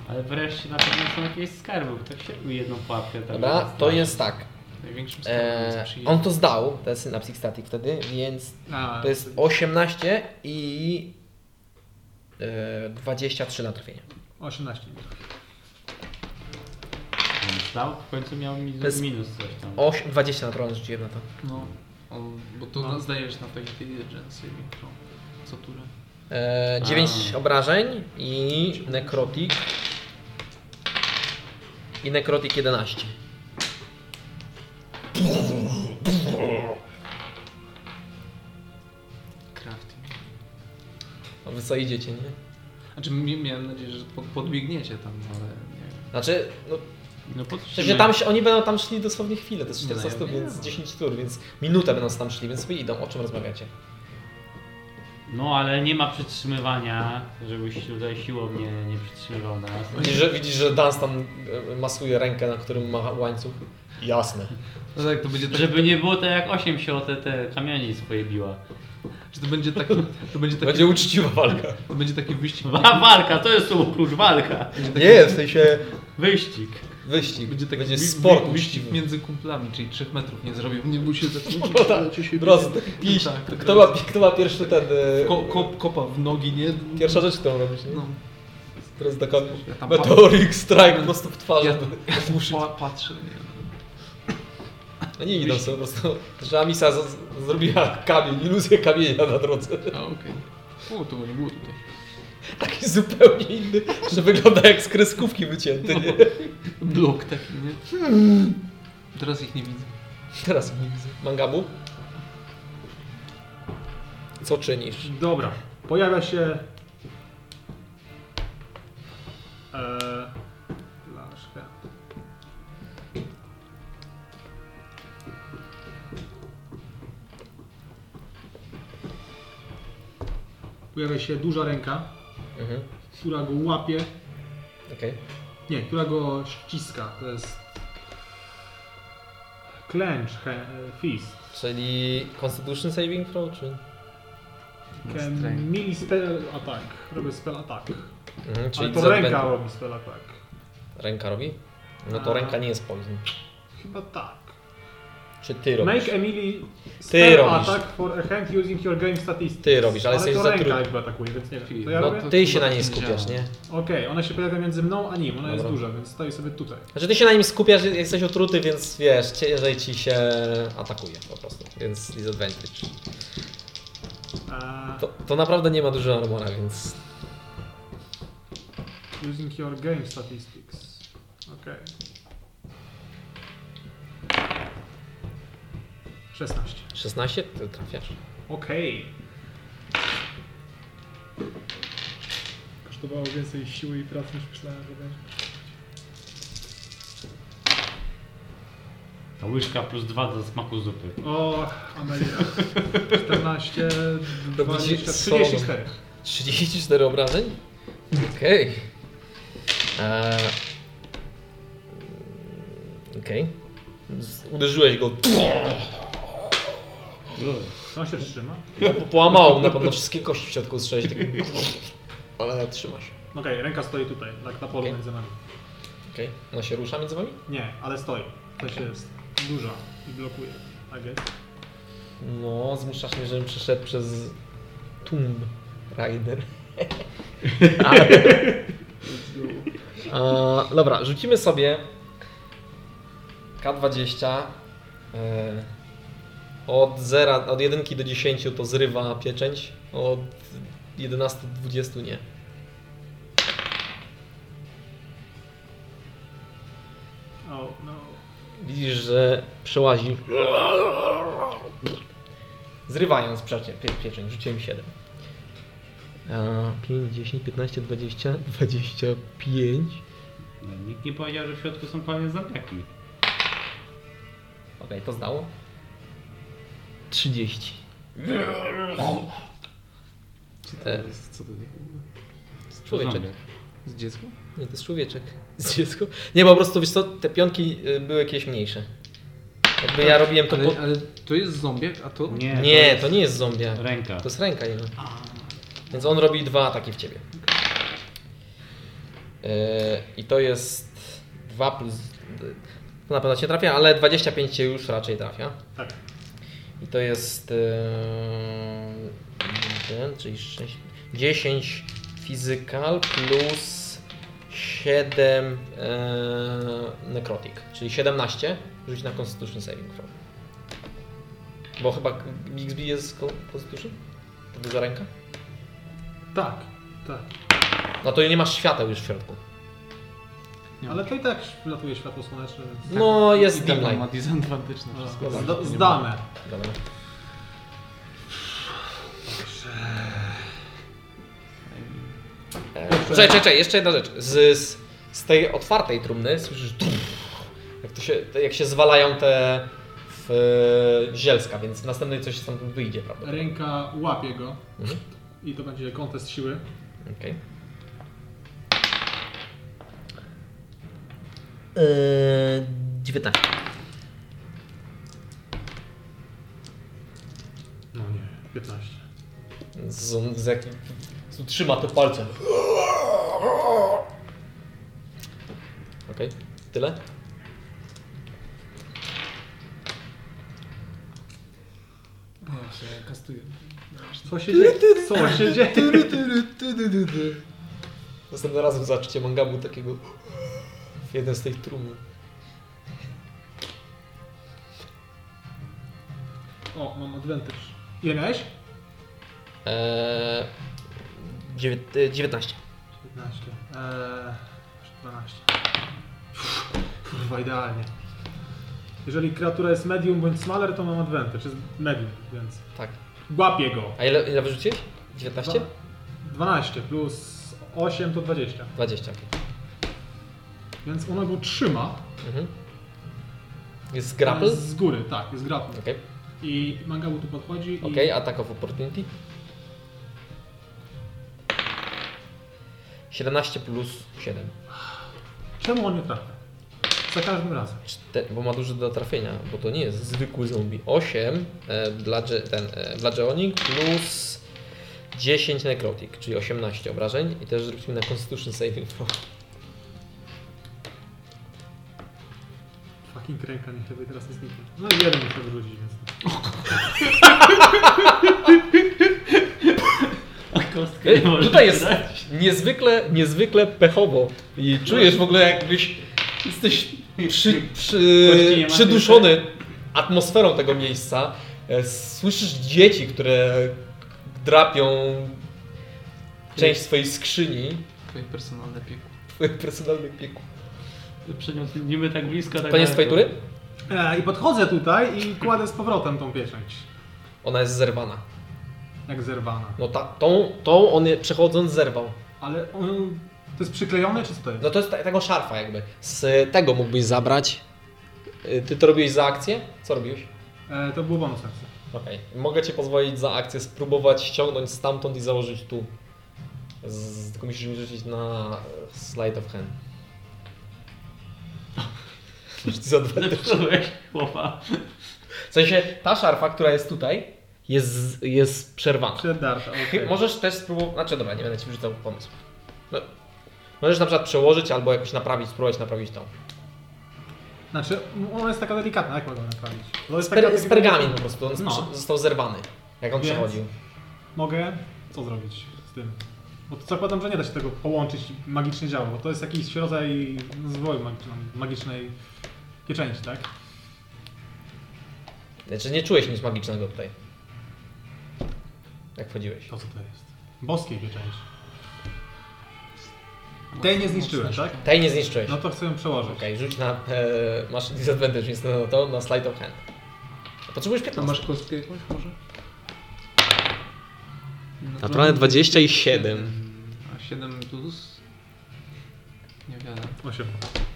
S4: Ale wreszcie na pewno są jakieś skarby, bo tak się jedną pułapkę tam
S2: Dobra, to jest tak.
S5: Największym skarbem
S2: Eee,
S5: jest
S2: on to zdał, ten synaptic static wtedy, więc
S1: A,
S2: To jest 18 i e, 23 na trafienie.
S1: 18.
S4: On Stał, w końcu miał mi
S2: To jest-
S4: minus coś tam.
S2: Oś- 20 na tron rzuciłem na to.
S5: No, on, bo to no. zdajesz na tej intelligence saving throw. Co turę.
S2: E, 9
S4: A.
S2: obrażeń i nekrotik. I nekrotik 11.
S5: Crafting.
S2: A wy co idziecie, nie?
S5: Znaczy mi- miałem nadzieję, że pod, podbiegniecie tam, ale nie wiem.
S2: Znaczy, no,
S4: No
S2: w
S4: podtrzymy.
S2: sensie tam się, oni będą tam szli dosłownie chwilę, to jest
S5: Nie,
S2: 400
S5: no, ja
S2: stóp,
S5: wiem.
S2: więc 10 tur, więc minutę będą tam szli, więc wy idą. O czym rozmawiacie?
S4: No ale nie ma przytrzymywania, żebyś tutaj siłownie nie przytrzymywał nas.
S2: Widzisz, że, widzisz, że Dans tam e, masuje rękę, na którym ma łańcuch? Jasne.
S5: No tak, to będzie tak,
S4: Żeby nie było tak jak 8 się o te, te kamienie swoje biła. <laughs>
S5: że to będzie taki, to będzie taki,
S2: Będzie uczciwa walka.
S5: to będzie taki wyścig,
S4: Wa- Walka, to jest tu kurz, walka.
S2: Nie, w sensie
S4: Wyścig.
S2: Wyścig. Będzie,
S5: taki
S2: Będzie
S5: wi-
S2: sport
S5: wi-
S2: uczciwy.
S5: wyścig między kumplami, czyli 3 metrów nie zrobił. Nie bój się zacząć.
S2: No tak, Prosto. Piś. Kto ma, kto ma pierwszy ten... y,
S5: Ko, kop, kopa tak, w nogi, nie?
S2: Pierwsza rzecz, którą robisz, nie?
S5: No.
S2: To jest taka
S5: Ja tam
S2: meteoric strike po prostu w twarzy.
S5: Ja, ja pa, patrzę, nie?
S2: No nie widzą sobie po prostu, że Amisa z, z, zrobiła kamień, iluzję kamienia na drodze.
S5: A okej. O, to nie było tutaj.
S2: Taki zupełnie inny, że wygląda jak z kreskówki wycięty, nie?
S5: Blok taki, nie? Teraz ich nie widzę.
S2: Teraz ich nie widzę. Mangabu? Co czynisz?
S1: Dobra, pojawia się. Eee, Blaszka. Pojawia się duża ręka,
S2: Mhm,
S1: która go łapie.
S2: okej.
S1: Nie, która go ściska. To jest. Clench he, fist.
S2: Czyli Constitution Saving Throw, czy?
S1: Can mini spell attack. tak, Robię spell attack.
S2: Mhm, czyli
S1: Ale to
S2: za
S1: ręka
S2: advantage.
S1: robi tak. spell attack.
S2: Ręka robi? No to
S1: A.
S2: ręka nie jest poison.
S1: Chyba tak.
S2: Czy ty robisz?
S1: Make Emily spell
S2: robisz.
S1: attack for a hand using your game statistics.
S2: Ty robisz, ale jesteś
S1: to
S2: za
S1: ręka
S2: trudny.
S1: jakby atakuje, więc nie wiem. To ja robię?
S2: No ty się na niej
S5: nie
S2: skupiasz, nie?
S1: Okej, ona się pojawia między mną a nim, ona jest
S2: Dobra.
S1: duża, więc stoi sobie tutaj.
S2: Znaczy ty się na nim skupiasz, jesteś otruty, więc wiesz, ciężej ci się atakuje po prostu, więc disadvantage.
S1: A, E,
S2: To, to naprawdę nie ma dużo armora, więc
S1: using your game statistics. Okej. 16.
S2: 16 ty trafiasz.
S1: Okej. Kosztowało więcej siły i pracy niż myślałem, że będzie.
S4: Ta łyżka plus dwa do smaku zupy.
S1: O, Amelia. <laughs> 14,
S2: To będzie
S1: 20,
S2: solo.
S1: 34.
S2: 34 obrażeń? Okej. Eee, Okej. Z- Uderzyłeś go, <laughs>
S1: On się trzyma.
S2: połamało mu na pewno wszystkie kości w środku strzelić. tak- Ale trzymasz.
S1: Okej, ręka stoi tutaj, tak na polu
S2: Okej.
S1: między nami.
S2: Okej. Ona się rusza między wami?
S1: Nie, ale stoi. To się jest duża i blokuje. Tak I guess.
S2: No, zmuszasz mnie, żebym przeszedł przez Tomb Raider. <laughs> Ale... A, dobra, rzucimy sobie K20 e, od 0, od 1 do 10 to zrywa pieczęć, od 11 do 20 nie.
S1: O, no.
S2: Widzisz, że przełazi. Zrywając przecie, pie, pieczeń, rzuciłem 7. E, 5, 10, 15, 20, 25.
S4: No, nikt nie powiedział, że w środku są panie zombiaki.
S2: Okej, to zdało. 30. E,
S5: Co to
S2: człowieczek.
S4: Zombie.
S5: Z dzieckiem?
S2: Nie, to jest człowieczek. <laughs> Z dziecko. Nie, bo po prostu wiesz co, te pionki y, były jakieś mniejsze. Jakby ja robiłem to. Po...
S5: Ale, ale to jest zombiak, a to...
S4: Nie,
S2: Nie, to nie jest zombia.
S4: Ręka.
S2: To jest ręka jego. Więc on robi dwa ataki w ciebie. Yy, I to jest 2 plus. To na pewno cię trafia, ale 25 cię już raczej trafia.
S1: Tak.
S2: I to jest. Yy, 1, czyli 6. 10 physical plus 7 yy, necrotic, czyli 17. Rzuć na Constitution Saving Throw. Bo chyba Bixby jest ko- Constitution? To by za ręka?
S1: Tak, tak.
S2: No to nie masz świateł już w środku.
S5: Nie.
S1: Ale to i tak latuje światło słoneczne, więc e,
S2: No
S5: I
S2: jest
S5: tak on
S2: dimlight.
S5: ma disadvantage
S1: No,
S5: na wszystko.
S1: Zda- zdane.
S2: Dobra. Eee, Czekaj, czekaj, czekaj, jeszcze jedna rzecz. Z, z, z tej otwartej trumny słyszysz jak, to się, jak się zwalają te w, zielska, więc w następnej coś stamtąd wyjdzie, prawda?
S1: Ręka łapie go
S2: Mhm.
S1: i to będzie kontest siły.
S2: Okej. Eee, 19.
S1: No nie, 15.
S2: Z, z jakim... z- Trzyma to palcem. Okej, tyle?
S5: Ja się kastuję.
S1: Co się dzieje? Co się dzieje?
S2: Następnym razem zobaczycie mangabu takiego w jeden z tych trumów.
S1: O, mam advantage. Ile miałeś?
S2: Eee, dziewię- e, 19.
S1: 15. Eee, 12. Kurwa, idealnie. Jeżeli kreatura jest medium bądź smaller, to mam advantage. Jest medium, więc
S2: Tak.
S1: łapię go.
S2: A ile, ile wyrzuciłeś? 19?
S1: Dwa- 12 plus 8 to 20.
S2: 20. okej.
S1: Więc ona go trzyma.
S2: Mhm. Jest grapple?
S1: Z z góry, tak, jest grapple.
S2: Okej,
S1: I Mangabu tu podchodzi i...
S2: okej, attack of opportunity. 17 plus 7.
S1: Czemu on nie trafia? Za każdym razem.
S2: Czte- bo ma dużo do trafienia, bo to nie jest zwykły zombie. 8 e, dla, dże- ten, e, bludgeoning plus 10 necrotic, czyli 18 obrażeń i też zróbmy na constitution saving throw.
S1: Fucking ręka niech lepiej teraz nie zniknie. No i jeden muszę wyrzucić, więc...
S4: Tak, Kostkę
S2: Ej, Tutaj jest niezwykle, niezwykle pechowo i czujesz w ogóle jakbyś jesteś przy,
S4: Kości nie
S2: przy,
S4: ma
S2: przyduszony atmosferą tego miejsca. E, Słyszysz dzieci, które drapią część swojej skrzyni,
S5: Twoje personalne piekło.
S2: twoje personalne pieku.
S4: Przed nią niby tak blisko. Tak
S2: Koniec
S4: daleko.
S2: twojej tury?
S1: E, I podchodzę tutaj i kładę z powrotem tą pieczęć.
S2: Ona jest zerwana.
S1: Jak zerwana.
S2: No ta, tą, tą on je, przechodząc zerwał.
S1: Ale on... To jest przyklejone, czy co to jest?
S2: No to jest ta, tego szarfa jakby. Z tego mógłbyś zabrać. Y, Ty to robiłeś za akcję? Co robiłeś?
S1: E, to było bonus akcja.
S2: Okej. Mogę ci pozwolić za akcję spróbować ściągnąć stamtąd i założyć tu. Z, tylko musisz mi rzucić na e, slide of hand. Rzuć za dwa.
S4: <laughs> Zepsułeś chłopa.
S2: W sensie ta szarfa, która jest tutaj, jest, jest przerwana.
S1: Przedarta,
S2: Chy-
S1: okej.
S2: Możesz też spróbować. Znaczy, dobra, nie będę ci wrzucał pomysł. No. Możesz na przykład przełożyć albo jakoś naprawić, spróbować naprawić tą.
S1: Znaczy, ona jest taka delikatna, jak mogę ją naprawić? To jest taka-
S2: Per, z pergamin po prostu, on
S1: No.
S2: sprze- został zerwany, jak on
S1: Więc?
S2: przechodził.
S1: Mogę... Co zrobić z tym? Bo to zakładam, że nie da się tego połączyć i magicznie działa, bo to jest jakiś rodzaj zwoju magiczną- magicznej pieczęci, tak?
S2: Znaczy, nie czułeś nic magicznego tutaj. Jak wchodziłeś.
S1: To co to jest? Boskiej pieczęci. Tej nie zniszczyłem, tak?
S2: Tej nie zniszczyłeś.
S1: No to chcę ją przełożyć.
S2: Okej, rzuć na. E, masz disadvantage niestety na to, na slide of hand. Potrzebujesz
S5: A
S2: 15.
S5: masz kostkę jakąś może?
S2: Naturalne 20 i 7.
S5: A 7 plus? Nie wiadomo.
S1: Osiem.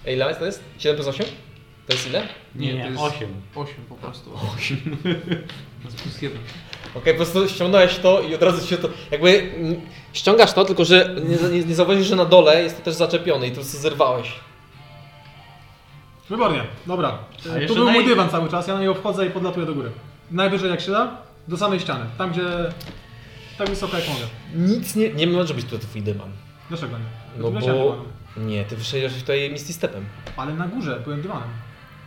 S2: Ej, ile to jest? 7 plus 8? To jest ile?
S4: Nie, nie,
S5: to jest
S4: 8.
S5: 8 po prostu. 8. <laughs> To jest plus 1.
S2: Okej, po prostu ściągnąłeś to i od razu się to. Jakby mm, ściągasz to, tylko że nie, nie, nie zauważysz, że na dole jest to też zaczepione i to prostu zerwałeś.
S1: Wybornie, dobra.
S4: A
S1: E, Tu
S4: jeszcze
S1: był mój
S4: naj-
S1: dywan cały czas, ja na niego wchodzę i podlatuję do góry. Najwyżej jak się da, do samej ściany, tam gdzie... tak wysoko jak mogę.
S2: Nic nie. Nie może być tutaj twój dywan.
S1: Dlaczego nie?
S2: No
S1: Dlaczego ja
S2: bo.
S1: dywanem?
S2: Nie, ty wyszedłeś tutaj Misty Stepem.
S1: Ale na górze byłem dywanem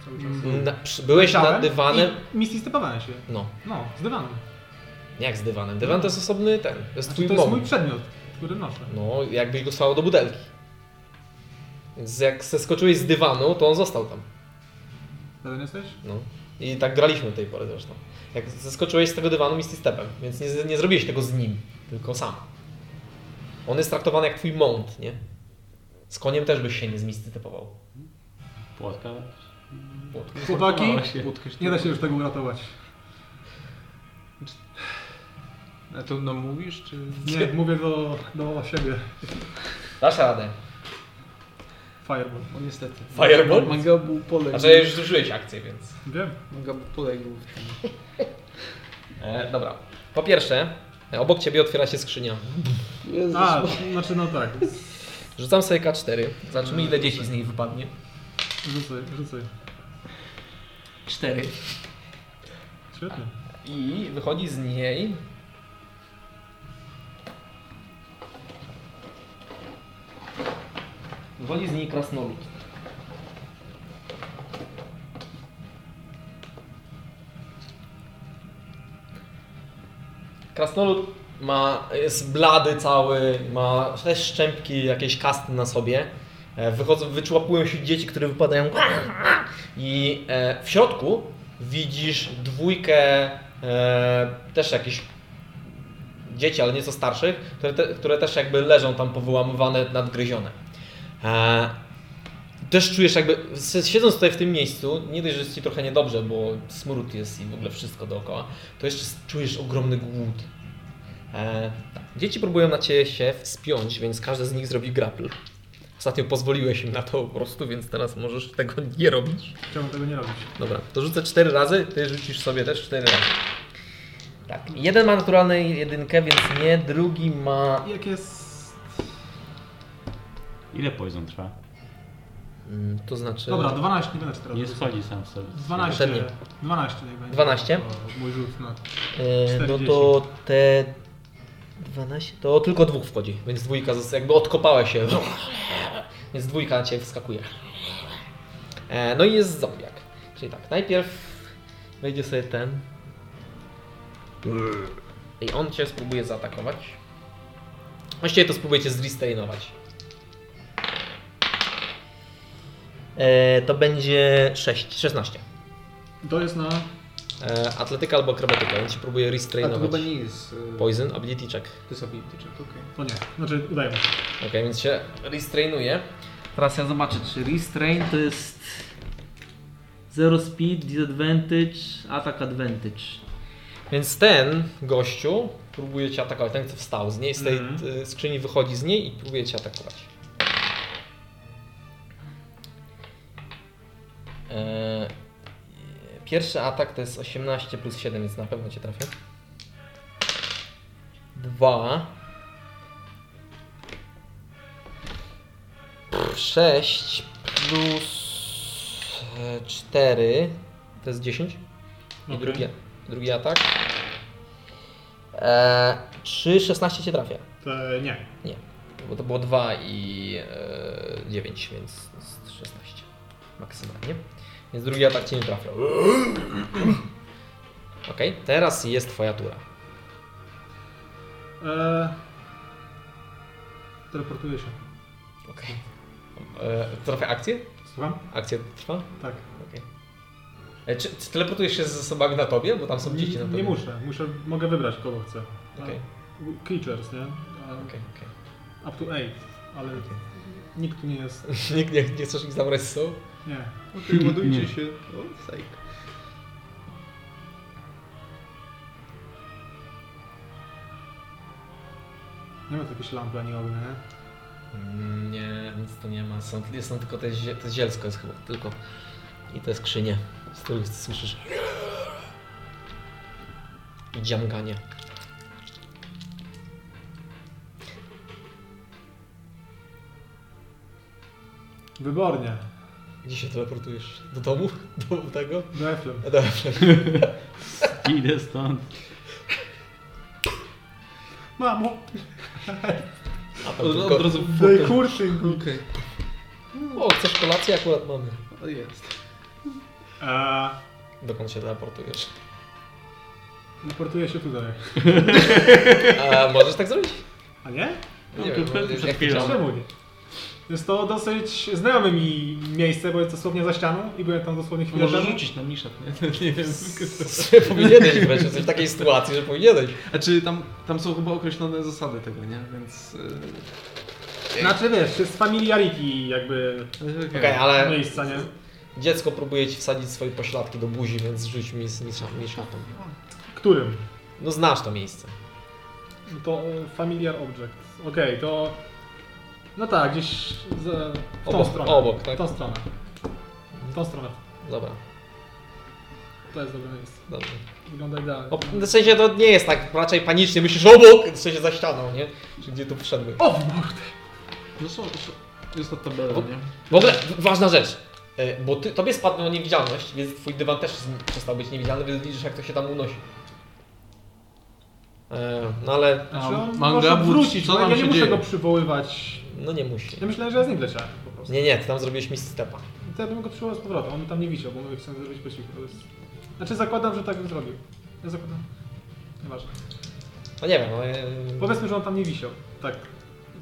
S1: cały czas.
S4: Mm.
S2: Na, przy- byłeś nad
S1: Siadałem
S2: dywanem.
S1: Mm. I mistystepowałem się.
S2: No,
S1: No, z dywanem.
S2: jak z dywanem? Dywan to jest osobny ten. To jest
S1: Znaczy,
S2: twój
S1: to jest
S2: bok.
S1: mój przedmiot, który noszę.
S2: No, jakbyś go stało do butelki. Więc jak zeskoczyłeś z dywanu, to on został tam.
S1: Pewien jesteś?
S2: No. I tak graliśmy do tej pory zresztą. Jak zeskoczyłeś z tego dywanu Misty Stepem, więc nie, nie zrobiłeś tego z nim, tylko sam. On jest traktowany jak twój mount, nie? Z koniem też byś się nie zmistytypował.
S4: Płotka.
S1: Chłopaki,
S5: No, Łódkę się
S1: nie da się już tego uratować.
S5: A to no mówisz, czy...
S2: <laughs>
S1: Nie, mówię do, do siebie.
S2: Dasz radę.
S1: Fireball.
S5: No niestety.
S2: Fireball?
S5: Mangabu poległ.
S2: Znaczy, już zużyłeś akcję, więc...
S1: Wiem.
S5: Mangabu poległ w tym.
S2: E, dobra. Po pierwsze, e, obok ciebie otwiera się skrzynia.
S1: A, znaczy no tak.
S2: Rzucam sobie K4. Zobaczymy, ile dzieci z niej wypadnie.
S1: Rzucaj, rzucaj.
S2: 4.
S1: Świetnie.
S2: I wychodzi z niej. Wychodzi z niej krasnolud. Krasnolud ma, jest blady cały, ma też szczępki, jakieś kasty na sobie. E, Wychodzą, wyczłapują się dzieci, które wypadają i e, w środku widzisz dwójkę e, też jakichś dzieci, ale nieco starszych, które, te, które też jakby leżą tam powyłamywane, nadgryzione. E, też czujesz jakby, s- siedząc tutaj w tym miejscu, nie dość, że jest ci trochę niedobrze, bo smród jest i w ogóle wszystko dookoła, to jeszcze s- czujesz ogromny głód. E, tak. Dzieci próbują na ciebie się wspiąć, więc każdy z nich zrobi grapple. Ostatnio pozwoliłeś im na to po prostu, więc teraz możesz tego nie robić.
S1: Czemu tego nie robić?
S2: Dobra, to rzucę 4 razy, ty rzucisz sobie też 4 razy. Tak, jeden ma naturalną jedynkę, więc nie, drugi ma...
S1: Jak jest...
S4: Ile poison trwa?
S2: mm, To znaczy...
S1: Dobra, 12, nie będę teraz.
S4: Nie schodzi sam w sobie.
S1: 12.
S2: Ten nie.
S1: 12 jak będzie.
S2: 12?
S1: To Mój rzut na...
S2: E, no
S1: 40.
S2: to te 12, to tylko dwóch wchodzi, więc dwójka zas- jakby odkopała się. Więc dwójka na ciebie wskakuje. E, no i jest zombiak. Czyli tak, najpierw wejdzie sobie ten. I on cię spróbuje zaatakować. Właściwie to spróbujecie zrestrainować. E, to będzie 6, 16.
S1: To jest na...
S2: E, atletyka albo akrobatyka, więc się próbuje
S5: A to
S2: restrainować.
S5: chyba nie jest... e,
S2: Poison, ability check.
S5: To jest ability check,
S1: <laughs>
S5: okej.
S1: To nie. Znaczy, udaje mu się.
S2: Okej, więc się restrainuje.
S7: Teraz ja zobaczę, czy restrain to jest 0 speed, disadvantage, attack advantage.
S2: Więc ten gościu próbuje cię atakować. Ten, co wstał z niej, z tej
S1: Mhm.
S2: y, skrzyni wychodzi z niej i próbuje cię atakować. E, Pierwszy atak to jest 18 plus 7, więc na pewno cię trafię. Dwa. Sześć plus e, cztery to jest 10. I
S1: Okej.
S2: drugi, drugi atak. E, 3, 16 cię trafia.
S1: To nie.
S2: Bo to było 2 i e, 9, więc jest 16 maksymalnie. Więc drugi atak cię nie trafia. <clears throat> Okej, teraz jest twoja tura.
S1: Eee... Teleportuję się.
S2: Okej. E, Trafia akcję?
S1: Słucham?
S2: Akcja trwa?
S1: Tak.
S2: Okej. E, Czy, czy telepортujesz się ze osobami na tobie? Bo tam są dzieci na
S1: Nie,
S2: tobie.
S1: nie muszę. Muszę, mogę wybrać kogo chcę. A-
S2: Okej.
S1: Creatures, nie? A-
S2: Okej, okej.
S1: Up to 8, ale nikt tu nie jest.
S2: Nikt nie, nie chcesz ich zabrać z sobą?
S1: Nie.
S5: Okej, ładujcie się. O, sejk.
S1: Nie ma tu jakiejś lampy ani ognia, nie?
S2: Mm, Nie, nic to nie ma. Są, są tylko te, zie, te zielsko jest chyba tylko. I te skrzynie, z których słyszysz. I dziamganie.
S1: Wybornie.
S2: Gdzie się teleportujesz? Do domu? <laughs> Do tego?
S1: Do Eflem.
S2: A Dobrze.
S4: Idę stąd.
S1: Mamo!
S2: A tam
S5: no, Od, od
S2: tylko...
S5: razu
S1: Daj
S5: fotel.
S1: kurczynku!
S5: Okej,
S2: O, chcesz kolację? Akurat mamy.
S5: o, jest.
S1: Eee,
S2: Dokąd się teleportujesz?
S1: teleportuję się tutaj.
S2: A, możesz tak zrobić?
S1: A nie?
S2: Nie
S4: No,
S2: wiem,
S4: to
S2: no,
S4: przed
S2: jak
S4: chwilą.
S2: chciałem.
S1: Czemu nie? Jest to dosyć znajome mi miejsce, bo jest dosłownie za ścianą i byłem tam dosłownie chwilę
S5: Może
S1: temu.
S5: rzucić na Misza, nie? nie wiem.
S2: <laughs> Powinieneś grać jesteś w takiej sytuacji, że powinieneś.
S5: A czy Znaczy, tam, tam są chyba określone zasady tego, nie? Więc... e,
S1: Znaczy wiesz, jest familiarity jakby
S5: Okej,
S2: Okej,
S4: No
S2: ale
S1: miejsca, nie?
S2: dziecko próbuje ci wsadzić swoje pośladki do buzi, więc rzuć mi z misza- miszatą.
S1: Którym?
S2: No znasz to miejsce.
S1: To e, familiar object. Okej, to... No tak, gdzieś z, w tą
S2: Obok-
S1: stronę.
S2: obok, tak?
S1: W tą stronę. W tą stronę.
S2: Dobra,
S1: To jest dobre miejsce.
S2: dobrze.
S1: Wygląda idealnie.
S2: O, w sensie to nie jest tak raczej panicznie, myślisz
S7: no,
S2: obok, w sensie za ścianą, nie? Czy gdzie tu wszedłeś.
S1: O, w mordę!
S5: No są, są, jest ta tabela, nie?
S2: W ogóle w- ważna rzecz, e, bo ty, tobie spadła niewidzialność, więc twój dywan też z- przestał być niewidzialny, więc widzisz jak to się tam unosi. E, No ale,
S1: Znaczy on
S5: Manga
S1: może
S5: Butch,
S1: wrócić,
S5: co
S1: no,
S5: tam
S1: ja
S5: się
S1: nie muszę
S5: dzieje?
S1: go przywoływać.
S2: no nie musi.
S1: Ja myślałem, że ja z nim wleczę po prostu.
S2: Nie, nie, ty tam zrobiłeś misstepa.
S1: To ja bym go przywołał z powrotem, on tam nie wisiał, bo mówię, chcę zrobić po cichu. To jest... Znaczy zakładam, że tak bym zrobił. Ja zakładam. Nieważne.
S7: No nie wiem, no, e,
S1: Powiedzmy, że on tam nie wisiał. Tak,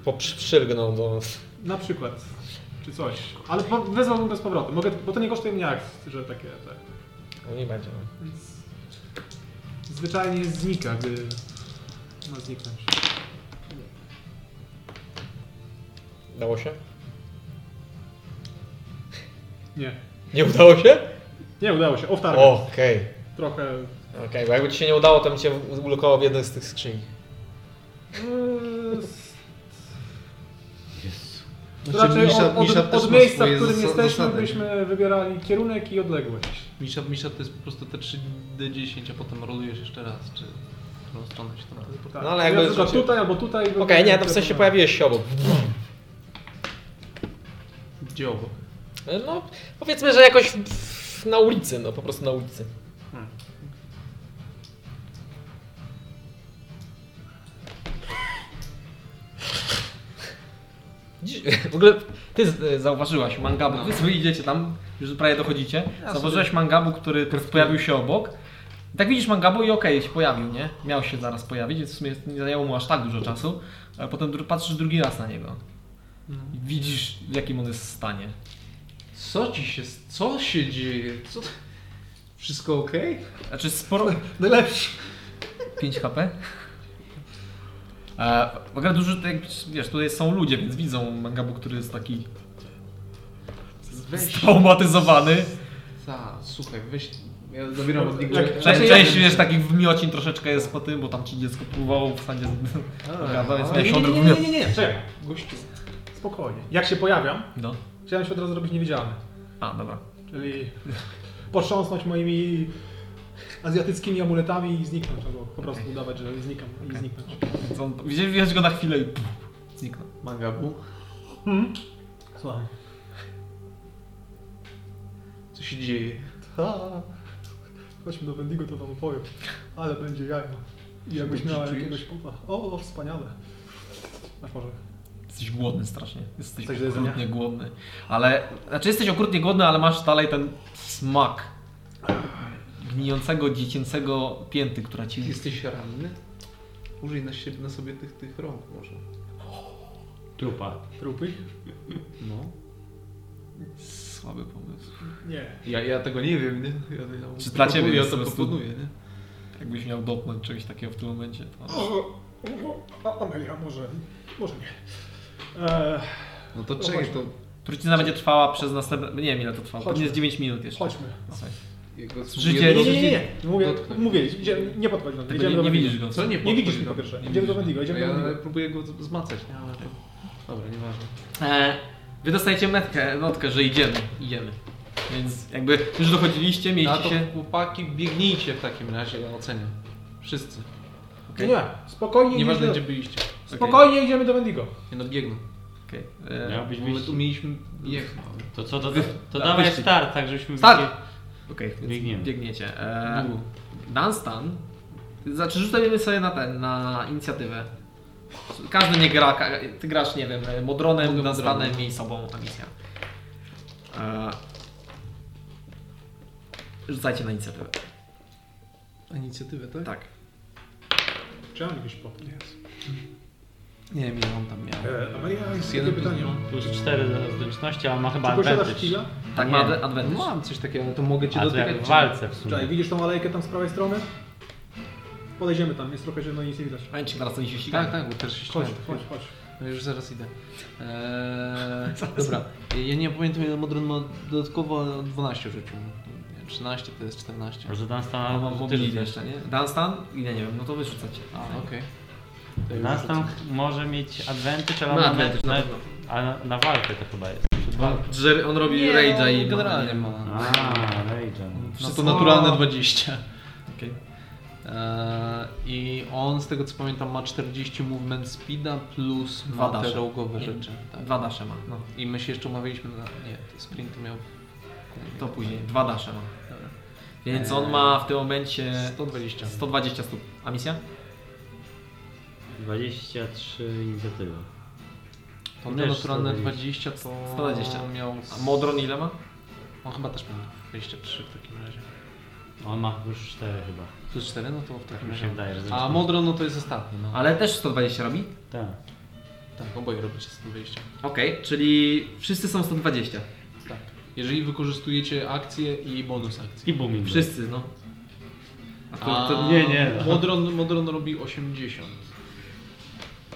S7: po przy- przylgnął do...
S1: na przykład. Czy coś. Ale po, wezwałbym go z powrotem, Mogę, bo to nie kosztuje mnie akcji, że takie, tak.
S7: No nie będzie. no.
S1: Więc zwyczajnie znika, gdy ma zniknąć.
S7: Dało się?
S1: Nie.
S7: Nie udało się?
S1: Nie udało się.
S2: Tak.
S1: Off target.
S7: Okej.
S1: Trochę.
S7: Okej, bo jakby ci się nie udało, to bym cię ulokował w jednej z tych skrzyń.
S1: Yy, s-
S4: Jezu.
S1: to raczej
S5: Misza-
S1: od, od,
S5: Misza Znaczy, też
S1: od
S5: ma
S1: miejsca,
S5: swoje
S1: w którym
S5: zas-
S1: jesteśmy,
S5: zasady.
S1: byśmy wybierali kierunek i odległość.
S5: Misza, misza to jest po prostu te 3D10, a potem rolujesz jeszcze raz, czy w którą stronę się tam...
S1: Tak.
S7: No, ale jakby
S1: Ja na przykład
S7: rzeczywiście-
S1: tutaj albo tutaj.
S7: Okej, nie, to w sensie pojawiłeś się obok.
S5: Gdzie obok?
S7: No, powiedzmy, że jakoś w- w- na ulicy, no po prostu na ulicy.
S2: Dziś- W ogóle ty z- y, zauważyłaś mangabu, wy sobie idziecie tam, już prawie dochodzicie. Zauważyłaś mangabu, który pojawił się obok. Tak widzisz mangabu i okej, się pojawił, nie? Miał się zaraz pojawić, więc w sumie nie zajęło mu aż tak dużo czasu. Ale potem dru- patrzysz drugi raz na niego. I Widzisz w jakim on jest stanie.
S5: Co ci się... co się dzieje? Co... to- Wszystko okej?
S2: Znaczy sporo...
S1: Najlepszy.
S2: 5 HP. E, w ogóle dużo, tak, wiesz, tutaj są ludzie, więc widzą mangabu, który jest taki
S5: Weź...
S2: straumatyzowany.
S5: Ta, słuchaj, weź... Ja zabieram od niego...
S1: Jak-
S2: Część,
S5: Znaczy,
S2: część
S5: ja-
S2: wiesz, takich wymiocin troszeczkę jest po tym, bo tam ci dziecko próbowało w stanie gada, więc
S1: Nie,
S2: miałeś
S1: nie,
S2: od
S1: nie,
S2: razu
S1: nie, nie, nie, czekaj. Gościu. Spokojnie. Jak się pojawiam,
S2: No.
S1: chciałem się od razu zrobić niewidzialny.
S2: A, dobra.
S1: Czyli <laughs> potrząsnąć moimi azjatyckimi amuletami i zniknąć, albo po prostu
S2: Okej.
S1: udawać, że znikam i zniknąć.
S2: Więc on, widzisz, widzisz go na chwilę i pff, zniknął.
S5: Mangabu?
S1: Hmm? Słucham.
S5: Co się dzieje?
S1: Ta. Chodźmy do Wendigo, to wam opowiem. Ale będzie jajo. I jakbyś
S5: Dobrze
S1: miała
S5: czujesz?
S1: jakiegoś pupa. O, o, wspaniale. Masz może.
S2: Jesteś głodny strasznie. Jesteś
S1: Coś do jedzenia?
S2: okrutnie głodny. Ale, znaczy jesteś okrutnie głodny, ale masz dalej ten smak gnijącego, dziecięcego pięty, która
S5: Ty
S2: ci...
S5: jesteś ranny? Użyj na, siebie, na sobie tych, tych rąk może.
S4: Trupa.
S1: Trupy?
S5: No.
S2: Słaby pomysł.
S1: Nie.
S5: Ja, ja tego nie wiem, nie? Ja, ja
S2: Czy dla ciebie
S5: Ja
S2: jest
S5: to
S2: po prostu-
S5: proponuję, nie?
S2: Jakbyś miał dotknąć czegoś takiego w tym momencie, to...
S1: O, o, a Amelia, może. Może nie. Eee,
S5: No to
S1: No
S5: czekaj,
S1: chodźmy.
S5: to
S2: Trucizna będzie trwała przez następne... Nie wiem ile to trwa,
S1: Chodźmy.
S2: pewnie z 9 minut jeszcze. No,
S1: chodźmy.
S2: Słuchaj.
S5: jego
S2: Życie-
S1: Nie,
S2: Dotknąć.
S1: nie, nie, nie. Mówię,
S5: Dotknąć.
S1: mówię idziemy, nie podchodź do mnie.
S2: Tego
S1: Idziemy
S2: nie,
S1: do
S2: nie
S1: Wendigo.
S2: widzisz go.
S5: Co nie podchodzi
S1: Nie widzisz
S5: do-
S1: go po pierwsze.
S5: nie
S1: Idziemy do
S5: widzisz.
S1: Wendigo, idziemy
S5: No ja
S1: do Wendigo.
S5: próbuję go z- zmacać, nie? Ale to... Dobra, nieważne.
S2: E, Wy dostajecie metkę, notkę, że idziemy, idziemy. Więc jakby już dochodziliście,
S5: Na
S2: mieliście
S5: to
S2: się...
S5: chłopaki biegnijcie w takim razie, ja ocenię. Wszyscy.
S2: Okej.
S1: Nie, spokojnie
S5: Nieważne
S1: idziemy.
S5: gdzie byliście.
S1: do- Spokojnie idziemy do Wendigo.
S5: Nie no, biegną.
S2: Okej, e,
S4: Miałbyś
S5: My
S4: wyjść.
S5: tu mieliśmy... Biegną.
S4: To co, to, to,
S2: Wy-
S4: to
S2: tak,
S4: dawaj
S2: wyścig.
S4: start, tak żebyśmy
S2: Start!
S4: wiedzieli-
S2: okej, więc
S4: Biegniemy.
S2: biegniecie. E, Dunstan, znaczy rzucajmy sobie na ten, na inicjatywę. Każdy nie gra, ka- ty grasz, nie wiem, e, Modronem,
S5: Mogę
S2: Dunstanem
S5: Modronem.
S2: i sobą, a misja. E, rzucajcie na inicjatywę,
S5: A Inicjatywę, tak?
S2: tak.
S1: Czy ja mam jakieś podnie?
S5: Nie wiem ile on tam miał.
S1: E, Amelia, jest jedno
S5: jeden plus
S1: pytanie.
S5: dwa.
S4: Plus 4 do zręczności, ale ma chyba
S1: Czy posiadasz
S4: advantage.
S1: killa?
S2: Tak
S4: Nie.
S2: ma ad- advantage.
S5: Mam coś takiego, ale to mogę cię
S4: A to
S5: dotykać.
S4: jak w
S5: czy-
S4: walce w sumie.
S1: Czekaj, widzisz tą alejkę tam z prawej strony? Podejdziemy tam, jest trochę zielno, nic nie widać.
S2: Pamięci, teraz oni się ścigają.
S5: Tak, tak, bo też się
S1: Chodź, chodź,
S5: ścigałem.
S1: chodź.
S5: No już zaraz idę. Eee, dobra, ja nie pamiętam ile Modron ma dodatkowo 12 rzucił. Nie, 13 to jest 14.
S4: Może dan
S2: A
S4: stan
S2: mam mobility jeszcze, nie? Dunstan? Ile nie wiem, no to wyrzucacie.
S5: A, okej.
S4: Dan stan może mieć advantage, ale
S2: Ma
S4: ma
S2: advantage, na
S4: na,
S2: pewno.
S4: a na, na walkę to chyba jest.
S2: Jerry, on robi
S5: Nie,
S2: rage'a i
S5: on generalnie ma.
S4: A, Rage.
S5: No to
S2: Wszystko-
S5: naturalne 20.
S2: Okej.
S5: Eee, I on z tego co pamiętam ma 40 movement speeda plus
S2: Dwa
S5: ma te
S2: dasze.
S5: rogowe
S2: Nie.
S5: rzeczy. Tak.
S2: Dwa dasze ma, no.
S5: I my się jeszcze umawialiśmy na... Nie, to sprint miał...
S2: To później, dwa dasze ma.
S5: Dobra.
S2: Więc
S5: Eee,
S2: on ma w tym momencie
S5: 120.
S2: 120 stóp. A misja?
S4: 23 inicjatywy.
S5: To
S4: Też
S5: naturalne
S4: 120.
S5: 20 to
S2: 120.
S5: miał...
S2: A Modron ile ma?
S5: On chyba też miał 23 w takim razie.
S4: On ma już 4 chyba.
S5: Plus 4, no to w takim
S4: Mi się
S5: razie.
S4: wydaje, że
S5: A
S4: zaczyna.
S5: Modron, no to jest ostatni, no.
S2: Ale też 120 robi?
S4: Tak.
S5: Tak, oboje robicie 120.
S2: Okej, czyli wszyscy są 120.
S5: Tak. Jeżeli wykorzystujecie akcję i bonus akcji.
S4: I booming.
S2: Wszyscy, no. A to, to
S5: A
S4: nie, nie.
S5: Modron, Modron robi 80.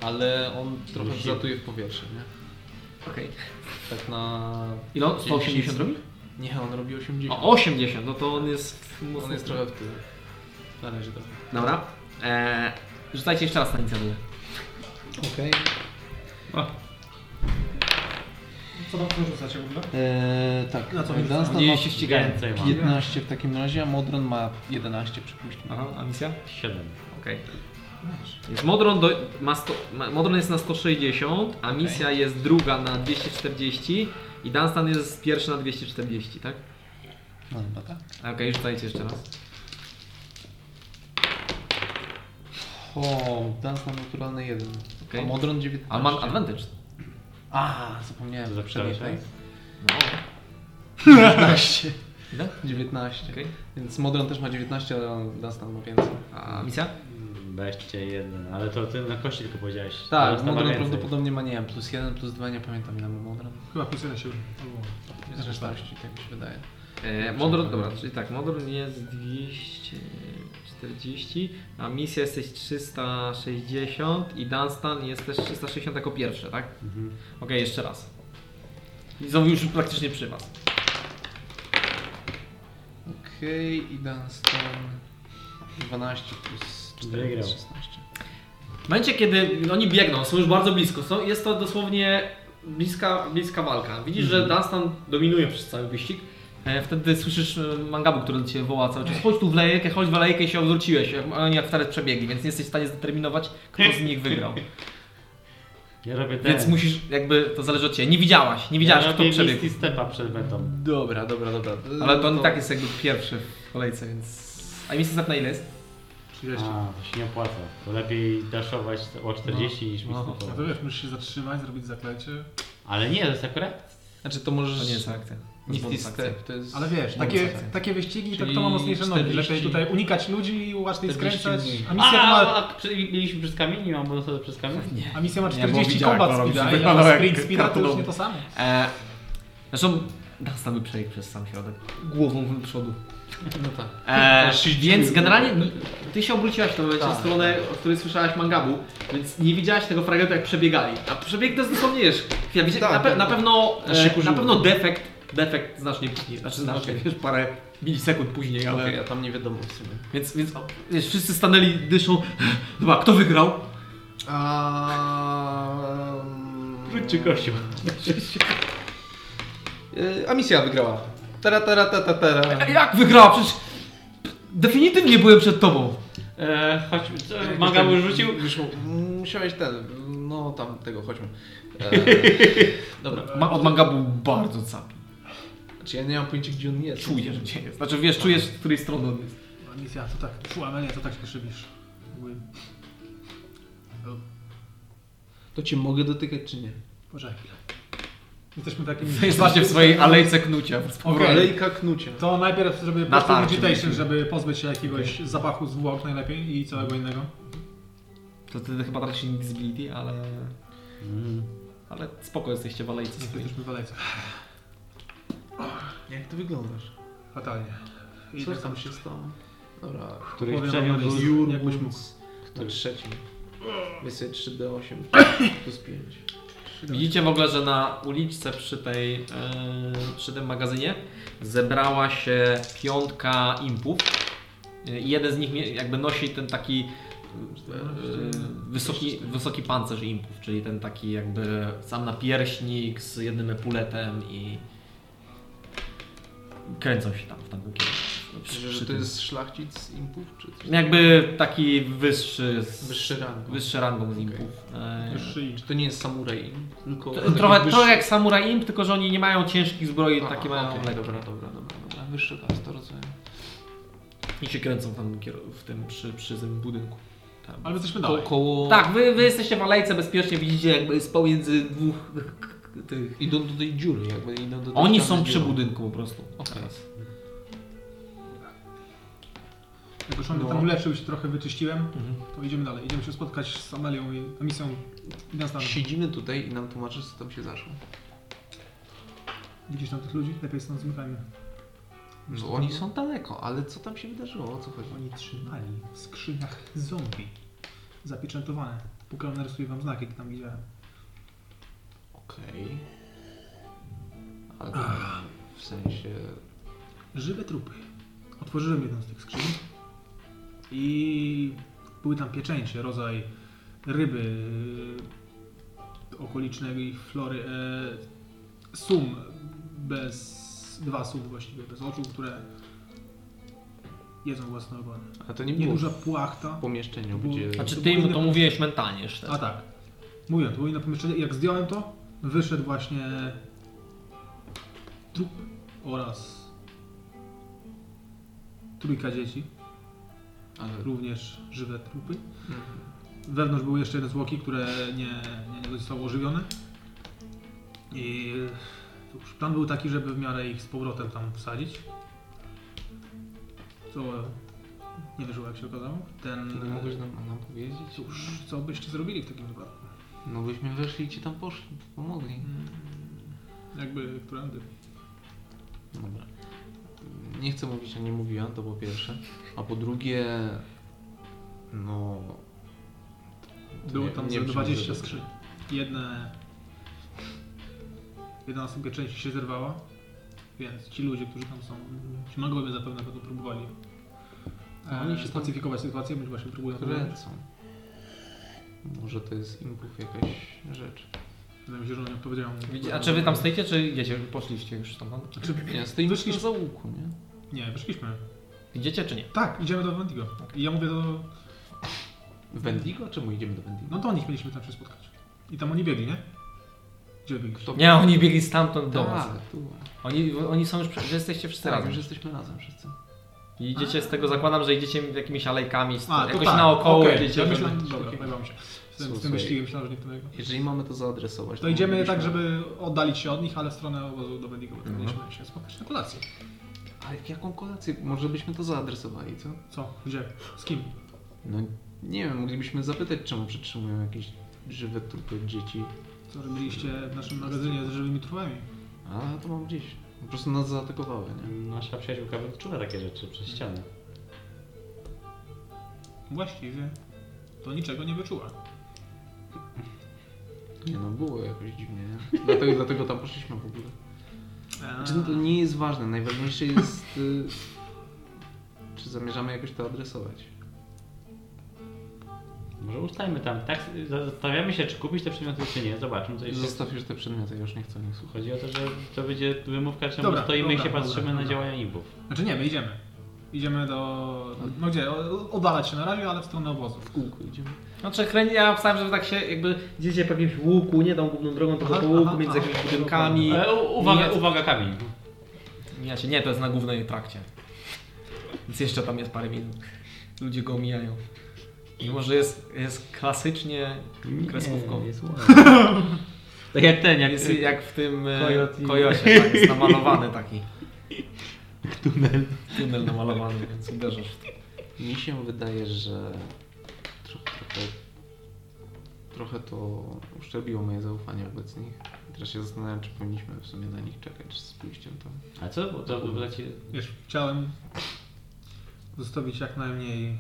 S5: Ale on trochę
S4: Musi-
S5: wzlatuje w powietrze, nie?
S2: Okej.
S5: Tak na...
S2: Ile on? 180 robi?
S5: Nie, on robi 80.
S2: O, 80, no to on jest...
S5: on jest trochę w tył. Na razie tak. trochę.
S2: Dobra. Eee, rzucajcie jeszcze raz na inicjatywę.
S1: Okej. Co tam co rzucacie w ogóle?
S5: Eee, tak.
S1: Na co mi
S5: Dunstan
S1: rzucamy?
S5: ma
S4: Nie się ścigają. Więcej mam.
S5: 15 w takim razie, a Modron ma 11 przypuśćmy.
S2: Aha, a misja?
S4: 7.
S2: Okej. Więc Modron, do, ma sto, ma, Modron jest na 160, a misja jest druga na 240 i Dunstan jest pierwszy na 240, tak?
S5: No chyba tak.
S2: Okej, rzucajcie jeszcze raz.
S5: O, Dunstan naturalny 1.
S2: Okej.
S5: A Modron 19.
S2: A mam advantage.
S5: A, zapomniałem. tak.
S4: Za
S5: poprzedniej,
S4: cały
S5: tak?
S4: czas.
S2: No,
S5: 19.
S2: ile?
S5: 19.
S2: Okej.
S5: Więc Modron też ma 19, ale Dunstan ma więcej.
S2: A misja?
S4: 21, ale to ty na kości tylko powiedziałeś.
S5: Tak,
S4: Teraz to ma
S5: Modron
S4: więcej.
S5: prawdopodobnie ma, nie wiem, plus 1, plus 2, nie pamiętam ile ma Modron.
S1: Chyba plus 1 się
S5: Jest 16, tak mi się wydaje.
S2: E, Modron, dobra, czyli tak, Modron jest 240, a misja jesteś 360 i Dunstan jest też 360 jako pierwszy, tak?
S4: Mhm.
S2: Okej, jeszcze raz. I znowu już praktycznie przy was.
S5: Okej, i Dunstan 12 plus 4
S4: Wygrał.
S5: plus 16.
S2: W momencie, kiedy
S6: Oni biegną, są już bardzo blisko. Są, jest to dosłownie bliska, bliska walka. Widzisz,
S2: Mhm.
S6: że Dunstan dominuje przez cały wyścig.
S2: E, Wtedy słyszysz e, mangabu, który do Ciebie woła cały czas. Chodź tu w lejkę, chodź w lejkę i się odwróciłeś. Jak- Oni jak wcale przebiegli, więc nie jesteś w stanie zdeterminować, kto z nich <laughs> wygrał.
S4: Ja robię ten.
S2: Więc musisz, jakby, to zależy od Ciebie. Nie widziałaś, nie widziałaś,
S4: ja
S2: kto
S4: robię
S2: przebiegł.
S4: misty stepa przed metą.
S5: Dobra, dobra, dobra.
S2: Ale to on i tak jest jakby pierwszy w kolejce, więc... A misja zapna ile jest?
S1: 30.
S4: A, to się nie opłaca. To lepiej daszować o 40 niż misty
S2: No,
S1: A
S4: stepa.
S1: to wiesz, musisz się zatrzymać, zrobić zaklecie.
S4: Ale nie, to jest akurat.
S5: Znaczy to możesz...
S2: To nie jest akcja.
S5: Misty
S2: Bonus akcja.
S5: Step, to jest...
S1: Ale wiesz, takie, takie wyścigi, tak to
S5: Czyli
S1: kto ma mocniejsze nogi?
S5: 40
S1: Lepiej tutaj unikać ludzi, łatwiej
S5: 40
S1: skręcać.
S5: mniej.
S1: A misja, to ma,
S4: a, przy- mieliśmy przez kamień, nie mam bonusa przez kamień? Nie.
S1: a misja ma
S2: Nie, bo
S1: 40
S2: widziałem,
S1: combat
S2: jak to robi.
S1: speeda, ja
S2: Wyglądał
S1: ma
S2: jak
S1: sprint speeda, to już
S2: kartonowy.
S1: nie to samo.
S2: E, zresztą Dunstan by przebiegł przez sam środek. Głową do przodu.
S5: No tak.
S2: E,
S5: Aż się
S2: więc
S5: dziwię.
S2: generalnie ty się obróciłaś w tym momencie
S5: Tak.
S2: w stronę, o której słyszałaś mangabu, więc nie widziałaś tego fragmentu jak przebiegali. A przebieg to jest dosłownie wiesz, ja widzi-
S5: Tak,
S2: na, pe-
S5: tak.
S2: na pewno
S5: Aż się
S2: e, na
S5: kurzyło.
S2: pewno defekt, defekt znacznie później, znaczy znacznie,
S5: Okej.
S2: wiesz, parę milisekund później, ale
S5: Ale ja tam nie wiadomo w sumie.
S2: więc, więc o, wiesz, wszyscy stanęli, dyszą, dobra, kto wygrał?
S5: A...
S4: Rzućcie kością.
S5: A misja wygrała. Tera, tera, tera, tera.
S2: E, Jak wygrała? Przecież definitywnie byłem przed tobą.
S4: E, choć, manga już rzucił?
S5: Wyszło. Musiałeś ten. No tam tego, chodźmy. E, dobra.
S2: Ma, od mangabu bardzo capi.
S5: Znaczy ja nie mam pojęcia gdzie on jest.
S2: Czujesz, gdzie jest. Znaczy wiesz, czujesz, z której strony on jest.
S1: A misja, to tak, pfu, Amelia, to tak się szybisz. Mówi,
S5: To cię mogę dotykać czy nie?
S1: Poczekaj chwilę. Jesteśmy takimi...
S2: Jest właśnie w swojej alejce knucia. z powrotem.
S5: Alejka knucia.
S1: To najpierw zrobię
S2: Na
S1: prosty
S2: tarczy
S1: meditation,
S2: byliśmy.
S1: żeby pozbyć się jakiegoś zapachu zwłok najlepiej i całego innego.
S2: To wtedy chyba traci invisibility, ale...
S4: Mm.
S2: Ale spoko jesteście w alejce
S1: Nie
S2: swojej.
S1: jesteśmy w alejce.
S5: Jak ty wyglądasz?
S1: Fatalnie. I
S5: Co
S1: tak
S5: tam
S1: tam
S5: się stało? Dobra.
S4: Któryś
S1: Powiem
S4: przebił
S1: wam,
S4: był
S1: jest-
S5: Jur
S1: jakbyś mógł.
S5: Woods na trzecim. Wysy 3D8 plus 5.
S2: Tak. Widzicie w ogóle, że na uliczce przy tej... e, przy tym magazynie zebrała się piątka impów. E, I jeden z nich mie- jakby nosi ten taki... e, e, Wysoki, wysoki pancerz impów, czyli ten taki jakby sam napierśnik z jednym epuletem i kręcą się tam w tamtym kierunku. Przy-
S5: Myślę,
S2: przy
S5: że to
S2: tym.
S5: jest szlachcic z impów czy coś?
S2: Jakby taki wyższy, z,
S5: Wyższy rang.
S2: wyższy rangą z impów. E,
S1: Szyi.
S5: Czy to nie jest samuraj imp, tylko...
S2: to-
S5: taki
S2: Trochę,
S5: wyższy-
S2: trochę jak samuraj imp, tylko że oni nie mają ciężkich zbroi,
S5: Aha,
S2: takie mają
S5: okej,
S2: lekkie.
S5: Dobra, dobra, dobra, dobra. Wyższy klas, to rozumiem.
S2: I się kręcą tam kier- w tym, przy, przy tym budynku. Tam.
S1: Ale my jesteśmy
S5: Ko
S1: dalej.
S5: koło...
S2: Tak, wy, wy jesteście w alejce bezpiecznie, widzicie jakby jest pomiędzy dwóch tych...
S5: Idą do tej dziury, jakby idą do tej
S2: Oni
S5: ściany
S2: są
S5: z
S2: przy
S5: dziurą.
S2: budynku po prostu.
S5: Okej.
S2: Teraz.
S1: Jak już on mnie
S2: No.
S1: tam uleczył, już trochę wyczyściłem,
S2: Mhm.
S1: to idziemy dalej. Idziemy się spotkać z Amelią i misją i nas tam.
S5: Siedzimy tutaj i nam tłumaczysz, co tam się zaszło.
S1: Widzisz tam tych ludzi? Lepiej stąd zmykajmy.
S5: No, oni są daleko, ale co tam się wydarzyło? O co chodzi?
S1: Oni trzymali w skrzyniach zombie. Zapieczętowane. Pokażę, narysuję wam znaki, jak tam widziałem.
S5: Okej. Ale to w sensie...
S1: Żywe trupy. Otworzyłem jedną z tych skrzyni i były tam pieczęcie, rodzaj ryby yy, okolicznej flory. E, sum bez... Dwa sum właściwie, bez oczu, które jedzą własne ogony.
S5: A to nie było
S1: Nieduża
S5: w
S1: płachta.
S5: pomieszczeniu,
S1: Było-
S5: gdzie...
S2: Znaczy ty mu to mówiłeś mentalnie już
S1: A
S2: teraz.
S1: tak. Mówiłem, to było inne pomieszczenie. Jak zdjąłem to, wyszedł właśnie trup oraz trójka dzieci,
S5: Ale...
S1: również żywe trupy.
S5: Mhm.
S1: Wewnątrz były jeszcze jedne zwłoki, które nie, nie, nie zostały ożywione. I cóż, plan był taki, żeby w miarę ich z powrotem tam wsadzić. Co nie wyszło, jak się okazało. Ten...
S5: No, mogłeś nam, nam powiedzieć?
S1: Cóż, co byście zrobili w takim wypadku?
S5: No byśmy weszli i ci tam poszli, pomogli.
S1: Hmm. Jakby, którędy?
S5: Dobra. Nie chcę mówić, że nie mówiłem, to po pierwsze. A po drugie, no...
S1: Było
S5: Nie-
S1: tam
S5: nie
S1: ze
S5: brzmi
S1: 20
S5: źle.
S1: skrzyń. Jedne... Jedna sobie część się zerwała, więc ci ludzie, którzy tam są, ci magowie zapewne będą próbowali
S5: No,
S1: oni
S5: oni się
S2: E,
S1: się
S5: tam-
S1: spacyfikować sytuację, być właśnie próbują to robić.
S5: Kręcą. Może to jest impuls jakaś rzecz.
S1: Wydaje mi się, że oni odpowiedział.
S2: Widzi- A czy wy tam stoicie, czy idziecie? Poszliście już tam?
S1: Czy...
S5: Nie, stoimy
S1: Wyszliśmy-
S5: w załuku, nie?
S1: Znaczy, Nie, wyszliśmy.
S2: Idziecie czy nie?
S1: Tak, idziemy do Wendigo. I ja mówię do...
S5: Wendigo? Czemu idziemy do Wendigo?
S1: No do nich mieliśmy tam się spotkać. I tam oni biegli, nie? Gdzie biegliście?
S5: Kto-
S2: Nie, oni biegli stamtąd do was.
S5: Tak, tu.
S2: Oni, oni są już, prze- że jesteście wszyscy
S5: Tak,
S2: razem.
S5: już jesteśmy razem wszyscy.
S2: I idziecie z tego, zakładam, że idziecie jakimiś alejkami, z-
S1: A, to
S2: jakoś
S1: tak.
S2: naokoło
S1: Okej,
S2: idziecie.
S1: Ja
S2: żeby-
S1: myślałem, dobra, pojawiło mi się. Z tym, z
S5: Słuchaj.
S1: tym wyścigiem myślałem, że nie w tym
S5: Jeżeli mamy to zaadresować,
S1: To idziemy tak,
S5: moglibyśmy-
S1: żeby oddalić się od nich, ale w stronę obozu do Bendigo. bo Mieliśmy się spotkać na kolację.
S5: Ale jaką kolację? Może byśmy to zaadresowali, co?
S1: Co? Gdzie? Z kim?
S5: No nie wiem, moglibyśmy zapytać, czemu przetrzymują jakieś żywe trupy dzieci.
S1: Co robiliście w naszym magazynie z żywymi trupami?
S5: A to mam gdzieś. Po prostu nas zaatakowały, nie?
S4: Nasza przyjaciółka wyczuwa takie rzeczy przez ścianę.
S1: Właściwie to niczego nie wyczuła.
S5: Nie no, było jakoś dziwnie, nie? Dlatego, <laughs> dlatego tam poszliśmy w ogóle. Znaczy, no to nie jest ważne, najważniejsze jest... Y... Czy zamierzamy jakoś to adresować?
S4: Może ustajmy tam. Tak, zastanawiamy się, czy kupić te przedmioty, czy nie. Zobaczmy,
S5: No
S4: co jest.
S5: Zostaw już te przedmioty, ja już nie chcę o nich słuchać.
S4: Chodzi o to, że to będzie wymówka, czemu
S1: Dobra,
S4: stoimy
S1: dobra,
S4: i się
S1: dobra,
S4: patrzymy
S1: dobra.
S4: na działania imbów.
S1: Znaczy nie, my idziemy. Idziemy do... No gdzie? O- Oddalać się na razie, ale w stronę obozu.
S5: W kółku idziemy.
S2: Znaczy, chrę- ja wstałem, że wy tak się jakby idziecie po jakimś łuku, nie tą główną drogą, tylko
S1: Aha,
S2: po łuku
S1: aha,
S2: między
S1: aha,
S2: jakimiś
S1: aha,
S2: budynkami.
S4: Ale u- uwaga,
S2: Nie.
S4: uwaga, kamień.
S2: Ja się nie, to jest na głównej trakcie. Więc jeszcze tam jest parę minut. Ludzie go omijają. Mimo, że jest, jest klasycznie kreskówkowy.
S4: Jest tak jak ten, jak
S2: Jest jak w tym e,
S4: Kojot i-
S2: kojocie, tak, jest namalowany taki. <laughs> Tunel. Tunel namalowany, więc uderzasz w to.
S5: Mi się wydaje, że tro, trochę, trochę to uszczerbiło moje zaufanie wobec nich. Teraz się zastanawiam, czy powinniśmy w sumie na nich czekać z pójściem tam.
S4: A co? Bo to było ci...
S1: Wiesz, chciałem zostawić jak najmniej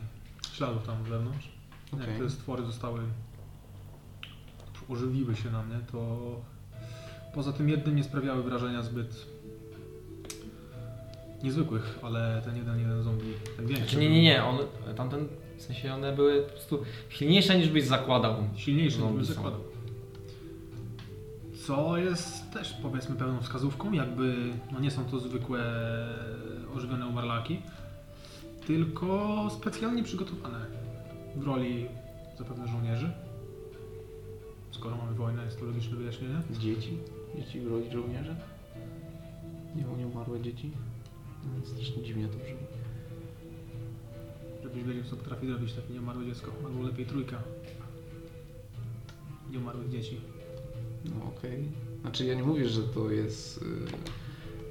S1: śladów tam wewnątrz.
S5: Okej.
S1: Jak te stwory zostały, ożywiły się na mnie, to poza tym jednym nie sprawiały wrażenia zbyt niezwykłych, ale ten jeden, jeden zombie, ten większy.
S2: Znaczy nie, nie, nie, on, tamten, w sensie one były po prostu silniejsze niż byś zakładał.
S1: był Silniejszy niż bym
S2: Zombie są.
S1: zakładał. Co jest też powiedzmy pełną wskazówką, jakby no nie są to zwykłe ożywione umarlaki, tylko specjalnie przygotowane w roli zapewne żołnierzy. Skoro mamy wojnę, jest to logiczne wyjaśnienie.
S5: Dzieci? Dzieci w roli żołnierza? Nie, nie umarłe dzieci? No, Strasznie dziwnie to brzmi.
S1: Żebyś wiedział, co potrafi zrobić takie nieumarłe dziecko, albo lepiej trójka nieumarłych dzieci.
S5: No okej. Znaczy ja nie mówię, że to jest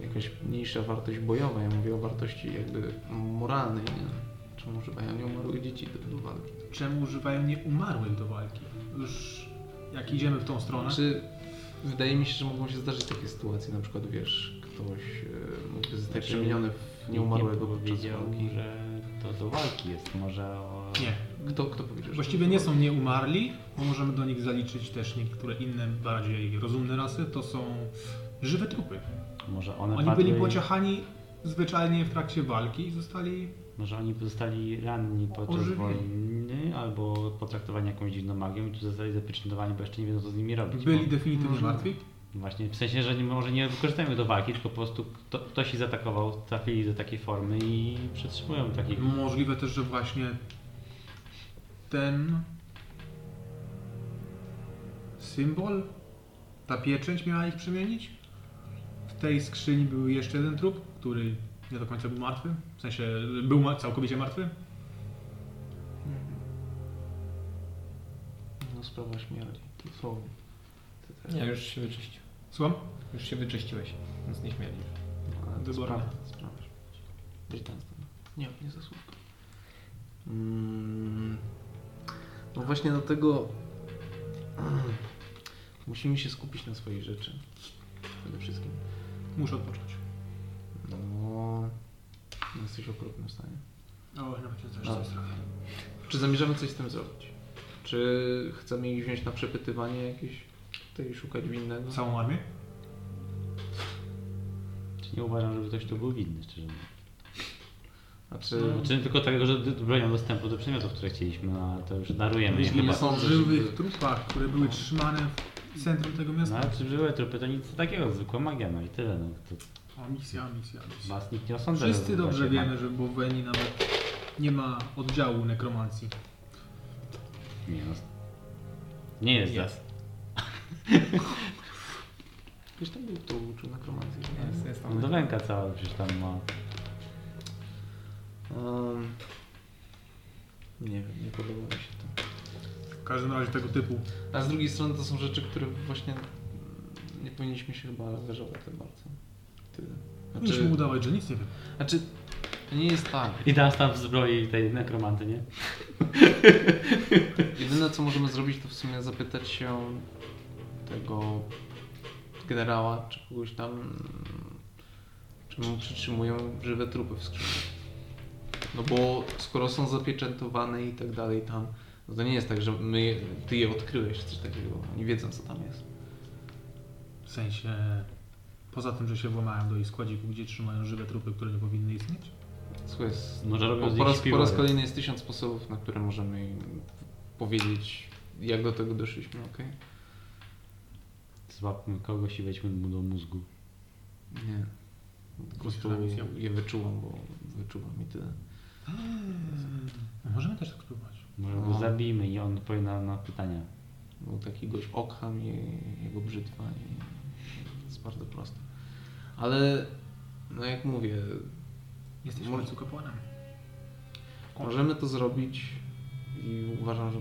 S5: y, jakaś mniejsza wartość bojowa, ja mówię o wartości jakby moralnej, nie? Czemu używają nieumarłych dzieci do, do walki?
S1: Czemu używają nieumarłych do walki? Już jak idziemy w tą stronę.
S5: Znaczy, wydaje mi się, że mogą się zdarzyć takie sytuacje, na przykład wiesz, ktoś e, mógłby zostać
S4: Znaczy,
S5: przemieniony w
S4: Nikt nie
S5: nieumarłego podczas
S4: powiedział,
S5: walki.
S4: że to do walki jest. Może o...
S1: Nie.
S5: Kto, kto powiedział? że
S1: Właściwie
S5: to
S1: nie
S5: była-
S1: są nieumarli, bo możemy do nich zaliczyć też niektóre inne, bardziej rozumne rasy. To są żywe trupy.
S4: Może one
S1: Oni
S4: padły
S1: byli
S4: i-
S1: pociachani zwyczajnie w trakcie walki i zostali
S4: Może oni zostali ranni podczas
S1: Ożywieni.
S4: wojny albo potraktowani jakąś dziwną magią i tu zostali zapieczętowani, bo jeszcze nie wiedzą co z nimi robić.
S1: byli definitywnie
S5: Możliwe.
S1: martwi.
S4: Bo właśnie w sensie, że nie, może nie wykorzystajmy do walki, tylko po prostu kto, ktoś ich zaatakował, trafili do takiej formy i przetrzymują takich.
S1: Możliwe też, że właśnie ten symbol, ta pieczęć miała ich przemienić. W tej skrzyni był jeszcze jeden trup, który nie do końca był martwy. W sensie był ma- całkowicie martwy.
S5: No sprawa śmierci, dosłownie.
S2: Nie, już się wyczyścił.
S1: Słucham?
S2: Już się wyczyściłeś, więc nie śmielisz.
S5: Ale to
S1: Wyborne.
S5: sprawa, sprawa śmierci. Brytanstan. Nie, nie zasłówka. Mm. No właśnie dlatego mm, <clears throat> musimy się skupić na swoich rzeczy. Przede wszystkim.
S1: Muszę odpocząć.
S5: No, no jesteś w okropnym stanie.
S1: O, nawet nie też
S5: No.
S4: Tak.
S1: coś zrobię.
S5: Czy zamierzamy coś z tym zrobić? Czy chcemy ich wziąć na przepytywanie jakieś? Tutaj szukać winnego?
S1: Całą armię?
S4: Czy nie uważam, żeby ktoś tu był winny, szczerze mówiąc.
S5: Znaczy,
S4: Czy tylko tego, że d- bronią dostępu do przedmiotów, które chcieliśmy, no, ale to już darujemy. nie?
S1: Myślimy
S5: nie
S1: o
S5: sądzę,
S1: żywych
S5: żeby-
S1: trupach, które były trzymane w centrum tego
S4: No
S1: miasta.
S4: ale czy były trupy, to nic takiego, zwykła magia, no i tyle. No, to
S1: O, misja, misja, misja.
S4: was nikt nie osądza.
S1: Wszyscy
S4: że tak.
S1: dobrze
S4: właśnie
S1: wiemy, że w Boweni nawet nie ma oddziału nekromancji.
S4: Nie, no. nie jest
S2: Jest.
S4: zas.
S5: ktoś tam był, kto uczył nekromancji. nie?
S2: No, Jest, jest tam.
S4: Wdowęka cała przecież tam ma.
S5: Em, Um, nie wiem, nie podoba mi się to.
S1: W każdym razie tego typu.
S5: A z drugiej strony to są rzeczy, które właśnie nie powinniśmy się chyba angażować tym bardzo. Tyle.
S1: Musimy
S5: Znaczy,
S1: udawać, że nic nie wiem.
S5: znaczy, to nie jest tak.
S4: I teraz tam w zbroi tej nekromanty, nie?
S5: Jedyne co możemy zrobić to w sumie zapytać się tego generała czy kogoś tam, mm, czy mu przytrzymują żywe trupy w skrzyni. No bo skoro są zapieczętowane i tak dalej tam, no to nie jest tak, że my, ty je odkryłeś czy coś takiego. Oni wiedzą co tam jest.
S1: W sensie, poza tym, że się włamają do ich składziku, gdzie trzymają żywe trupy, które nie powinny istnieć.
S5: Słuchaj, jest,
S4: Może robią
S5: po,
S4: z
S5: po,
S4: nich
S5: raz, po
S4: śpiwór.
S5: raz kolejny jest tysiąc sposobów, na które możemy im powiedzieć, jak do tego doszliśmy, okej?
S4: Złapmy kogoś i wejdźmy mu do mózgu.
S5: Nie. Po prostu
S1: Myślałem, że ja-
S5: je wyczułam, bo wyczułam i tyle.
S1: Możemy też tak spróbować.
S4: Może go
S5: No.
S4: zabijmy i on powie nam na pytania.
S5: Był taki gość Okham i jego brzytwa i jest bardzo proste. Ale no jak mówię,
S1: Jesteś w
S5: Może-
S1: końcu kapłanem.
S5: możemy to zrobić i uważam, że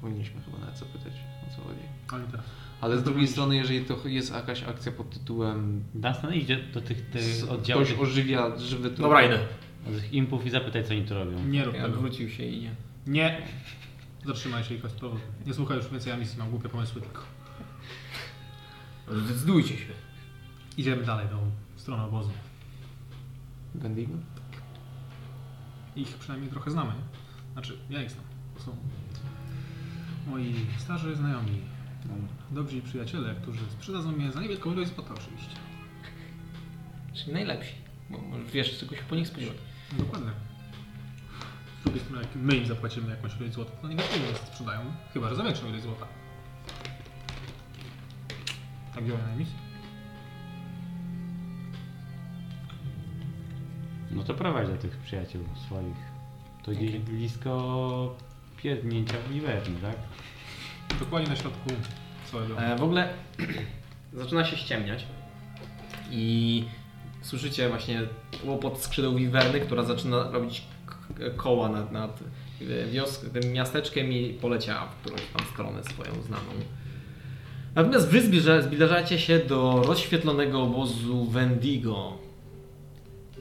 S5: powinniśmy chyba nawet zapytać o co chodzi.
S1: Ale teraz.
S5: Ale z drugiej strony, jeżeli to jest jakaś akcja pod tytułem
S4: Dunstan idzie do tych,
S5: s-
S4: tych oddziałów,
S5: ktoś
S4: tych,
S5: ożywia żywy trup.
S2: Dobra, idę.
S4: tych impów i zapytaj co oni tu robią.
S1: Nie rób tego.
S2: Odwrócił się i nie.
S1: Nie! Zatrzymaj się i chodź z powrotem. Nie słuchaj już więcej misji, mam głupie pomysły tylko.
S2: Zdecydujcie się.
S1: Idziemy dalej, tą stronę obozu.
S5: Wendigo?
S1: Ich przynajmniej trochę znamy. nie? Znaczy, ja ich znam. To są moi starzy znajomi. Dobrzy przyjaciele, którzy sprzedadzą mnie za niewielką ilość złota oczywiście.
S2: Czyli najlepsi. Bo może wiesz, czego się po nich spodziewać.
S1: No Dokładnie. Z drugiej strony, jak my im zapłacimy jakąś ilość złota, to oni na pewno nas sprzedają. Chyba, że za większą ilość złota. Tak działa na misji.
S4: No to prowadź do tych przyjaciół swoich. To gdzieś blisko pierdnięcia w Liverni, tak?
S1: Dokładnie na środku swojego.
S2: E, w ogóle
S6: <clears throat> Zaczyna się ściemniać.
S2: i
S6: Słyszycie właśnie łopot skrzydeł wiwerny, która zaczyna robić k- koła nad, nad wioską, tym miasteczkiem i poleciała w którąś tam stronę swoją znaną.
S2: Natomiast wy zbliża, zbliżacie się do rozświetlonego obozu Wendigo.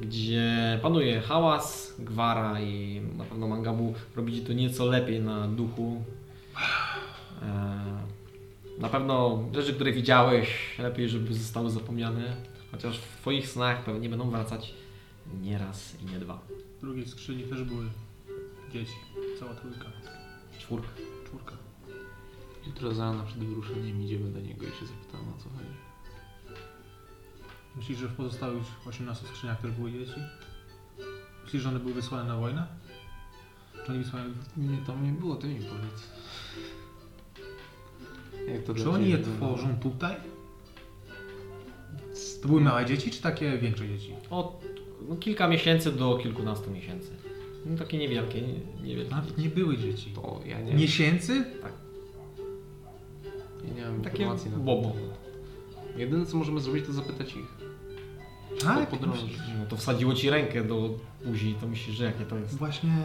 S2: gdzie panuje hałas, gwara i na pewno Mangabu robicie to nieco lepiej na duchu. E, Na pewno rzeczy, które widziałeś, lepiej, żeby zostały zapomniane, chociaż w Twoich snach pewnie będą wracać nie raz i nie dwa.
S1: W drugiej skrzyni też były dzieci. Cała trójka,
S2: Czwórka.
S1: czwórka.
S5: Jutro z rana przed wyruszeniem idziemy do niego i się zapytamy o co chodzi.
S1: Myślisz, że w pozostałych 18 skrzyniach też były dzieci? Myślisz, że one były wysłane na wojnę? Czy oni wysłali...
S5: Mnie tam nie było, ty mi powiedz. Jak to
S1: Czy
S5: dla
S1: oni je
S5: ciebie wygląda?
S1: tworzą tutaj? To były małe dzieci, czy takie większe dzieci?
S2: Od no, kilka miesięcy do kilkunastu miesięcy. No, takie niewielkie, nie- niewielkie.
S1: Nawet nie były dzieci.
S5: To ja nie,
S1: Miesięcy?
S5: ja nie mam
S2: takie
S5: informacji na ten
S2: bobo.
S5: temat. Jedyne co możemy zrobić to zapytać ich.
S1: Tak?
S5: po drodze.
S2: No, to wsadziło ci rękę do buzi, to myślisz, że jakie to jest? <laughs>
S1: Właśnie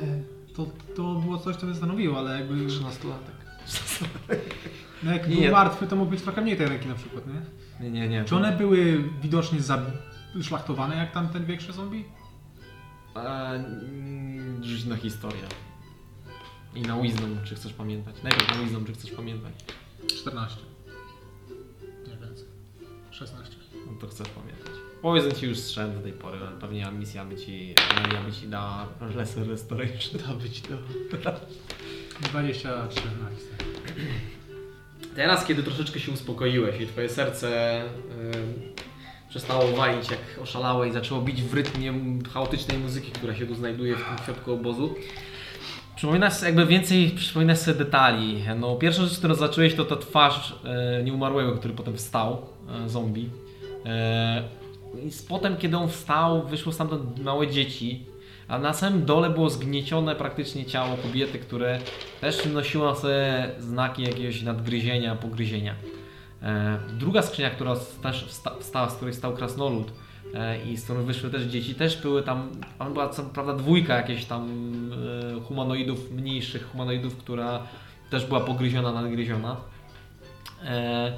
S1: to, to było coś, co mnie zastanowiło, ale jakby...
S5: 13-latek.
S1: No jak
S2: Nie,
S1: był
S2: nie.
S1: martwy, to mógł być trochę mniej tej ręki na przykład, nie?
S2: Nie, nie, nie.
S1: Czy one były widocznie zabi- szlachtowane jak tamten większy zombie?
S2: A, mm, Rzuć na historię. I na wisdom, czy chcesz pamiętać. Najpierw na wisdom, czy chcesz pamiętać.
S1: 14. Nie więcej. 16.
S2: No to chcesz pamiętać. Powiedzmy ci już strzem do tej pory, ale pewnie misja by ci, Amelia by ci dała lesser restoration.
S5: Da być to.
S1: 23 na historię.
S6: Teraz, kiedy troszeczkę się uspokoiłeś i twoje serce y, przestało walić jak oszalałe i zaczęło bić w rytmie m- chaotycznej muzyki, która się tu znajduje w tym środku obozu,
S2: Przypominasz sobie- jakby więcej, przypominasz sobie detali. No, pierwsza rzecz, którą zacząłeś, to ta twarz e, nieumarłego, który potem wstał, e, zombie. E, I z- potem, kiedy on wstał, wyszło stamtąd małe dzieci, a na samym dole było zgniecione praktycznie ciało kobiety, które też nosiło na sobie znaki jakiegoś nadgryzienia, pogryzienia. E, druga skrzynia, która s- też wsta- wstała, z której stał krasnolud e, i z której wyszły też dzieci, też były tam, tam była co prawda dwójka jakichś tam e, humanoidów, mniejszych humanoidów, która też była pogryziona, nadgryziona. E,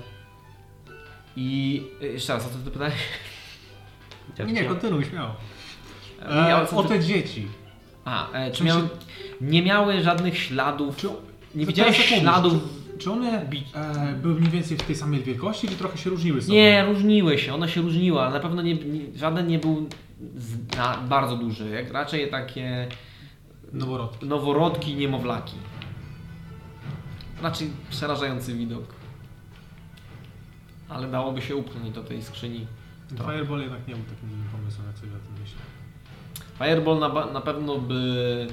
S2: I e, jeszcze raz, o co ty pytałeś?
S4: Ja
S1: Nie, nie,
S4: chciałem-
S1: kontynuuj, śmiało.
S2: E,
S1: E,
S2: miały- co
S1: o
S2: ty-
S1: te dzieci.
S2: A, e, czy
S1: sensie-
S2: miały, nie miały żadnych śladów,
S1: Czy-
S2: nie
S1: to
S2: widziałeś
S1: teraz tak mówisz,
S2: śladów
S1: Czy one
S2: Bić.
S1: e, były mniej więcej w tej samej wielkości, czy trochę się różniły sobie?
S2: Nie, różniły się, one się różniły, ale na pewno nie, nie, żaden nie był z, na, bardzo duży, jak raczej takie
S1: Noworodki.
S2: noworodki i niemowlaki. Raczej przerażający widok. Ale dałoby się upchnąć do tej skrzyni. To.
S1: Fireball jednak nie był takim złym pomysłem, jak sobie o tym myślę.
S2: Fireball na, ba- na pewno by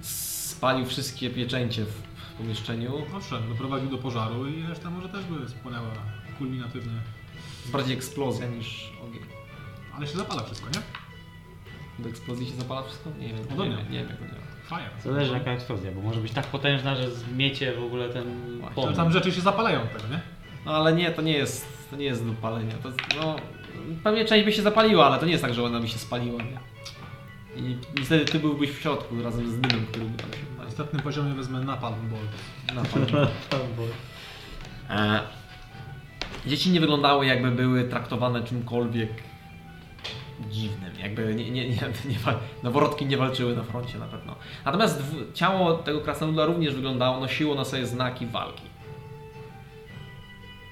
S2: spalił wszystkie pieczęcie w w pomieszczeniu.
S1: Owszem, doprowadził do pożaru i reszta może też by spłonęła kulminatywnie.
S2: Jest Bardziej eksplozja niż ogień.
S1: Ale się zapala wszystko, nie?
S2: Do eksplozji się zapala wszystko? Nie wiem, nie
S1: Podobnie.
S2: wiem, nie wiem jak to działa.
S1: Fire.
S4: Zależy jaka eksplozja, bo może być tak potężna, że zmiecie w ogóle ten
S2: Właśnie.
S1: Tam,
S4: pomysł.
S1: tam rzeczy się zapalają tego, nie?
S2: No ale nie, to nie jest, to nie jest do palenia. To, no, pewnie część by się zapaliła, ale to nie jest tak, że ona by się spaliła. Nie? I niestety ty byłbyś w środku razem z dymem, który by tam się
S1: Na
S2: palił.
S1: następnym poziomie wezmę napalm ball.
S2: Na pewno. E, <laughs> Dzieci nie wyglądały jakby były traktowane czymkolwiek dziwnym, jakby nie, nie, nie, nie, wal- noworodki nie walczyły na froncie na pewno. Natomiast dwu- ciało tego krasnoluda również wyglądało, nosiło na sobie znaki walki.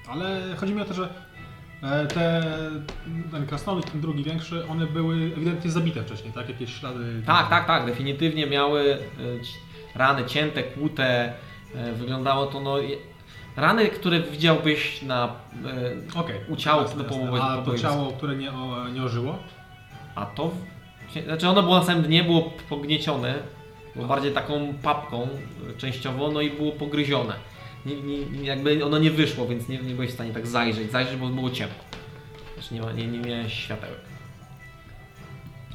S1: Ale chodzi mi o to, że e, te, ten krasnolud, ten drugi większy, one były ewidentnie zabite wcześniej, tak? Jakieś ślady.
S2: Tak, tak, tak, definitywnie miały e, ci- rany cięte, kłute, e, wyglądało to no... je- Rany, które widziałbyś na... e,
S1: Okej.
S2: U ciała
S1: Jasne,
S2: do
S1: jasne.
S2: połowy-
S1: A to
S2: pokoju.
S1: ciało, które nie, o, nie ożyło?
S2: A to... w- się- Znaczy ono było na samym dnie, było p- pogniecione, było bardziej taką papką e, częściowo, no i było pogryzione. Nie, nie, jakby ono nie wyszło, więc nie, nie byłeś w stanie tak zajrzeć, zajrzeć, bo było ciemno. Znaczy nie, ma, nie, nie miałeś światełek.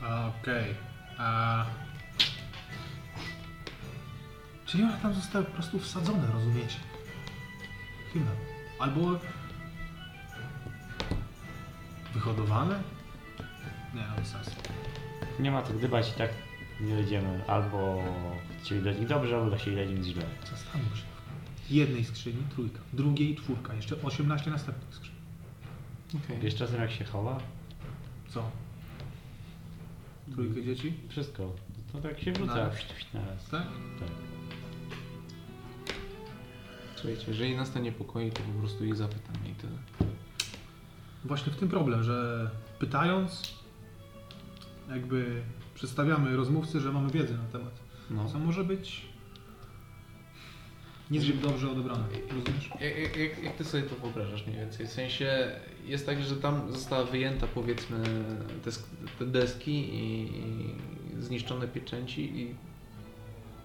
S1: A, Okej. A... Czyli one tam zostały po prostu wsadzone, rozumiecie? Chyba. Albo... Wyhodowane? Nie, no bez sensu.
S4: Nie ma co gdybać i tak nie dojdziemy. Albo chcieli dać ich dobrze, albo chcieli dać im źle.
S1: Zastanów się. W jednej skrzyni trójka, w drugiej czwórka, jeszcze 18 następnych skrzyni.
S5: Okej.
S4: Wiesz czasem jak się chowa?
S1: Co? Trójkę dzieci?
S4: Wszystko. To tak
S5: No
S4: się wrzuca.
S1: Naraz.
S4: Naraz.
S1: Tak?
S4: Tak.
S5: Słuchajcie, jeżeli nas to niepokoi, to po prostu jej zapytam i tyle.
S1: Właśnie w tym problem, że pytając, jakby przedstawiamy rozmówcy, że mamy wiedzę na temat.
S5: No.
S1: Co może być niezbyt dobrze odebrane. Rozumiesz?
S5: Jak, jak- jak, jak ty sobie to wyobrażasz mniej więcej? W sensie jest tak, że tam została wyjęta powiedzmy desk, te deski i, i zniszczone pieczęci i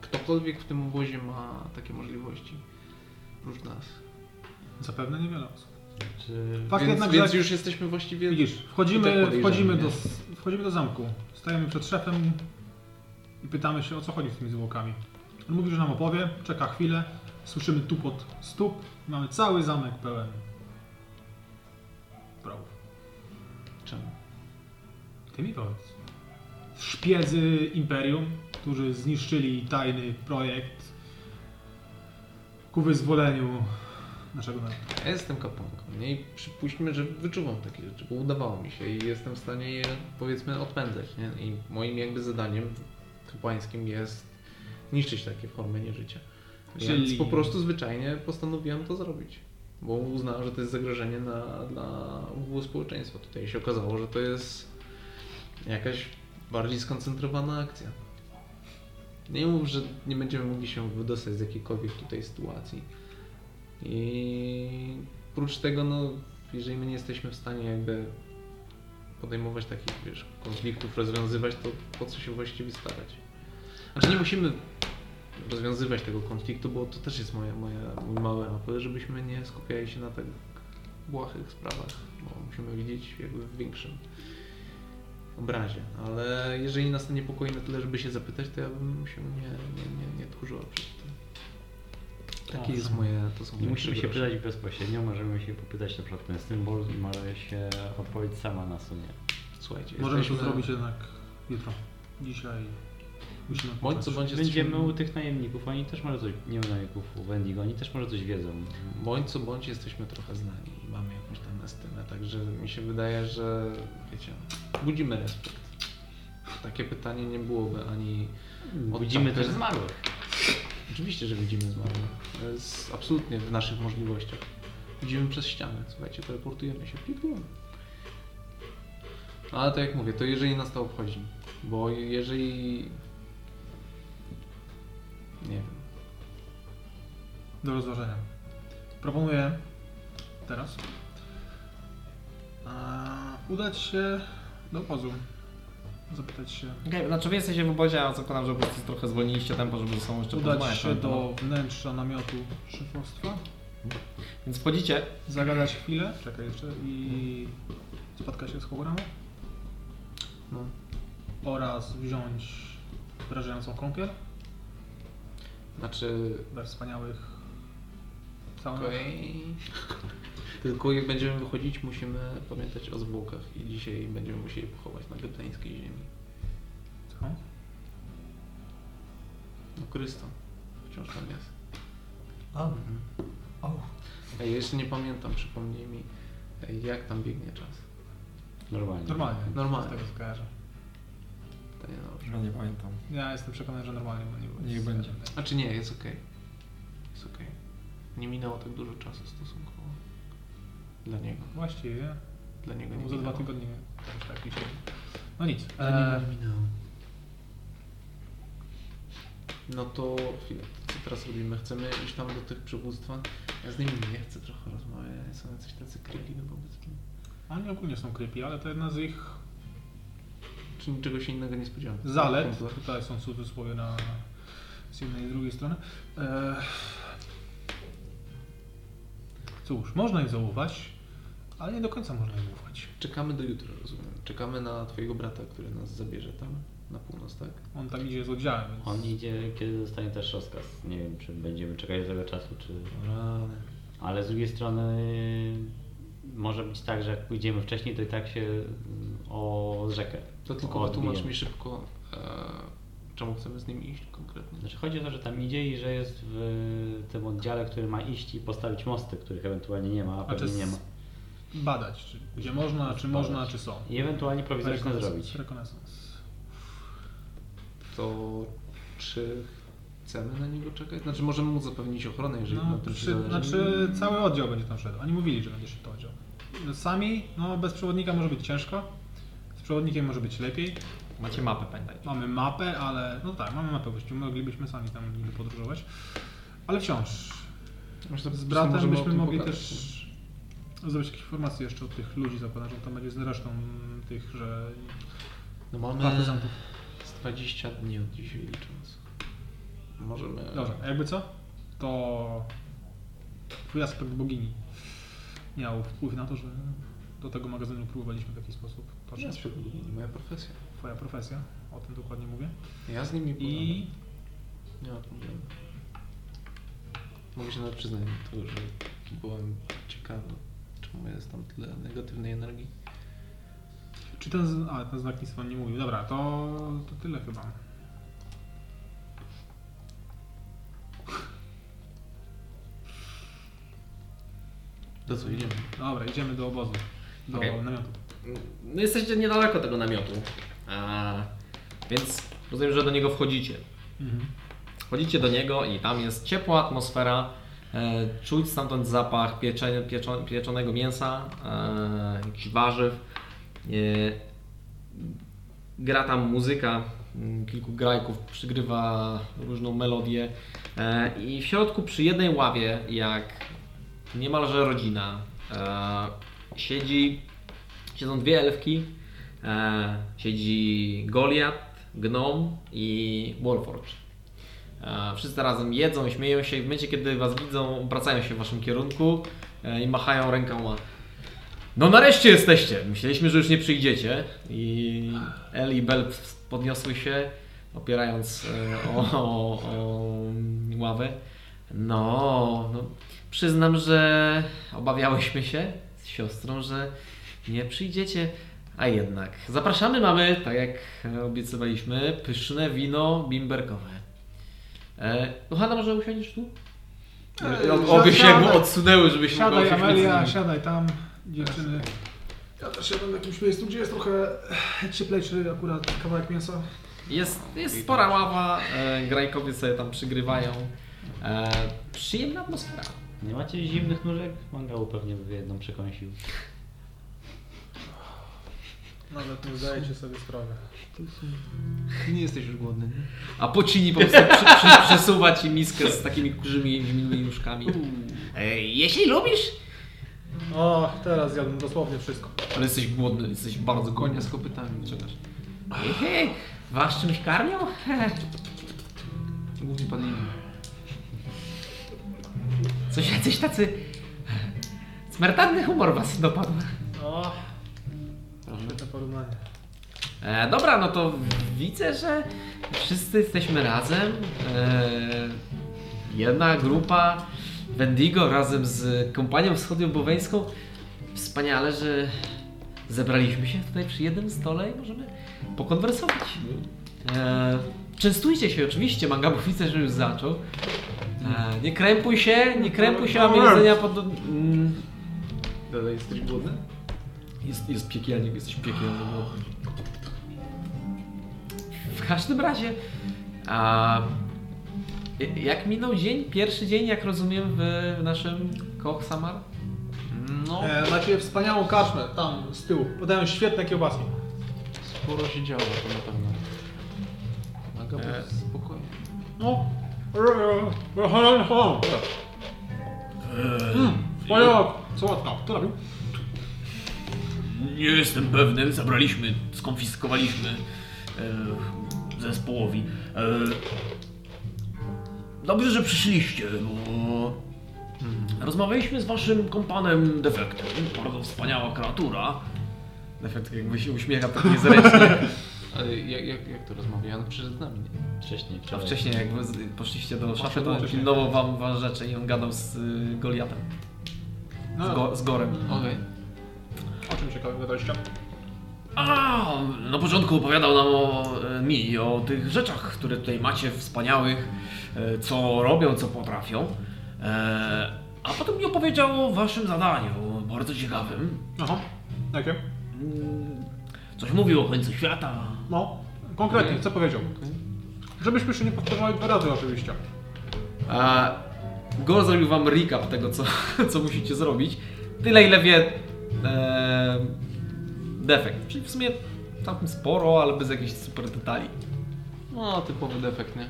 S5: ktokolwiek w tym obozie ma takie możliwości. Prócz nas.
S1: Zapewne niewiele osób.
S4: Czy...
S1: Fakt
S5: więc
S1: jednak,
S5: więc
S1: że
S5: już jesteśmy właściwie...
S1: widzisz,
S5: i tak
S1: wchodzimy,
S5: podejrzany,
S1: wchodzimy,
S5: nie?
S1: do, s- wchodzimy do zamku, stajemy przed szefem i pytamy się o co chodzi z tymi zwłokami. On mówi, że nam opowie, czeka chwilę, słyszymy tupot stóp, mamy cały zamek pełen prołów.
S5: Czemu?
S1: Ty mi powiedz. Szpiedzy Imperium, którzy zniszczyli tajny projekt ku wyzwoleniu naszego narodu.
S5: Ja jestem kapłanką nie? i przypuśćmy, że wyczuwam takie rzeczy, bo udawało mi się i jestem w stanie je powiedzmy odpędzać. Nie? I moim jakby zadaniem kapłańskim jest niszczyć takie formy nieżycia. Więc
S1: Czyli-
S5: po prostu zwyczajnie postanowiłem to zrobić. Bo uznałem, że to jest zagrożenie na, dla ogółu społeczeństwa. Tutaj się okazało, że to jest jakaś bardziej skoncentrowana akcja. Nie mów, że nie będziemy mogli się wydostać z jakiejkolwiek tutaj sytuacji. I prócz tego, no, jeżeli my nie jesteśmy w stanie jakby podejmować takich, wiesz, konfliktów, rozwiązywać, to po co się właściwie starać? Znaczy nie musimy rozwiązywać tego konfliktu, bo to też jest moje, moje, mój mały apel, żebyśmy nie skupiali się na tak błahych sprawach, bo musimy widzieć jakby w większym obrazie. Ale jeżeli nas to niepokoi na tyle, żeby się zapytać, to ja bym się nie, nie, nie, nie tchórzyła przed tym. Takie
S4: Tak.
S5: jest moje, to są
S4: Nie
S5: moje
S4: musimy się
S5: trzy grosze.
S4: pytać bezpośrednio, możemy się popytać na przykład ten symbol i może się odpowiedź sama nasunie.
S5: Słuchajcie,
S1: Możemy to
S5: jesteśmy-
S1: zrobić jednak jutro. Dzisiaj musimy
S5: Bądź
S1: odpocząć.
S5: co bądź
S4: Będziemy
S5: jesteśmy,
S4: u tych najemników, oni też może coś, nie u najemników, u Wendigo, oni też może coś wiedzą.
S5: bądź co bądź jesteśmy trochę znani i mamy jakąś tam estymę, także mi się wydaje, że wiecie, budzimy respekt. Takie pytanie nie byłoby ani... Hmm,
S4: Budzimy
S5: tamtych-
S4: też zmarłych.
S5: Oczywiście, że budzimy zmarłych. To jest absolutnie w naszych możliwościach. Budzimy przez ścianę, słuchajcie, teleportujemy się, pipujemy. Ale tak jak mówię, to jeżeli nas to obchodzi, bo jeżeli... Nie wiem.
S1: Do rozważenia. Proponuję teraz e, udać się do obozu. Zapytać się,
S2: Okej, znaczy wy jesteście w obozie, a zakładam, że po prostu trochę zwolniliście tempo, żeby ze sobą jeszcze
S1: udać
S2: porozmawiać na
S1: się
S2: ten
S5: no?
S2: temat.
S1: do wnętrza namiotu szefostwa,
S2: Więc wchodzicie,
S1: zagadać chwilę, czekaj jeszcze, i spotkać się z Hogoramą
S5: No.
S1: oraz wziąć wrażającą kąpiel
S5: Znaczy,
S1: dla wspaniałych całych.
S5: Okej. Tylko jak będziemy wychodzić, musimy pamiętać o zwłokach i dzisiaj będziemy musieli pochować na gebtańskiej ziemi.
S1: Co?
S5: No Kryston. Wciąż tam jest.
S8: O. O.
S5: Ej, jeszcze nie pamiętam, przypomnij mi, ej, jak tam biegnie czas.
S4: Normalnie.
S1: Normalnie. Z
S5: Normalnie.
S1: tego co kojarzę.
S5: To nie dobrze.
S2: no nie pamiętam.
S1: Ja jestem przekonany, że normalnie, bo nie było.
S2: Niech będzie.
S5: A czy Znaczy nie, jest okej. Jest okej. Nie minęło tak dużo czasu stosunkowo. Dla niego.
S1: Właściwie.
S5: Dla niego nie
S1: Za dwa
S5: minęło.
S1: tygodnie jakoś tak liczyłem. No nic.
S5: Dla
S1: E,
S5: niego nie minęło. No to chwilę, co teraz robimy? Chcemy iść tam do tych przywództwa? Ja z nimi nie chcę trochę rozmawiać, są jacyś tacy kryli no wobec mnie.
S1: oni ogólnie są creepy, ale to jedna z ich
S5: Czy niczego się innego nie spodziewam?
S1: zalet.
S5: Komplet.
S1: Tutaj są cudzysłowie na z jednej i drugiej strony. E, cóż, można im zaufać, ale nie do końca można im ufać.
S5: Czekamy do jutra, rozumiem. Czekamy na twojego brata, który nas zabierze tam, na północ, tak?
S1: On tam idzie z oddziałem, więc...
S4: On idzie, kiedy dostanie też rozkaz. Nie wiem, czy będziemy czekać do tego czasu, czy...
S5: Rany.
S4: Ale z drugiej strony może być tak, że jak pójdziemy wcześniej, to i tak się mm, o rzekę
S5: To tylko
S4: odbijemy.
S5: wytłumacz mi szybko, e, czemu chcemy z nim iść konkretnie.
S4: Znaczy chodzi o to, że tam idzie i że jest w tym oddziale, który ma iść i postawić mosty, których ewentualnie nie ma, a
S1: Znaczy
S4: pewnie nie ma.
S1: Badać, czy, gdzie można, czy można, czy są.
S4: I ewentualnie prowizoryczne
S1: Rekonesans-
S4: zrobić.
S1: Rekonesans.
S5: to czy chcemy na niego czekać? Znaczy możemy mu zapewnić ochronę, jeżeli
S1: No,
S5: na tym się
S1: przy,
S5: zależy.
S1: znaczy cały oddział będzie tam szedł. Oni mówili, że będzie szedł to oddział. Sami, no bez przewodnika może być ciężko. Z przewodnikiem może być lepiej.
S2: Macie mapę, pamiętajcie.
S1: Mamy mapę, ale no tak, mamy mapę właściwie. Moglibyśmy sami tam niby podróżować. Ale wciąż.
S5: Może
S1: Z
S5: to
S1: bratem
S5: możemy o
S1: byśmy
S5: tym
S1: mogli
S5: pogadać.
S1: też zrobić jakieś informacje jeszcze od tych ludzi, zakładam, że tam będzie z resztą tych, że
S5: No mamy
S1: partyzantów.
S5: z 20 dni od dzisiaj licząc. Możemy...
S1: Dobra, a jakby co? To twój aspekt bogini miał wpływ na to, że do tego magazynu próbowaliśmy w jakiś sposób
S5: Nie,
S1: dotrzeć.
S5: moja profesja.
S1: Twoja profesja, o tym dokładnie mówię.
S5: Ja z nimi
S1: I
S5: Nie ma problemu. Mogę się nawet przyznać do tego, że byłem ciekawy, czemu jest tam tyle negatywnej energii.
S1: czy ten, z- a, ten znak nic wam nie mówił. Dobra, to, to tyle chyba.
S5: Do co idziemy?
S1: Dobra, idziemy do obozu, do
S6: Okej.
S1: namiotu.
S6: No jesteście niedaleko tego namiotu. A,
S2: Więc rozumiem, że do niego wchodzicie.
S1: Mhm.
S2: Wchodzicie do niego i tam jest ciepła atmosfera. E, czuć stamtąd zapach pieczenia, pieczo, pieczonego mięsa, e, jakichś warzyw. E, gra tam muzyka, mm, kilku grajków przygrywa różną melodię. E, I w środku przy jednej ławie, jak niemalże rodzina, e, siedzi, siedzą dwie elfki. E, siedzi Goliat, Gnom i Warforge. E, Wszyscy razem jedzą, śmieją się i w momencie, kiedy was widzą, obracają się w waszym kierunku e, i machają rękoma. No nareszcie jesteście! Myśleliśmy, że już nie przyjdziecie. I El i Bel podniosły się, opierając e, o, o, o ławę. No, no, przyznam, że obawiałyśmy się z siostrą, że nie przyjdziecie. A jednak, zapraszamy mamy, tak jak e, obiecywaliśmy, pyszne wino bimberkowe. E, Kochana, może usiądziesz tu?
S1: Eee,
S2: Obie się
S1: siadaj.
S2: mu odsunęły, żebyś mogła
S1: Siadaj
S2: usiąść między
S1: Amelia,
S2: nimi.
S1: siadaj tam, dziewczyny.
S15: Ja też siadam w jakimś miejscu, gdzie jest trochę cieplejszy akurat kawałek mięsa.
S2: Jest, jest spora ława, e, grajkowie sobie tam przygrywają. E, przyjemna atmosfera.
S4: Nie macie zimnych nóżek? Mangału pewnie by jedną przekąsił.
S1: Nawet nie zdajecie sobie sprawy.
S5: Ty nie jesteś już głodny, nie?
S2: A pocini po prostu przy, przy, przesuwa ci miskę z takimi kurzymi zimnymi nóżkami. E, jeśli lubisz.
S1: O, teraz zjadłem dosłownie wszystko.
S2: Ale jesteś głodny, jesteś bardzo głodny.
S5: Konia z kopytami, czekasz.
S2: Hej, hej, was czymś karmią?
S5: Głównie pan inny.
S2: Coś jacyś tacy... Smertanny humor was dopadł.
S1: O, świetne porównanie.
S2: E, dobra, no to widzę, że wszyscy jesteśmy razem. E, jedna grupa Wendigo razem z kompanią wschodnioboweńską. Wspaniale, że zebraliśmy się tutaj przy jednym stole i możemy pokonwersować. E, częstujcie się oczywiście, Mangabu widzę, że już zaczął. E, nie krępuj się, nie krępuj się, mamy jedzenia pod... Mm,
S5: Dalej jesteś głodny?
S2: jest, jest piekielnik, jesteś piekielny. No. W każdym razie, a, y- jak minął dzień, pierwszy dzień, jak rozumiem, w, w naszym Koch Samar?
S5: No,
S1: E, macie wspaniałą kaczmę tam z tyłu. Podają świetne kiełbaski.
S5: sporo się działo, to na pewno. Maga był spokojny.
S1: No. Wspaniała, słodka. Kto robił?
S3: Nie jestem pewny, zabraliśmy, skonfiskowaliśmy e, zespołowi. E, dobrze, że przyszliście, bo rozmawialiśmy z waszym kompanem Defektem. Bardzo wspaniała kreatura.
S2: Efekt jakby się uśmiecha tak niezręcznie.
S5: Ale jak, jak, jak to rozmawia? On przyszedł z nami, nie?
S4: Wcześniej,
S2: A
S4: wczoraj.
S2: <laughs> wcześniej jak wy z- poszliście do szafy, to on
S1: wcześniej.
S2: pilnował wam, wam rzeczy i on gadał z y, Goliatem, z, go, z Gorem.
S5: Okej.
S1: O czym ciekawego dojścia?
S3: A, na początku opowiadał nam o, e, mi o tych rzeczach, które tutaj macie, wspaniałych, e, co robią, co potrafią. E, A potem mi opowiedział o waszym zadaniu, bardzo ciekawym.
S1: Aha, jakie?
S3: Mm, Coś mówił o końcu świata.
S1: No, konkretnie, co powiedział? Żebyśmy się nie powtarzali dwa razy oczywiście.
S2: A Gol zrobił wam recap tego, co, <laughs> co musicie zrobić. Tyle, ile wie e, defekt. Czyli w sumie tam sporo, ale bez jakichś super detali.
S5: No, typowy defekt, nie?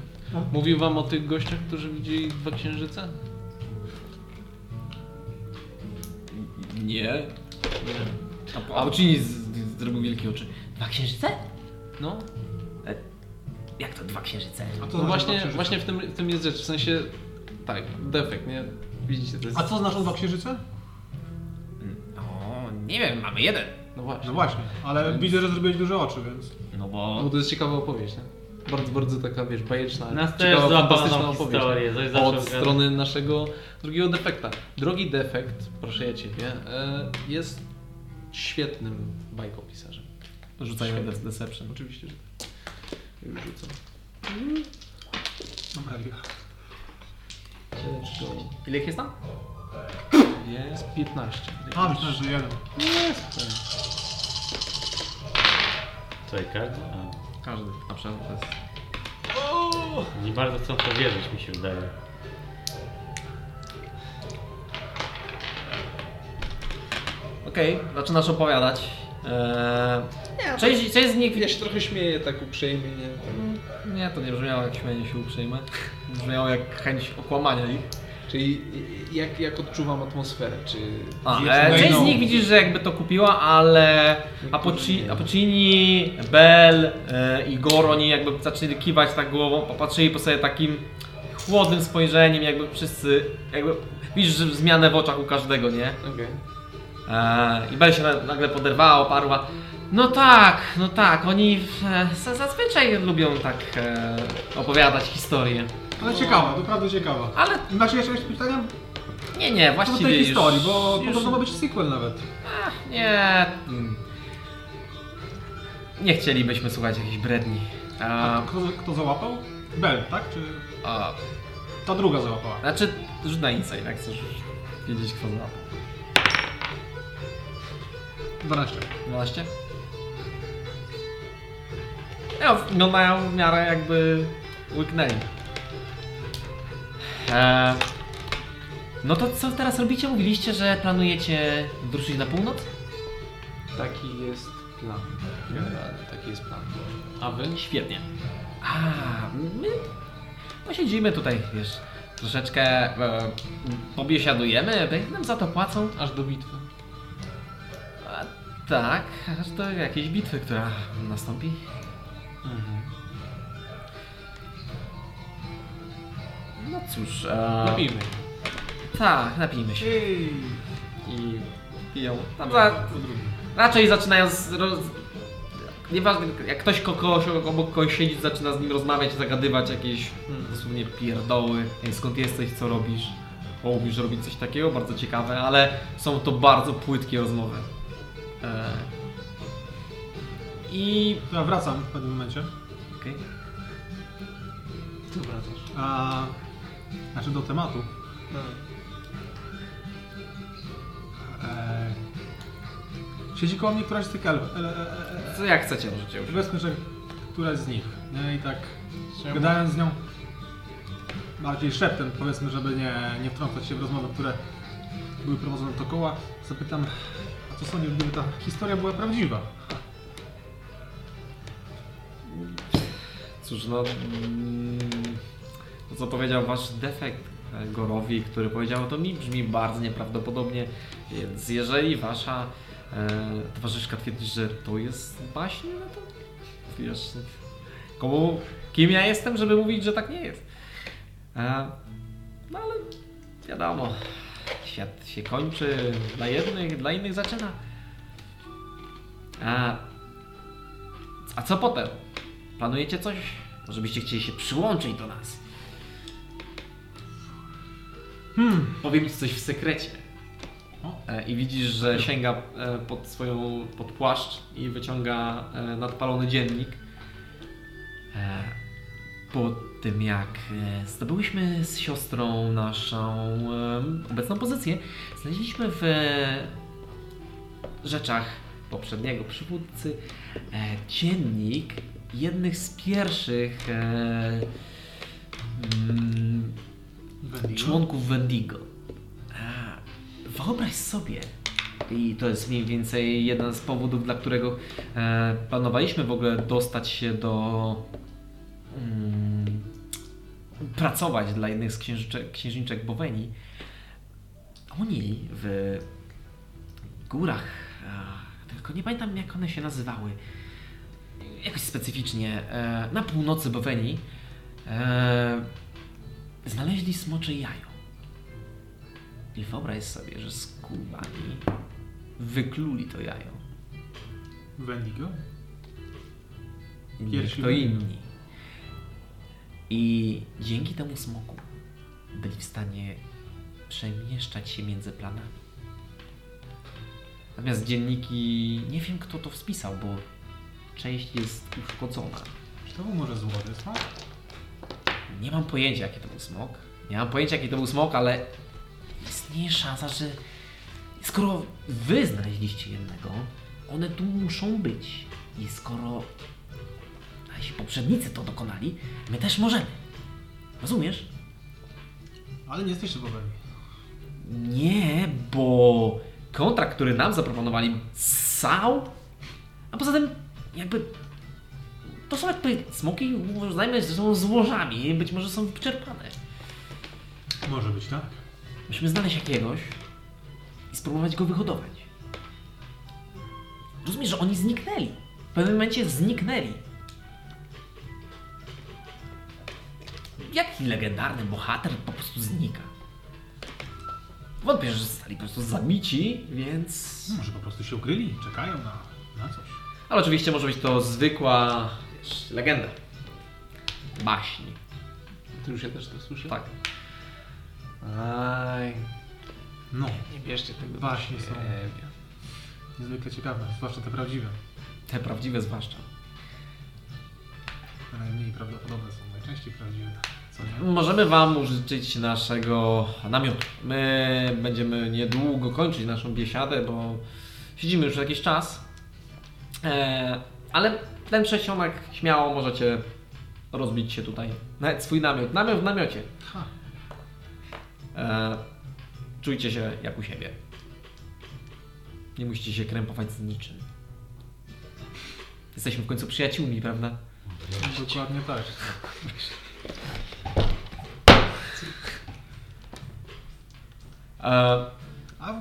S5: Mówił wam o tych gościach, którzy widzieli dwa księżyce?
S2: Nie. A, a Puccini z, z, zrobił wielkie oczy. Dwa księżyce? E,
S5: No,
S2: Jak to dwa księżyce?
S1: A co
S5: no właśnie, właśnie w, tym, w tym jest rzecz, w sensie, tak, defekt, nie? Widzicie, to jest...
S1: A co znasz dwa księżyce?
S2: No, nie wiem, mamy jeden.
S5: No właśnie.
S1: No właśnie, ale
S5: Więc-
S1: widzę, że zrobiłeś duże oczy, więc...
S2: No
S5: No, bo
S2: bo...
S5: to jest ciekawa opowieść, nie? Bardzo, bardzo taka, wiesz, bajeczna,
S4: Nas też
S5: ciekawa,
S4: złapała
S5: fantastyczna
S4: na
S5: opowieść.
S4: historię,
S5: nie?
S4: coś zaczął
S5: Od
S4: gadać.
S5: strony naszego drugiego defekta. Drogi defekt, proszę ja Ciebie, e, jest świetnym bajkopisarzem.
S2: Rzucajmy de- deception.
S5: Oczywiście, że tak. Już rzucam.
S1: Amelia.
S7: Ile ich jest tam?
S5: Jest 15.
S1: A, myślę, że jeden.
S4: Tutaj każdy? A,
S2: Każdy. Na przykład to jest...
S4: nie bardzo chcą w to wierzyć, mi się wydaje.
S2: Okej, zaczynasz opowiadać. Eee, część, część z nich...
S5: Ja się trochę śmieję tak uprzejmie, nie?
S2: Nie, to nie brzmiało jak śmianie się uprzejme. Brzmiało jak chęć okłamania ich.
S5: Czyli jak, jak odczuwam atmosferę, czy...
S2: A,
S1: Jest
S5: no
S2: e, część z
S1: wojną.
S2: nich widzisz, że jakby to kupiła, ale Apoci- Apocini, Bell e, i Goro, oni jakby zaczęli kiwać tak głową, popatrzyli po sobie takim chłodnym spojrzeniem, jakby wszyscy, jakby widzisz że zmianę w oczach u każdego, nie?
S5: Okej.
S2: E, I Bell się na- nagle poderwała, oparła. No tak, no tak, oni e, za- zazwyczaj lubią tak e, opowiadać historie.
S1: Ale ciekawa, doprawdy ciekawa.
S2: Ale
S1: I macie jeszcze jakieś pytania?
S2: nie, nie,
S1: Co do
S2: właściwie
S1: tej
S2: już,
S1: historii, bo
S2: już,
S1: podobno ma być sequel nawet.
S2: Nie. mm. Nie chcielibyśmy słuchać jakichś bredni. A,
S1: A kto, kto załapał? Bel, tak? Czy
S2: a,
S1: ta druga załapała?
S2: znaczy, rzut na insight, jak chcesz wiedzieć kto zna.
S1: 12.
S2: 12? Ja wyglądają w miarę jakby łyknęli. E, no to co teraz robicie? Mówiliście, że planujecie wyruszyć na północ?
S5: Taki jest plan. Generalnie taki jest plan.
S2: A wy? Świetnie. A, my posiedzimy tutaj, wiesz, troszeczkę e, pobiesiadujemy, będzie nam za to płacą.
S5: Aż do bitwy.
S2: A, tak, aż do jakiejś bitwy, która nastąpi. No cóż, e,
S5: Napijmy.
S2: tak, napijmy się.
S1: Ej,
S2: I piją. Tam za, raczej zaczynają z... Roz, nieważne, jak ktoś ko- kogoś, obok kogoś siedzi, zaczyna z nim rozmawiać, zagadywać jakieś hmm, dosłownie pierdoły. Ej, Skąd jesteś, co robisz? O, lubisz robić coś takiego? Bardzo ciekawe, ale są to bardzo płytkie rozmowy. E, I...
S1: to ja wracam w pewnym momencie.
S2: okej.
S1: A, znaczy do tematu.
S5: No.
S1: E, siedzi koło mnie któraś z tych elf. E, e, e,
S2: Co jak chcecie możecie już.
S1: Powiedzmy, że któraś z nich. Nie? I tak gadając z nią bardziej szeptem, powiedzmy, żeby nie, nie wtrącać się w rozmowy, które były prowadzone dookoła, zapytam, a co sądzisz, gdyby ta historia była prawdziwa?
S2: Cóż, no. mm, To, co powiedział wasz defekt e, Gorowi, który powiedział, to mi brzmi bardzo nieprawdopodobnie. Więc jeżeli wasza e, towarzyszka twierdzi, że to jest baśń, no to wiesz. Komu, kim ja jestem, żeby mówić, że tak nie jest. E, no ale wiadomo, świat się kończy dla jednych, dla innych zaczyna. A, a co potem? Planujecie coś? Może byście chcieli się przyłączyć do nas? Hmm. Powiem ci coś w sekrecie. E, I widzisz, że sięga e, pod swoją pod płaszcz i wyciąga e, nadpalony dziennik. E, po tym jak e, zdobyłyśmy z siostrą naszą e, obecną pozycję, znaleźliśmy w e, rzeczach poprzedniego przywódcy e, dziennik jednych z pierwszych e, mm, członków Wendigo. E, Wyobraź sobie, i to jest mniej więcej jeden z powodów, dla którego e, planowaliśmy w ogóle dostać się do. Mm, pracować dla jednych z księżyczek, księżniczek Boweni. Oni w górach, e, tylko nie pamiętam jak one się nazywały, jakoś specyficznie, e, na północy Boweni, e, znaleźli smocze jajo. I wyobraź sobie, że skubani wykluli to jajo.
S1: Wendigo?
S2: Inni
S1: Pierwsi
S2: to
S1: ludzie.
S2: inni. I dzięki temu smoku byli w stanie przemieszczać się między planami. Natomiast dzienniki, nie wiem kto to wspisał, bo część jest uszkodzona.
S1: Czy to był może złoty smak?
S2: Nie mam pojęcia, jaki to był smok. Nie mam pojęcia, jaki to był smok, ale istnieje szansa, że skoro wy znaleźliście jednego, one tu muszą być. I skoro nasi poprzednicy to dokonali, my też możemy. Rozumiesz?
S1: Ale nie jesteście bogami.
S2: Nie, bo kontrakt, który nam zaproponowali, ssał. A poza tym, jakby. To są jakby smoki, uznajmy, że są złożami, być może są wyczerpane.
S1: Może być, tak?
S2: Musimy znaleźć jakiegoś i spróbować go wyhodować. Rozumiesz, że oni zniknęli. W pewnym momencie zniknęli. Jaki legendarny bohater po prostu znika? Wątpię, że zostali po prostu zabici, więc...
S1: No, Może po prostu się ukryli, czekają na, na coś.
S2: Ale oczywiście może być to zwykła
S6: Wiesz, Legenda.
S2: baśń.
S5: Ty już ja też to słyszę?
S2: Tak.
S5: Aj,
S1: No,
S5: nie bierzcie tego.
S1: Baśnie są.
S5: Nie wiem.
S1: niezwykle ciekawe, zwłaszcza te prawdziwe.
S2: Te prawdziwe zwłaszcza.
S1: Te najmniej prawdopodobne są najczęściej prawdziwe. Co nie?
S2: Możemy Wam użyczyć naszego namiotu. My będziemy niedługo kończyć naszą biesiadę, bo siedzimy już jakiś czas. E, ale ten przesionek śmiało możecie rozbić się tutaj. Nawet swój namiot. Namiot w namiocie.
S1: Ha.
S2: E, czujcie się jak u siebie. Nie musicie się krępować z niczym. Jesteśmy w końcu przyjaciółmi, prawda?
S1: Dokładnie tak.
S2: E,
S1: A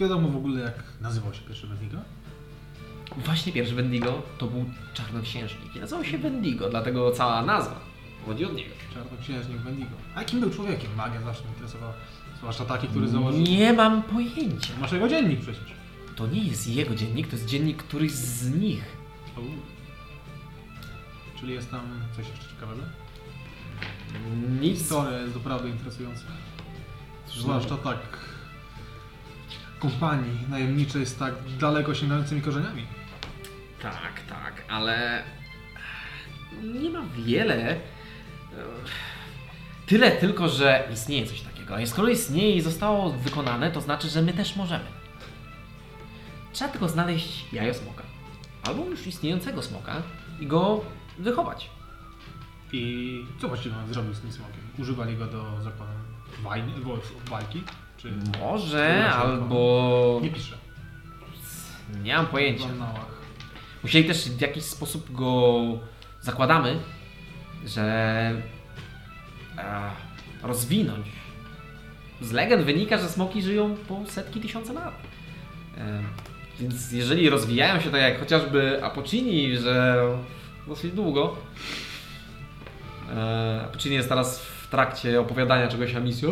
S1: wiadomo w ogóle jak nazywał się pierwszy Wendigo?
S2: Właśnie pierwszy Wendigo to był czarnoksiężnik i nazywał się Wendigo, dlatego cała nazwa pochodzi od niego.
S1: Czarnoksiężnik Wendigo. A jakim był człowiekiem? Magia zawsze mnie interesowała. Zwłaszcza taki, który założył...
S2: Nie mam pojęcia.
S1: Masz jego dziennik przecież.
S2: To nie jest jego dziennik, to jest dziennik któryś z nich.
S1: Uuu. Czyli jest tam coś jeszcze ciekawego?
S2: Nic.
S1: Historia jest naprawdę interesująca. Zwłaszcza tak kompanii najemniczej z tak daleko sięgającymi korzeniami.
S2: Tak, tak, ale nie ma wiele. Tyle tylko, że istnieje coś takiego. A skoro istnieje i zostało wykonane, to znaczy, że my też możemy. Trzeba tylko znaleźć jajo smoka. Albo już istniejącego smoka i go wychować.
S1: I co właściwie on zrobił z tym smokiem? Używali go do zakonu wajny, wo- walki? Czy...
S2: Może, albo...
S1: Nie pisze.
S2: Nie mam
S1: W
S2: pojęcia.
S1: annałach.
S2: Musieli też w jakiś sposób go zakładamy, że e, rozwinąć. Z legend wynika, że smoki żyją po setki tysiące lat. E, więc jeżeli rozwijają się tak jak chociażby Apocini, że dosyć długo. E, Apocini jest teraz w trakcie opowiadania czegoś o misji.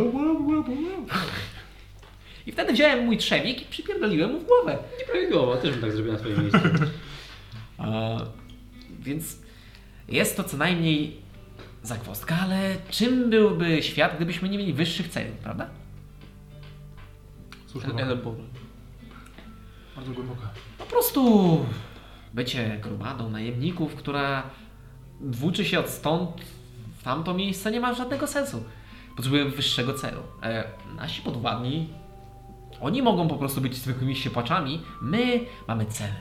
S2: I wtedy wziąłem mój trzewik i przypierdoliłem mu w głowę.
S4: Nieprawidłowo, też bym tak zrobił na twoim miejscu.
S2: E, więc jest to co najmniej zakwostka, ale czym byłby świat, gdybyśmy nie mieli wyższych celów, prawda?
S1: Słusznie.
S5: Elebor.
S1: Bardzo głęboka.
S2: Po prostu bycie gromadą najemników, która włóczy się od stąd w tamto miejsce nie ma żadnego sensu. Potrzebujemy wyższego celu. E, nasi podwładni, oni mogą po prostu być zwykłymi siepaczami, my mamy cele.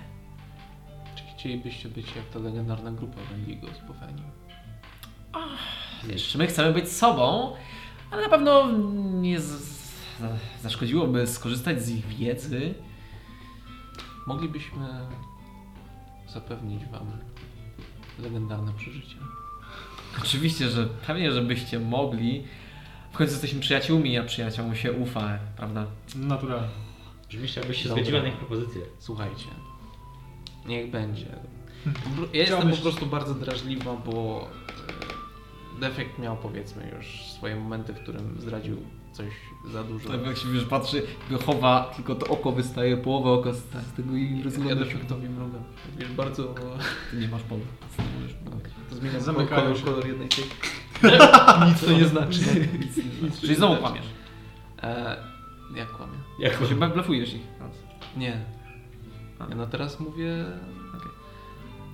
S5: Chcielibyście być jak ta legendarna grupa Wendigo z Bofenii.
S2: Wiesz, my chcemy być sobą, ale na pewno nie z... za- zaszkodziłoby skorzystać z ich wiedzy.
S5: Moglibyśmy zapewnić wam legendarne przeżycie.
S2: Oczywiście, że pewnie, żebyście mogli. W końcu jesteśmy przyjaciółmi, a przyjaciołom się ufa, prawda?
S1: Naturalnie.
S4: Brzmisz, jakbyś się
S5: Dobra.
S4: zgodziła na ich propozycję.
S5: Słuchajcie, niech będzie. Ja jestem po prostu bardzo drażliwa, bo e, defekt miał powiedzmy już swoje momenty, w którym zdradził coś za dużo.
S1: No.
S2: Tak jak się wiesz, patrzy, chowa, tylko to oko wystaje, połowę oka z, z tego i
S5: Ja
S2: rozgląda się.
S5: defektowi mrugam. Wiesz, bardzo...
S2: Ty nie masz powodu.
S5: To zmienia
S1: Zamykają
S5: kolor,
S1: się.
S5: kolor jednej <laughs> ciebie. Nic to nie znaczy. <laughs> Nic nie znaczy.
S2: Czyli znowu kłamiesz.
S5: E, jak kłamie?
S4: Jak
S2: Bo się blefujesz ich.
S1: No.
S5: Nie. Ja no teraz mówię.
S2: Okej.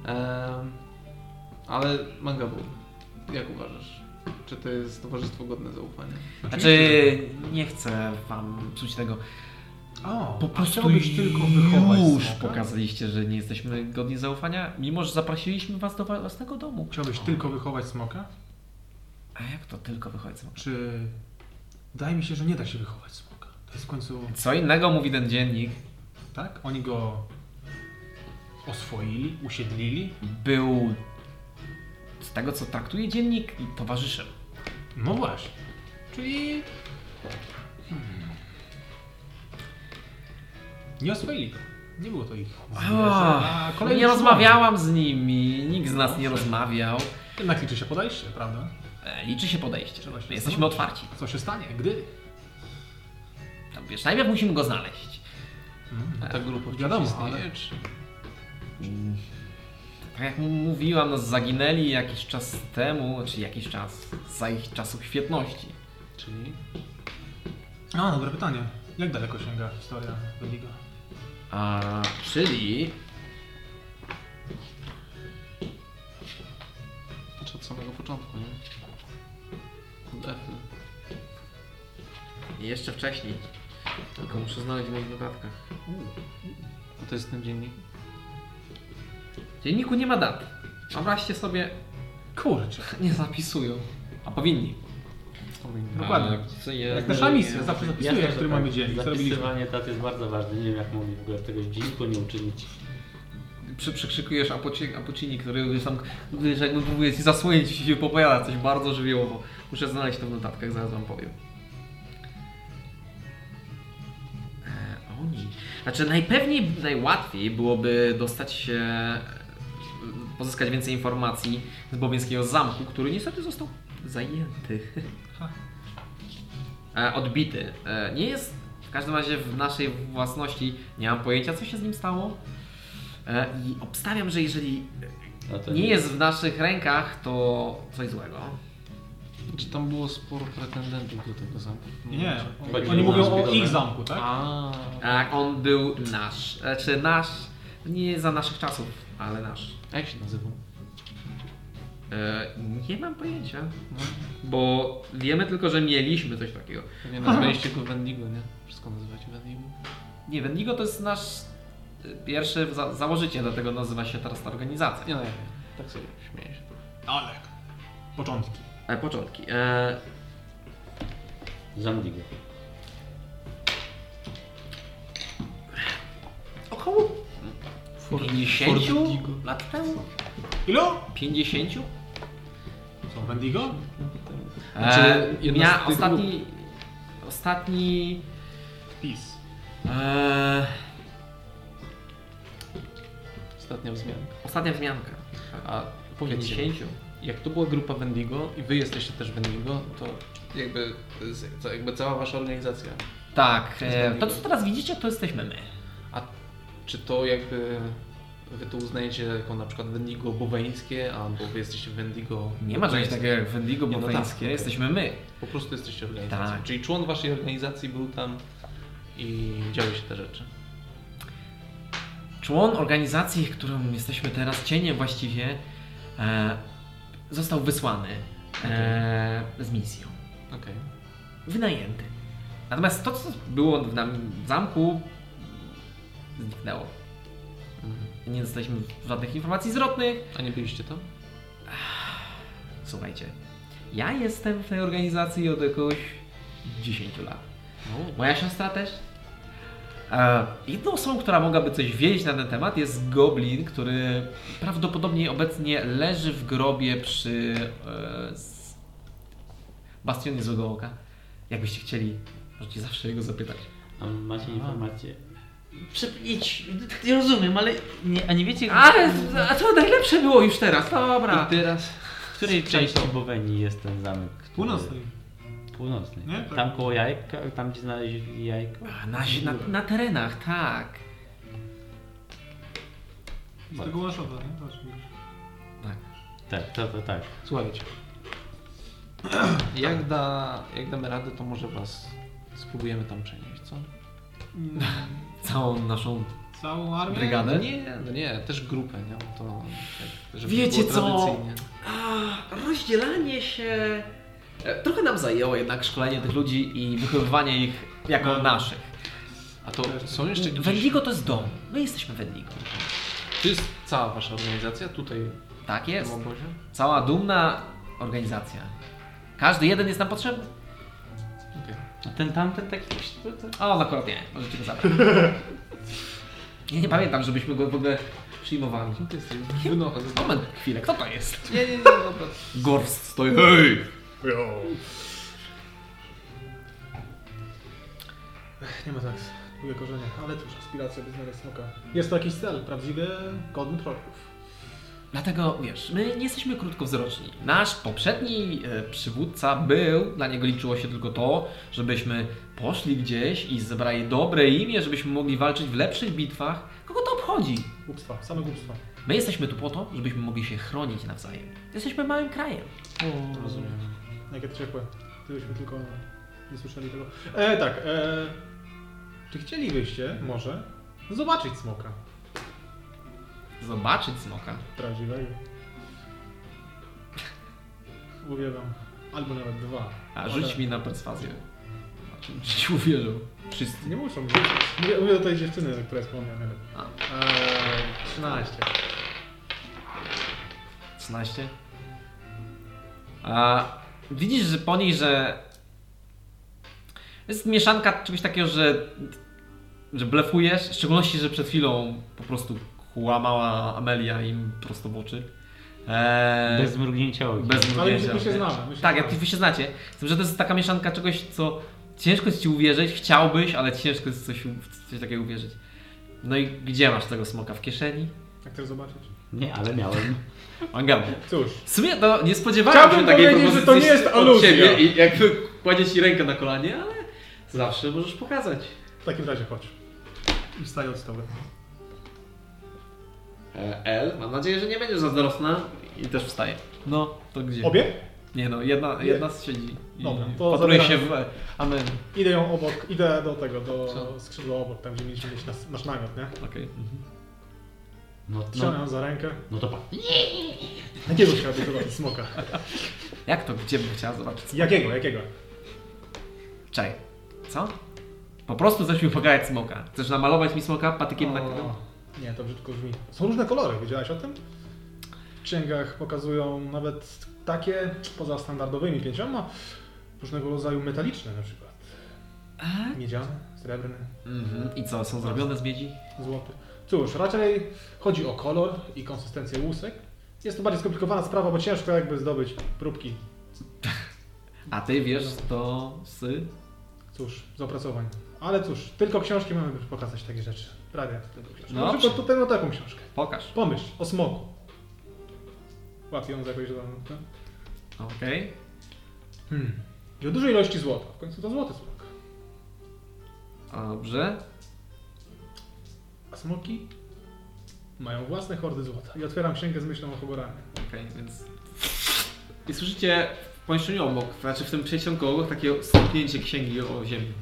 S5: Em, ale Mangabu, jak uważasz? Czy to jest towarzystwo godne zaufania?
S2: Znaczy, nie chcę wam psuć tego.
S1: O,
S2: Po
S1: a
S2: prostu
S1: chciałbyś tylko wychować
S2: już
S1: smoka?
S2: pokazaliście, że nie jesteśmy godni zaufania, mimo że zaprosiliśmy was do wa- własnego domu.
S1: Chciałbyś tylko wychować smoka?
S2: A jak to tylko wychodzi? z-
S1: Czy... Wydaje mi się, że nie da się wychować smoka. To jest w końcu...
S2: Co innego mówi ten dziennik.
S1: Tak? Oni go oswoili, usiedlili.
S2: Był, z tego co traktuje dziennik, i towarzyszem.
S1: No właśnie. Czyli... Hmm. Nie oswoili go. Nie było to ich.
S2: A, no nie rozmawiałam z nimi, nikt z nas nie rozmawiał.
S1: Jednak liczy się podejście, prawda?
S2: E, Liczy się podejście.
S1: Trzeba się
S2: Jesteśmy otwarci.
S1: Co się stanie? Gdy?
S2: Tam, wiesz, najpierw musimy go znaleźć.
S5: A No ta grupa
S1: wiadomo,
S5: wciąż istnieje,
S1: ale-
S5: czy...
S2: Tak jak m- mówiłam, nas zaginęli jakiś czas temu, czy jakiś czas, za ich czasów świetności.
S5: Czyli
S1: A, dobre pytanie. Jak daleko sięga historia Wendigo?
S2: A, czyli
S5: znaczy od samego początku, nie? Od Efy.
S2: jeszcze wcześniej. Tylko muszę znaleźć w moich notatkach.
S5: A to jest ten dziennik.
S2: W dzienniku nie ma dat. A wreszcie sobie
S1: Kurczę.
S2: nie zapisują. A powinni. no,
S1: Dokładnie.
S7: Co je...
S1: Jak nasza misja, zawsze zapisuję,
S4: Jasne, że
S1: który
S4: tak.
S1: mamy dzień, co robiliśmy.
S4: Zapisywanie dat jest bardzo ważne. Nie wiem, jak mogli w ogóle tego dzienniku nie uczynić.
S2: Przy, przykrzykujesz Apoci- Apocini, który wiesz tam, wiesz, jakby próbuje ci zasłonić i się popowiada coś bardzo żywiołowo. Muszę znaleźć to w notatkach, zaraz wam powiem. E, Oni. Znaczy najpewniej, najłatwiej byłoby dostać się, pozyskać więcej informacji z Bobińskiego Zamku, który niestety został zajęty. <laughs> E, Odbity. E, Nie jest w każdym razie w naszej własności. Nie mam pojęcia, co się z nim stało. E, I obstawiam, że jeżeli
S4: No to
S2: nie jest w naszych rękach, to coś złego.
S5: Czy tam było sporo pretendentów do tego zamku?
S1: Nie, nie.
S4: Chodzi
S1: Oni
S4: o
S1: mówią
S4: nas
S1: o
S4: zbiorowe.
S1: ich zamku, tak?
S5: A,
S2: Tak, on był nasz. Znaczy nasz, nie za naszych czasów, ale nasz.
S5: a jak się nazywał?
S2: E, nie mam pojęcia. Bo wiemy tylko, że mieliśmy coś takiego.
S5: Pewnie nazwaliście go Wendigo, nie? Wszystko nazywacie Wendigo?
S2: Nie, Wendigo to jest nasz e, pierwszy za- założyciel, dlatego nazywa się teraz ta organizacja.
S5: Nie no, ja wiem. tak sobie śmieję się.
S1: Ale. Początki.
S2: E, początki. E,
S4: Zamdigo.
S2: około 50
S5: Fordigo.
S2: lat temu?
S1: Ilu?
S2: 50?
S1: Są Wendigo?
S2: E,
S5: jedna z
S2: mia,
S5: tych
S2: ostatni, ostatni
S1: Peace.
S2: Eee,
S5: Ostatnia wzmianka.
S2: ostatnia wzmianka.
S5: A powiedzcie, mi,
S2: 50.
S5: jak to była grupa Wendigo i wy jesteście też Wendigo, to jakby, to jest ca- jakby cała wasza organizacja.
S2: Tak, e,
S5: Zmieniło.
S2: to co teraz widzicie, to jesteśmy my.
S5: A czy to jakby wy to uznajecie jako na przykład Wendigo boweńskie, albo wy jesteście Wendigo...
S2: Nie ma czegoś takiego jak Wendigo
S5: Nie, no tak,
S2: botańskie,
S5: okej.
S2: jesteśmy my.
S5: Po prostu jesteście organizacją.
S2: Tak.
S5: Czyli człon waszej organizacji był tam i działy się te rzeczy.
S2: Człon organizacji, którą jesteśmy teraz, cieniem właściwie, e, został wysłany e, z misją.
S5: Okej.
S2: Wynajęty. Natomiast to, co było w nam w zamku, zniknęło. Nie dostaliśmy żadnych informacji zwrotnych.
S5: A nie byliście tam?
S2: Słuchajcie, ja jestem w tej organizacji od jakoś 10 lat. Moja siostra też. E, Jedną osobą, która mogłaby coś wiedzieć na ten temat jest goblin, który prawdopodobnie obecnie leży w grobie przy e, s- bastionie Złego Oka. Jakbyście chcieli, możecie zawsze jego zapytać.
S4: A macie informacje?
S16: Idź, nie rozumiem, ale nie, a nie wiecie,
S2: Ale a co najlepsze było już teraz, dobra.
S5: I teraz?
S4: W której części Bowenii jest ten zamek? który-
S1: Północnej.
S4: Północnej.
S1: Nie? Tak.
S4: Tam koło jajka, tam gdzie znaleźli jajko?
S2: A, Na, na, na terenach, tak.
S1: Z tego łaszowa, nie? Patrz, widzisz.
S4: Tak, to, to tak.
S5: Słuchajcie. Jak, da, jak damy radę, to może was spróbujemy tam przenieść, co?
S1: Mm,
S2: Całą naszą
S1: Całą armię?
S2: brygadę.
S5: Nie, no nie, też grupę, nie? Bo To, tak, żeby
S2: Wiecie
S5: było
S2: co?
S5: tradycyjnie.
S2: A, rozdzielanie się. e, Trochę nam zajęło jednak szkolenie tych ludzi i wychowywanie ich jako naszych.
S5: A to są jeszcze gdzieś...
S2: Wendigo to jest dom. My jesteśmy Wendigo.
S5: To jest cała wasza organizacja tutaj
S2: Tak
S5: w
S2: jest.
S5: tym obozie?
S2: Cała dumna organizacja. Każdy jeden jest nam potrzebny?
S5: Okej.
S4: A ten tamten taki...
S2: A on no akurat nie. Możecie go zabrać. Ja nie pamiętam, żebyśmy go w ogóle przyjmowali.
S5: Kim ty jesteś? Wyno,
S2: Moment, chwilę, kto to jest?
S5: <laughs> nie, nie, nie, dobra.
S2: Gorst stoi, hej!
S1: Ech, Nie ma sensu. Długie korzenie. Ale cóż, aspiracja by znaleźć smoka. Jest to jakiś cel. Prawdziwy godny trollków.
S2: Dlatego, wiesz, my nie jesteśmy krótkowzroczni. Nasz poprzedni e, przywódca był, dla niego liczyło się tylko to, żebyśmy poszli gdzieś i zebrali dobre imię, żebyśmy mogli walczyć w lepszych bitwach. Kogo to obchodzi?
S1: Głupstwa, same głupstwa.
S2: My jesteśmy tu po to, żebyśmy mogli się chronić nawzajem. Jesteśmy małym krajem.
S1: O, rozumiem. Jakie ciepłe. Gdybyśmy tylko nie słyszeli tego. E, tak. E, czy chcielibyście może zobaczyć smoka
S2: Zobaczyć smoka.
S1: prawdziwego? Mówię wam. Albo nawet dwa.
S2: A rzuć
S1: Ale-
S2: mi na perswazję. Zobaczymy, Czy ci uwierzą. Wszyscy.
S1: Nie muszą być. Mówię, mówię do tej dziewczyny, o której wspomniałem. Eee, 13.
S2: 13. A widzisz, że po niej, że jest mieszanka czegoś takiego, że, że blefujesz, w szczególności, że przed chwilą po prostu kłamała Amelia im prosto w oczy. Eee,
S4: Bez mrugnięcia okiem.
S2: bez
S1: Ale my
S2: mrugnięcia.
S1: się, my się znamy. My się
S2: Tak, jak
S1: znamy.
S2: ty- wy się znacie. Z tym, że to jest taka mieszanka czegoś, co ciężko jest ci uwierzyć, chciałbyś, ale ciężko jest coś, w coś takiego uwierzyć. No i gdzie masz tego smoka? W kieszeni?
S1: Jak chcesz zobaczyć?
S4: Nie, ale miałem.
S2: Mangam.
S1: Cóż.
S2: W sumie to nie spodziewałem
S1: Chciałbym
S2: się takiej
S1: powiedzieć, że to nie jest
S6: od
S1: aluzja.
S6: ciebie i jakby kładzie ci rękę na kolanie, ale zawsze możesz pokazać.
S1: W takim razie chodź. I wstaję od stołu.
S6: E, L, mam nadzieję, że nie będziesz za dorosna.
S2: I też wstaje. No, to gdzie?
S1: Obie?
S2: Nie no, jedna, jedna siedzi i
S1: Dobra, to
S2: patruje się
S1: zabieram.
S2: w... Amen.
S1: Idę ją obok, idę do tego, do skrzydła obok, tam gdzie mieliśmy mieć nas, nasz namiot, nie?
S2: Okej.
S4: No,
S1: Trzymam
S4: no,
S1: ją za rękę.
S4: no to pa.
S1: Jakiego chciałby zobaczyć smoka?
S2: Jak to? Gdzie bym chciała zobaczyć?
S1: Jakiego, jakiego?
S2: Czaj. Co? Po prostu chcesz mi pokazać smoka. Chcesz namalować mi smoka patykiem na
S1: O, Nie, to brzydko brzmi. Są różne kolory, wiedziałaś o tym? W księgach pokazują nawet takie, poza standardowymi pięcioma, różnego rodzaju metaliczne na przykład. Miedziane, srebrne,
S2: Mhm. I co, są zrobione z miedzi?
S1: złote. Cóż, raczej chodzi o kolor i konsystencję łusek. Jest to bardziej skomplikowana sprawa, bo ciężko jakby zdobyć próbki.
S2: A ty wiesz to z...
S1: Cóż, z opracowań. Ale cóż, tylko książki mamy by pokazać takie rzeczy. Prawie tylko książki.
S2: No
S1: No, na przykład
S2: dobrze.
S1: tutaj no taką książkę.
S2: Pokaż.
S1: Pomyśl o smoku. Łapię ją za jakąś tam. tam.
S2: Okej.
S1: Hmm. I o dużej ilości złota. W końcu to złoty smok.
S2: Dobrze.
S1: A smoki mają własne hordy złota. I otwieram księgę z myślą o Hogoranie.
S2: Okej, więc...
S6: I słyszycie w pomieszczeniu obok, znaczy w tym przejściu obok takie stąpnięcie księgi o ziemi.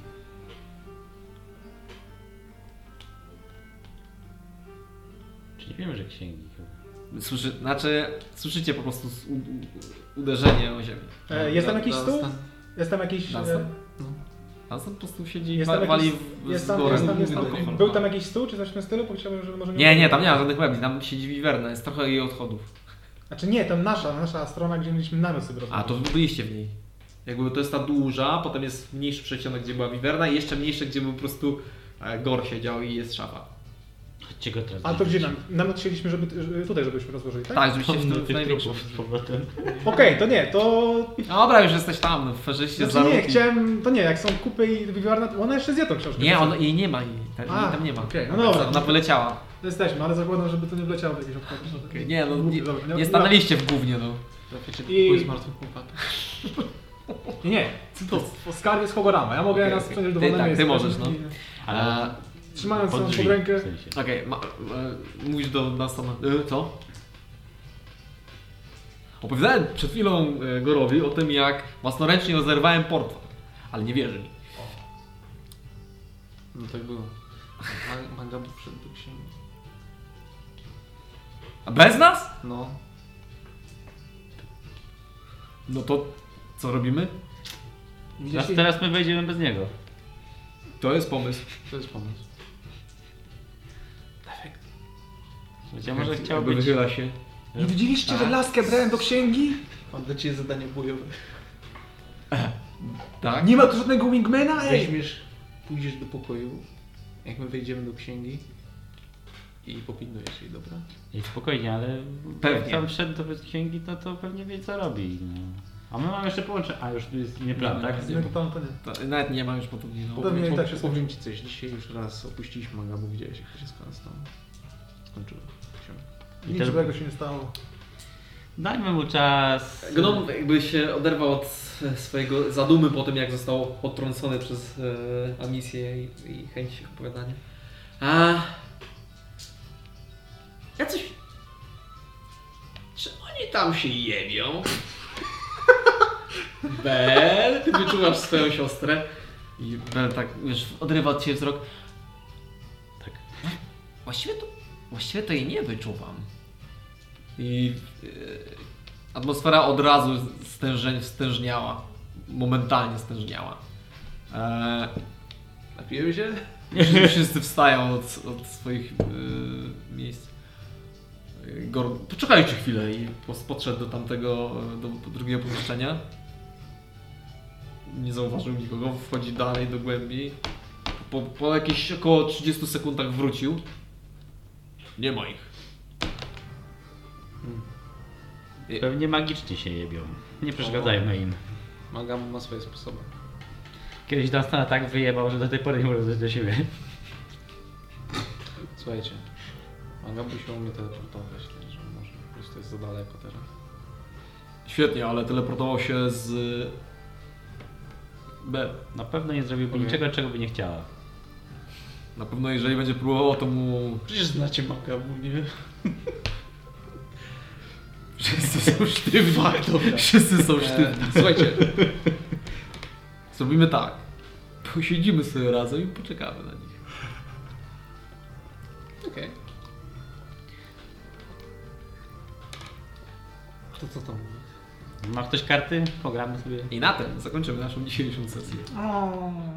S4: Czyli wiemy, że księgi chyba.
S2: Słyszy... Znaczy, słyszycie po prostu s- u... u- uderzenie o ziemię.
S1: E, jest tam
S2: No,
S5: Da-
S1: jakiś
S5: da-
S1: stół?
S5: stan-
S1: Jest tam jakiś...
S2: Dunstan?
S1: E,
S2: A on po prostu siedzi i
S17: e, Jest
S2: wa-
S17: tam
S2: wali
S17: jakiś,
S2: w-
S17: jest
S2: z
S17: tam,
S2: góry.
S17: jest tam, jest tam,
S2: Alkohol.
S17: był tam jakiś stół czy coś w tym stylu? Bo chciałbym, żeby może...
S2: Nie, nie, tam nie ma żadnych mebli, tam siedzi wiwerna, jest trochę jej odchodów.
S17: Znaczy nie, tam nasza, nasza strona, gdzie mieliśmy namiot sobie
S2: A, to wy byliście w niej.
S6: Jakby to jest ta duża, potem jest mniejszy przecionek, gdzie była wiwerna i jeszcze mniejsze, gdzie był po prostu e, gor siedział i jest szafa.
S4: Chodźcie go teraz
S17: A to
S4: zjeść.
S17: gdzie nam? Namiot chcieliśmy, żeby, żeby tutaj, żebyśmy rozłożyli, tak?
S2: Tak, żebyście w
S4: Pomnę
S2: tym w
S4: tych
S2: największym. No
S4: trupów z powrotem.
S17: Okej, to nie, to...
S2: Dobra, już jesteś tam, w ferzyście
S17: Znaczy nie,
S2: zaruki.
S17: chciałem... To nie, jak są kupy i wywiarna, to ona jeszcze zje tą książkę. tak?
S2: Nie, on, jej nie ma, jej, tam,
S17: A,
S2: jej tam nie ma. Tak,
S17: okej, no dobra.
S2: Ona wyleciała.
S17: Jesteśmy, no, ale zakładam, żeby to nie wleciało w jakieś obchody.
S2: Nie, no
S17: Głupie,
S2: nie,
S17: dobra,
S2: nie stanęliście w gównie, no.
S5: Zapiecie
S17: I-
S5: I... z martwych chłopak.
S1: Nie, nie. To skarb jest Hogorama. Ja mogę
S2: Okej,
S1: nas
S2: okej.
S1: przejść do
S2: Ty-
S1: wolnego
S2: tak,
S1: miejsca.
S2: ty możesz, no.
S1: I-
S2: Ale
S17: Trzymając
S4: Pod
S17: ją pod
S4: drzwi,
S17: rękę.
S4: w sensie.
S2: E, Okej, ma- e, mówisz do nas tam, e, co? Opowiadałem przed chwilą e, Gorowi o tym, jak własnoręcznie rozerwałem portfel, ale nie wierzy mi.
S5: No tak było. Ma- Manga był przed do księgi.
S2: A bez nas?
S5: No.
S2: No to co robimy?
S4: Teraz, teraz my wejdziemy bez niego.
S2: To jest pomysł.
S5: To jest pomysł.
S4: Ja może chciał
S2: Jakby
S4: być...
S2: wychyla się.
S15: Nie widzieliście, że laskę brałem do księgi?
S5: Mam dla ciebie zadanie bojowe.
S2: <laughs> Tak?
S15: Nie ma tu żadnego wingmana? Ej!
S5: Weźmiesz, pójdziesz do pokoju, jak my wejdziemy do księgi i popilnujesz jej, dobra?
S4: Ej, spokojnie, ale
S2: Pewnie.
S4: jak tam wszedł do księgi, no to pewnie wie co robi. No. A my mamy jeszcze połączenie. A już tu jest nieprawda, tak?
S17: No to tam to nie.
S2: To, nawet nie mam już podobnie. No.
S17: Pewnie i tak się
S5: powiem ci coś, dzisiaj już raz opuściliśmy manga, bo widziałeś jak to się skończyło. Skończyło.
S4: I
S17: Nic
S4: też-
S17: złego się nie stało.
S4: Dajmy mu czas.
S6: Gnom jakby się oderwał od e, swojego zadumy po tym, jak został potrącony przez e, amisję i, i chęć opowiadania. A... Ja coś... Czy oni tam się jebią? <laughs> Bel, ty wyczuwasz swoją siostrę.
S2: I Bel tak, wiesz, odrywa od ciebie wzrok.
S4: Tak.
S2: Właściwie to, właściwie to jej nie wyczuwam. I e, atmosfera od razu stężeń, stężniała. Momentalnie stężniała. E,
S5: Napijemy się?
S2: wszyscy- wszyscy wstają od, od swoich e, miejsc. E, Gor, poczekajcie chwilę i pos- podszedł do tamtego, e, do drugiego pomieszczenia. Nie zauważył nikogo, wchodzi dalej do głębi. Po, po jakichś około 30 sekundach wrócił. Nie ma ich.
S4: Pewnie magicznie się jebią. Nie przeszkadzajmy im.
S5: Manga ma swoje sposoby.
S4: Kiedyś Dunstan tak wyjebał, że do tej pory nie może dojść do siebie.
S5: Słuchajcie, manga by się umie teleportować, także może po prostu jest za daleko teraz.
S2: Świetnie, ale teleportował się z... B.
S4: Na pewno nie zrobiłby
S5: Okej.
S4: niczego, czego by nie chciała.
S2: Na pewno jeżeli będzie próbował, to mu...
S5: Przecież znacie manga, bo nie
S2: Wszyscy są sztywni. Wszyscy są sztywni.
S5: Słuchajcie,
S2: Zrobimy tak. Posiedzimy sobie razem i poczekamy na nich.
S5: okej. To co tam?
S4: Ma ktoś karty? Pogramy sobie.
S2: I na tym zakończymy naszą dzisiejszą sesję.
S17: O.